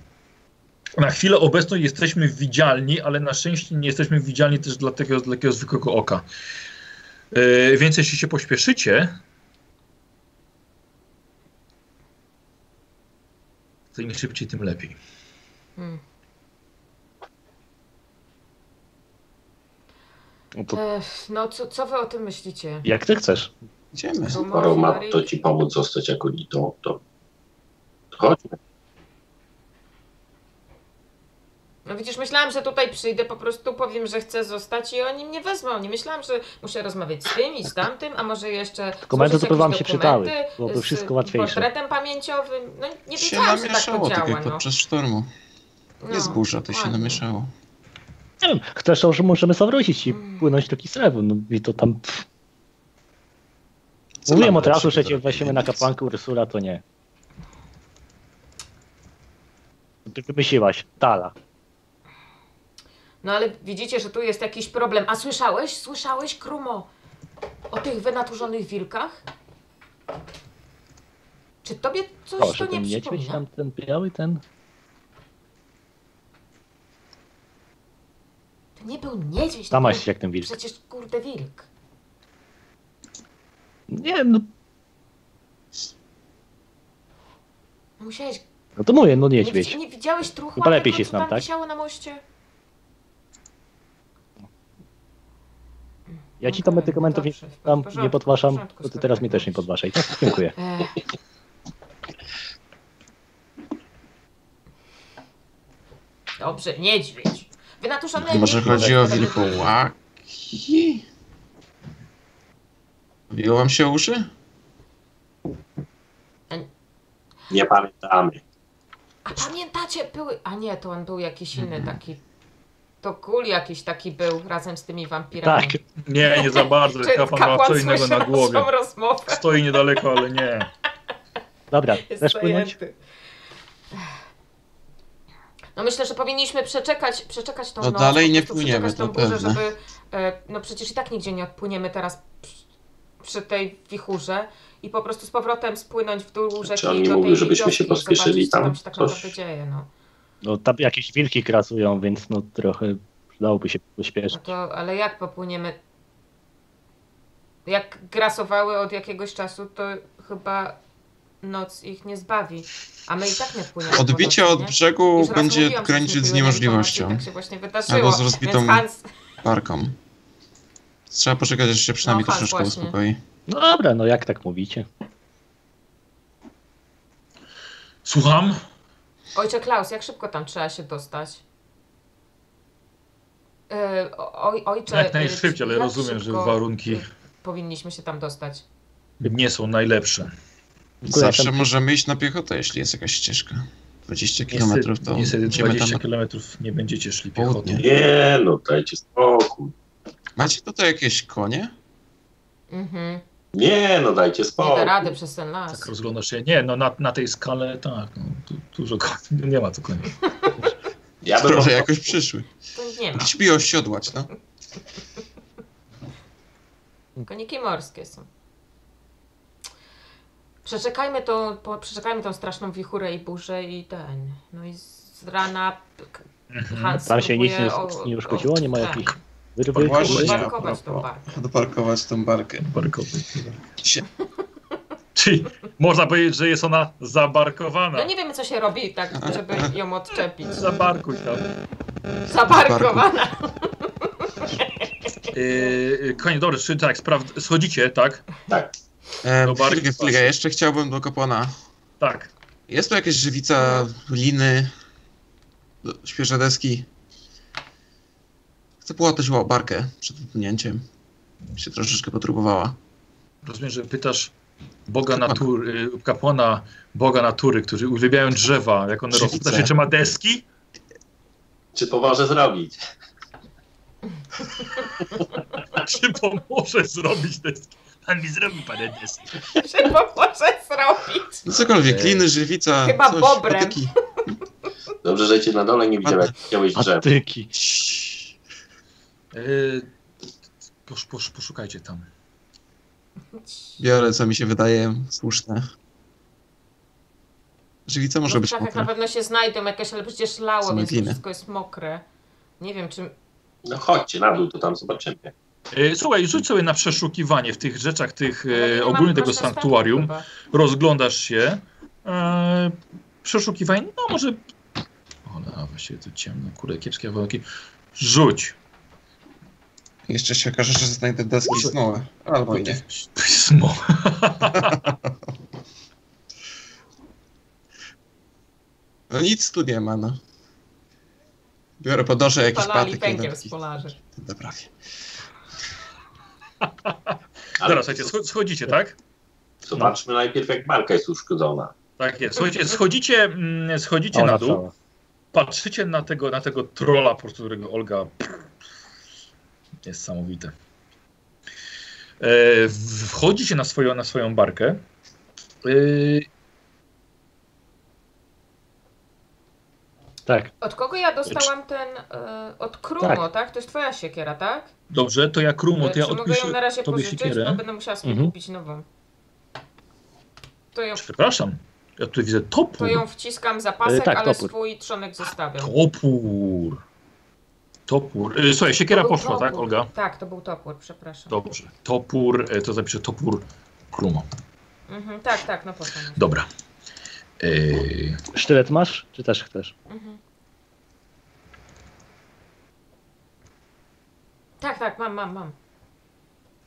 Speaker 1: Na chwilę obecną jesteśmy widzialni, ale na szczęście nie jesteśmy widzialni też dla takiego, dla takiego zwykłego oka. E, więc jeśli się pośpieszycie. To im szybciej, tym lepiej.
Speaker 4: Hmm.
Speaker 2: No to
Speaker 4: Ech, no co, co wy o tym myślicie?
Speaker 2: jak ty chcesz?
Speaker 5: Idziemy.
Speaker 3: Skoro ma to ci pomóc zostać akolitą, to to chodźmy.
Speaker 4: No widzisz, myślałam, że tutaj przyjdę, po prostu powiem, że chcę zostać i oni mnie wezmą. Nie myślałam, że muszę rozmawiać z tym i z tamtym, a może jeszcze.
Speaker 2: Dokumenty
Speaker 4: złożyć
Speaker 2: to by wam
Speaker 4: jakieś
Speaker 2: się przydały,
Speaker 4: dokumenty
Speaker 2: byłoby
Speaker 4: z
Speaker 2: wszystko łatwiejsze.
Speaker 4: Portretem pamięciowym. No nie
Speaker 5: się
Speaker 4: wiedziałam, że tak
Speaker 5: namieszało
Speaker 4: to
Speaker 5: tak
Speaker 4: działa.
Speaker 5: jak
Speaker 4: No.
Speaker 5: podczas sztormu.
Speaker 4: No,
Speaker 5: Jest burza, to się
Speaker 4: dokładnie.
Speaker 5: namieszało.
Speaker 2: Nie wiem, chcesz, że możemy zawrócić i
Speaker 4: Mm.
Speaker 2: płynąć do Kislewu. No i to tam. Pff.
Speaker 5: Co
Speaker 2: Mówiłem
Speaker 5: mamy
Speaker 2: od razu, że
Speaker 5: lepszego
Speaker 2: cię
Speaker 5: do
Speaker 2: weźmiemy na
Speaker 5: robienia?
Speaker 2: kapłankę Ursula, to nie. Ty wymyśliłaś, Tala.
Speaker 4: No ale widzicie, że tu jest jakiś problem. A słyszałeś? Słyszałeś, Krumo? O tych wynaturzonych wilkach? Czy tobie coś
Speaker 2: O,
Speaker 4: to
Speaker 2: że
Speaker 4: nie
Speaker 2: ten niedźwiedź
Speaker 4: przypomina?
Speaker 2: tam, ten biały, ten.
Speaker 4: To nie był niedźwiedź. to
Speaker 2: Zamaś
Speaker 4: był
Speaker 2: się jak ten wilk.
Speaker 4: Przecież kurde wilk.
Speaker 2: Nie wiem, no,
Speaker 4: No Musiałeś
Speaker 2: no to mówię, no
Speaker 4: Nie
Speaker 2: niedźwiedź.
Speaker 4: widzi- Nie widziałeś truchła?
Speaker 2: Chyba lepiej
Speaker 4: tego,
Speaker 2: się
Speaker 4: co
Speaker 2: znam,
Speaker 4: tam
Speaker 2: tak?
Speaker 4: wisiało na moście?
Speaker 2: Ja ci tam
Speaker 4: Okej,
Speaker 2: medykamentów nie,
Speaker 4: dobrze, w
Speaker 2: tam
Speaker 4: porządku,
Speaker 2: nie podważam,
Speaker 4: w porządku,
Speaker 2: to ty
Speaker 4: skoro
Speaker 2: teraz
Speaker 4: tak
Speaker 2: mnie też nie
Speaker 4: mówisz.
Speaker 2: podważaj. No, dziękuję.
Speaker 4: Ech. Dobrze, niedźwiedź. Wynatuszony
Speaker 5: Może
Speaker 4: wilk.
Speaker 5: chodzi o
Speaker 4: Podobny-
Speaker 5: wilkołaki? Biło wam się uszy?
Speaker 3: Nie pamiętamy.
Speaker 4: A pamiętacie, były... A nie, to on był jakiś inny taki... To kul jakiś taki był razem z tymi wampirami.
Speaker 2: Tak,
Speaker 1: Nie, nie za bardzo.
Speaker 4: Czy
Speaker 1: Kapłan ma co innego na
Speaker 4: słyszał
Speaker 1: głowie.
Speaker 4: naszą rozmowę?
Speaker 1: Stoi niedaleko, ale nie.
Speaker 2: dobra,
Speaker 4: Jest
Speaker 2: chcesz płynąć?
Speaker 4: zajęty. No myślę, że powinniśmy przeczekać, przeczekać tą
Speaker 5: No
Speaker 4: noc.
Speaker 5: dalej
Speaker 4: po
Speaker 5: nie
Speaker 4: prostu
Speaker 5: płyniemy,
Speaker 4: przeczekać tą
Speaker 5: to pewne.
Speaker 4: żeby, e, no przecież i tak nigdzie nie odpłyniemy teraz przy, przy tej wichurze i po prostu z powrotem spłynąć w dół rzeki.
Speaker 3: Czy on nie
Speaker 4: do
Speaker 3: mówił,
Speaker 4: tej
Speaker 3: żebyśmy
Speaker 4: wioski
Speaker 3: się
Speaker 4: i
Speaker 3: pospieszyli
Speaker 4: zobaczyć, co
Speaker 3: tam?
Speaker 4: tam się tak
Speaker 3: Coś-
Speaker 4: naprawdę dzieje, no.
Speaker 2: No tam jakieś wilki krasują, więc no trochę przydałoby się
Speaker 4: no
Speaker 2: pośpieszyć.
Speaker 4: to, ale jak popłyniemy? Jak grasowały od jakiegoś czasu, to chyba noc ich nie zbawi. A my i tak nie płyniemy. po
Speaker 5: Odbicie
Speaker 4: nocy,
Speaker 5: od
Speaker 4: nie?
Speaker 5: brzegu
Speaker 4: Już raz
Speaker 5: będzie
Speaker 4: mówiłam, że
Speaker 5: graniczyć z
Speaker 4: znikły informacje,
Speaker 5: niemożliwością.
Speaker 4: Tak się właśnie wydarzyło.
Speaker 5: Albo z rozbitą
Speaker 4: Więc Hans,
Speaker 5: parką. Trzeba poczekać, aż się przynajmniej
Speaker 4: No, tak,
Speaker 5: troszeczkę
Speaker 4: właśnie.
Speaker 5: uspokoi.
Speaker 2: No dobra, no jak tak mówicie?
Speaker 1: Słucham?
Speaker 4: ojcze Klaus, jak szybko tam trzeba się dostać? Yy, oj, ojcze,
Speaker 1: Jak
Speaker 4: y,
Speaker 1: najszybciej, ale
Speaker 4: jak
Speaker 1: rozumiem, że
Speaker 4: szybko,
Speaker 1: warunki
Speaker 4: y, Powinniśmy się tam dostać.
Speaker 1: nie są najlepsze.
Speaker 2: Dziękuję,
Speaker 5: Zawsze
Speaker 2: tam-
Speaker 5: możemy iść na piechotę, jeśli jest jakaś ścieżka. 20 km
Speaker 1: Niestety,
Speaker 5: to
Speaker 1: niestety
Speaker 5: idziemy tam.
Speaker 1: 20 km nie będziecie szli
Speaker 5: Południe.
Speaker 1: piechotą.
Speaker 3: Nie no, dajcie spokój.
Speaker 5: Macie tutaj jakieś konie?
Speaker 4: Mhm.
Speaker 3: Nie no, dajcie
Speaker 4: Nie da
Speaker 3: spokój.
Speaker 4: rady przez ten las.
Speaker 1: Tak rozglądasz się. Nie, no na, na tej skale tak, no, tu, dużo koni- No nie ma co koniec.
Speaker 3: Ja bym
Speaker 5: Które
Speaker 3: może
Speaker 5: jakoś przyszły.
Speaker 4: To nie ma.
Speaker 5: Chcieliby je osiodłać, no.
Speaker 4: Koniki morskie są. Przeczekajmy tą, po, przeczekajmy tą straszną wichurę i burzę i ten. No i z rana k- Hans
Speaker 2: Tam się nic
Speaker 4: próbuje tak.
Speaker 2: nie- nie uszkodziło? Nie ma No jakichś- Wyrwy,
Speaker 5: Właśnie.
Speaker 2: kolej.
Speaker 4: Parkować
Speaker 5: a propos.
Speaker 4: tą barkę.
Speaker 5: Doparkować tą barkę.
Speaker 1: Barkowy.
Speaker 5: Sie-
Speaker 1: Czyli można powiedzieć, że jest ona zabarkowana.
Speaker 4: No nie wiemy, co się robi tak, żeby ją odczepić.
Speaker 1: Zabarkuj tam.
Speaker 4: Zabarkowana.
Speaker 1: Yy, koniec, dobry, czy tak, sprawd- schodzicie, tak?
Speaker 3: Tak.
Speaker 5: E,
Speaker 1: Do barki
Speaker 5: chwilkę, chwilkę,
Speaker 1: patrzę.
Speaker 5: jeszcze chciałbym do kapłana.
Speaker 1: Tak.
Speaker 5: Jest tu jakaś żywica, liny, do- świeże deski. Chcę połatać ła- barkę przed wypłynięciem. Się troszeczkę potrubowała.
Speaker 1: Rozumiem, że pytasz Boga natury, yy, kapłana Boga natury, którzy uwielbiają drzewa, jak one rosną.
Speaker 5: Żywice.
Speaker 1: Pytasz się, czy ma deski?
Speaker 3: Czy to może zrobić?
Speaker 1: Czy pomoże zrobić deski? Pan mi zrobi parę deski.
Speaker 4: Trzeba może zrobić.
Speaker 5: No cokolwiek,
Speaker 1: Ej.
Speaker 5: liny, żywica,
Speaker 4: Chyba
Speaker 5: coś,
Speaker 4: bobrem.
Speaker 5: patyki.
Speaker 3: Dobrze, że cię na dole nie widziałem, jak chciałeś drzew.
Speaker 2: Patyki.
Speaker 5: Ciii.
Speaker 1: Yy, posz, posz, poszukajcie tam.
Speaker 5: Biorę, co mi się wydaje słuszne. Żywica może
Speaker 4: No w
Speaker 5: być
Speaker 4: krzakach
Speaker 5: mokra.
Speaker 4: na pewno się znajdą jakieś, ale przecież lało,
Speaker 5: Same
Speaker 4: więc to
Speaker 5: gliny.
Speaker 4: wszystko jest mokre. Nie wiem, czy...
Speaker 3: No chodźcie na dół, to tam zobaczymy.
Speaker 1: Yy, słuchaj, rzuć sobie na przeszukiwanie w tych rzeczach, tych
Speaker 4: ale nie
Speaker 1: yy,
Speaker 4: mam
Speaker 1: ogólnie tego
Speaker 4: proszę
Speaker 1: sanktuarium.
Speaker 4: stanu chyba.
Speaker 1: Rozglądasz się. E, przeszukiwań, no może. Ola, no, właściwie tu ciemno, kurde, kiepskie warunki. Rzuć.
Speaker 5: Jeszcze się okaże, że znajdę deski i
Speaker 1: Może-
Speaker 5: smołę. Albo i nie.
Speaker 1: Pismo.
Speaker 5: No nic tu nie ma, no. Biorę podosze jakiś
Speaker 4: Spalali
Speaker 5: patyk.
Speaker 4: pękiem z polarzy.
Speaker 5: Doprawie.
Speaker 3: Ale
Speaker 1: Dobra, słuchajcie, scho- schodzicie, tak?
Speaker 3: Zobaczmy najpierw, jak barka jest uszkodzona.
Speaker 1: Tak jest. Słuchajcie, schodzicie, mm, schodzicie
Speaker 2: Ona
Speaker 1: na dół,
Speaker 2: cała.
Speaker 1: patrzycie na tego, na tego trola, po którego Olga. Niesamowite. E, w- wchodzicie na swoją, na swoją barkę. E,
Speaker 2: Tak,
Speaker 4: Od kogo ja dostałam ten... y, od Krumo, tak.
Speaker 2: Tak.
Speaker 4: To jest twoja siekiera, tak? E,
Speaker 1: dobrze, to jak Rumo, to
Speaker 4: czy
Speaker 1: ja
Speaker 4: mogę ją
Speaker 1: odpiszę
Speaker 4: na razie
Speaker 1: tobie
Speaker 4: pożyczyć,
Speaker 1: siekierę.
Speaker 4: bo będę musiała sobie
Speaker 2: Mhm.
Speaker 4: kupić nową. To ją,
Speaker 1: Przepraszam, ja tu widzę
Speaker 4: to
Speaker 1: topór.
Speaker 4: ją wciskam za pasek,
Speaker 2: E, tak,
Speaker 4: ale
Speaker 2: topór.
Speaker 4: swój trzonek zostawiam.
Speaker 1: Topór. Topór. E, Słuchaj, siekiera
Speaker 4: To był
Speaker 1: poszła, tak,
Speaker 4: topór.
Speaker 1: Olga?
Speaker 4: Tak, to był topór, przepraszam.
Speaker 1: Dobrze. Topór, e, to zapiszę topór Krumo.
Speaker 4: Mhm, tak, tak, no potem.
Speaker 1: Dobra. Eee,
Speaker 2: sztylet masz, czy też chcesz?
Speaker 4: Mhm. Tak, tak, mam, mam, mam.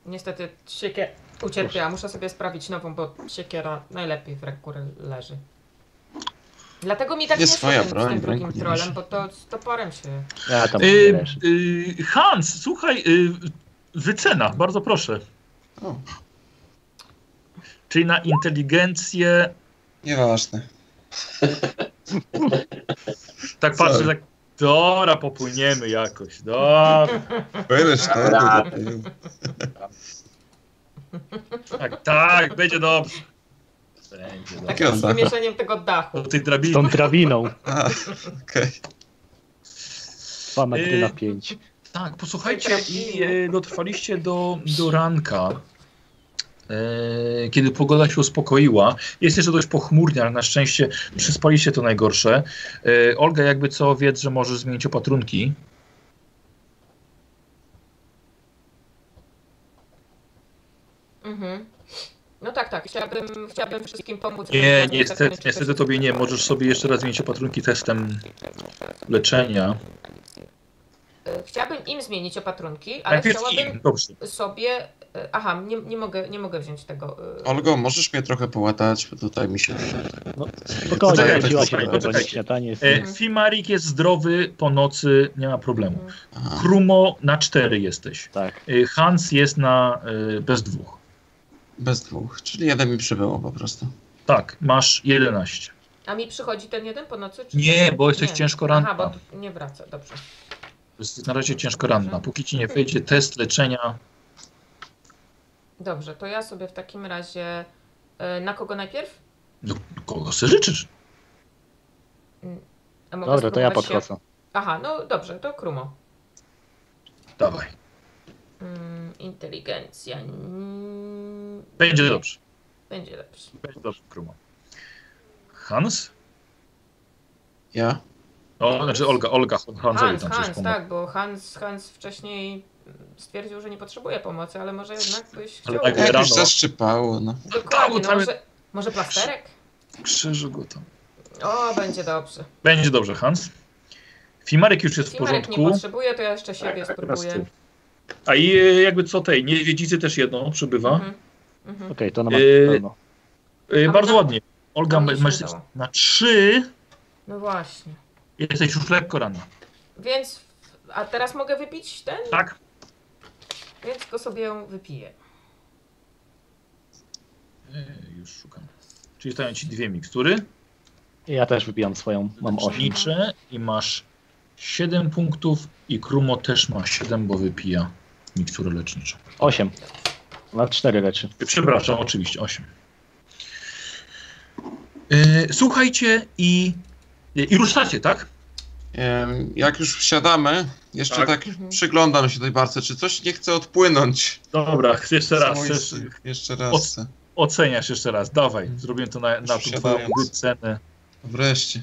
Speaker 4: Niestety siekier ucierpiała. Muszę sobie sprawić nową, bo siekiera najlepiej w ręku re- leży. Dlatego mi tak
Speaker 5: Jest
Speaker 4: nie
Speaker 5: swoja
Speaker 4: szło
Speaker 5: broń,
Speaker 4: z tym
Speaker 5: w
Speaker 4: drugim
Speaker 5: ręku nie
Speaker 4: trolem,
Speaker 5: leży.
Speaker 4: bo to z toporem się...
Speaker 2: A, tam
Speaker 1: e,
Speaker 2: nie leży.
Speaker 1: e, Hans, słuchaj, e, wycena, bardzo proszę.
Speaker 5: O,
Speaker 1: Czyli na inteligencję,
Speaker 5: nieważne.
Speaker 1: tak patrzę,
Speaker 5: Sorry.
Speaker 1: tak, dobra, popłyniemy jakoś, dobra.
Speaker 5: Pojedziesz to.
Speaker 3: Dobra.
Speaker 5: to- to-
Speaker 1: Tak, tak, będzie dobrze. Będzie dobrze.
Speaker 4: Tak
Speaker 5: Jakiego
Speaker 4: z
Speaker 5: dachu?
Speaker 4: wymieszeniem tego dachu.
Speaker 1: Do tej drabiny.
Speaker 2: Z tą drabiną.
Speaker 5: A, okej.
Speaker 2: Dwa metry na pięć.
Speaker 1: Tak, posłuchajcie, i e, dotrwaliście do, do ranka, e, kiedy pogoda się uspokoiła. Jest jeszcze dość pochmurnie, ale na szczęście przyspaliście to najgorsze. E, Olga, jakby co, wiedz, że możesz zmienić opatrunki.
Speaker 4: Mhm. No tak, tak. Chciałabym, chciałabym wszystkim pomóc.
Speaker 1: Nie, niestety, niestety tobie nie. Możesz sobie jeszcze raz zmienić opatrunki testem leczenia.
Speaker 4: E, Chciałabym im zmienić opatrunki, ale
Speaker 1: Najpierw
Speaker 4: chciałabym
Speaker 1: im, dobrze.
Speaker 4: sobie... e, Aha, nie, nie, mogę, nie mogę wziąć tego... e,
Speaker 5: Olgo, możesz mnie trochę połatać, bo tutaj mi się...
Speaker 2: Spokojnie,
Speaker 1: Poczekaj,
Speaker 2: rodziła się
Speaker 1: poczekaj,
Speaker 2: tylko,
Speaker 1: poczekaj.
Speaker 2: nic śniadanie jest.
Speaker 1: E, Fimarik jest zdrowy, po nocy nie ma problemu.
Speaker 4: mhm.
Speaker 5: Aha.
Speaker 1: Krumo na cztery jesteś.
Speaker 2: Tak,
Speaker 1: E, Hans jest na e, bez dwóch.
Speaker 5: Bez dwóch, czyli jeden mi przybyło po prostu.
Speaker 1: Tak, masz 11.
Speaker 4: A mi przychodzi ten jeden po nocy? Czy
Speaker 1: Nie, bo jesteś
Speaker 4: Nie.
Speaker 1: ciężko ranna.
Speaker 4: Aha, bo tu nie wraca, dobrze.
Speaker 1: Jest na razie ciężko ranna. Póki ci nie wyjdzie test leczenia,
Speaker 4: Dobrze, to ja sobie w takim razie... e, Na kogo najpierw?
Speaker 1: no, kogo sobie życzysz?
Speaker 4: A mogę
Speaker 2: No dobra, to ja
Speaker 4: spróbować się-
Speaker 2: podchodzę.
Speaker 4: Aha, no dobrze, to Krumo.
Speaker 1: Dawaj.
Speaker 4: Mm, Inteligencja. mm,
Speaker 1: Będzie dobrze.
Speaker 4: Będzie lepszy.
Speaker 1: Będzie dobrze, Krumo. Hans?
Speaker 5: Ja?
Speaker 1: O, znaczy Olga, Olga, Hansowi
Speaker 4: Hans,
Speaker 1: tam coś
Speaker 4: Hans,
Speaker 1: pomogła.
Speaker 4: tak, bo Hans, Hans wcześniej stwierdził, że nie potrzebuje pomocy, ale może jednak byś
Speaker 1: Ale
Speaker 4: chciał.
Speaker 1: tak
Speaker 5: Jakoś
Speaker 1: rano.
Speaker 5: zaszczypało, no.
Speaker 4: Dokładnie, no,
Speaker 1: Cały-
Speaker 4: może, może plasterek?
Speaker 1: Krzyżu go tam.
Speaker 4: O, będzie dobrze.
Speaker 1: Będzie dobrze, Hans. Fimarek już jest w
Speaker 4: Fimarek nie
Speaker 1: porządku.
Speaker 4: potrzebuje, to ja jeszcze siebie
Speaker 3: Tak, tak,
Speaker 4: spróbuję.
Speaker 1: A i e, jakby co tej, niedźwiedzicy też jedną przybywa.
Speaker 4: Mhm. Mhm.
Speaker 2: Okej, to na no, maksa
Speaker 1: Yy,
Speaker 2: pełno.
Speaker 1: E,
Speaker 4: A
Speaker 1: Bardzo
Speaker 4: na-
Speaker 1: ładnie. Olga,
Speaker 4: na mnie się
Speaker 1: masz
Speaker 4: udało.
Speaker 1: na trzy.
Speaker 4: No właśnie.
Speaker 1: Jesteś już lekko ranna.
Speaker 4: Więc. A teraz mogę wypić ten?
Speaker 1: Tak?
Speaker 4: Więc go sobie wypiję.
Speaker 1: E, Już szukam. Czyli stają ci dwie mikstury.
Speaker 2: Ja też wypijam swoją, mam 8.
Speaker 1: Znaczy, Liczę i masz 7 punktów i Krumo też ma 7, bo wypija miksturę leczniczą.
Speaker 2: 8. Na 4 leczy.
Speaker 1: Przepraszam, oczywiście 8. E, słuchajcie i, i ruszacie, tak?
Speaker 5: Em, Jak już wsiadamy, jeszcze
Speaker 1: Tak.
Speaker 5: tak,
Speaker 4: Mhm.
Speaker 5: przyglądam się tej barce, czy coś nie chce odpłynąć.
Speaker 1: Dobra, jeszcze raz.
Speaker 5: Samo
Speaker 1: Jeszcze,
Speaker 5: jest- jeszcze
Speaker 1: Od-
Speaker 5: raz. chcę.
Speaker 1: oceniasz jeszcze raz. Dawaj, zrobiłem to na, na tą twoją
Speaker 5: Wsiadając.
Speaker 1: cenę.
Speaker 5: Wreszcie.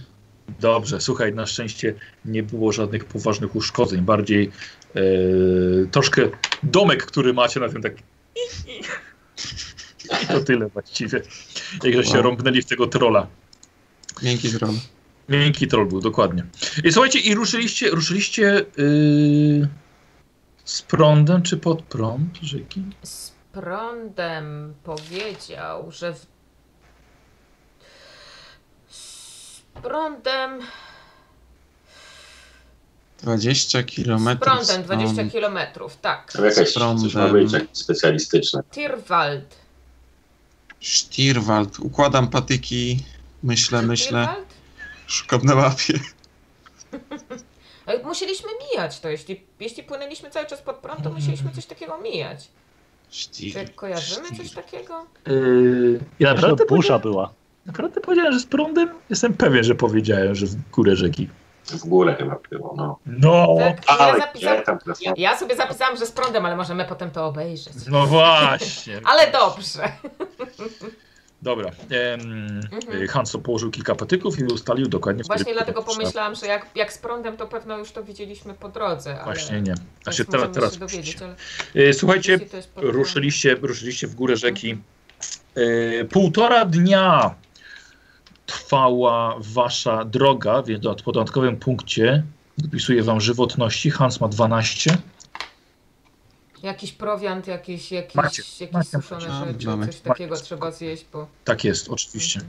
Speaker 1: Dobrze, słuchaj, na szczęście nie było żadnych poważnych uszkodzeń, bardziej e, troszkę domek, który macie na tym tak. I to tyle właściwie. Jakże się
Speaker 2: No.
Speaker 5: Wow.
Speaker 1: rąbnęli w tego trola.
Speaker 5: Miękki dron.
Speaker 1: Miękki troll był, dokładnie. I słuchajcie, i ruszyliście, ruszyliście yy, z prądem czy pod prąd rzeki?
Speaker 4: Z prądem powiedział, że. W... Z prądem.
Speaker 5: 20
Speaker 4: Z
Speaker 5: kilometrów. Um,
Speaker 4: prądem 20 km, tak.
Speaker 3: Tam jakaś,
Speaker 5: Z prądem.
Speaker 3: coś ma być jakieś specjalistyczne.
Speaker 4: Tirwald.
Speaker 5: Stirwald. Układam patyki. Myślę, myślę.
Speaker 4: Tirwald?
Speaker 5: Szukam na mapie.
Speaker 4: Ale E, Musieliśmy mijać to. Jeśli, jeśli płynęliśmy cały czas pod prąd, to musieliśmy coś takiego mijać. Czy
Speaker 5: Stir.
Speaker 4: kojarzymy coś tak- takiego?
Speaker 1: ja
Speaker 2: Y, Że
Speaker 1: naprawdę,
Speaker 2: burza
Speaker 1: powiedziałem,
Speaker 2: była.
Speaker 1: naprawdę powiedziałem, że z prądem? Jestem pewien, że powiedziałem, że w górę rzeki.
Speaker 3: W górę chyba było, no.
Speaker 1: No,
Speaker 4: Tak, ja,
Speaker 3: Ale
Speaker 4: zapisam,
Speaker 3: gdzie tam teraz
Speaker 4: ja, ja sobie zapisałam, że z prądem, ale możemy potem to obejrzeć.
Speaker 1: no właśnie.
Speaker 4: Ale dobrze.
Speaker 1: Dobra. em,
Speaker 4: Mhm.
Speaker 1: Hanso położył kilka patyków i ustalił dokładnie. w
Speaker 4: Właśnie
Speaker 1: którym
Speaker 4: dlatego
Speaker 1: kierunku
Speaker 4: pomyślałam, że jak, jak z prądem, to pewno już to widzieliśmy po drodze.
Speaker 1: trzeba-
Speaker 4: Ale
Speaker 1: Właśnie nie.
Speaker 4: więc
Speaker 1: Znaczy,
Speaker 4: możemy
Speaker 1: teraz, teraz
Speaker 4: się dowiedzieć,
Speaker 1: musicie.
Speaker 4: ale
Speaker 1: E, Słuchajcie,
Speaker 4: jeśli to jest pod prąd-
Speaker 1: ruszyliście, ruszyliście w górę rzeki. E,
Speaker 4: Mhm.
Speaker 1: Półtora dnia trwała wasza droga, więc w dodatkowym punkcie dopisuję wam żywotności. Hans ma 12.
Speaker 4: Jakiś prowiant, jakieś, jakieś,
Speaker 1: Macie.
Speaker 4: jakieś
Speaker 1: Macie.
Speaker 4: suszone
Speaker 5: Mamy,
Speaker 4: rzeczy,
Speaker 5: mamy.
Speaker 4: coś takiego trzeba zjeść, bo...
Speaker 1: Tak jest, oczywiście.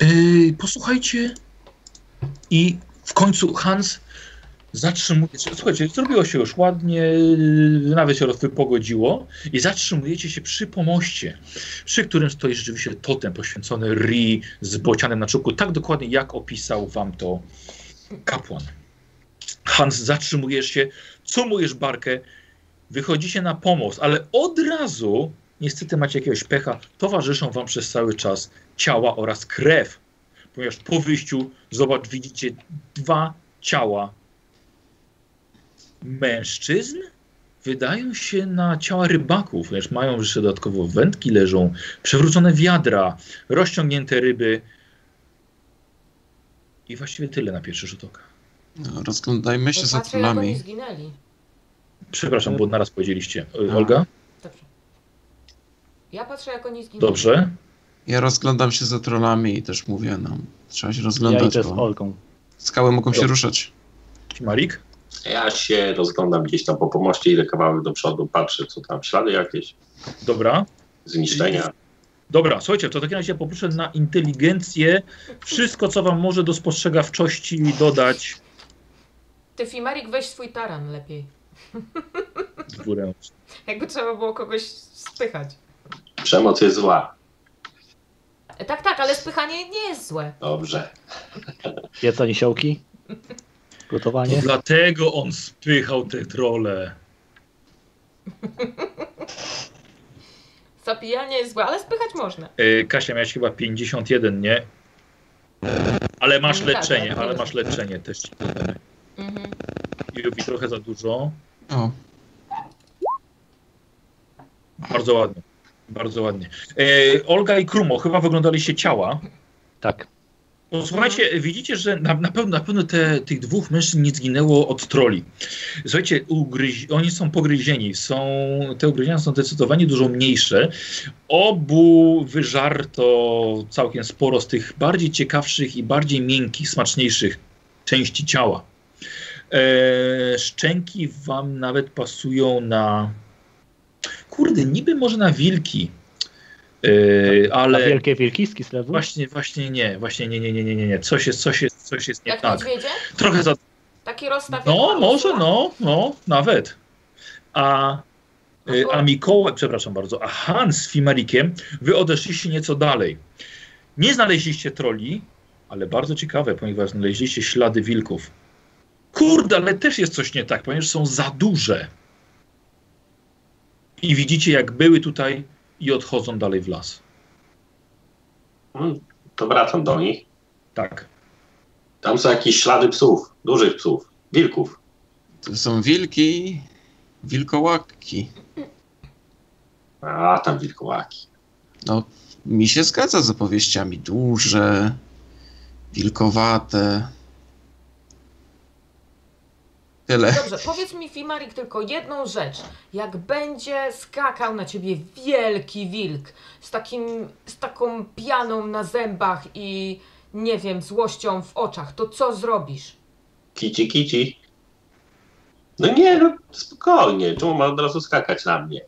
Speaker 4: Mhm.
Speaker 1: Yy, posłuchajcie. I w końcu Hans zatrzymuje się. Słuchajcie, zrobiło się już ładnie, yy, nawet się wypogodziło. I zatrzymujecie się przy pomoście, przy którym stoi rzeczywiście totem poświęcony Ri z bocianem na czubku. Tak dokładnie, jak opisał wam to kapłan. Hans, zatrzymujesz się, cumujesz barkę, wychodzicie na pomost, ale od razu, niestety macie jakiegoś pecha, towarzyszą wam przez cały czas ciała oraz krew. Ponieważ po wyjściu, zobacz, widzicie dwa ciała mężczyzn. Wydają się na ciała rybaków, ponieważ mają jeszcze dodatkowo wędki leżą, przewrócone wiadra, rozciągnięte ryby. I właściwie tyle na pierwszy rzut oka.
Speaker 5: No, rozglądajmy się
Speaker 4: Bo
Speaker 5: za
Speaker 4: patrzę, jak oni
Speaker 5: trolami.
Speaker 4: zginęli.
Speaker 1: Przepraszam, bo naraz powiedzieliście. Y,
Speaker 5: A.
Speaker 1: Olga?
Speaker 4: Dobrze. Ja patrzę, jak oni zginęli.
Speaker 1: Dobrze.
Speaker 5: Ja rozglądam się za trolami i też mówię, no. Trzeba się
Speaker 2: Ja
Speaker 5: rozglądać,
Speaker 2: idę z
Speaker 5: bo
Speaker 2: Olgą.
Speaker 5: skały mogą się
Speaker 1: Jo.
Speaker 5: ruszać.
Speaker 1: Marik?
Speaker 3: Ja się rozglądam gdzieś tam po pomoście, ile kawałek do przodu, patrzę, co tam, ślady jakieś,
Speaker 1: Dobra.
Speaker 3: zniszczenia.
Speaker 1: Dobra, słuchajcie, to w takim razie poproszę na inteligencję. Wszystko, co wam może do spostrzegawczości dodać
Speaker 4: Ty, Fimarik, weź swój taran lepiej.
Speaker 1: w górę.
Speaker 4: Jakby trzeba było kogoś spychać.
Speaker 3: Przemoc jest zła.
Speaker 4: E, Tak, tak, ale spychanie nie jest złe.
Speaker 3: Dobrze.
Speaker 2: Jedzenie siołki.
Speaker 1: To
Speaker 2: Gotowanie.
Speaker 1: dlatego on spychał te trole.
Speaker 4: Zapijanie jest złe, ale spychać można.
Speaker 1: E, Kasia, miałeś chyba 51, nie? Ale masz
Speaker 4: Tak,
Speaker 1: leczenie,
Speaker 4: tak.
Speaker 1: ale masz leczenie też. ci dodamy.
Speaker 4: Mhm.
Speaker 1: I robi trochę za dużo.
Speaker 5: O,
Speaker 1: Bardzo ładnie. Bardzo ładnie. E, Olga i Krumo, chyba wyglądaliście ciała.
Speaker 2: Tak.
Speaker 1: No, słuchajcie, widzicie, że na, na pewno, na pewno te, tych dwóch mężczyzn nie zginęło od troli. Słuchajcie, ugryź, oni są pogryzieni. Są, te ugryzienia są zdecydowanie dużo mniejsze. Obu wyżarto całkiem sporo z tych bardziej ciekawszych i bardziej miękkich, smaczniejszych części ciała. E, szczęki wam nawet pasują na... Kurde, niby może na wilki. E,
Speaker 2: Ale...
Speaker 1: ale...
Speaker 2: A wielkie wilkiski z lewu?
Speaker 1: Właśnie, właśnie nie, właśnie nie, nie, nie, nie, nie, nie. Coś jest, coś jest, coś jest nie
Speaker 4: Jak
Speaker 1: tak.
Speaker 4: niedźwiedzie?
Speaker 1: Trochę za...
Speaker 4: Taki rozstaw. jak
Speaker 1: No,
Speaker 4: ma
Speaker 1: może,
Speaker 4: Ursula?
Speaker 1: no, no, nawet. A, y, a Mikołaj, przepraszam bardzo, a Han z Fimarikiem, wy odeszliście nieco dalej. Nie znaleźliście troli, ale bardzo ciekawe, ponieważ znaleźliście ślady wilków. Kurde, ale też jest coś nie tak, ponieważ są za duże. I widzicie, jak były tutaj i odchodzą dalej w las.
Speaker 3: Mm, To wracam do nich.
Speaker 1: Tak.
Speaker 3: Tam są jakieś ślady psów, dużych psów, wilków.
Speaker 5: To są wilki, wilkołaki.
Speaker 3: A, tam wilkołaki.
Speaker 5: No, Mi się zgadza z opowieściami. Duże, wilkowate. Tyle.
Speaker 4: Dobrze, powiedz mi, Fimarik, tylko jedną rzecz. Jak będzie skakał na ciebie wielki wilk z, takim, z taką pianą na zębach i nie wiem, złością w oczach, to co zrobisz?
Speaker 3: Kici, kici. No nie, no spokojnie. Czemu ma od razu skakać na mnie?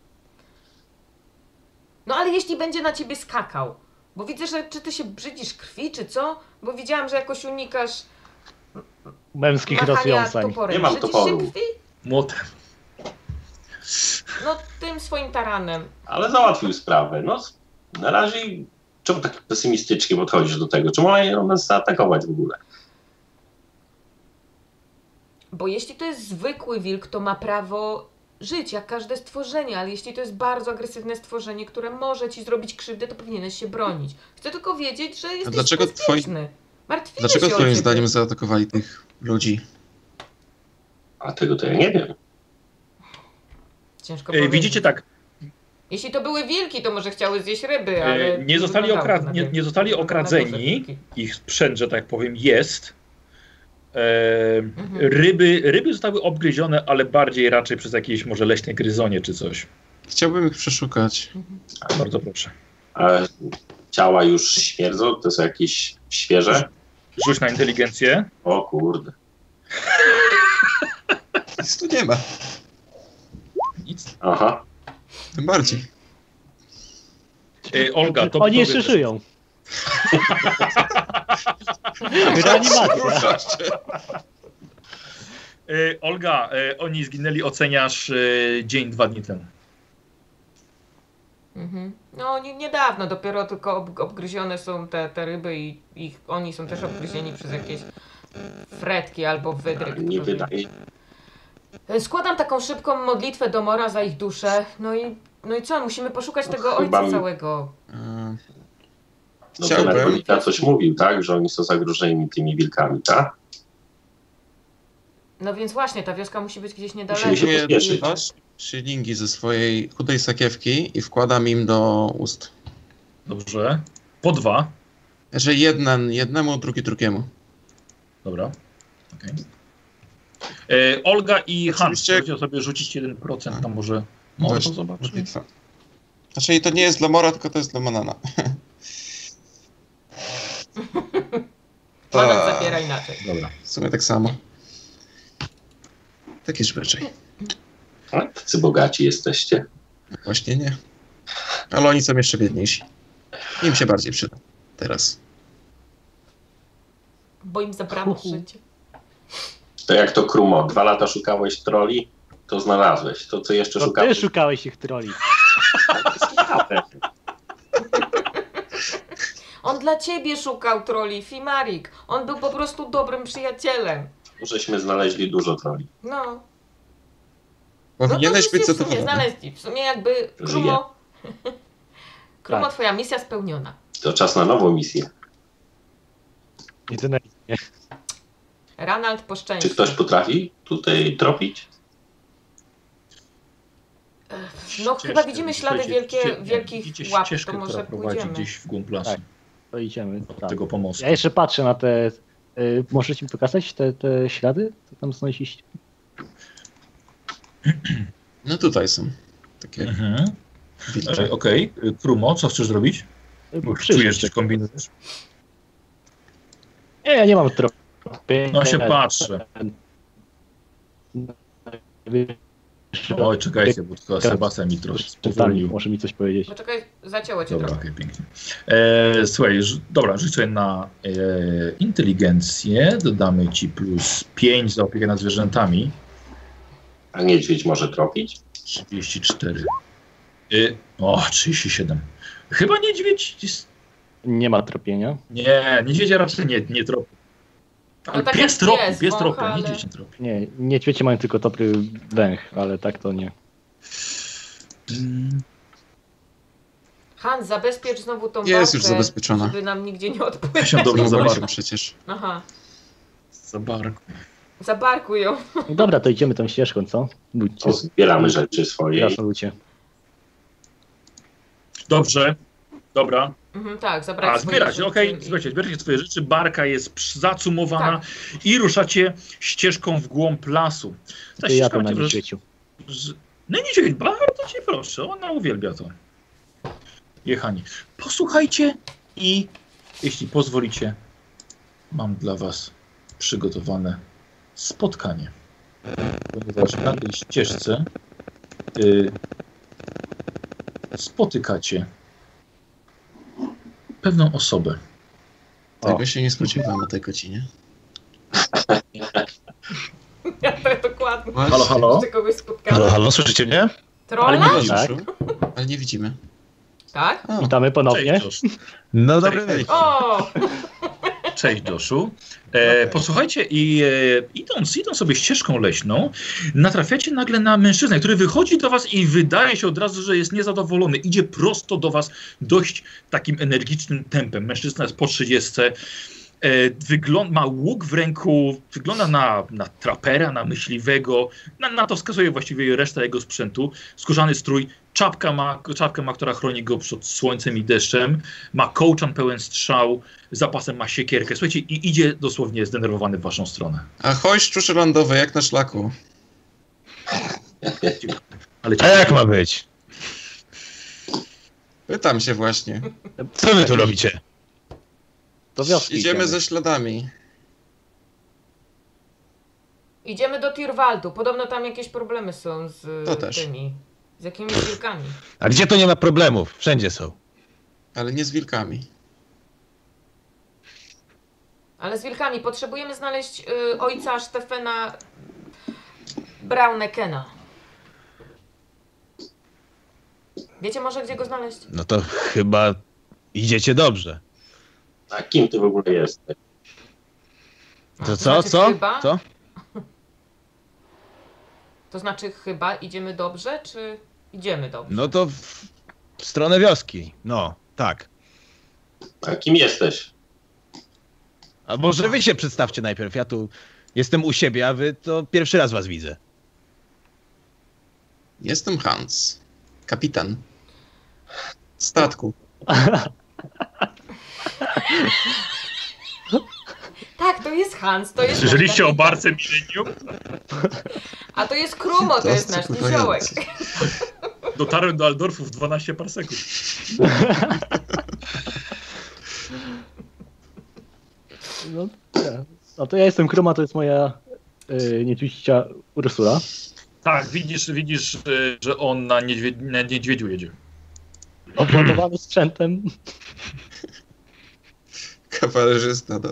Speaker 4: No ale jeśli będzie na ciebie skakał, bo widzę, że czy ty się brzydzisz krwi, czy co? Bo widziałam, że jakoś unikasz
Speaker 2: Męskich
Speaker 4: machania
Speaker 2: rozwiązań.
Speaker 4: toporem.
Speaker 3: Nie mam
Speaker 4: Brzydzisz
Speaker 3: toporu.
Speaker 4: się krwi?
Speaker 1: Młotem.
Speaker 4: No tym swoim taranem.
Speaker 3: Ale załatwił sprawę. No, s- na razie czemu tak pesymistycznie podchodzisz do tego? Czemu mają nas zaatakować w ogóle?
Speaker 4: Bo jeśli to jest zwykły wilk, to ma prawo żyć, jak każde stworzenie, ale jeśli to jest bardzo agresywne stworzenie, które może ci zrobić krzywdę, to powinieneś się bronić. Chcę tylko wiedzieć, że jesteś
Speaker 5: dlaczego twoi-
Speaker 4: bezpieczny. Martwię
Speaker 5: Dlaczego
Speaker 4: się o
Speaker 5: twoim
Speaker 4: ciebie.
Speaker 5: zdaniem zaatakowali tych ludzi?
Speaker 3: A tego to ja nie wiem.
Speaker 4: Ciężko
Speaker 1: E,
Speaker 4: powiedzieć.
Speaker 1: widzicie tak,
Speaker 4: Jeśli to były wilki, to może chciały zjeść ryby,
Speaker 1: E,
Speaker 4: ale...
Speaker 1: nie, zostali
Speaker 4: wyglądało
Speaker 1: okra-
Speaker 4: na
Speaker 1: nie,
Speaker 4: wilki.
Speaker 1: nie zostali
Speaker 4: Wyglądało na duże
Speaker 1: okradzeni,
Speaker 4: wilki.
Speaker 1: ich sprzęt, że tak powiem, jest. E,
Speaker 4: Mhm.
Speaker 1: ryby, ryby zostały obgryzione, ale bardziej raczej przez jakieś może leśne gryzonie czy coś.
Speaker 5: Chciałbym ich przeszukać.
Speaker 1: Bardzo proszę.
Speaker 3: A E, ciała już śmierdzą? To są jakieś świeże?
Speaker 1: Rzuć na inteligencję.
Speaker 3: O kurde.
Speaker 5: Nic tu nie ma.
Speaker 1: Nic.
Speaker 3: Aha.
Speaker 5: Tym bardziej.
Speaker 1: E, Olga, to
Speaker 2: Oni
Speaker 1: powiedz.
Speaker 2: jeszcze żyją.
Speaker 4: No,
Speaker 2: Reanimacja.
Speaker 1: E, Olga, e, oni zginęli, oceniasz e, dzień, dwa dni temu.
Speaker 4: Mhm. No nie, niedawno, dopiero tylko ob, obgryzione są te, te ryby i ich, oni są też obgryzieni przez jakieś fretki albo wydryk.
Speaker 3: Nie
Speaker 4: tylko
Speaker 1: tak.
Speaker 4: nie-
Speaker 3: wydaje. No
Speaker 4: Składam taką szybką modlitwę do Mora za ich duszę. No i, no i co? Musimy poszukać
Speaker 3: No
Speaker 4: tego
Speaker 3: chyba
Speaker 4: ojca
Speaker 3: mi-
Speaker 4: całego.
Speaker 5: E,
Speaker 3: No to
Speaker 5: Chciałbym.
Speaker 3: Narkolita coś mówił, tak? Że oni są zagrożeni tymi wilkami, tak?
Speaker 4: No więc właśnie, ta wioska musi być gdzieś niedaleko.
Speaker 3: Musimy się
Speaker 5: Nie,
Speaker 3: pospieszyć.
Speaker 5: Masz szylingi ze swojej chudej sakiewki i wkładam im do ust.
Speaker 1: Dobrze. Po dwa.
Speaker 5: Że jeden jednemu, drugi drugiemu.
Speaker 1: Dobra. Okej. E, Olga i Han.
Speaker 5: Oczywiście-
Speaker 1: Możecie sobie rzucić 1%, tam może.
Speaker 5: No
Speaker 1: Może
Speaker 5: właśnie,
Speaker 1: to zobaczyć.
Speaker 5: Modlitwa. Znaczy to nie jest dla Mora, tylko to jest dla Manana.
Speaker 4: Pana
Speaker 5: Tak.
Speaker 4: zabiera inaczej.
Speaker 1: Dobra.
Speaker 5: W sumie tak samo. Taki zwyczaj.
Speaker 3: A, Tak? Tacy bogaci jesteście.
Speaker 5: Właśnie nie. Ale oni są jeszcze biedniejsi. Im się bardziej przyda. Teraz.
Speaker 4: Bo im zabrano
Speaker 2: Uhu.
Speaker 4: życie.
Speaker 3: To jak to Krumo, dwa lata szukałeś troli, to znalazłeś. To co jeszcze
Speaker 2: To No, ty
Speaker 3: szukałeś?
Speaker 2: szukałeś ich troli.
Speaker 4: On dla ciebie szukał troli, Fimarik. On był po prostu dobrym przyjacielem.
Speaker 3: Żeśmy znaleźli dużo troli.
Speaker 4: No.
Speaker 5: Powinieneś
Speaker 4: no
Speaker 5: być
Speaker 4: to żeście w sumie
Speaker 5: zadowolony.
Speaker 4: znaleźli. W sumie jakby
Speaker 3: Żyje.
Speaker 4: Krumo...
Speaker 1: Tak.
Speaker 4: Krumo,
Speaker 2: Tak.
Speaker 4: twoja misja spełniona.
Speaker 3: To czas na nową misję.
Speaker 2: Jedyne.
Speaker 4: Ranald po szczęściu.
Speaker 3: Czy ktoś potrafi tutaj tropić?
Speaker 4: No chyba widzimy ślady
Speaker 1: Słuchajcie,
Speaker 4: wielkie,
Speaker 1: widzicie-
Speaker 4: wielkich
Speaker 1: widzicie
Speaker 4: łap,
Speaker 1: ścieżkę,
Speaker 4: to może
Speaker 1: która prowadzi
Speaker 4: pójdziemy.
Speaker 1: gdzieś w głąb lasu.
Speaker 2: Tak. To idziemy. Tak.
Speaker 1: tego pomostu.
Speaker 2: Ja jeszcze patrzę na te. Y, możecie mi pokazać te, te ślady? Co tam znaleźliście?
Speaker 5: No tutaj są. Takie
Speaker 1: Mhm.
Speaker 5: wilcze.
Speaker 2: Tak.
Speaker 1: E, Okej, Y, Krumo, co chcesz zrobić?
Speaker 2: Y,
Speaker 1: Bo
Speaker 2: krzyż.
Speaker 1: Czujesz, że kombinujesz?
Speaker 2: Nie, ja nie mam tropy.
Speaker 1: No się patrzę. Oj, czekajcie, bo
Speaker 2: Tak.
Speaker 1: tylko Sebastian mi trochę
Speaker 2: Czytali,
Speaker 1: spowolnił.
Speaker 2: może mi coś powiedzieć.
Speaker 4: Poczekaj, zacięło cię
Speaker 1: Dobra,
Speaker 4: trochę.
Speaker 1: okej, pięknie. E, słuchaj, ż- dobra, rzuć sobie na e, inteligencję, dodamy ci plus 5 za opiekę nad zwierzętami,
Speaker 3: A niedźwiedź może tropić?
Speaker 1: 34. E, o, 37. Chyba niedźwiedź jest
Speaker 2: Nie ma tropienia.
Speaker 1: Nie, niedźwiedzia raczej nie, nie tropi. Ale
Speaker 4: tak
Speaker 1: pies
Speaker 4: jak
Speaker 1: tropi,
Speaker 4: pies
Speaker 1: pies tropi,
Speaker 4: wącha,
Speaker 1: nie
Speaker 4: ale-
Speaker 1: dzieci tropi.
Speaker 2: Nie, niedźwiedzie mają tylko topry węch, ale tak to nie.
Speaker 4: Han, zabezpiecz znowu tą
Speaker 5: Jest już
Speaker 4: babkę,
Speaker 5: zabezpieczona.
Speaker 4: Żeby nam nigdzie nie
Speaker 1: Ja się
Speaker 4: odpłynął.
Speaker 1: dobrze
Speaker 5: Zabraliśmy
Speaker 1: zabarł.
Speaker 5: przecież.
Speaker 4: Aha,
Speaker 5: Zabarku.
Speaker 4: zabarkuj ją.
Speaker 2: No dobra, to idziemy tą ścieżką, co? Ludźcie.
Speaker 3: To zbieramy rzeczy swoje. i-
Speaker 2: Krasnoludzie.
Speaker 1: Dobrze, dobra.
Speaker 4: Mhm, tak, zabrać
Speaker 1: A
Speaker 4: swoje
Speaker 1: zbierać,
Speaker 4: rzeczy Tak,
Speaker 1: okej,
Speaker 4: i-
Speaker 1: słuchajcie, zbieracie swoje rzeczy, barka jest przy- zacumowana i ruszacie ścieżką w głąb lasu. Ta
Speaker 2: To ja
Speaker 1: ścieżka
Speaker 2: tam na
Speaker 1: macie wrażenie,
Speaker 2: niedźwiedziu.
Speaker 1: że... No nie dziwię, bardzo cię proszę, ona uwielbia to. Jechani. Posłuchajcie i jeśli pozwolicie, mam dla was przygotowane spotkanie. Ponieważ na tej ścieżce y, spotykacie pewną osobę.
Speaker 5: Tego się nie spodziewałem o tej godzinie.
Speaker 4: Ja tak dokładnie.
Speaker 1: Halo, halo?
Speaker 4: Czy kogoś spotkałam?
Speaker 7: Halo, halo, słyszycie mnie?
Speaker 5: Ale
Speaker 4: Trolla?
Speaker 5: nie, widzimy,
Speaker 2: Tak.
Speaker 5: Szur. ale nie widzimy.
Speaker 4: Tak?
Speaker 5: A,
Speaker 2: Witamy ponownie.
Speaker 1: Cześć, Josh.
Speaker 7: No
Speaker 5: dobry
Speaker 7: dobry
Speaker 5: wieczór.
Speaker 4: O!
Speaker 1: Cześć Joshu. E, Posłuchajcie, i e, idąc, idąc sobie ścieżką leśną, natrafiacie nagle na mężczyznę, który wychodzi do was i wydaje się od razu, że jest niezadowolony. Idzie prosto do was dość takim energicznym tempem. Mężczyzna jest po 30. E, wygląd- ma łuk w ręku, wygląda na, na trapera, na myśliwego. Na, na to wskazuje właściwie reszta jego sprzętu. Skórzany strój, czapka ma, czapkę ma, która chroni go przed słońcem i deszczem. Ma kołczan pełen strzał zapasem ma siekierkę. Słuchajcie, i idzie dosłownie zdenerwowany w waszą stronę.
Speaker 5: Ahoj, szczuszy lądowe, jak na szlaku.
Speaker 1: Ale
Speaker 7: A jak ma być?
Speaker 5: Pytam się właśnie.
Speaker 7: Co wy tu robicie?
Speaker 2: Do wioski.
Speaker 5: Idziemy ze śladami.
Speaker 4: Idziemy do Tirwaldu. Podobno tam jakieś problemy są z e,
Speaker 5: To też.
Speaker 4: tymi. Z jakimiś wilkami.
Speaker 7: A gdzie to nie ma problemów? Wszędzie są.
Speaker 5: Ale nie z wilkami.
Speaker 4: Ale z wilkami potrzebujemy znaleźć y, ojca Stefana Braunekena. Wiecie może, gdzie go znaleźć?
Speaker 7: No to chyba idziecie dobrze.
Speaker 3: A kim ty w ogóle jesteś?
Speaker 7: To co,
Speaker 4: znaczy
Speaker 7: co?
Speaker 4: Chyba,
Speaker 7: Co?
Speaker 4: To znaczy chyba idziemy dobrze, czy idziemy dobrze?
Speaker 7: No to w w stronę wioski. No, tak.
Speaker 3: A kim jesteś?
Speaker 7: A może wy się przedstawcie najpierw. Ja tu jestem u siebie, a wy to pierwszy raz was widzę.
Speaker 5: Jestem Hans. Kapitan. Statku.
Speaker 4: Tak, to jest Hans, to jest nasz
Speaker 1: Słyszeliście o
Speaker 4: kapitan.
Speaker 1: barce Millennium?
Speaker 4: A to jest Krumo, to jest nasz
Speaker 5: kurwa
Speaker 4: niziołek.
Speaker 5: jacy.
Speaker 1: Dotarłem do Aldorfu w 12 parseków.
Speaker 2: No, nie. no to ja jestem Kruma, to jest moja y, niedźwiedzia Ursula.
Speaker 1: Tak, widzisz, widzisz, y, że on na, niedźwie, na niedźwiedziu jedzie.
Speaker 2: Obładowany sprzętem.
Speaker 5: Kawalerzysta. No.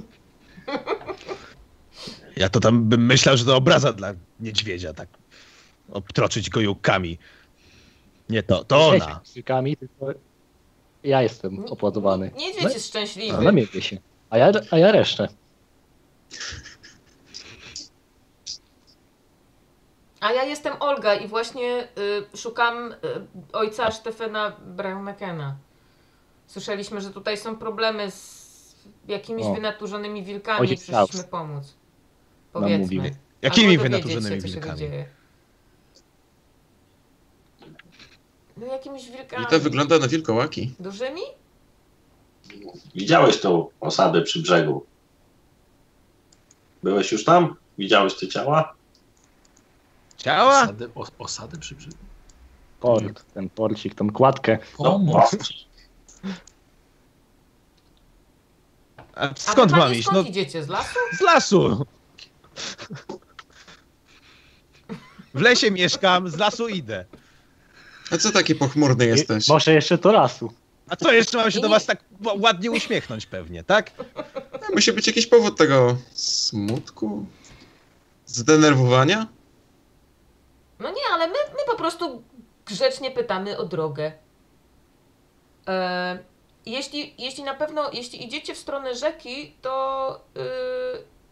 Speaker 7: Ja to tam bym myślał, że to obraza dla niedźwiedzia, tak. Obtroczyć go jukami. Nie to, to
Speaker 2: Niedźwiedź
Speaker 7: ona.
Speaker 2: z Krzykami, tylko ja jestem opładowany.
Speaker 4: Niedźwiedź
Speaker 2: No i-
Speaker 4: jest szczęśliwy.
Speaker 2: Ona miebie się. A ja, a ja resztę.
Speaker 4: A ja jestem Olga i właśnie y, szukam y, ojca Stefana Braunekena. Słyszeliśmy, że tutaj są problemy z jakimiś
Speaker 2: O.
Speaker 4: wynaturzonymi wilkami i
Speaker 2: Ojciec
Speaker 4: przyszliśmy
Speaker 2: Strauss.
Speaker 4: pomóc. Powiedzmy.
Speaker 2: mówi.
Speaker 7: Jakimi
Speaker 4: Albo dowiedzieć
Speaker 7: wynaturzonymi
Speaker 4: się, co się
Speaker 7: wilkami?
Speaker 4: dzieje. No jakimiś wilkami.
Speaker 5: I to wygląda na wilkołaki.
Speaker 4: Dużymi?
Speaker 3: Widziałeś tą osadę przy brzegu. Byłeś już tam? Widziałeś te ciała?
Speaker 7: Ciała?
Speaker 1: Osady, o, osady No. przy brzegu.
Speaker 2: Port, ten porcik, tą kładkę.
Speaker 3: No,
Speaker 1: Pomoc.
Speaker 7: A
Speaker 4: A
Speaker 7: skąd
Speaker 4: wy, panie,
Speaker 7: mam iść?
Speaker 4: Skąd
Speaker 7: No
Speaker 4: idziecie? Z lasu?
Speaker 7: z lasu. W lesie mieszkam, z lasu idę.
Speaker 5: A co taki pochmurny
Speaker 2: I-
Speaker 5: jesteś?
Speaker 2: Może jeszcze to lasu.
Speaker 7: A co jeszcze mam się do was tak ł- ładnie uśmiechnąć pewnie, tak?
Speaker 5: Musi być jakiś powód tego smutku? Zdenerwowania?
Speaker 4: No nie, ale my, my po prostu grzecznie pytamy o drogę. E, jeśli, jeśli na pewno, jeśli idziecie w stronę rzeki, to y,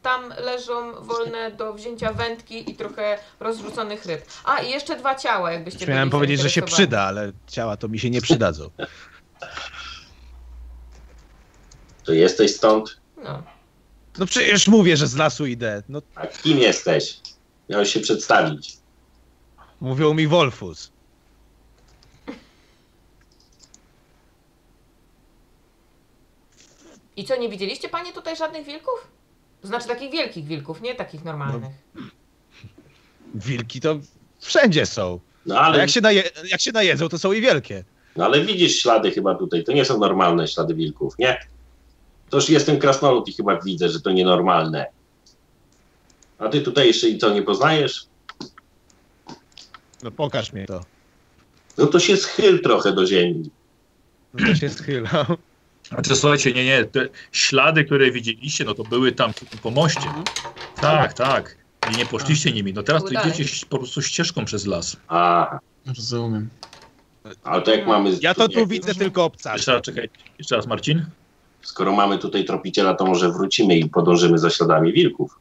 Speaker 4: tam leżą wolne do wzięcia wędki i trochę rozrzuconych ryb. A i jeszcze dwa ciała, jakbyście byli
Speaker 7: Miałem powiedzieć, że się
Speaker 4: zainteresowani.
Speaker 7: przyda, ale ciała to mi się nie przydadzą.
Speaker 3: To jesteś stąd?
Speaker 4: No.
Speaker 7: No przecież mówię, że z lasu idę. No
Speaker 3: A kim jesteś? Miałeś się przedstawić.
Speaker 7: mówią mi Wolfus.
Speaker 4: I co, nie widzieliście panie tutaj żadnych wilków? Znaczy takich wielkich wilków, nie takich normalnych.
Speaker 7: Wilki to wszędzie są.
Speaker 3: No
Speaker 7: A
Speaker 3: ale,
Speaker 7: jak się, naje, jak się najedzą, to są i wielkie.
Speaker 3: no ale widzisz ślady chyba tutaj. To nie są normalne ślady wilków, nie? Toż jestem krasnolud i chyba widzę, że to nienormalne. A ty tutaj jeszcze i co, nie poznajesz?
Speaker 7: No pokaż mi to.
Speaker 3: No to się schyl trochę do ziemi.
Speaker 7: No to się schylam.
Speaker 1: Znaczy, słuchajcie, nie, nie, te ślady, które widzieliście, no to były tam po moście. Tak, tak. I nie poszliście nimi. No teraz to
Speaker 4: Udaje.
Speaker 1: idziecie ś- po prostu ścieżką przez las.
Speaker 3: A,
Speaker 5: Rozumiem.
Speaker 3: ale to jak mamy...
Speaker 7: Ja to
Speaker 3: nie-
Speaker 7: tu widzę tylko obcasy.
Speaker 1: Jeszcze raz, czekaj, jeszcze raz Marcin.
Speaker 3: Skoro mamy tutaj tropiciela, to może wrócimy i podążymy za śladami wilków.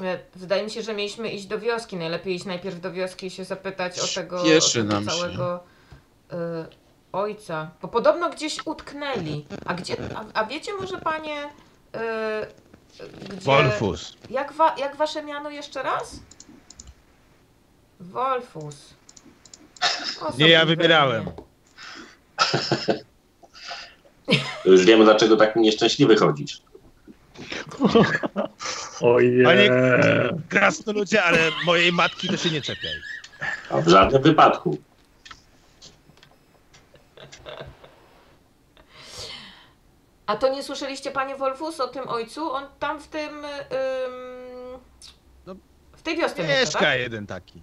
Speaker 4: E, Wydaje mi się, że mieliśmy iść do wioski. Najlepiej iść najpierw do wioski i się zapytać o tego,
Speaker 5: Śpieszy
Speaker 4: o tego
Speaker 5: nam się.
Speaker 4: całego y, ojca. Bo podobno gdzieś utknęli. A gdzie? A, a wiecie może panie. Y, y, gdzie,
Speaker 7: Wolfus.
Speaker 4: Jak, wa, jak wasze miano jeszcze raz? Wolfus. O,
Speaker 7: Nie ja
Speaker 4: sobie
Speaker 7: wybierałem.
Speaker 3: To już wiemy, dlaczego tak nieszczęśliwy chodzisz.
Speaker 1: Ojej.
Speaker 7: Panie
Speaker 1: Eee.
Speaker 7: krasnoludzie, ale mojej matki to się nie czepiaj.
Speaker 3: A w żadnym wypadku.
Speaker 4: A to nie słyszeliście, panie Wolfus, o tym ojcu? On tam w tym. ym,
Speaker 7: No,
Speaker 4: w tej wiosce mieszka, tak?
Speaker 7: Mieszka jeden taki.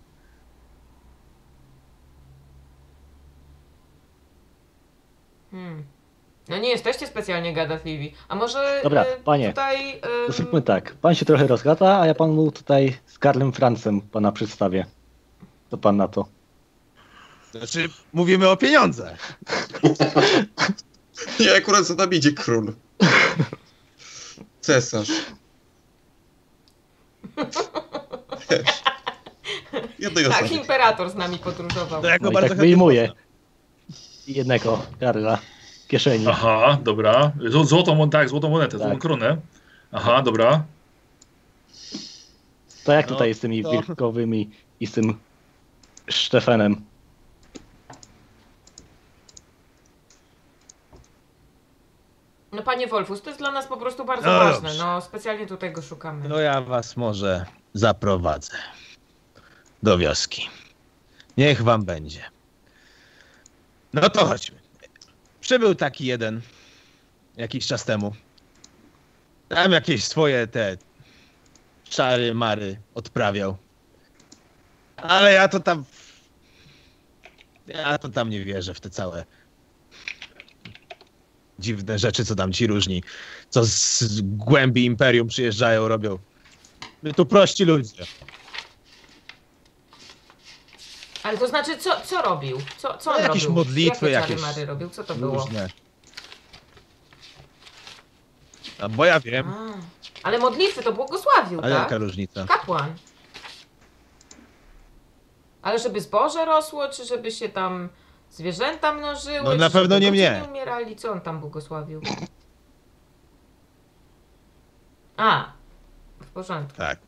Speaker 4: Hmm. No nie jesteście specjalnie gadatliwi. A może
Speaker 2: Dobra,
Speaker 4: e,
Speaker 2: panie,
Speaker 4: tutaj...
Speaker 2: To
Speaker 4: em,
Speaker 2: Zróbmy tak. Pan się trochę rozgada, a ja panu tutaj z Karlem Francem pana przedstawię. To pan na to.
Speaker 7: Znaczy, mówimy o pieniądzach.
Speaker 5: Ja akurat za nami idzie król. Cesarz. Też. Jednej
Speaker 4: tak,
Speaker 5: osoby.
Speaker 4: imperator z nami podróżował.
Speaker 7: To ja go
Speaker 2: No i
Speaker 7: bardzo
Speaker 2: tak
Speaker 7: chętnie
Speaker 2: wyjmuję.
Speaker 7: poznam.
Speaker 2: I jednego Karla w kieszeni.
Speaker 7: No.
Speaker 1: Aha, dobra. Zł- Złotą, mon- tak, złotą monetę, złotą
Speaker 2: Tak.
Speaker 1: kronę. Aha, dobra.
Speaker 2: To jak
Speaker 7: No,
Speaker 2: tutaj z tymi
Speaker 7: to-
Speaker 2: wilkowymi i z tym Sztefanem?
Speaker 4: No panie Wolfus, to jest dla nas po prostu bardzo
Speaker 7: No
Speaker 4: ważne.
Speaker 7: dobrze.
Speaker 4: No specjalnie tutaj go szukamy.
Speaker 7: No ja was może zaprowadzę do wioski. Niech wam będzie. No to chodźmy. Przybył taki jeden jakiś czas temu. Tam jakieś swoje te czary mary odprawiał. Ale ja to tam. Ja to tam nie wierzę w te całe dziwne rzeczy, co tam ci różni co z z głębi imperium przyjeżdżają, robią. My tu prości ludzie.
Speaker 4: Ale to znaczy, co, co robił? Co, co
Speaker 7: No
Speaker 4: on
Speaker 7: jakieś
Speaker 4: robił?
Speaker 7: modlitwy,
Speaker 4: Jakie czary
Speaker 7: jakieś-
Speaker 4: Mary robił? Co to było?
Speaker 7: Różne. A bo ja wiem,
Speaker 4: A, ale modlitwy to błogosławił,
Speaker 7: ale
Speaker 4: tak?
Speaker 7: jaka różnica?
Speaker 4: Kapłan. Ale żeby zboże rosło, czy żeby się tam zwierzęta mnożyły?
Speaker 7: No
Speaker 4: czy
Speaker 7: na pewno
Speaker 4: żeby
Speaker 7: nie
Speaker 4: ludzie
Speaker 7: mnie.
Speaker 4: Nie umierali, co on tam błogosławił? A, w porządku.
Speaker 7: Tak.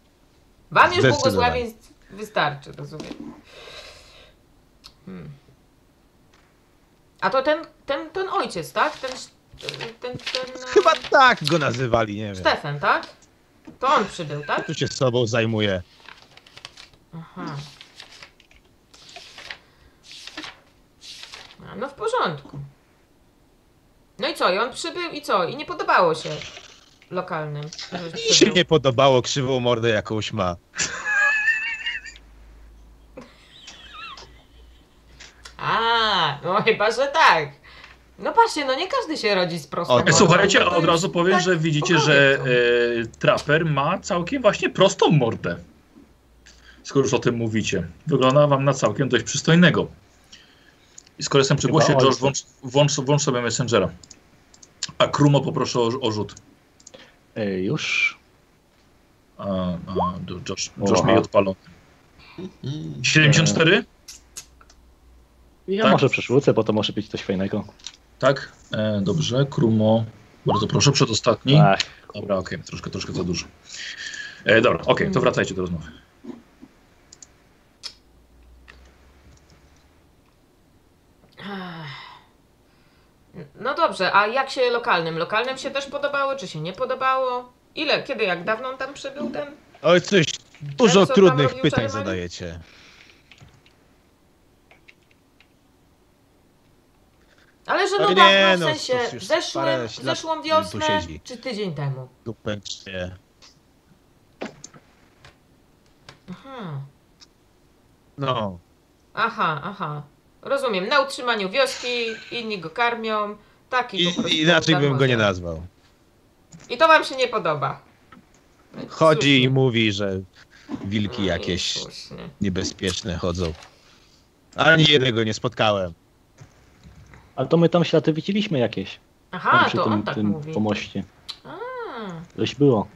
Speaker 4: Wam już
Speaker 7: Zdecydowanie.
Speaker 4: błogosławień wystarczy, rozumiem. Hmm. A to ten, ten, ten ojciec, tak? Ten, ten, ten, ten e,
Speaker 7: Chyba tak go nazywali, nie wiem.
Speaker 4: Stefan, tak? To on przybył, tak?
Speaker 7: Tu się sobą zajmuje.
Speaker 4: Aha. A, No w porządku. No i co? I on przybył i co? I nie podobało się lokalnym. że
Speaker 7: Mi się
Speaker 4: przybył.
Speaker 7: nie podobało, krzywą mordę jakąś ma.
Speaker 4: A, no chyba, że tak. No patrzcie, no nie każdy się rodzi z prostą
Speaker 7: O,
Speaker 4: mordą.
Speaker 1: E, Słuchajcie,
Speaker 4: No, To
Speaker 1: od
Speaker 4: już
Speaker 1: razu powiem,
Speaker 4: tak
Speaker 1: że widzicie,
Speaker 4: pogodzę
Speaker 1: że
Speaker 4: to.
Speaker 1: e, Trapper ma całkiem właśnie prostą mordę. Skoro już o tym mówicie. Wygląda wam na całkiem dość przystojnego. I skoro jestem przy
Speaker 2: Chyba
Speaker 1: głosie,
Speaker 2: ojciec.
Speaker 1: George, włącz, włącz, włącz sobie Messengera. A Krumo poproszę o, o rzut.
Speaker 2: Ej, już.
Speaker 1: A, a, do- Josh, Josh
Speaker 2: Aha.
Speaker 1: mi odpalą.
Speaker 5: Mm.
Speaker 1: 74?
Speaker 2: Ja
Speaker 1: Tak.
Speaker 2: może przerzucę, bo to może być coś fajnego.
Speaker 1: Tak, e, dobrze. Krumo, bardzo proszę, przedostatni.
Speaker 2: Ach,
Speaker 1: Dobra, okej, troszkę, troszkę za dużo. E, dobra, okej, to wracajcie do rozmowy.
Speaker 4: No dobrze, a jak się lokalnym? Lokalnym się też podobało, czy się nie podobało? Ile, kiedy, jak dawno on tam przybył ten?
Speaker 7: Oj, coś dużo
Speaker 4: co tam
Speaker 7: trudnych
Speaker 4: robił
Speaker 7: pytań
Speaker 4: Czerwony?
Speaker 7: zadajecie.
Speaker 4: Ale że no
Speaker 7: Ale
Speaker 4: dawno,
Speaker 7: nie,
Speaker 4: w
Speaker 7: no,
Speaker 4: sensie
Speaker 7: to już parę
Speaker 4: zeszłym,
Speaker 7: lat
Speaker 4: zeszłą
Speaker 7: tu
Speaker 4: wiosnę,
Speaker 7: siedzi.
Speaker 4: czy tydzień temu?
Speaker 7: Dupęcznie.
Speaker 4: Aha,
Speaker 7: No.
Speaker 4: Mhm. aha, aha. Rozumiem, na utrzymaniu wioski, inni go karmią, taki po prostu tak
Speaker 7: I, inaczej
Speaker 4: za
Speaker 7: bym go
Speaker 4: wodę.
Speaker 7: nie nazwał.
Speaker 4: I to wam się nie podoba.
Speaker 7: Chodzi i
Speaker 4: Słusznie.
Speaker 7: mówi, że wilki jakieś
Speaker 4: Słusznie.
Speaker 7: niebezpieczne chodzą. Ani jednego nie spotkałem.
Speaker 2: ale to my tam ślady widzieliśmy jakieś. tam
Speaker 4: Aha,
Speaker 2: przy
Speaker 4: to
Speaker 2: tym,
Speaker 4: on tak
Speaker 2: tym
Speaker 4: mówi.
Speaker 2: pomoście.
Speaker 4: A,
Speaker 2: Coś było.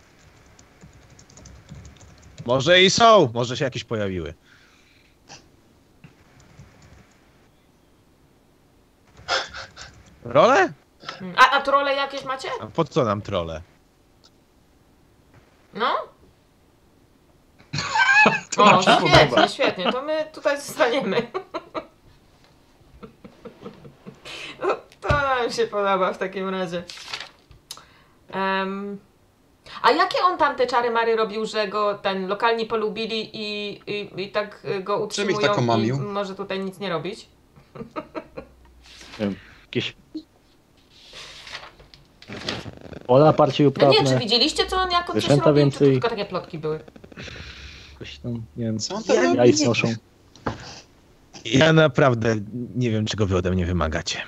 Speaker 7: Może i są, może się jakieś pojawiły. Role?
Speaker 4: Hmm. A, a trole jakieś macie?
Speaker 7: A po co nam trole?
Speaker 4: No?
Speaker 1: To
Speaker 4: O,
Speaker 1: nam się podoba.
Speaker 4: świetnie, świetnie, to my tutaj zostaniemy. No, to nam się podoba w takim razie. Em, a jakie on tam te czary Mary robił, że go ten lokalni polubili i, i, i tak y, go
Speaker 5: Czym ich
Speaker 4: utrzymują
Speaker 5: tak omamił?
Speaker 4: i może tutaj nic nie robić?
Speaker 2: Jakieś... Pola parcie
Speaker 4: No nie, czy
Speaker 2: uprawne.
Speaker 4: widzieliście, co on jako coś
Speaker 2: Zwierzęta
Speaker 4: robił, czy
Speaker 2: więcej.
Speaker 4: to tylko takie plotki były?
Speaker 2: Coś tam, nie wiem.
Speaker 5: Co on tam robi?
Speaker 2: Jajc noszą.
Speaker 7: Ja naprawdę nie wiem, czego wy ode mnie wymagacie.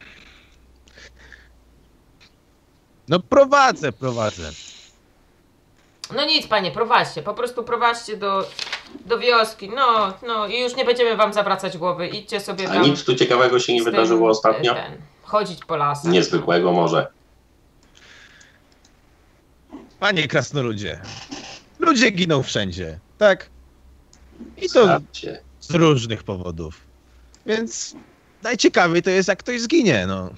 Speaker 7: No prowadzę, prowadzę.
Speaker 4: No nic, panie, prowadźcie, po prostu prowadźcie do, do wioski, no, no i już nie będziemy wam zawracać głowy, idźcie sobie
Speaker 3: A
Speaker 4: tam.
Speaker 3: nic tu ciekawego się nie
Speaker 4: z tym, e,
Speaker 3: wydarzyło ostatnio?
Speaker 4: Ten, chodzić po lasach.
Speaker 3: Niezwykłego może.
Speaker 7: Panie krasnoludzie, ludzie giną wszędzie, tak? I to
Speaker 3: Starcie.
Speaker 7: z różnych powodów. Więc najciekawiej to jest, jak ktoś zginie, no.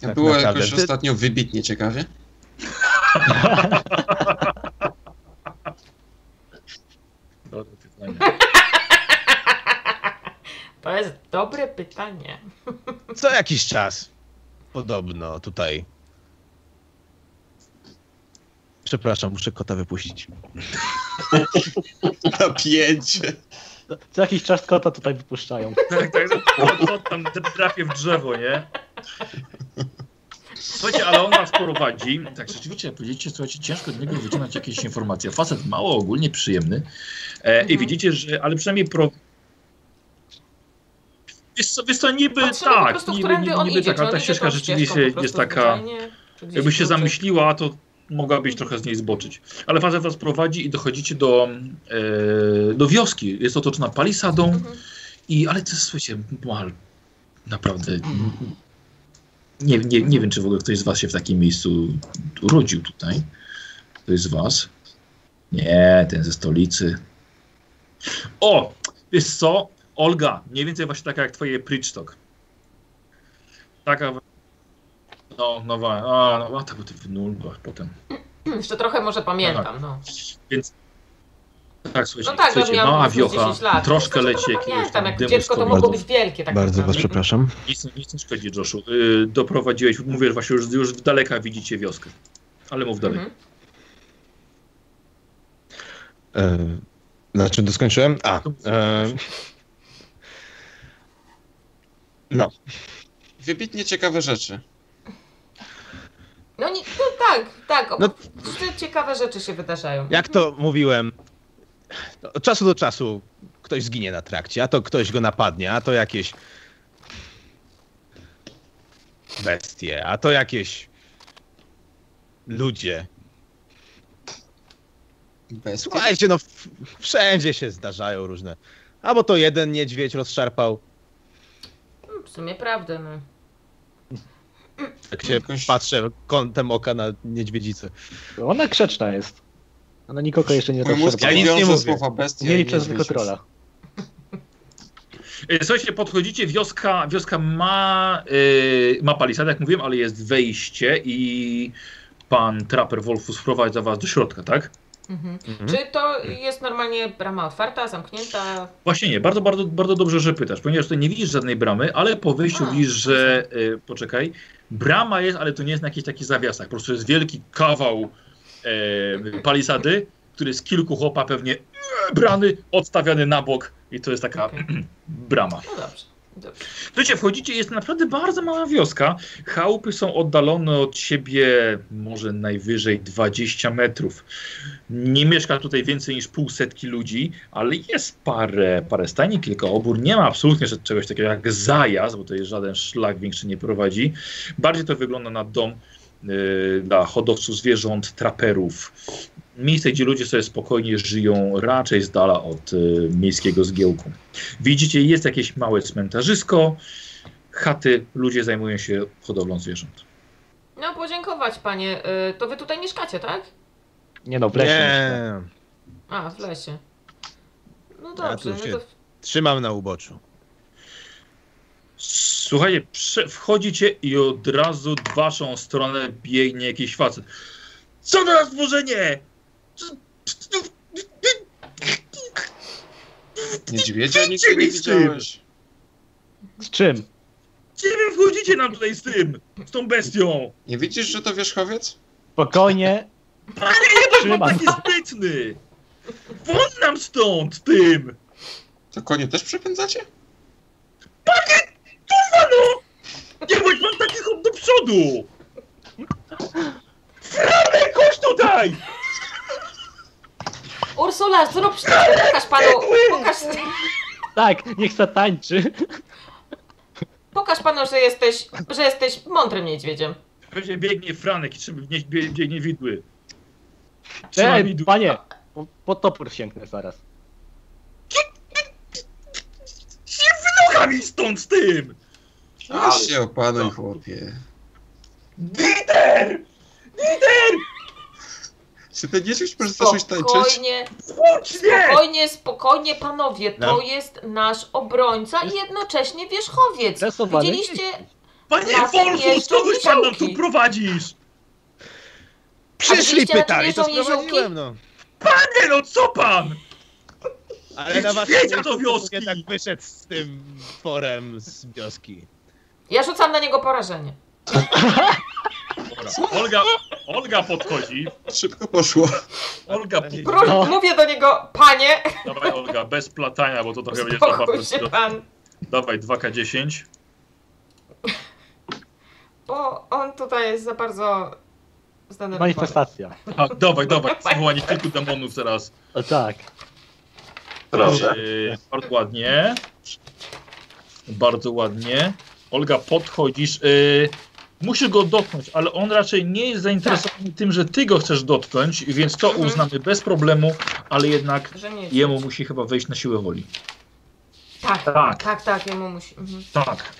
Speaker 7: tak
Speaker 5: Było
Speaker 7: naprawdę.
Speaker 5: jakoś
Speaker 7: Ty-
Speaker 5: ostatnio wybitnie ciekawie.
Speaker 1: Dobre pytanie.
Speaker 4: To jest dobre pytanie.
Speaker 7: Co jakiś czas, podobno tutaj. Przepraszam, muszę kota wypuścić.
Speaker 5: Napięcie.
Speaker 2: Co jakiś czas kota tutaj wypuszczają.
Speaker 1: Tak, tak, tak. Kot tam drapie w drzewo, nie? Słuchajcie, ale on was prowadzi. Tak, rzeczywiście, powiedzieliście, słuchajcie, ciężko od niego wyciągnąć jakieś informacje. Facet mało ogólnie przyjemny. E, I
Speaker 4: Mhm.
Speaker 1: widzicie, że, ale przynajmniej pro... Wiesz co, wiesz co niby
Speaker 4: Patrzymy no po
Speaker 1: tak,
Speaker 4: prostu,
Speaker 1: niby,
Speaker 4: którędy
Speaker 1: niby,
Speaker 4: on
Speaker 1: niby
Speaker 4: idzie,
Speaker 1: tak, ale
Speaker 4: czy
Speaker 1: ta
Speaker 4: on idzie
Speaker 1: ścieżka
Speaker 4: tą ścieżką po
Speaker 1: rzeczywiście jest
Speaker 4: prostu
Speaker 1: taka,
Speaker 4: zwyczajnie, czy gdzieś
Speaker 1: jakby się
Speaker 4: krócej.
Speaker 1: zamyśliła, to mogłabyś trochę z niej zboczyć. Ale facet was prowadzi i dochodzicie do, e, do wioski. Jest otoczona palisadą.
Speaker 4: Mhm.
Speaker 1: I, ale to słuchajcie, mal, naprawdę. Nie, nie, nie wiem, czy w ogóle ktoś z Was się w takim miejscu urodził tutaj. Ktoś z Was? Nie, ten ze stolicy. O! Wiesz co? Olga, mniej więcej właśnie taka jak Twoje Pritchstock. Taka. No, nowa. A, no, a tak, bo ty w nulbach potem.
Speaker 4: Jeszcze trochę może pamiętam, no.
Speaker 1: Więc Tak, słuchajcie,
Speaker 4: No tak,
Speaker 1: słuchajcie
Speaker 4: ja miałam
Speaker 1: mała
Speaker 4: po prostu
Speaker 1: wiocha,
Speaker 4: 10 lat.
Speaker 1: troszkę
Speaker 4: No,
Speaker 1: leci jakiegoś
Speaker 4: Pamiętam,
Speaker 1: tam
Speaker 4: jak
Speaker 1: dymu
Speaker 4: dziecko
Speaker 1: z
Speaker 4: to
Speaker 1: tobą.
Speaker 4: mogło
Speaker 8: Bardzo-
Speaker 4: być wielkie tak
Speaker 8: Bardzo was
Speaker 4: naprawdę.
Speaker 8: przepraszam.
Speaker 1: Nic, nic nie szkodzi, Joshu. Y, doprowadziłeś, mówię, że właśnie już, już w daleka widzicie wioskę. Ale mów dalej.
Speaker 4: Mhm.
Speaker 8: E, na czym to skończyłem? A. E, no.
Speaker 5: Wybitnie ciekawe rzeczy.
Speaker 4: No, nie, no tak, tak. O,
Speaker 7: No-
Speaker 4: te Ciekawe rzeczy się wydarzają.
Speaker 7: Jak to mówiłem, to od czasu do czasu ktoś zginie na trakcie, a to ktoś go napadnie, a to jakieś bestie, a to jakieś ludzie.
Speaker 5: Bez.
Speaker 7: Słuchajcie, no w- wszędzie się zdarzają różne. Albo to jeden niedźwiedź rozszarpał,
Speaker 4: W sumie prawda, no.
Speaker 7: jak się
Speaker 5: Jakoś-
Speaker 7: patrzę kątem oka na niedźwiedzicę.
Speaker 2: Ona grzeczna jest. Ona nikogo jeszcze nie
Speaker 5: Mój mózg
Speaker 2: rozszerza.
Speaker 7: Ja nic nie
Speaker 5: wiąże
Speaker 7: mówię.
Speaker 5: słowa bestia.
Speaker 2: Nie
Speaker 5: i
Speaker 2: liczę zwykłego
Speaker 5: niedźwiedź.
Speaker 2: trolla.
Speaker 4: Mhm.
Speaker 1: Y, Słuchajcie, podchodzicie, wioska, wioska ma, y, ma palisadę, jak mówiłem, ale jest wejście i pan Trapper Wolfus wprowadza was do środka, tak?
Speaker 4: Mhm. Czy to jest normalnie brama otwarta, zamknięta?
Speaker 1: Właśnie nie, bardzo, bardzo, bardzo dobrze, że pytasz, ponieważ tutaj nie widzisz żadnej bramy, ale po wyjściu
Speaker 4: A,
Speaker 1: widzisz, że, y, poczekaj, brama jest, ale to nie jest na jakichś takich zawiasach, po prostu jest wielki kawał e, palisady, który z kilku chłopa pewnie e, brany, odstawiany na bok i to jest taka
Speaker 7: Tak.
Speaker 4: Okej.
Speaker 1: brama.
Speaker 4: No dobrze. dobrze.
Speaker 1: Słuchajcie, wchodzicie, jest naprawdę bardzo mała wioska. Chałupy są oddalone od siebie może najwyżej 20 metrów. Nie mieszka tutaj więcej niż pół setki ludzi, ale jest parę, parę stajni, kilka obór. Nie ma absolutnie że- czegoś takiego jak zajazd, bo to jest żaden szlak większy nie prowadzi. Bardziej to wygląda na dom y, dla hodowców zwierząt, traperów. Miejsce, gdzie ludzie sobie spokojnie żyją, raczej z dala od y, miejskiego zgiełku. Widzicie, jest jakieś małe cmentarzysko, chaty, ludzie zajmują się hodowlą zwierząt.
Speaker 4: No podziękować panie. Y, To wy tutaj mieszkacie, tak?
Speaker 2: Nie no, w lesie. mieszka.
Speaker 7: Nie,
Speaker 4: A, w lesie. No
Speaker 7: Ja
Speaker 4: dobrze,
Speaker 7: tu się-
Speaker 4: no to...
Speaker 7: trzymam na uboczu.
Speaker 1: Słuchajcie, prze- wchodzicie i od razu w waszą stronę biegnie jakiś facet. Co do nas burzenie!
Speaker 5: Niedźwiedzia
Speaker 1: Wyjdźcie
Speaker 5: nigdy nie
Speaker 1: mi z tym!
Speaker 5: widziałeś.
Speaker 2: Z czym?
Speaker 1: Gdzie wy wchodzicie nam tutaj z tym? Z tą bestią?
Speaker 5: Nie widzisz, że to wierzchowiec?
Speaker 2: Spokojnie.
Speaker 1: Pan
Speaker 2: Trzymam.
Speaker 1: taki zbytny! Won nam stąd tym!
Speaker 5: To konie też przepędzacie?
Speaker 1: Nie bądź pan taki hop do przodu! Franek, chodź tutaj!
Speaker 4: Ursula, zrób sztuczkę, pokaż panu, pokaż,
Speaker 2: Tak, niech zatańczy.
Speaker 4: pokaż panu, że jesteś, że jesteś mądrym niedźwiedziem.
Speaker 1: Będzie biegnie Franek i trzyma- nie- bie- biegnie widły. Trzyma
Speaker 2: Ej,
Speaker 1: widły.
Speaker 2: panie, po, po topór sięgnę zaraz.
Speaker 1: Kami stąd z tym!
Speaker 5: Aż
Speaker 3: No Ale-
Speaker 5: się opanuj, chłopie.
Speaker 1: Dieter!
Speaker 5: Czy ty nie czymś przestałeś tańczyć?
Speaker 4: Spokojnie,
Speaker 1: Włócznie!
Speaker 4: spokojnie, spokojnie panowie, to
Speaker 7: No.
Speaker 4: jest nasz obrońca i jednocześnie wierzchowiec.
Speaker 2: Stresowany
Speaker 4: Widzieliście,
Speaker 1: Panie
Speaker 4: Lasy
Speaker 1: Wolfus,
Speaker 4: jeżdżą
Speaker 1: kogoś pan nam tu
Speaker 4: niziołki.
Speaker 1: prowadzisz!
Speaker 7: Przyszli,
Speaker 4: widzieliście, na czym
Speaker 7: pytali, to
Speaker 4: jeżdżą jeżdżąki?
Speaker 7: sprowadziłem, no.
Speaker 1: Nie no, co pan?
Speaker 7: Ale na waszym
Speaker 1: Niedźwiedzia
Speaker 7: miejscu
Speaker 1: do wioski!
Speaker 7: bym jednak tak wyszedł z tym forem z wioski.
Speaker 4: ja rzucam na niego porażenie.
Speaker 1: Dobra, Olga, Olga podchodzi.
Speaker 5: Szybko poszło.
Speaker 1: Olga, pu-
Speaker 4: Pró-
Speaker 2: No.
Speaker 4: Mówię do niego, panie,
Speaker 1: dawaj Olga, bez platania, bo to trochę będzie
Speaker 4: spokój się
Speaker 1: zabawa.
Speaker 4: pan,
Speaker 1: Dawaj 2K10.
Speaker 4: bo on tutaj jest za bardzo zdenerwowany.
Speaker 2: Manifestacja.
Speaker 1: A, dawaj, dawaj, zwołanie kilku demonów teraz.
Speaker 2: O, tak.
Speaker 3: Proszę.
Speaker 1: Yy, bardzo ładnie. Bardzo ładnie. Olga, podchodzisz. Yy, musisz go dotknąć, ale on raczej nie jest zainteresowany tym, że ty go chcesz dotknąć, więc to
Speaker 4: Mhm.
Speaker 1: uznamy bez problemu, ale jednak
Speaker 4: Że nie jest.
Speaker 1: jemu musi chyba wejść na siłę woli.
Speaker 4: Tak,
Speaker 1: Tak.
Speaker 4: tak, tak, jemu musi. Mhm.
Speaker 1: Tak.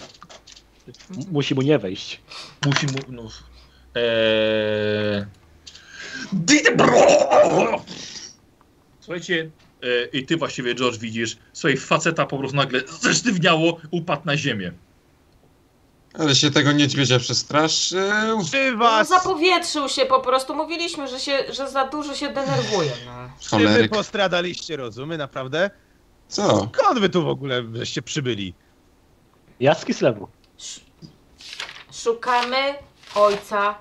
Speaker 2: M- Musi mu nie wejść.
Speaker 1: Musi mu... No, eee... Dite- bro! Słuchajcie, e, i ty właściwie, George, widzisz, słuchaj, faceta po prostu nagle zesztywniało, upadł na ziemię.
Speaker 5: Ale się tego niedźwiedzia przestraszył.
Speaker 7: Czy
Speaker 4: No,
Speaker 7: was,
Speaker 4: zapowietrzył się po prostu. Mówiliśmy, że, się, że za dużo się denerwuje. No.
Speaker 7: czy wy
Speaker 5: Choleryk.
Speaker 7: postradaliście rozumy, naprawdę?
Speaker 5: Co?
Speaker 7: Skąd wy tu w ogóle żeście przybyli?
Speaker 2: Ja z Kislewu.
Speaker 4: Sz- Szukamy ojca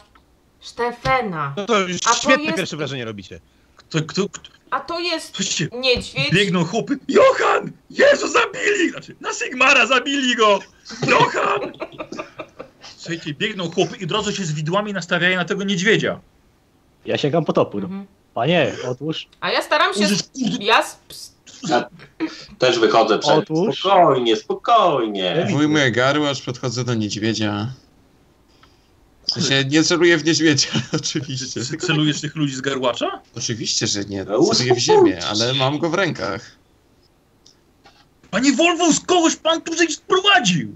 Speaker 4: Sztefena.
Speaker 7: No to już
Speaker 4: A to
Speaker 7: świetne
Speaker 4: jest-
Speaker 7: pierwsze wrażenie robicie.
Speaker 1: Kto, kto, kto,
Speaker 4: A to jest
Speaker 1: słuchajcie,
Speaker 4: niedźwiedź.
Speaker 1: biegną chłopy. Johan! Jezu, zabili! Znaczy, na Sigmara zabili go! Johan! Słuchajcie, biegną chłopy i od razu się z widłami nastawiają na tego niedźwiedzia.
Speaker 2: Ja sięgam po topór.
Speaker 4: Mhm.
Speaker 2: Panie, odłóż.
Speaker 4: A ja staram się.
Speaker 1: Użyć- użyć-
Speaker 4: Ja sp-
Speaker 3: Też wychodzę przed.
Speaker 2: Otóż-
Speaker 3: Spokojnie, spokojnie.
Speaker 5: Wuj moje garło, aż podchodzę do niedźwiedzia. W sensie nie celuję w niedźwiedzia, oczywiście.
Speaker 1: Czy
Speaker 5: Tylko-
Speaker 1: celujesz tych ludzi z garłacza?
Speaker 5: Oczywiście, że nie.
Speaker 3: No,
Speaker 5: Celuję w ziemię, ale mam go w rękach.
Speaker 1: Panie Wolwus, kogoś pan tu żeś sprowadził!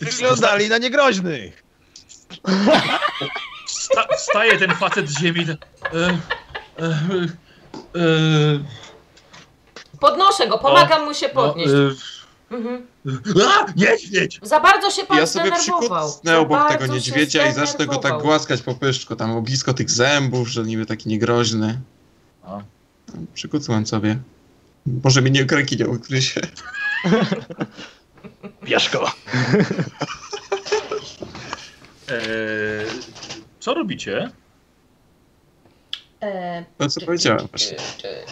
Speaker 7: Wyglądali na niegroźnych.
Speaker 1: Wsta wstaje ten facet z ziemi. E, e, e, e,
Speaker 4: podnoszę go, pomagam mu się
Speaker 1: no,
Speaker 4: podnieść.
Speaker 5: y-
Speaker 1: e,
Speaker 4: Mhm.
Speaker 1: a, niedźwiedź!
Speaker 4: Za bardzo się pan
Speaker 5: Ja sobie
Speaker 4: zdenerwował.
Speaker 5: przykucnę
Speaker 4: Za
Speaker 5: obok
Speaker 4: bardzo
Speaker 5: tego
Speaker 4: się
Speaker 5: niedźwiedzia i zacznę go tak
Speaker 4: zdenerwował.
Speaker 5: głaskać po pyszczku, tam blisko tych zębów, że niby taki niegroźny.
Speaker 1: A.
Speaker 5: Przykucłem sobie. Może mi nie kręki nie ukrycie.
Speaker 2: Bierz go.
Speaker 1: E, co robicie?
Speaker 4: E,
Speaker 5: To co powiedziałem właśnie.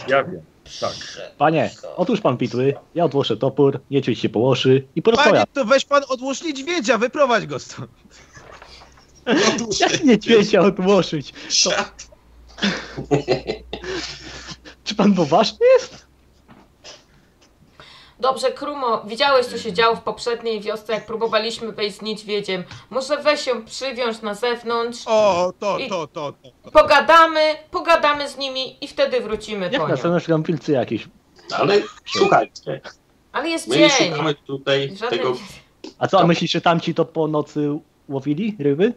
Speaker 1: Ja wiem. Tak.
Speaker 2: Panie, otóż pan pitły, ja odłożę topór, niedźwiedź się położy i porozmawiam.
Speaker 7: Panie, to weź pan odłóż niedźwiedzia, wyprowadź go stąd.
Speaker 2: Jak niedźwiedzia odłożyć?
Speaker 5: Siad.
Speaker 2: Czy pan poważny jest?
Speaker 4: Dobrze, Krumo, widziałeś co się działo w poprzedniej wiosce, jak próbowaliśmy wejść z niedźwiedziem. Może weź się przywiąż na zewnątrz,
Speaker 7: O, to, to, to, to.
Speaker 4: pogadamy, pogadamy z nimi i wtedy wrócimy
Speaker 2: Jak
Speaker 4: po
Speaker 2: na
Speaker 4: nią.
Speaker 2: cenę szukam wilcy jakieś.
Speaker 3: Ale słuchajcie,
Speaker 4: Ale jest
Speaker 3: my nie
Speaker 4: dzień.
Speaker 3: szukamy tutaj
Speaker 4: Żadnej-
Speaker 3: tego
Speaker 2: A co, a myślisz, że tamci to po nocy łowili ryby?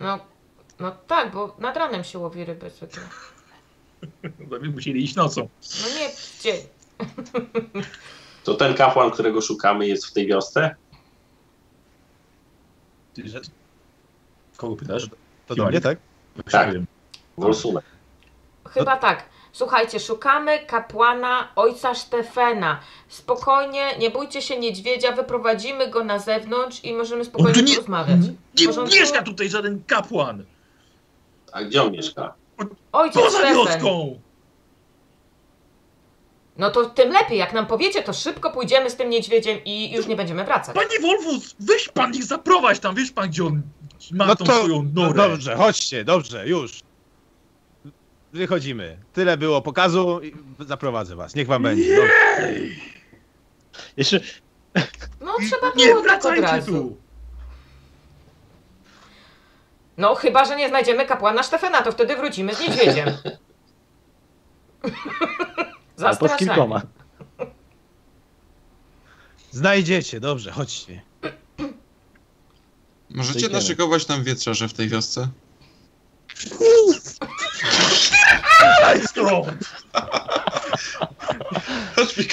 Speaker 4: No, no tak, bo nad ranem się łowi ryby zwykle.
Speaker 1: Będziemy musieli iść nocą.
Speaker 4: No nie w dzień.
Speaker 3: To ten kapłan, którego szukamy, jest w tej wiosce?
Speaker 1: Ty, że- Kogo pytasz?
Speaker 7: To do mnie, tak?
Speaker 3: Tak.
Speaker 1: Nie wiem.
Speaker 3: No, Wolsunek.
Speaker 4: Chyba tak. Słuchajcie, szukamy kapłana ojca Sztefena. Spokojnie, nie bójcie się niedźwiedzia, wyprowadzimy go na zewnątrz i możemy
Speaker 1: O,
Speaker 4: spokojnie
Speaker 1: tu nie- Mhm.
Speaker 4: porozmawiać.
Speaker 1: Nie
Speaker 4: porządku?
Speaker 1: mieszka tutaj żaden kapłan!
Speaker 3: A gdzie on mieszka?
Speaker 4: Ojciec
Speaker 1: Poza
Speaker 4: Sztefen.
Speaker 1: wioską!
Speaker 4: No to tym lepiej, jak nam powiecie, to szybko pójdziemy z tym niedźwiedziem i już nie będziemy wracać.
Speaker 1: Panie Wolfus, weź pan ich zaprowadź tam, wiesz pan gdzie on ma
Speaker 7: No
Speaker 1: tą
Speaker 7: to-
Speaker 1: swoją
Speaker 7: No
Speaker 1: norę.
Speaker 7: dobrze, chodźcie, dobrze, już. Wychodzimy. Tyle było pokazu, i zaprowadzę was. Niech wam będzie. Dobrze.
Speaker 1: Ej,
Speaker 2: Jeszcze
Speaker 4: No trzeba
Speaker 1: nie
Speaker 4: było tak od
Speaker 1: wracajcie
Speaker 4: razu.
Speaker 1: tu!
Speaker 4: No chyba, że nie znajdziemy kapłana Sztefena, to wtedy wrócimy z niedźwiedziem.
Speaker 2: albo z
Speaker 4: Zastraszanie.
Speaker 2: kilkoma.
Speaker 7: Znajdziecie, dobrze, chodźcie.
Speaker 5: Możecie
Speaker 2: Idziemy.
Speaker 5: naszykować tam wietrze w tej wiosce?
Speaker 1: Stąd!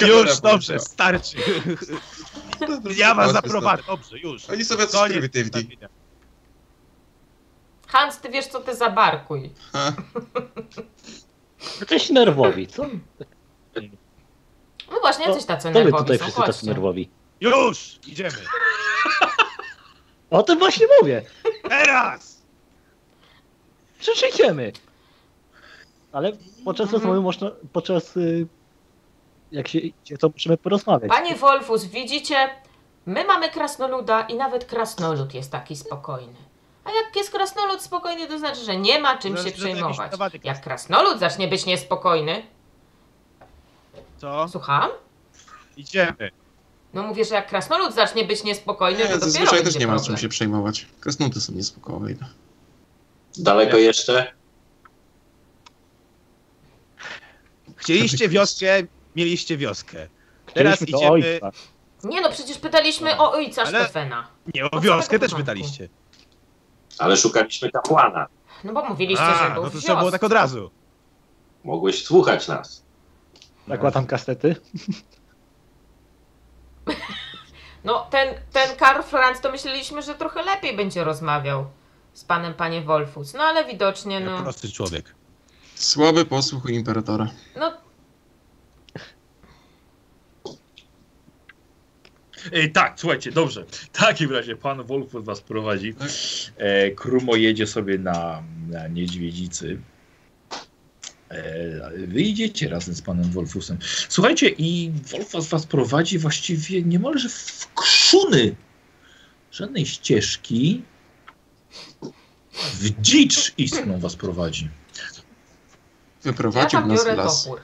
Speaker 7: Już, dobrze, starczy. Ja was zaprowadzę, dobrze, już.
Speaker 5: Oni są jacyś
Speaker 7: Koniec
Speaker 5: prymitywni.
Speaker 7: przedstawienia.
Speaker 4: Hans, ty wiesz co ty zabarkuj.
Speaker 5: Ha,
Speaker 2: Jesteś nerwowi, co?
Speaker 4: No właśnie,
Speaker 2: To-
Speaker 4: jacyś tacy
Speaker 2: To wy
Speaker 4: nerwowi
Speaker 2: tutaj
Speaker 4: są,
Speaker 2: wszyscy tacy
Speaker 4: chodźcie.
Speaker 2: nerwowi.
Speaker 7: Już, idziemy.
Speaker 2: O tym właśnie mówię.
Speaker 7: Teraz!
Speaker 2: Przecież idziemy. Ale
Speaker 1: Mhm.
Speaker 2: podczas rozmowy można, podczas y, jak się idzie, to musimy porozmawiać.
Speaker 4: Panie Wolfus, widzicie? My mamy krasnoluda i nawet krasnolud jest taki spokojny. A jak jest krasnolud spokojny, to znaczy, że nie ma czym
Speaker 7: Znaczy,
Speaker 4: się
Speaker 7: że to jakiś
Speaker 4: przejmować.
Speaker 7: nowaty krasnolud.
Speaker 4: Jak krasnolud zacznie być niespokojny,
Speaker 7: Co?
Speaker 4: słucham?
Speaker 7: Idziemy.
Speaker 4: No mówię, że jak krasnolud zacznie być
Speaker 7: no,
Speaker 4: niespokojny,
Speaker 5: nie,
Speaker 4: to dopiero
Speaker 5: zazwyczaj też
Speaker 4: będzie
Speaker 5: nie ma
Speaker 4: problem.
Speaker 5: czym się przejmować. Kresnuty są niespokojne.
Speaker 3: Daleko jeszcze?
Speaker 7: Chcieliście wioskę, mieliście wioskę.
Speaker 2: Chcieliśmy
Speaker 7: teraz
Speaker 2: do
Speaker 7: idziemy-
Speaker 2: ojca.
Speaker 4: Nie no, przecież pytaliśmy o ojca
Speaker 7: Ale-
Speaker 4: Stefena.
Speaker 7: Nie, o
Speaker 4: Od
Speaker 7: wioskę
Speaker 4: samego
Speaker 7: też
Speaker 4: początku.
Speaker 7: pytaliście.
Speaker 3: Ale szukaliśmy kapłana.
Speaker 4: No bo mówiliście, że
Speaker 7: A,
Speaker 4: był
Speaker 7: no
Speaker 4: w
Speaker 7: to trzeba było
Speaker 4: wiosce.
Speaker 7: tak od razu.
Speaker 3: Mogłeś słuchać nas.
Speaker 2: Zakładam kastety.
Speaker 4: No, ten, ten Karl Franz to myśleliśmy, że trochę lepiej będzie rozmawiał z panem, panie Wolfus. No, ale widocznie, no.
Speaker 7: Prosty człowiek.
Speaker 5: Słaby posłuch u imperatora.
Speaker 4: No,
Speaker 1: E, tak, słuchajcie, dobrze. W takim razie pan Wolfur was prowadzi. E, Krumo jedzie sobie na, na Niedźwiedzicy. E, wyjdziecie razem z panem Wolfusem. Słuchajcie, i Wolfus was prowadzi właściwie niemalże w krzuny. Żadnej ścieżki. W dzicz istną was prowadzi.
Speaker 4: ja
Speaker 5: Wyprowadził
Speaker 4: tam
Speaker 5: nas w
Speaker 4: biorę
Speaker 5: las.
Speaker 4: topór.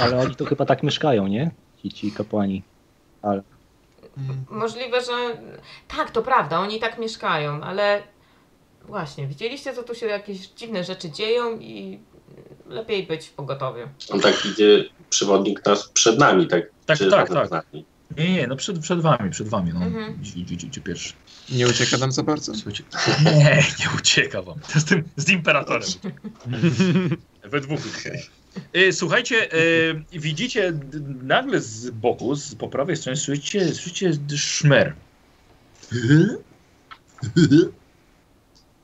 Speaker 2: Ale oni to chyba tak mieszkają, nie? Ci, ci kapłani. Ale
Speaker 5: Mm.
Speaker 4: Możliwe, że. Tak, to prawda, oni tak mieszkają, ale. Właśnie, widzieliście, co tu się jakieś dziwne rzeczy dzieją i lepiej być w pogotowiu.
Speaker 3: On tak idzie, przewodnik nas przed nami, tak?
Speaker 1: Tak,
Speaker 3: czy
Speaker 1: tak,
Speaker 3: nad
Speaker 1: tak.
Speaker 3: nami.
Speaker 1: Nie, nie, no przed, przed wami, przed wami. No.
Speaker 4: Mhm.
Speaker 1: Idź- idź- Idźcie pierwszy.
Speaker 5: Nie ucieka nam za bardzo.
Speaker 1: Słuchajcie, nie, nie ucieka wam. To z tym, z imperatorem. We dwóch. Y, Słuchajcie, y, widzicie d- nagle z boku, z po prawej stronie, słyszycie, słyszycie d- szmer.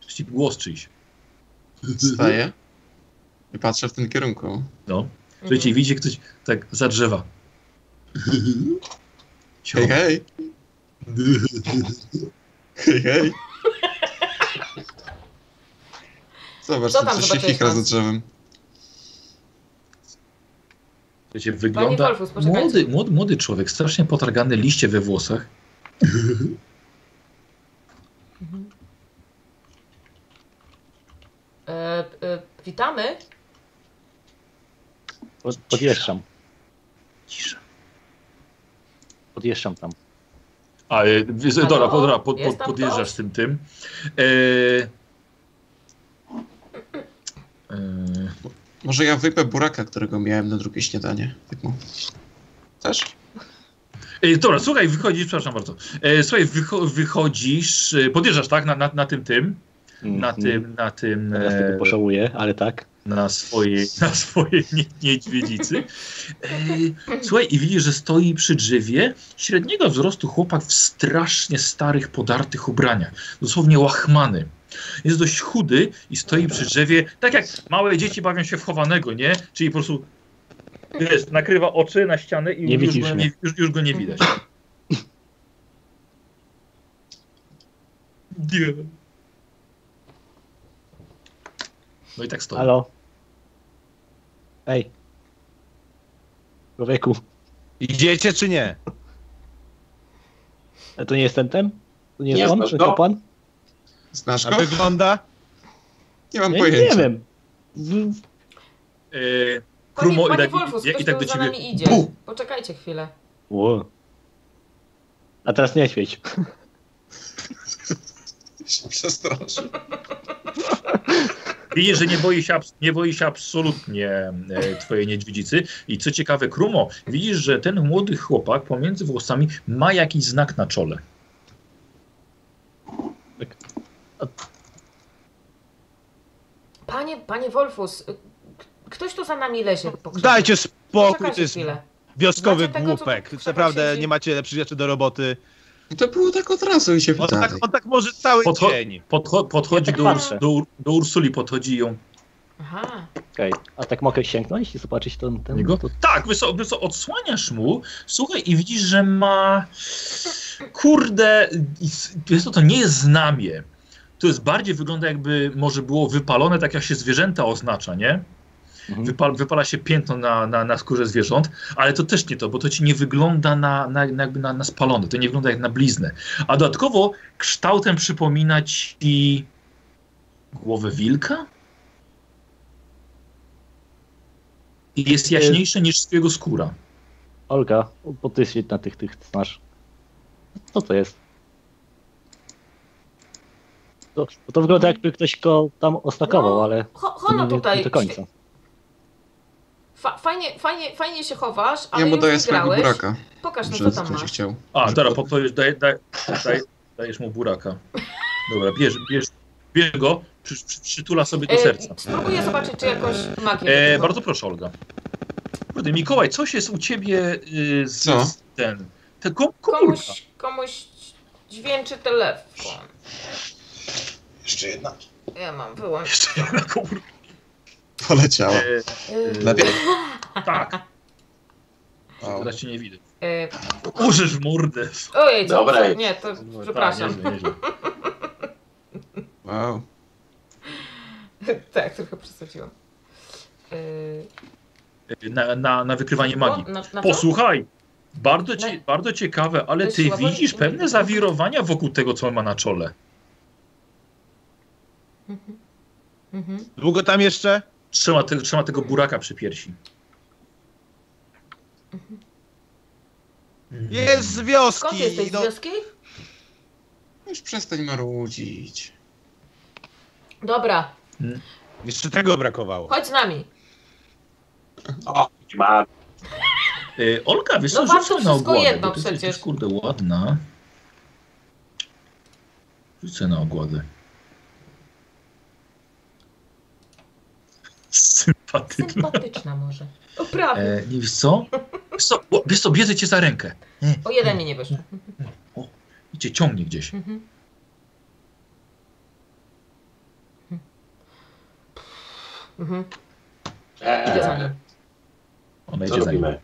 Speaker 1: Słyszycie głos czyjś.
Speaker 5: Staję i patrzę w tym kierunku.
Speaker 1: No. Słuchajcie, i widzicie ktoś tak za drzewa.
Speaker 5: Hej, hej! Hej, hej! Zobacz,
Speaker 4: Co
Speaker 5: co
Speaker 4: tam
Speaker 5: coś się
Speaker 4: zobaczyłeś
Speaker 5: chichra
Speaker 4: tam?
Speaker 5: za drzewem.
Speaker 1: Słuchajcie,
Speaker 4: Panie
Speaker 1: wygląda
Speaker 4: Wolfus, poczekajcie.
Speaker 1: młody, młody, młody człowiek, strasznie potargany liście we włosach.
Speaker 4: Mhm. E, e, witamy.
Speaker 2: po- podjeżdżam,
Speaker 1: Cisza.
Speaker 2: podjeżdżam tam.
Speaker 1: A, y, wiesz,
Speaker 4: Halo?
Speaker 1: dobra, po- dobra pod, pod,
Speaker 4: Jest tam
Speaker 1: podjeżdżasz
Speaker 4: ktoś?
Speaker 1: z tym tym. E, e,
Speaker 5: Może ja wypę buraka, którego miałem na drugie śniadanie. Tak mu. Też?
Speaker 1: E, dobra, słuchaj, wychodzisz, przepraszam bardzo. E, słuchaj, wycho wychodzisz, e, podjeżdżasz, tak? Na, na, na tym tym, na
Speaker 2: Mhm.
Speaker 1: tym, na tym,
Speaker 2: Teraz
Speaker 1: e,
Speaker 2: tylko poszałuję, ale tak.
Speaker 1: na swojej, na swojej nie, niedźwiedzicy. E, słuchaj, i widzisz, że stoi przy drzewie średniego wzrostu chłopak w strasznie starych, podartych ubraniach. Dosłownie łachmany. Jest dość chudy i stoi przy drzewie, tak jak małe dzieci bawią się w chowanego, nie? Czyli po prostu, wiesz, nakrywa oczy na ścianę i
Speaker 2: Nie
Speaker 1: już,
Speaker 2: widzisz
Speaker 1: go,
Speaker 2: mnie.
Speaker 1: nie, już, już go nie widać. No i tak stoi.
Speaker 2: Halo? Ej. Człowieku,
Speaker 7: Idziecie czy nie?
Speaker 2: a to nie jest ten ten? To nie
Speaker 3: Nie
Speaker 2: jest on,
Speaker 3: znasz
Speaker 2: ten
Speaker 3: go?
Speaker 2: kapłan?
Speaker 5: Znasz
Speaker 7: A
Speaker 5: go?
Speaker 7: wygląda?
Speaker 5: Nie mam
Speaker 2: Ja
Speaker 5: pojęcia.
Speaker 2: nie wiem. W- w-
Speaker 1: E,
Speaker 4: Panie,
Speaker 1: Krumo i
Speaker 4: panie
Speaker 1: tak,
Speaker 4: Wolfus,
Speaker 1: i, i,
Speaker 4: ktoś
Speaker 1: i tak
Speaker 4: tu
Speaker 1: do
Speaker 4: za
Speaker 1: ciebie.
Speaker 4: nami idzie.
Speaker 1: Buh!
Speaker 4: Poczekajcie chwilę.
Speaker 2: Ło. A teraz nie świeć.
Speaker 5: Się przestraszył.
Speaker 1: Widzisz, że nie boi się, abs- nie boi się absolutnie e, twojej niedźwiedzicy. I co ciekawe, Krumo, widzisz, że ten młody chłopak pomiędzy włosami ma jakiś znak na czole.
Speaker 4: Panie, panie Wolfus, y, k- ktoś tu za nami lezie. po krzewie.
Speaker 7: Dajcie spokój, to
Speaker 4: Poczekajcie
Speaker 7: jest
Speaker 4: chwilę.
Speaker 7: wioskowy
Speaker 4: Macie tego, co
Speaker 7: głupek.
Speaker 4: tu
Speaker 7: Co naprawdę
Speaker 4: siedzi?
Speaker 7: nie macie lepszych rzeczy do roboty.
Speaker 5: To było tak od razu i się
Speaker 7: On tak,
Speaker 5: pytali.
Speaker 7: on tak może cały
Speaker 1: Podcho-
Speaker 7: dzień.
Speaker 1: Podcho- podchodzi
Speaker 2: Ja tak
Speaker 1: do,
Speaker 2: patrzę.
Speaker 1: Urs- do, Ur- do Ursuli, podchodzi i ją.
Speaker 4: Aha.
Speaker 2: Okej. A tak mogę sięgnąć i zobaczyć ten... ten
Speaker 1: Niego?
Speaker 2: to...
Speaker 1: Tak, wysoko, wysoko odsłaniasz mu. Słuchaj, i widzisz, że ma. Kurde, jest to, to nie jest znamie. To jest bardziej wygląda, jakby może było wypalone, tak jak się zwierzęta oznacza, nie?
Speaker 2: Mhm.
Speaker 1: Wypal, wypala się piętno na, na, na skórze zwierząt, ale to też nie to, bo to ci nie wygląda na, na, na, jakby na, na spalone, to nie wygląda jak na bliznę. A dodatkowo kształtem przypomina ci głowę wilka? I jest jaśniejsze niż jego skóra.
Speaker 2: Olga, bo ty się na tych, tych znasz. Co to jest? To, to wygląda jakby ktoś go tam ostakował,
Speaker 4: No,
Speaker 2: ale
Speaker 4: Ho,
Speaker 2: nie
Speaker 4: hono
Speaker 2: wiem
Speaker 4: tutaj.
Speaker 2: do końca.
Speaker 4: Fa, fajnie, fajnie, fajnie się chowasz, ale
Speaker 5: Ja mu
Speaker 4: już
Speaker 5: daję swojego
Speaker 4: wygrałeś.
Speaker 5: buraka,
Speaker 4: Pokaż no
Speaker 5: że
Speaker 4: co tam
Speaker 5: będzie
Speaker 4: masz.
Speaker 5: chciał.
Speaker 1: A,
Speaker 5: Że-
Speaker 1: dobra, podpowiesz, daj, daj, daj, dajesz mu buraka. Dobra, bierz, bierz, bierz go, przy, przy, przytula sobie do
Speaker 4: E,
Speaker 1: serca.
Speaker 4: Spróbuję zobaczyć, czy jakoś magię.
Speaker 1: E,
Speaker 4: wykonał.
Speaker 1: bardzo proszę, Olga. Kurde, Mikołaj, coś jest u ciebie y, z,
Speaker 5: Co?
Speaker 1: z ten. Tego komórka.
Speaker 4: Komuś, komuś dźwięczy telefon.
Speaker 3: Jeszcze jedna.
Speaker 4: Ja mam wyłącz.
Speaker 1: Jeszcze jedna komórka.
Speaker 5: Poleciała.
Speaker 1: E,
Speaker 4: Y,
Speaker 5: Dla pie-
Speaker 1: tak,
Speaker 5: O,
Speaker 1: teraz cię nie widzę.
Speaker 4: E, e,
Speaker 1: Użysz mordę.
Speaker 4: Ojej, co-
Speaker 3: Dobra.
Speaker 4: nie, to przepraszam.
Speaker 1: Tak, nieźle, nieźle.
Speaker 5: wow.
Speaker 4: tak, trochę przesadziłam. E,
Speaker 1: Eee, Na, na, na wykrywanie
Speaker 4: o,
Speaker 1: magii.
Speaker 4: na- na co?
Speaker 1: Posłuchaj, bardzo, cie,
Speaker 4: No.
Speaker 1: bardzo ciekawe, ale
Speaker 4: Dość
Speaker 1: ty
Speaker 4: słabo-
Speaker 1: widzisz pewne zawirowania wokół tego, co on ma na czole.
Speaker 4: Mhm. Mhm.
Speaker 7: Długo tam jeszcze?
Speaker 1: Trzyma, te, trzyma tego buraka przy piersi.
Speaker 7: Jest z wioski!
Speaker 4: Skąd jesteś z
Speaker 7: no.
Speaker 4: wioski?
Speaker 5: No Już przestań marudzić.
Speaker 4: Dobra,
Speaker 7: Jeszcze tego brakowało.
Speaker 4: chodź z nami.
Speaker 3: Ma
Speaker 1: E, Olga, wiesz co,
Speaker 4: No warto
Speaker 1: rzucę na
Speaker 4: wszystko
Speaker 1: ogładę,
Speaker 4: jedno
Speaker 1: bo ty
Speaker 4: przecież.
Speaker 1: jesteś, kurde, ładna. Rzucę na ogładę. Sympatyczna.
Speaker 4: Sympatyczna może. O, prawie.
Speaker 1: E, nie wiesz co? Wiesz co, o, wiesz co, bierze cię za rękę
Speaker 4: O, jeden mi nie wyszło.
Speaker 1: i cię ciągnie gdzieś.
Speaker 4: Mhm. Mhm. Idę za
Speaker 3: Eee,
Speaker 4: nim.
Speaker 1: Ona
Speaker 3: co
Speaker 1: idzie za nim.
Speaker 3: robimy?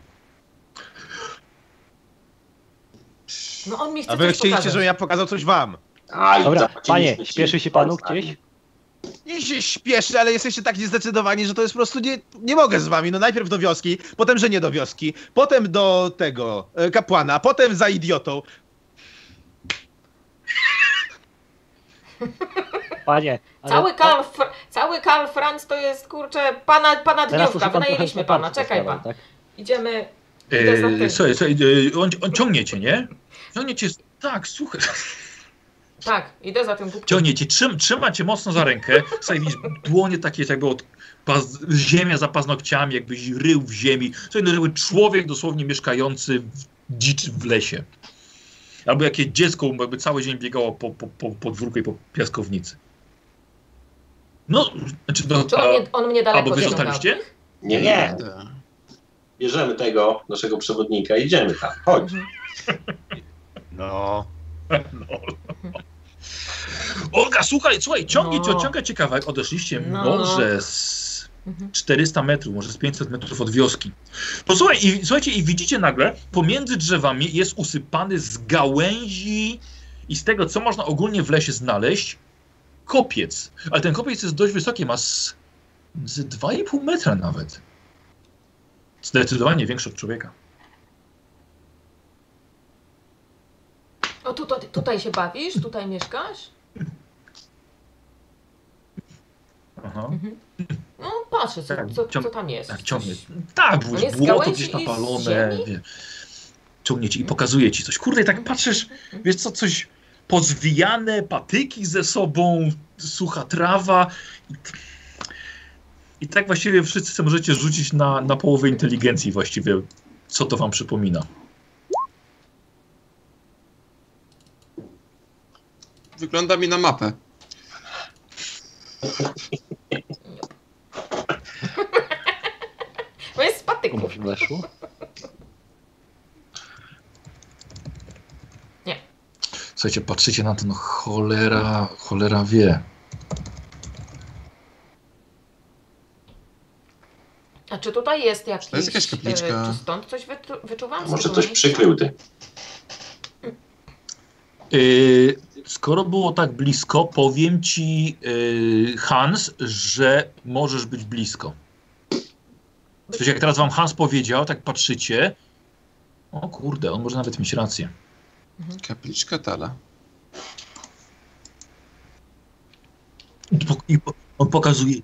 Speaker 4: No on mi chce
Speaker 7: A wy
Speaker 4: coś
Speaker 7: chcieliście,
Speaker 4: pokazać.
Speaker 7: żebym ja pokazał coś wam.
Speaker 3: Aj,
Speaker 2: Dobra,
Speaker 3: zapłaciliśmy
Speaker 2: panie,
Speaker 3: ci.
Speaker 2: śpieszy się
Speaker 3: tak,
Speaker 2: panu gdzieś?
Speaker 7: Nie się śpieszy, ale jesteście tak niezdecydowani, że to jest po prostu nie, nie mogę z wami. No najpierw do wioski, potem, że nie do wioski, potem do tego e, kapłana, potem za idiotą.
Speaker 2: Panie, ale...
Speaker 4: Cały Karl, Fr- cały Karl Franz to jest, kurczę, pana, pana
Speaker 2: Teraz
Speaker 4: dniówka.
Speaker 2: już pan
Speaker 4: Wynajęliśmy
Speaker 2: trochę
Speaker 4: pana,
Speaker 2: poparcia
Speaker 4: czekaj pan.
Speaker 2: dostałem, tak?
Speaker 4: Idziemy. Idę za
Speaker 1: E,
Speaker 4: tym.
Speaker 1: słuchaj, słuchaj, e, on, on ciągnie cię, nie? Ciągnie cię, tak, słuchaj.
Speaker 4: Tak, idę za tym kubkiem.
Speaker 1: Ciągnie cię, trzym, trzyma cię mocno za rękę. Słuchaj, widzisz, dłonie takie jakby od paz, ziemia za paznokciami, jakbyś rył w ziemi. Słuchaj, no, żeby człowiek dosłownie mieszkający w dzicz w lesie. Albo jakie dziecko, jakby cały dzień biegało po, po, po podwórku i po piaskownicy. No, znaczy, no,
Speaker 4: Czy on,
Speaker 1: a-
Speaker 4: mnie, on mnie daleko
Speaker 1: albo wy
Speaker 4: ciągnął?
Speaker 1: zostaliście?
Speaker 3: Nie, nie.
Speaker 5: Tak.
Speaker 3: Bierzemy tego, naszego przewodnika i idziemy tam. Chodź.
Speaker 4: Mhm.
Speaker 7: No.
Speaker 1: Olga, słuchaj, słuchaj, ciągnij
Speaker 4: No.
Speaker 1: cię, ciąga cię kawałek. Odeszliście
Speaker 4: No.
Speaker 1: może z
Speaker 4: Mhm.
Speaker 1: 400 metrów, może z 500 metrów od wioski. Posłuchaj, i, słuchajcie, i widzicie nagle, pomiędzy drzewami jest usypany z gałęzi i z tego, co można ogólnie w lesie znaleźć, kopiec. Ale ten kopiec jest dość wysoki, ma z, z 2,5 metra nawet. Zdecydowanie większy od człowieka.
Speaker 4: O, tu, tu, tutaj się bawisz? Tutaj mieszkasz?
Speaker 1: Aha.
Speaker 4: Mhm. No patrzę, co,
Speaker 1: Tak,
Speaker 4: co,
Speaker 1: ciąg-
Speaker 4: co tam jest.
Speaker 1: Tak, ciągnie.
Speaker 4: Coś-
Speaker 1: Tak,
Speaker 4: On jest z
Speaker 1: błoto
Speaker 4: gałęzi
Speaker 1: gdzieś
Speaker 4: i z
Speaker 1: napalone.
Speaker 4: ziemi?
Speaker 1: Wie. Ciągnie ci i pokazuje ci coś. Kurde, i tak patrzysz, wiesz co, coś pozwijane, patyki ze sobą, sucha trawa. I, i tak właściwie wszyscy sobie możecie rzucić na, na połowę inteligencji właściwie, co to wam przypomina.
Speaker 5: Wygląda mi na mapę.
Speaker 4: To jest z patyków.
Speaker 2: Komuś weszło?
Speaker 1: Słuchajcie, patrzycie na to, no cholera, cholera wie.
Speaker 4: A czy tutaj jest jakiś...
Speaker 5: jest jakaś kapliczka?
Speaker 4: e, Czy stąd coś wyczu- wyczuwam? Z
Speaker 3: Może
Speaker 4: tego
Speaker 3: coś
Speaker 4: miejsca?
Speaker 3: przykrył ty.
Speaker 1: Yy, skoro było tak blisko, powiem ci, yy, Hans, że możesz być blisko. W sensie, jak teraz wam Hans powiedział, tak patrzycie. O kurde, on może nawet mieć rację.
Speaker 5: Kapliczka Tala.
Speaker 1: I po- I po, on pokazuje.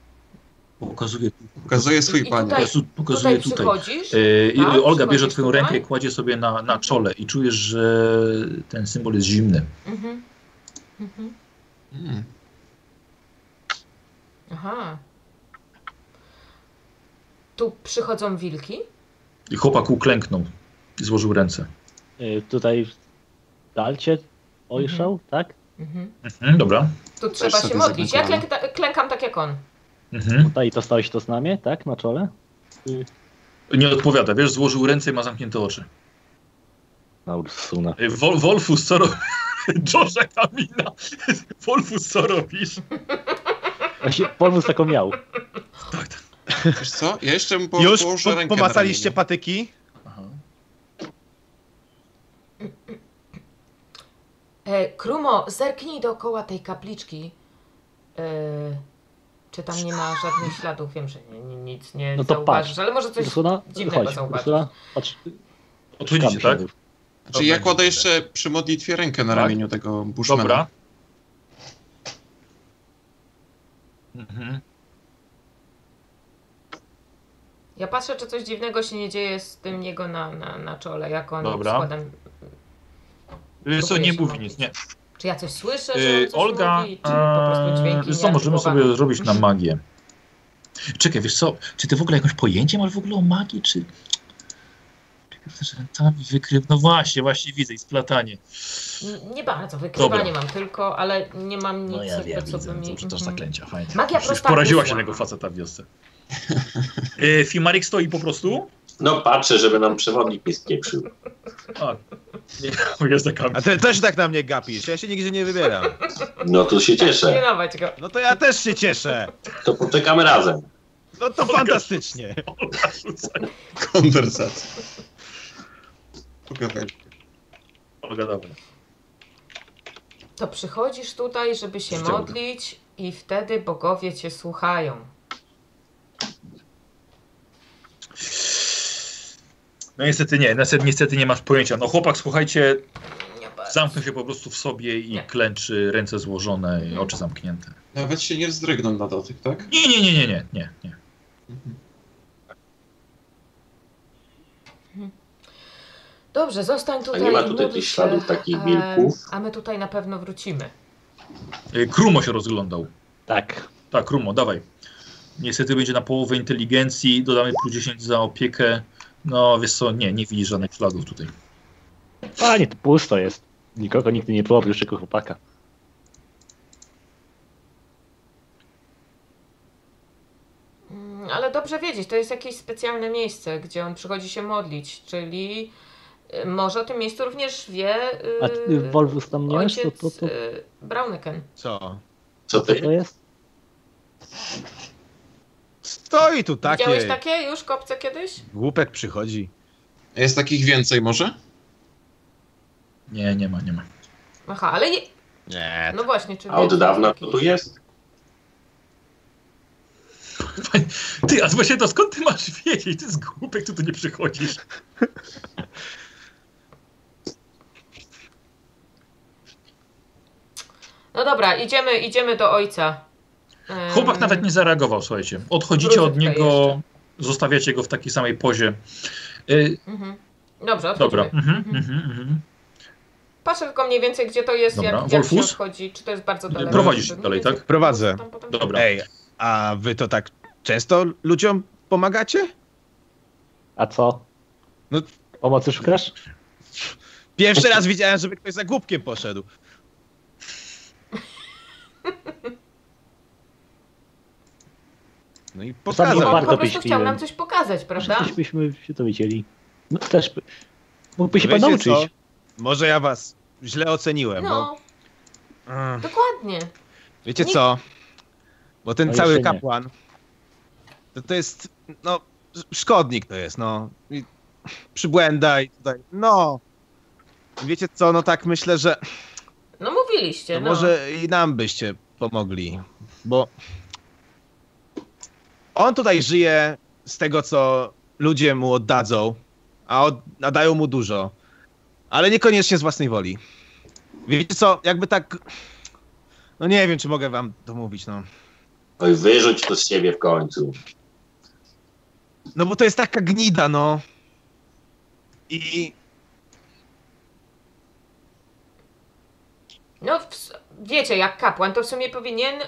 Speaker 1: Pokazuje,
Speaker 5: Pokazuje swój
Speaker 4: I
Speaker 5: panie.
Speaker 4: tutaj-
Speaker 1: pokazuje, pokazuje
Speaker 4: Tutaj
Speaker 1: tutaj.
Speaker 4: przychodzisz?
Speaker 1: Yy, i-
Speaker 4: Tak?
Speaker 1: Olga bierze
Speaker 4: Przychodzisz
Speaker 1: twoją
Speaker 4: tutaj?
Speaker 1: rękę, kładzie sobie na, na czole i czujesz, że ten symbol jest zimny.
Speaker 4: Mhm. Mhm.
Speaker 5: Mm.
Speaker 4: Aha. Tu przychodzą wilki?
Speaker 1: I chłopak uklęknął i złożył ręce.
Speaker 2: Y, tutaj dalcie ojrzał, tak?
Speaker 4: Mhm.
Speaker 1: Mhm, dobra.
Speaker 4: Tu trzeba
Speaker 5: sobie
Speaker 4: się modlić. Ja
Speaker 5: zaglądałem.
Speaker 4: klęk, klękam tak jak on.
Speaker 1: Mhm.
Speaker 2: Tutaj to stałeś to znamie, tak? Na czole?
Speaker 1: Nie odpowiada, wiesz, złożył ręce i ma zamknięte oczy.
Speaker 2: na Ursuna.
Speaker 1: Y, Wol, Wolfus, co robisz? Josza Kamina. Wolfus, co robisz?
Speaker 2: Właśnie Polwus taką miał.
Speaker 5: Wiesz co? Ja jeszcze mu po,
Speaker 7: Już
Speaker 5: położę
Speaker 7: po,
Speaker 5: rękę na
Speaker 7: pomacaliście
Speaker 5: ramieniu.
Speaker 7: patyki?
Speaker 4: E, Krumo, zerknij dookoła tej kapliczki. E, czy tam nie ma żadnych śladów? Wiem, że nie, nie, nic nie
Speaker 2: No to
Speaker 4: zauważysz,
Speaker 2: patrz.
Speaker 4: ale może coś
Speaker 2: Ursuna,
Speaker 4: dziwnego
Speaker 2: chodź,
Speaker 4: zauwaczyć.
Speaker 2: Ursuna, patrz.
Speaker 1: Odchodzicie, tak?
Speaker 2: Kamsiadów.
Speaker 5: Znaczy, ja kładę jeszcze przy modlitwie rękę na
Speaker 1: Tak?
Speaker 5: ramieniu tego bushmana.
Speaker 1: Dobra. Mhm.
Speaker 4: Ja patrzę, czy coś dziwnego się nie dzieje z tym jego na, na, na czole, jak on
Speaker 1: Dobra.
Speaker 4: składa...
Speaker 1: Wiesz co, nie
Speaker 4: Próbuję się
Speaker 1: mówi
Speaker 4: modlić.
Speaker 1: nic, nie.
Speaker 4: Czy ja coś słyszę, że on
Speaker 1: Yy,
Speaker 4: coś
Speaker 1: Olga,
Speaker 4: mówi, czy po prostu
Speaker 1: eee,
Speaker 4: dźwięki
Speaker 1: wiesz co, możemy
Speaker 4: nieartykułowane?
Speaker 1: sobie zrobić na magię. Czekaj, wiesz co, czy ty w ogóle jakieś pojęcie masz w ogóle o magii, czy... Czekaj, że tam wykryw... No właśnie, właśnie widzę i splatanie.
Speaker 4: N- Nie bardzo, wykrywa
Speaker 1: Dobra.
Speaker 4: nie mam tylko, ale nie mam nic,
Speaker 1: No ja wiem,
Speaker 4: jakby, co
Speaker 1: widzę,
Speaker 4: by mi...
Speaker 1: co przeczytasz
Speaker 4: Mhm.
Speaker 1: zaklęcia, fajnie.
Speaker 4: Magia
Speaker 1: Już
Speaker 4: prosta
Speaker 1: poraziła się
Speaker 4: kusła.
Speaker 1: tego faceta w wiosce. Yy, Fimarik stoi po prostu?
Speaker 3: No patrzę, żeby nam przewodnik nie spieprzył.
Speaker 1: A, nie, jest taka...
Speaker 7: A ty też tak na mnie gapisz, ja się nigdzie nie wybieram.
Speaker 3: No to się cieszę.
Speaker 4: Pilnować go.
Speaker 7: No to ja też się cieszę.
Speaker 3: To poczekamy razem.
Speaker 7: No to fantastycznie.
Speaker 1: Olga rzuca.
Speaker 5: Konwersacja. Pogawędź.
Speaker 1: Olga, dobra.
Speaker 4: To przychodzisz tutaj, żeby się
Speaker 1: Chciałbym.
Speaker 4: modlić i wtedy bogowie cię słuchają.
Speaker 1: No niestety nie, niestety, niestety nie masz pojęcia. No chłopak, słuchajcie,
Speaker 4: Nie bardzo.
Speaker 1: zamknął się po prostu w sobie i
Speaker 4: Nie.
Speaker 1: klęczy, ręce złożone i oczy zamknięte.
Speaker 5: Nawet się nie wzdrygną na dotyk, tak?
Speaker 1: Nie, nie, nie, nie, nie, nie, nie.
Speaker 4: Dobrze, zostań tutaj.
Speaker 3: nie ma
Speaker 4: i
Speaker 3: tutaj
Speaker 4: módl
Speaker 3: jakichś
Speaker 4: się,
Speaker 3: śladów takich
Speaker 4: e,
Speaker 3: wilków?
Speaker 4: A my tutaj na pewno wrócimy.
Speaker 1: Y, Krumo się rozglądał.
Speaker 2: Tak.
Speaker 1: Tak, Krumo, dawaj. Niestety będzie na połowę inteligencji, dodamy plus 10 za opiekę. No wiesz co, nie, nie widzisz żadnych śladów tutaj.
Speaker 2: Panie, to pusto jest. Nikogo nigdy nie było, oprócz tego chłopaka.
Speaker 4: Mm, Ale dobrze wiedzieć, to jest jakieś specjalne miejsce, gdzie on przychodzi się modlić, czyli e, może o tym miejscu również wie y,
Speaker 2: A ty Wolwus tam nie masz? To,
Speaker 4: ojciec
Speaker 2: to, to,
Speaker 4: y, Brauneken.
Speaker 7: Co?
Speaker 3: Co
Speaker 7: yy,
Speaker 2: co
Speaker 3: ty?
Speaker 2: to jest?
Speaker 7: Stoi tu
Speaker 4: Widziałeś tak-
Speaker 7: takie.
Speaker 4: takie już kopce kiedyś?
Speaker 7: Głupek przychodzi.
Speaker 5: Jest takich więcej może?
Speaker 1: Nie, nie ma, nie ma.
Speaker 4: Aha, ale je...
Speaker 7: Nie.
Speaker 4: no właśnie, czy
Speaker 3: A od
Speaker 4: wiesz,
Speaker 3: dawna
Speaker 4: taki-
Speaker 3: to tu jest?
Speaker 1: Ty, a właśnie to skąd ty masz wiedzieć? Ty z głupek, tu tu nie przychodzisz.
Speaker 4: No dobra, idziemy, idziemy do ojca. Em,
Speaker 1: Chłopak nawet nie zareagował, słuchajcie. Odchodzicie
Speaker 4: Mm. Wrócę
Speaker 1: od
Speaker 4: tutaj
Speaker 1: niego, zostawiacie go w takiej samej pozie. Y,
Speaker 4: Mhm. Dobrze,
Speaker 1: Dobra.
Speaker 4: odchodzimy.
Speaker 1: Mhm, mhm, mhm.
Speaker 4: Patrzę tylko mniej więcej, gdzie to jest,
Speaker 1: Dobra.
Speaker 4: jak, jak się
Speaker 1: Wolfus?
Speaker 4: odchodzi, czy to jest bardzo daleko.
Speaker 1: Prowadzisz
Speaker 4: Mniej
Speaker 1: dalej,
Speaker 4: więcej
Speaker 1: tak?
Speaker 7: Prowadzę.
Speaker 4: tam potem-
Speaker 1: Dobra.
Speaker 7: Ej, a wy to tak często ludziom pomagacie?
Speaker 2: A co?
Speaker 7: No-
Speaker 2: Pomocy szukasz?
Speaker 4: Tak.
Speaker 7: Pierwszy raz widziałem, żeby ktoś za głupkiem poszedł. No i
Speaker 2: Za
Speaker 4: On
Speaker 7: pokazał.
Speaker 2: bardzo
Speaker 4: po prostu
Speaker 2: byś
Speaker 4: chciał nam
Speaker 2: piłem.
Speaker 4: coś pokazać, prawda?
Speaker 2: Przecież byśmy się dowiedzieli. No też by... Mógłby się pan
Speaker 7: Wiecie
Speaker 2: nauczyć.
Speaker 7: co? Może ja was źle oceniłem, bo...
Speaker 4: No,
Speaker 7: Mm,
Speaker 4: dokładnie.
Speaker 7: Wiecie
Speaker 4: nie-
Speaker 7: co? Bo ten
Speaker 2: No
Speaker 7: cały
Speaker 2: jeszcze nie.
Speaker 7: kapłan... To, to jest... No... sz- Szkodnik to jest, no. I przybłęda i tutaj... No! Wiecie co? No tak myślę, że...
Speaker 4: No mówiliście,
Speaker 7: No
Speaker 4: no.
Speaker 7: może i nam byście pomogli, bo on tutaj żyje z tego, co ludzie mu oddadzą, a od, nadają mu dużo, ale niekoniecznie z własnej woli. Wiecie co, jakby tak... No nie wiem, czy mogę wam to mówić, no.
Speaker 3: Oj, wyrzuć to z siebie w końcu.
Speaker 7: No bo to jest taka gnida, no. I
Speaker 4: No w, s- wiecie, jak kapłan, to w sumie powinien y,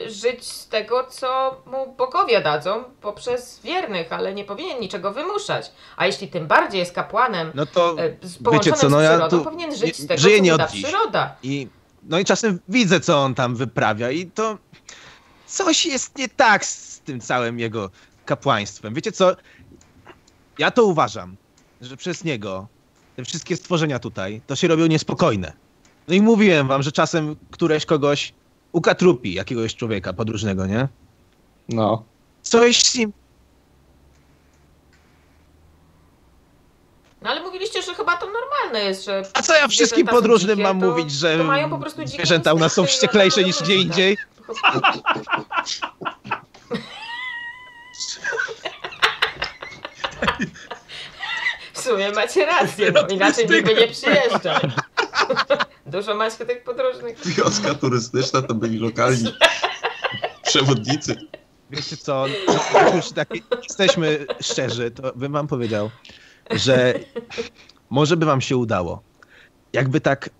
Speaker 4: y, żyć z tego, co mu bogowie dadzą poprzez wiernych, ale nie powinien niczego wymuszać. A jeśli tym bardziej jest kapłanem
Speaker 7: no to...
Speaker 4: y, z, połączonym
Speaker 7: co, no
Speaker 4: z
Speaker 7: ja
Speaker 4: przyrodą,
Speaker 7: tu
Speaker 4: powinien
Speaker 7: nie-
Speaker 4: żyć z tego,
Speaker 7: żyję
Speaker 4: co
Speaker 7: nie
Speaker 4: mu
Speaker 7: od
Speaker 4: da
Speaker 7: dziś.
Speaker 4: przyroda.
Speaker 7: I, no i czasem widzę, co on tam wyprawia i to coś jest nie tak z tym całym jego kapłaństwem. Wiecie co? Ja to uważam, że przez niego te wszystkie stworzenia tutaj, to się robią niespokojne. No i mówiłem wam, że czasem któreś kogoś ukatrupi, jakiegoś człowieka podróżnego, nie?
Speaker 2: No.
Speaker 7: Coś z nim
Speaker 4: No ale mówiliście, że chyba to normalne jest, że
Speaker 7: A co ja wszystkim
Speaker 4: Zwierzęta są
Speaker 7: podróżnym
Speaker 4: dzikie,
Speaker 7: mam
Speaker 4: to-
Speaker 7: mówić, że
Speaker 4: to mają po prostu dzikie
Speaker 7: zwierzęta u nas są
Speaker 4: instynkty i
Speaker 7: wścieklejsze
Speaker 4: one
Speaker 7: niż
Speaker 4: to
Speaker 7: gdzie
Speaker 4: wygląda.
Speaker 7: indziej?
Speaker 4: w sumie macie rację, bo inaczej nikt by nie przyjeżdżał. Dużo macie tych podróżnych.
Speaker 5: Wioska turystyczna to byli lokalni przewodnicy.
Speaker 7: Wiecie co, jak już tak jesteśmy szczerzy, to bym wam powiedział, że może by wam się udało. Jakby tak...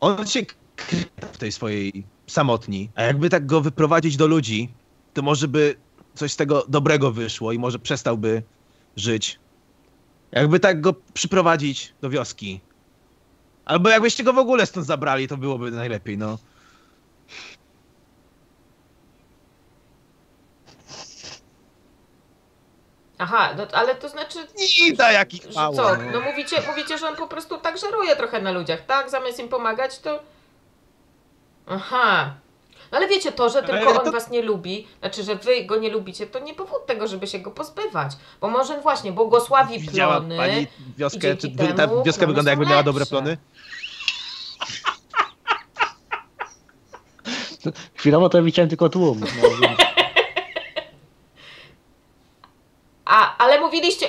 Speaker 7: On się kryje w tej swojej samotni, a jakby tak go wyprowadzić do ludzi, to może by coś z tego dobrego wyszło i może przestałby żyć. Jakby tak go przyprowadzić do wioski. Albo jakbyście go w ogóle stąd zabrali, to byłoby najlepiej, no.
Speaker 4: Aha, no, ale to znaczy,
Speaker 7: I da jakich
Speaker 4: że
Speaker 7: mało.
Speaker 4: co?
Speaker 7: no.
Speaker 4: No mówicie, mówicie, że on po prostu tak żeruje trochę na ludziach, tak? Zamiast im pomagać, to... Aha. No ale wiecie, to, że tylko
Speaker 7: Ale
Speaker 4: on
Speaker 7: to-
Speaker 4: was nie lubi, znaczy, że wy go nie lubicie, to nie powód tego, żeby się go pozbywać. Bo może właśnie błogosławi
Speaker 7: Widziała
Speaker 4: plony...
Speaker 7: pani
Speaker 4: i
Speaker 7: wioskę,
Speaker 4: dzięki
Speaker 7: czy wy- ta
Speaker 4: temu
Speaker 7: wioska
Speaker 4: plony
Speaker 7: wygląda jakby
Speaker 4: są
Speaker 7: miała dobre
Speaker 4: lepsze.
Speaker 7: plony?
Speaker 2: Chwilowo to widziałem tylko tłum. No, więc
Speaker 4: A, ale mówiliście,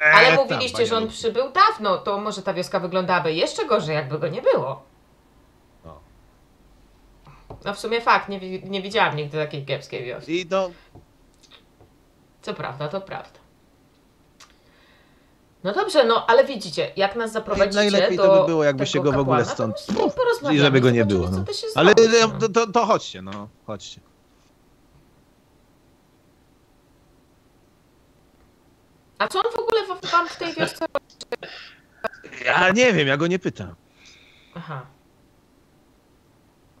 Speaker 4: ale
Speaker 7: E, tam,
Speaker 4: mówiliście,
Speaker 7: pani
Speaker 4: że on
Speaker 7: Lucy.
Speaker 4: przybył dawno, to może ta wioska wyglądałaby jeszcze gorzej, jakby go nie było.
Speaker 7: No.
Speaker 4: No w sumie fakt, nie, wi- nie widziałam nigdy takiej kiepskiej wioski.
Speaker 7: I no, do...
Speaker 4: Co prawda, to prawda. No dobrze, no ale widzicie, jak nas zaprowadzicie
Speaker 7: Najlepiej
Speaker 4: do
Speaker 7: to by było, jakby
Speaker 4: tego
Speaker 7: się go w ogóle
Speaker 4: kapłana, to
Speaker 7: stąd-
Speaker 4: z nim porozmawiamy,
Speaker 7: I żeby go nie
Speaker 4: zobaczymy,
Speaker 7: było.
Speaker 4: co
Speaker 7: No.
Speaker 4: da się
Speaker 7: Ale
Speaker 4: zrobić,
Speaker 7: e,
Speaker 4: no.
Speaker 7: to, to, to chodźcie, no, chodźcie.
Speaker 4: A co on w ogóle w- wam w tej wiosce...
Speaker 7: Ja nie wiem, ja go nie pytam.
Speaker 4: Aha.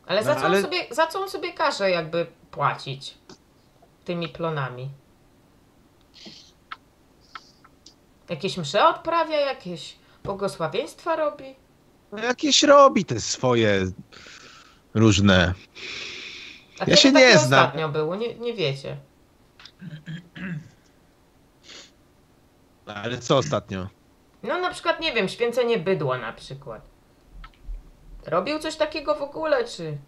Speaker 4: Ale, za,
Speaker 7: No,
Speaker 4: co
Speaker 7: ale-
Speaker 4: On sobie, za co on sobie każe jakby płacić tymi plonami? Jakieś msze odprawia, jakieś błogosławieństwa robi?
Speaker 7: No, jakieś robi te swoje różne...
Speaker 4: A
Speaker 7: Ja
Speaker 4: kiedy
Speaker 7: się
Speaker 4: takie
Speaker 7: nie znam.
Speaker 4: ostatnio było, nie, nie wiecie.
Speaker 7: Ale co ostatnio?
Speaker 4: No na przykład, nie wiem, święcenie bydła na przykład. Robił coś takiego w ogóle, czy...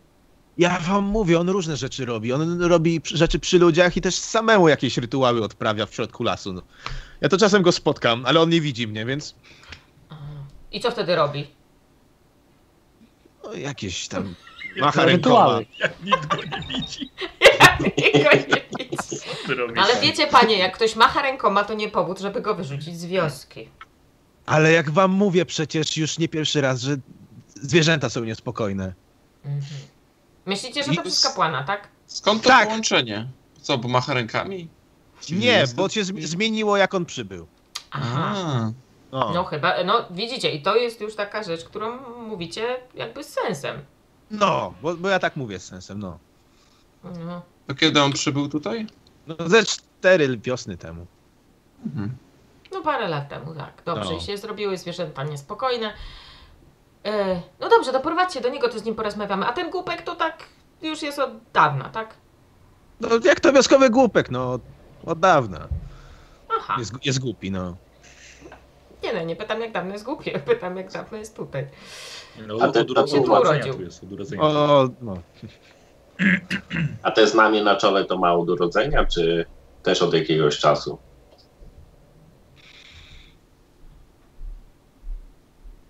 Speaker 7: Ja wam mówię, on różne rzeczy robi. On robi przy- rzeczy przy ludziach i też samemu jakieś rytuały odprawia w środku lasu. No. Ja to czasem go spotkam, ale on nie widzi mnie, więc
Speaker 4: I co wtedy robi?
Speaker 7: no, jakieś tam macha rękoma.
Speaker 2: Rytuały.
Speaker 1: Nikt go nie widzi.
Speaker 4: Jego nie widzi.
Speaker 1: Co ty robisz?
Speaker 4: Ale wiecie, panie, jak ktoś macha rękoma, to nie powód, żeby go wyrzucić z wioski.
Speaker 7: Ale jak wam mówię przecież już nie pierwszy raz, że zwierzęta są niespokojne.
Speaker 4: Mhm. Myślicie, że to
Speaker 5: Jezus.
Speaker 4: przez kapłana, tak?
Speaker 5: Skąd to
Speaker 7: Tak.
Speaker 5: połączenie? Co, bo macha rękami? Dziwny
Speaker 7: Nie,
Speaker 5: jestem.
Speaker 7: bo się zmi- zmieniło jak on przybył.
Speaker 4: Aha.
Speaker 5: A,
Speaker 7: No.
Speaker 4: No
Speaker 7: No.
Speaker 4: chyba, no widzicie, i to jest już taka rzecz, którą mówicie jakby z sensem.
Speaker 7: bo, bo ja tak mówię z sensem, no.
Speaker 4: No.
Speaker 5: to kiedy on przybył tutaj?
Speaker 7: no ze cztery wiosny temu.
Speaker 5: Mhm.
Speaker 4: No parę lat temu, tak. Dobrze,
Speaker 7: No.
Speaker 4: i się zrobiły zwierzęta niespokojne. E, no dobrze, doprowadźcie do niego, to z nim porozmawiamy. A ten głupek to tak już jest od dawna, tak?
Speaker 7: No jak to wioskowy głupek, no. Od dawna.
Speaker 4: Aha.
Speaker 7: Jest, jest głupi, no.
Speaker 4: Nie no, nie pytam jak dawno jest głupie, pytam jak dawno jest tutaj.
Speaker 1: No,
Speaker 3: A
Speaker 1: od,
Speaker 3: ten
Speaker 1: od,
Speaker 3: tam
Speaker 1: od,
Speaker 4: się tu
Speaker 1: urodzenia
Speaker 4: urodził.
Speaker 1: tu jest, od urodzenia.
Speaker 7: O, no.
Speaker 3: A te znamie na czole to ma od urodzenia, czy też od jakiegoś czasu?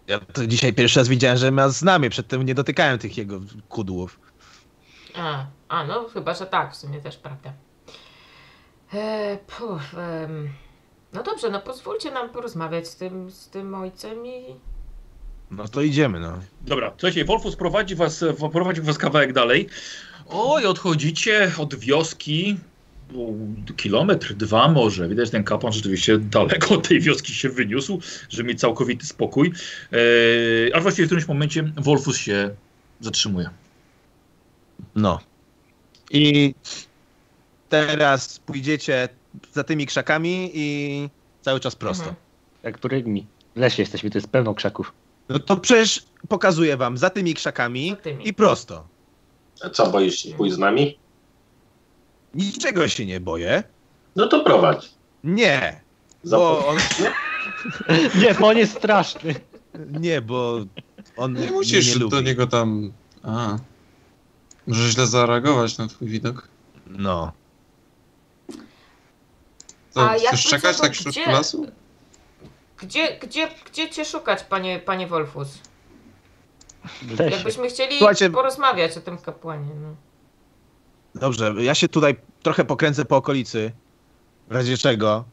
Speaker 7: Ja to dzisiaj pierwszy raz widziałem, że ma znamie, przedtem nie dotykałem tych jego kudłów.
Speaker 4: A, a no chyba, że tak, w sumie też prawda. E, puf, em, no dobrze, no pozwólcie nam porozmawiać z tym, z tym ojcem i...
Speaker 7: No to idziemy, no.
Speaker 1: Dobra, słuchajcie, Wolfus prowadzi was, prowadzi was kawałek dalej. Oj, odchodzicie od wioski o, kilometr, dwa może. Widać, ten kapłan rzeczywiście daleko od tej wioski się wyniósł, żeby mieć całkowity spokój. Eee, aż właściwie w którymś momencie Wolfus się zatrzymuje.
Speaker 7: No. I teraz pójdziecie za tymi krzakami i cały czas prosto.
Speaker 4: Mhm.
Speaker 2: Jak do rygmi. W lesie jesteśmy, to jest pełno krzaków.
Speaker 7: No to przecież pokazuję wam za tymi krzakami
Speaker 4: Za tymi.
Speaker 7: i prosto.
Speaker 3: A co, boisz się pójść z nami?
Speaker 7: Niczego się nie boję.
Speaker 3: No to prowadź.
Speaker 7: Nie,
Speaker 3: Zapo-
Speaker 7: bo on,
Speaker 2: Nie, bo on jest straszny.
Speaker 7: nie, bo on
Speaker 5: Nie
Speaker 7: nie
Speaker 5: No musisz
Speaker 7: nie
Speaker 5: do
Speaker 7: lubi.
Speaker 5: niego tam... A. Może źle zareagować na twój widok.
Speaker 7: No.
Speaker 5: Co,
Speaker 4: A jak
Speaker 5: chcesz
Speaker 4: wy co,
Speaker 5: czekać
Speaker 4: to
Speaker 5: tak wśród
Speaker 4: gdzie?
Speaker 5: lasu?
Speaker 4: Gdzie, gdzie, gdzie cię szukać, panie, panie Wolfus?
Speaker 2: W lesie.
Speaker 4: Jakbyśmy chcieli
Speaker 7: Słuchajcie-
Speaker 4: porozmawiać o tym kapłanie. No.
Speaker 7: Dobrze, ja się tutaj trochę pokręcę po okolicy, w razie czego,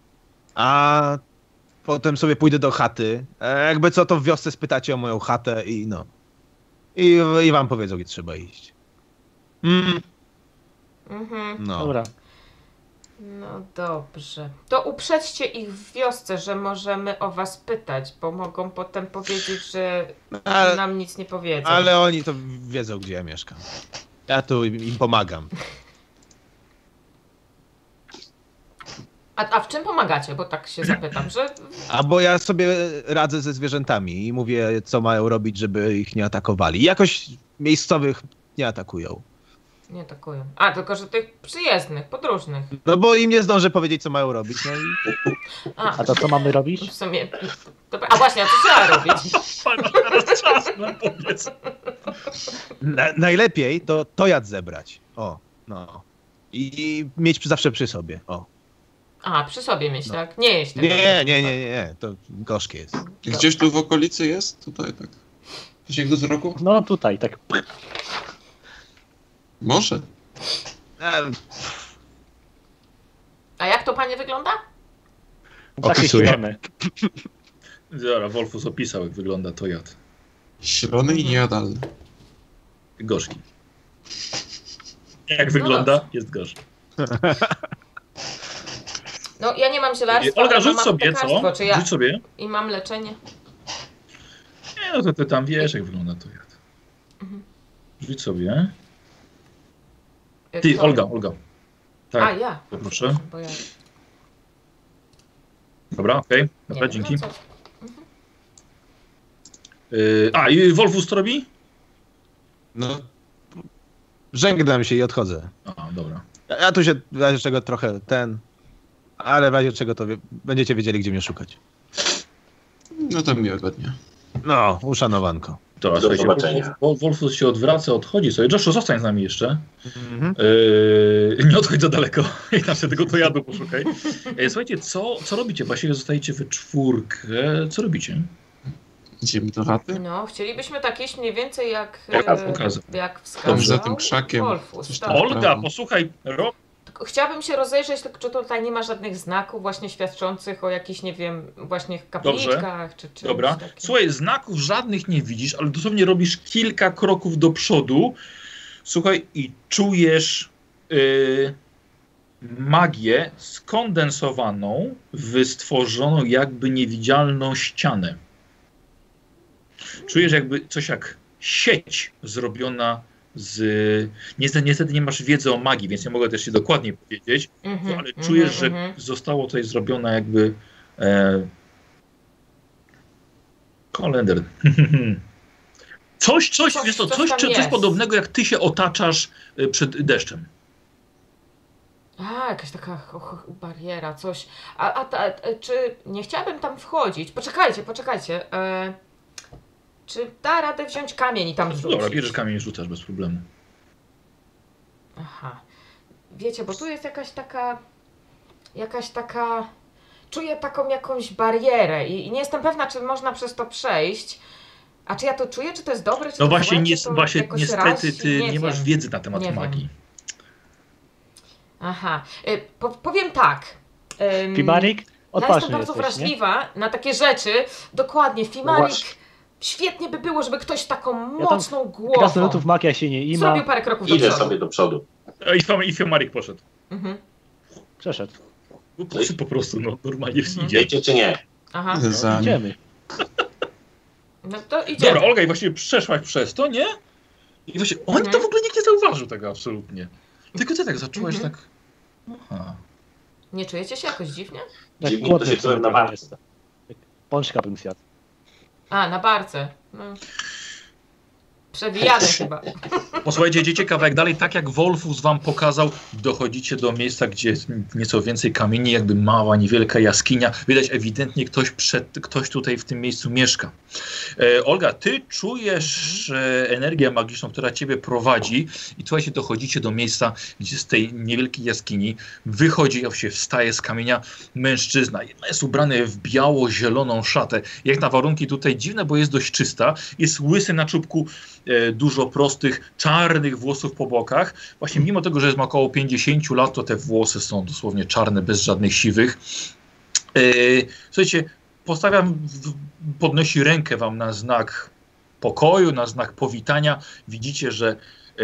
Speaker 7: a potem sobie pójdę do chaty. E, Jakby co, to w wiosce spytacie o moją chatę i no. I, i wam powiedzą, gdzie trzeba iść. Mm,
Speaker 4: Mhm.
Speaker 7: no.
Speaker 2: Dobra.
Speaker 4: No dobrze. To uprzedźcie ich w wiosce, że możemy o was pytać, bo mogą potem powiedzieć, że
Speaker 7: Ale,
Speaker 4: nam nic nie powiedzą.
Speaker 7: ale oni to wiedzą, gdzie ja mieszkam. Ja tu im im pomagam.
Speaker 4: A, a w czym pomagacie? Bo tak się zapytam, że
Speaker 7: Albo ja sobie radzę ze zwierzętami i mówię, co mają robić, żeby ich nie atakowali. Jakoś miejscowych nie atakują.
Speaker 4: nie atakują. A, tylko że tych przyjezdnych, podróżnych.
Speaker 7: No bo im nie zdążę powiedzieć, co mają robić. No i...
Speaker 4: A,
Speaker 2: A to co mamy robić?
Speaker 4: w sumie... Dobra, a właśnie, a co trzeba robić?
Speaker 1: Pani, teraz czas no. nam powiedz.
Speaker 7: Na, najlepiej to tojad zebrać. O, no. I mieć przy- zawsze przy sobie. O.
Speaker 4: A, przy sobie mieć, tak? Nie jeść tego.
Speaker 7: Nie, nie, nie, nie, nie. To gorzkie jest.
Speaker 5: Gdzieś tu w okolicy jest? Tutaj tak. Gdzieś go z roku?
Speaker 2: No tutaj, tak.
Speaker 5: Może.
Speaker 7: E,
Speaker 4: A jak to panie wygląda?
Speaker 2: Takie
Speaker 8: Opisuję.
Speaker 2: zielone.
Speaker 1: Dobra, Wolfus opisał, jak wygląda to jad.
Speaker 5: Zielony
Speaker 4: Mhm.
Speaker 5: i niejadalny.
Speaker 1: Gorzki. Jak wygląda? Jest gorzki.
Speaker 4: No, ja nie mam zielarstwa,
Speaker 1: Olga,
Speaker 4: ale
Speaker 1: rzuć
Speaker 4: mam
Speaker 1: sobie,
Speaker 4: aptekarstwo,
Speaker 1: co?
Speaker 4: Czy ja...
Speaker 1: Rzuć sobie.
Speaker 4: I mam leczenie.
Speaker 1: Nie, no to ty tam wiesz, jak wygląda to jad.
Speaker 4: Mhm.
Speaker 1: Rzuć sobie.
Speaker 4: Y,
Speaker 1: Ty,
Speaker 4: kto?
Speaker 1: Olga, Olga.
Speaker 4: A,
Speaker 1: Tak,
Speaker 4: ja.
Speaker 1: proszę.
Speaker 4: Bo ja...
Speaker 1: Dobra, okej.
Speaker 4: Nie
Speaker 1: Dobra,
Speaker 4: wiem,
Speaker 1: dzięki.
Speaker 4: no co?
Speaker 1: Yy, a, i Wolfus to robi?
Speaker 5: No,
Speaker 7: Żegnam się i odchodzę.
Speaker 1: A, dobra.
Speaker 7: Ja, ja tu się w razie czego trochę ten. Ale w razie czego to wie, będziecie wiedzieli, gdzie mnie szukać.
Speaker 5: no to miłego dnia.
Speaker 7: No, uszanowanko.
Speaker 1: Dobra,
Speaker 3: Do
Speaker 1: słuchajcie,
Speaker 3: zobaczenia.
Speaker 1: Wolfus- Wolfus się odwraca, odchodzi sobie. Joshu, zostań z nami jeszcze. Yy, nie odchodź za daleko i tam się tego to jadu poszukaj. Yy, słuchajcie, co, co robicie? Właściwie zostajecie we czwórkę. Co robicie?
Speaker 5: Idziemy do chaty?
Speaker 4: No, chcielibyśmy tak jeść mniej więcej jak...
Speaker 1: Jak
Speaker 4: e,
Speaker 1: pokazał.
Speaker 4: Jak wskazał
Speaker 5: Tam za tym krzakiem.
Speaker 4: Wolfus,
Speaker 5: Coś
Speaker 4: tak.
Speaker 5: tam.
Speaker 1: Olga, posłuchaj, rob...
Speaker 4: Tylko Chciałabym się rozejrzeć, tylko czy tutaj nie ma żadnych znaków właśnie świadczących o jakichś, nie wiem, właśnie kapliczkach czy czymś
Speaker 1: Dobra.
Speaker 4: takim.
Speaker 1: Słuchaj, znaków żadnych nie widzisz, ale dosłownie robisz kilka kroków do przodu. Słuchaj, i czujesz yy, magię skondensowaną w stworzoną jakby niewidzialną ścianę. Czujesz jakby coś jak sieć zrobiona z... Niestety, niestety nie masz wiedzy o magii, więc nie mogę też ci dokładnie powiedzieć,
Speaker 4: Mhm,
Speaker 1: ale czujesz,
Speaker 4: mhm,
Speaker 1: że
Speaker 4: mhm.
Speaker 1: zostało tutaj zrobione jakby e, kalender. Coś, coś,
Speaker 4: Coś-
Speaker 1: wiesz co,
Speaker 4: coś
Speaker 1: coś,
Speaker 4: tam
Speaker 1: czy- coś
Speaker 4: jest.
Speaker 1: podobnego, jak ty się otaczasz e, przed deszczem.
Speaker 4: A, jakaś taka ho- ho- bariera, coś. A, a, ta- e, czy nie chciałabym tam wchodzić? Poczekajcie, poczekajcie. E, czy da radę wziąć kamień i tam
Speaker 1: No Dobra, bierzesz
Speaker 4: rzucić?
Speaker 1: kamień i rzucasz bez problemu.
Speaker 4: Aha. Wiecie, bo tu jest jakaś taka. Jakaś taka. Czuję taką jakąś barierę i, i nie jestem pewna, czy można przez to przejść. A czy ja to czuję, czy to jest dobre, czy
Speaker 1: No
Speaker 4: to
Speaker 1: właśnie,
Speaker 4: złe,
Speaker 1: nie,
Speaker 4: czy to
Speaker 1: właśnie
Speaker 4: jakoś
Speaker 1: niestety
Speaker 4: razi?
Speaker 1: ty nie,
Speaker 4: wiem.
Speaker 1: masz wiedzy na temat
Speaker 4: Nie wiem.
Speaker 1: magii.
Speaker 4: Aha. Y, po, powiem tak. Ym,
Speaker 2: Fimarik?
Speaker 4: Mm, ja jestem
Speaker 2: Odważny
Speaker 4: bardzo
Speaker 2: jesteś, nie? No
Speaker 4: wrażliwa na takie rzeczy. Dokładnie, Fimarik.
Speaker 3: właśnie.
Speaker 4: świetnie by było, żeby ktoś z taką
Speaker 2: Ja tam
Speaker 4: mocną głową
Speaker 2: Krasnoludów magia się nie ima.
Speaker 4: zrobił parę kroków do
Speaker 3: Idę
Speaker 4: przodu.
Speaker 3: sobie do przodu.
Speaker 1: E, I, Fiom- I Fiomarik poszedł.
Speaker 4: Mhm.
Speaker 2: Przeszedł.
Speaker 1: No, poszedł po prostu, no normalnie
Speaker 4: Mhm.
Speaker 1: idzie.
Speaker 3: Wiecie czy nie?
Speaker 4: Aha.
Speaker 5: Idę za nim.
Speaker 2: Idziemy.
Speaker 4: No to idziemy.
Speaker 1: Dobra, Olga, i właściwie przeszłaś przez to, nie? I właśnie, on
Speaker 4: Mhm.
Speaker 1: to w ogóle nikt nie zauważył tego absolutnie. Tylko ty tak zaczęłaś
Speaker 4: Mhm.
Speaker 1: tak... Aha.
Speaker 4: Nie czujecie się jakoś dziwnie?
Speaker 2: Tak
Speaker 3: Dziwnie, to
Speaker 2: głodny
Speaker 3: się
Speaker 2: w sumie
Speaker 3: czułem na
Speaker 2: trochę
Speaker 3: warce.
Speaker 2: jestem. Tak, Pączka bym zjadł.
Speaker 4: A, na barce. No. Przewijane chyba.
Speaker 1: Posłuchajcie, idziecie kawałek dalej, tak jak Wolfus wam pokazał, dochodzicie do miejsca, gdzie jest nieco więcej kamieni, jakby mała, niewielka jaskinia. Widać ewidentnie ktoś, przed, ktoś tutaj w tym miejscu mieszka. E, Olga, ty czujesz e, energię magiczną, która ciebie prowadzi i słuchajcie, dochodzicie do miejsca, gdzie z tej niewielkiej jaskini wychodzi, jak się wstaje z kamienia mężczyzna. Jest ubrany w biało-zieloną szatę, jak na warunki tutaj dziwne, bo jest dość czysta. Jest łysy na czubku, e, dużo prostych, czarnych włosów po bokach. Właśnie mimo tego, że jest ma około 50 lat, to te włosy są dosłownie czarne, bez żadnych siwych. E, Słuchajcie, postawiam, w- podnosi rękę wam na znak pokoju, na znak powitania. Widzicie, że e,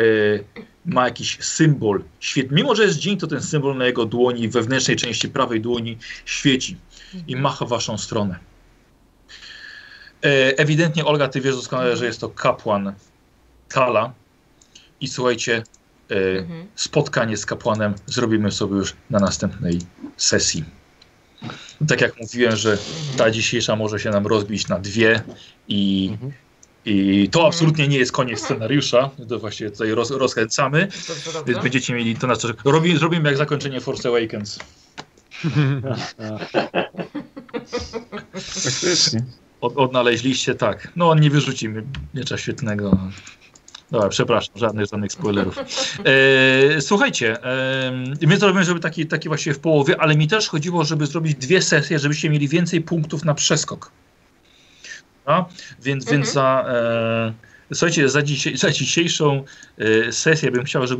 Speaker 1: ma jakiś symbol. Świet, mimo, że jest dzień, to ten symbol na jego dłoni, wewnętrznej części prawej dłoni świeci i macha w waszą stronę. E, Ewidentnie, Olga, ty wiesz doskonale, że jest to kapłan Kala. I słuchajcie, e,
Speaker 4: Mhm.
Speaker 1: spotkanie z kapłanem zrobimy sobie już na następnej sesji. Tak jak mówiłem, że ta dzisiejsza może się nam rozbić na dwie i,
Speaker 2: Mhm.
Speaker 1: i to absolutnie nie jest koniec scenariusza. To właśnie tutaj roz, rozkręcamy,
Speaker 4: Dobrze,
Speaker 1: więc
Speaker 4: dobrze.
Speaker 1: będziecie mieli to na co. Robi, zrobimy jak zakończenie Force Awakens.
Speaker 5: tak Faktycznie.
Speaker 1: Od, odnaleźliście, tak. No nie wyrzucimy miecza świetnego. Dobra, przepraszam, żadnych, żadnych spoilerów. E, słuchajcie, e, my zrobimy sobie taki, taki właśnie w połowie, ale mi też chodziło, żeby zrobić dwie sesje, żebyście mieli więcej punktów na przeskok. A? Więc,
Speaker 4: Mhm.
Speaker 1: więc za, e, słuchajcie, za, dzisiaj, za dzisiejszą e, sesję bym chciał, żeby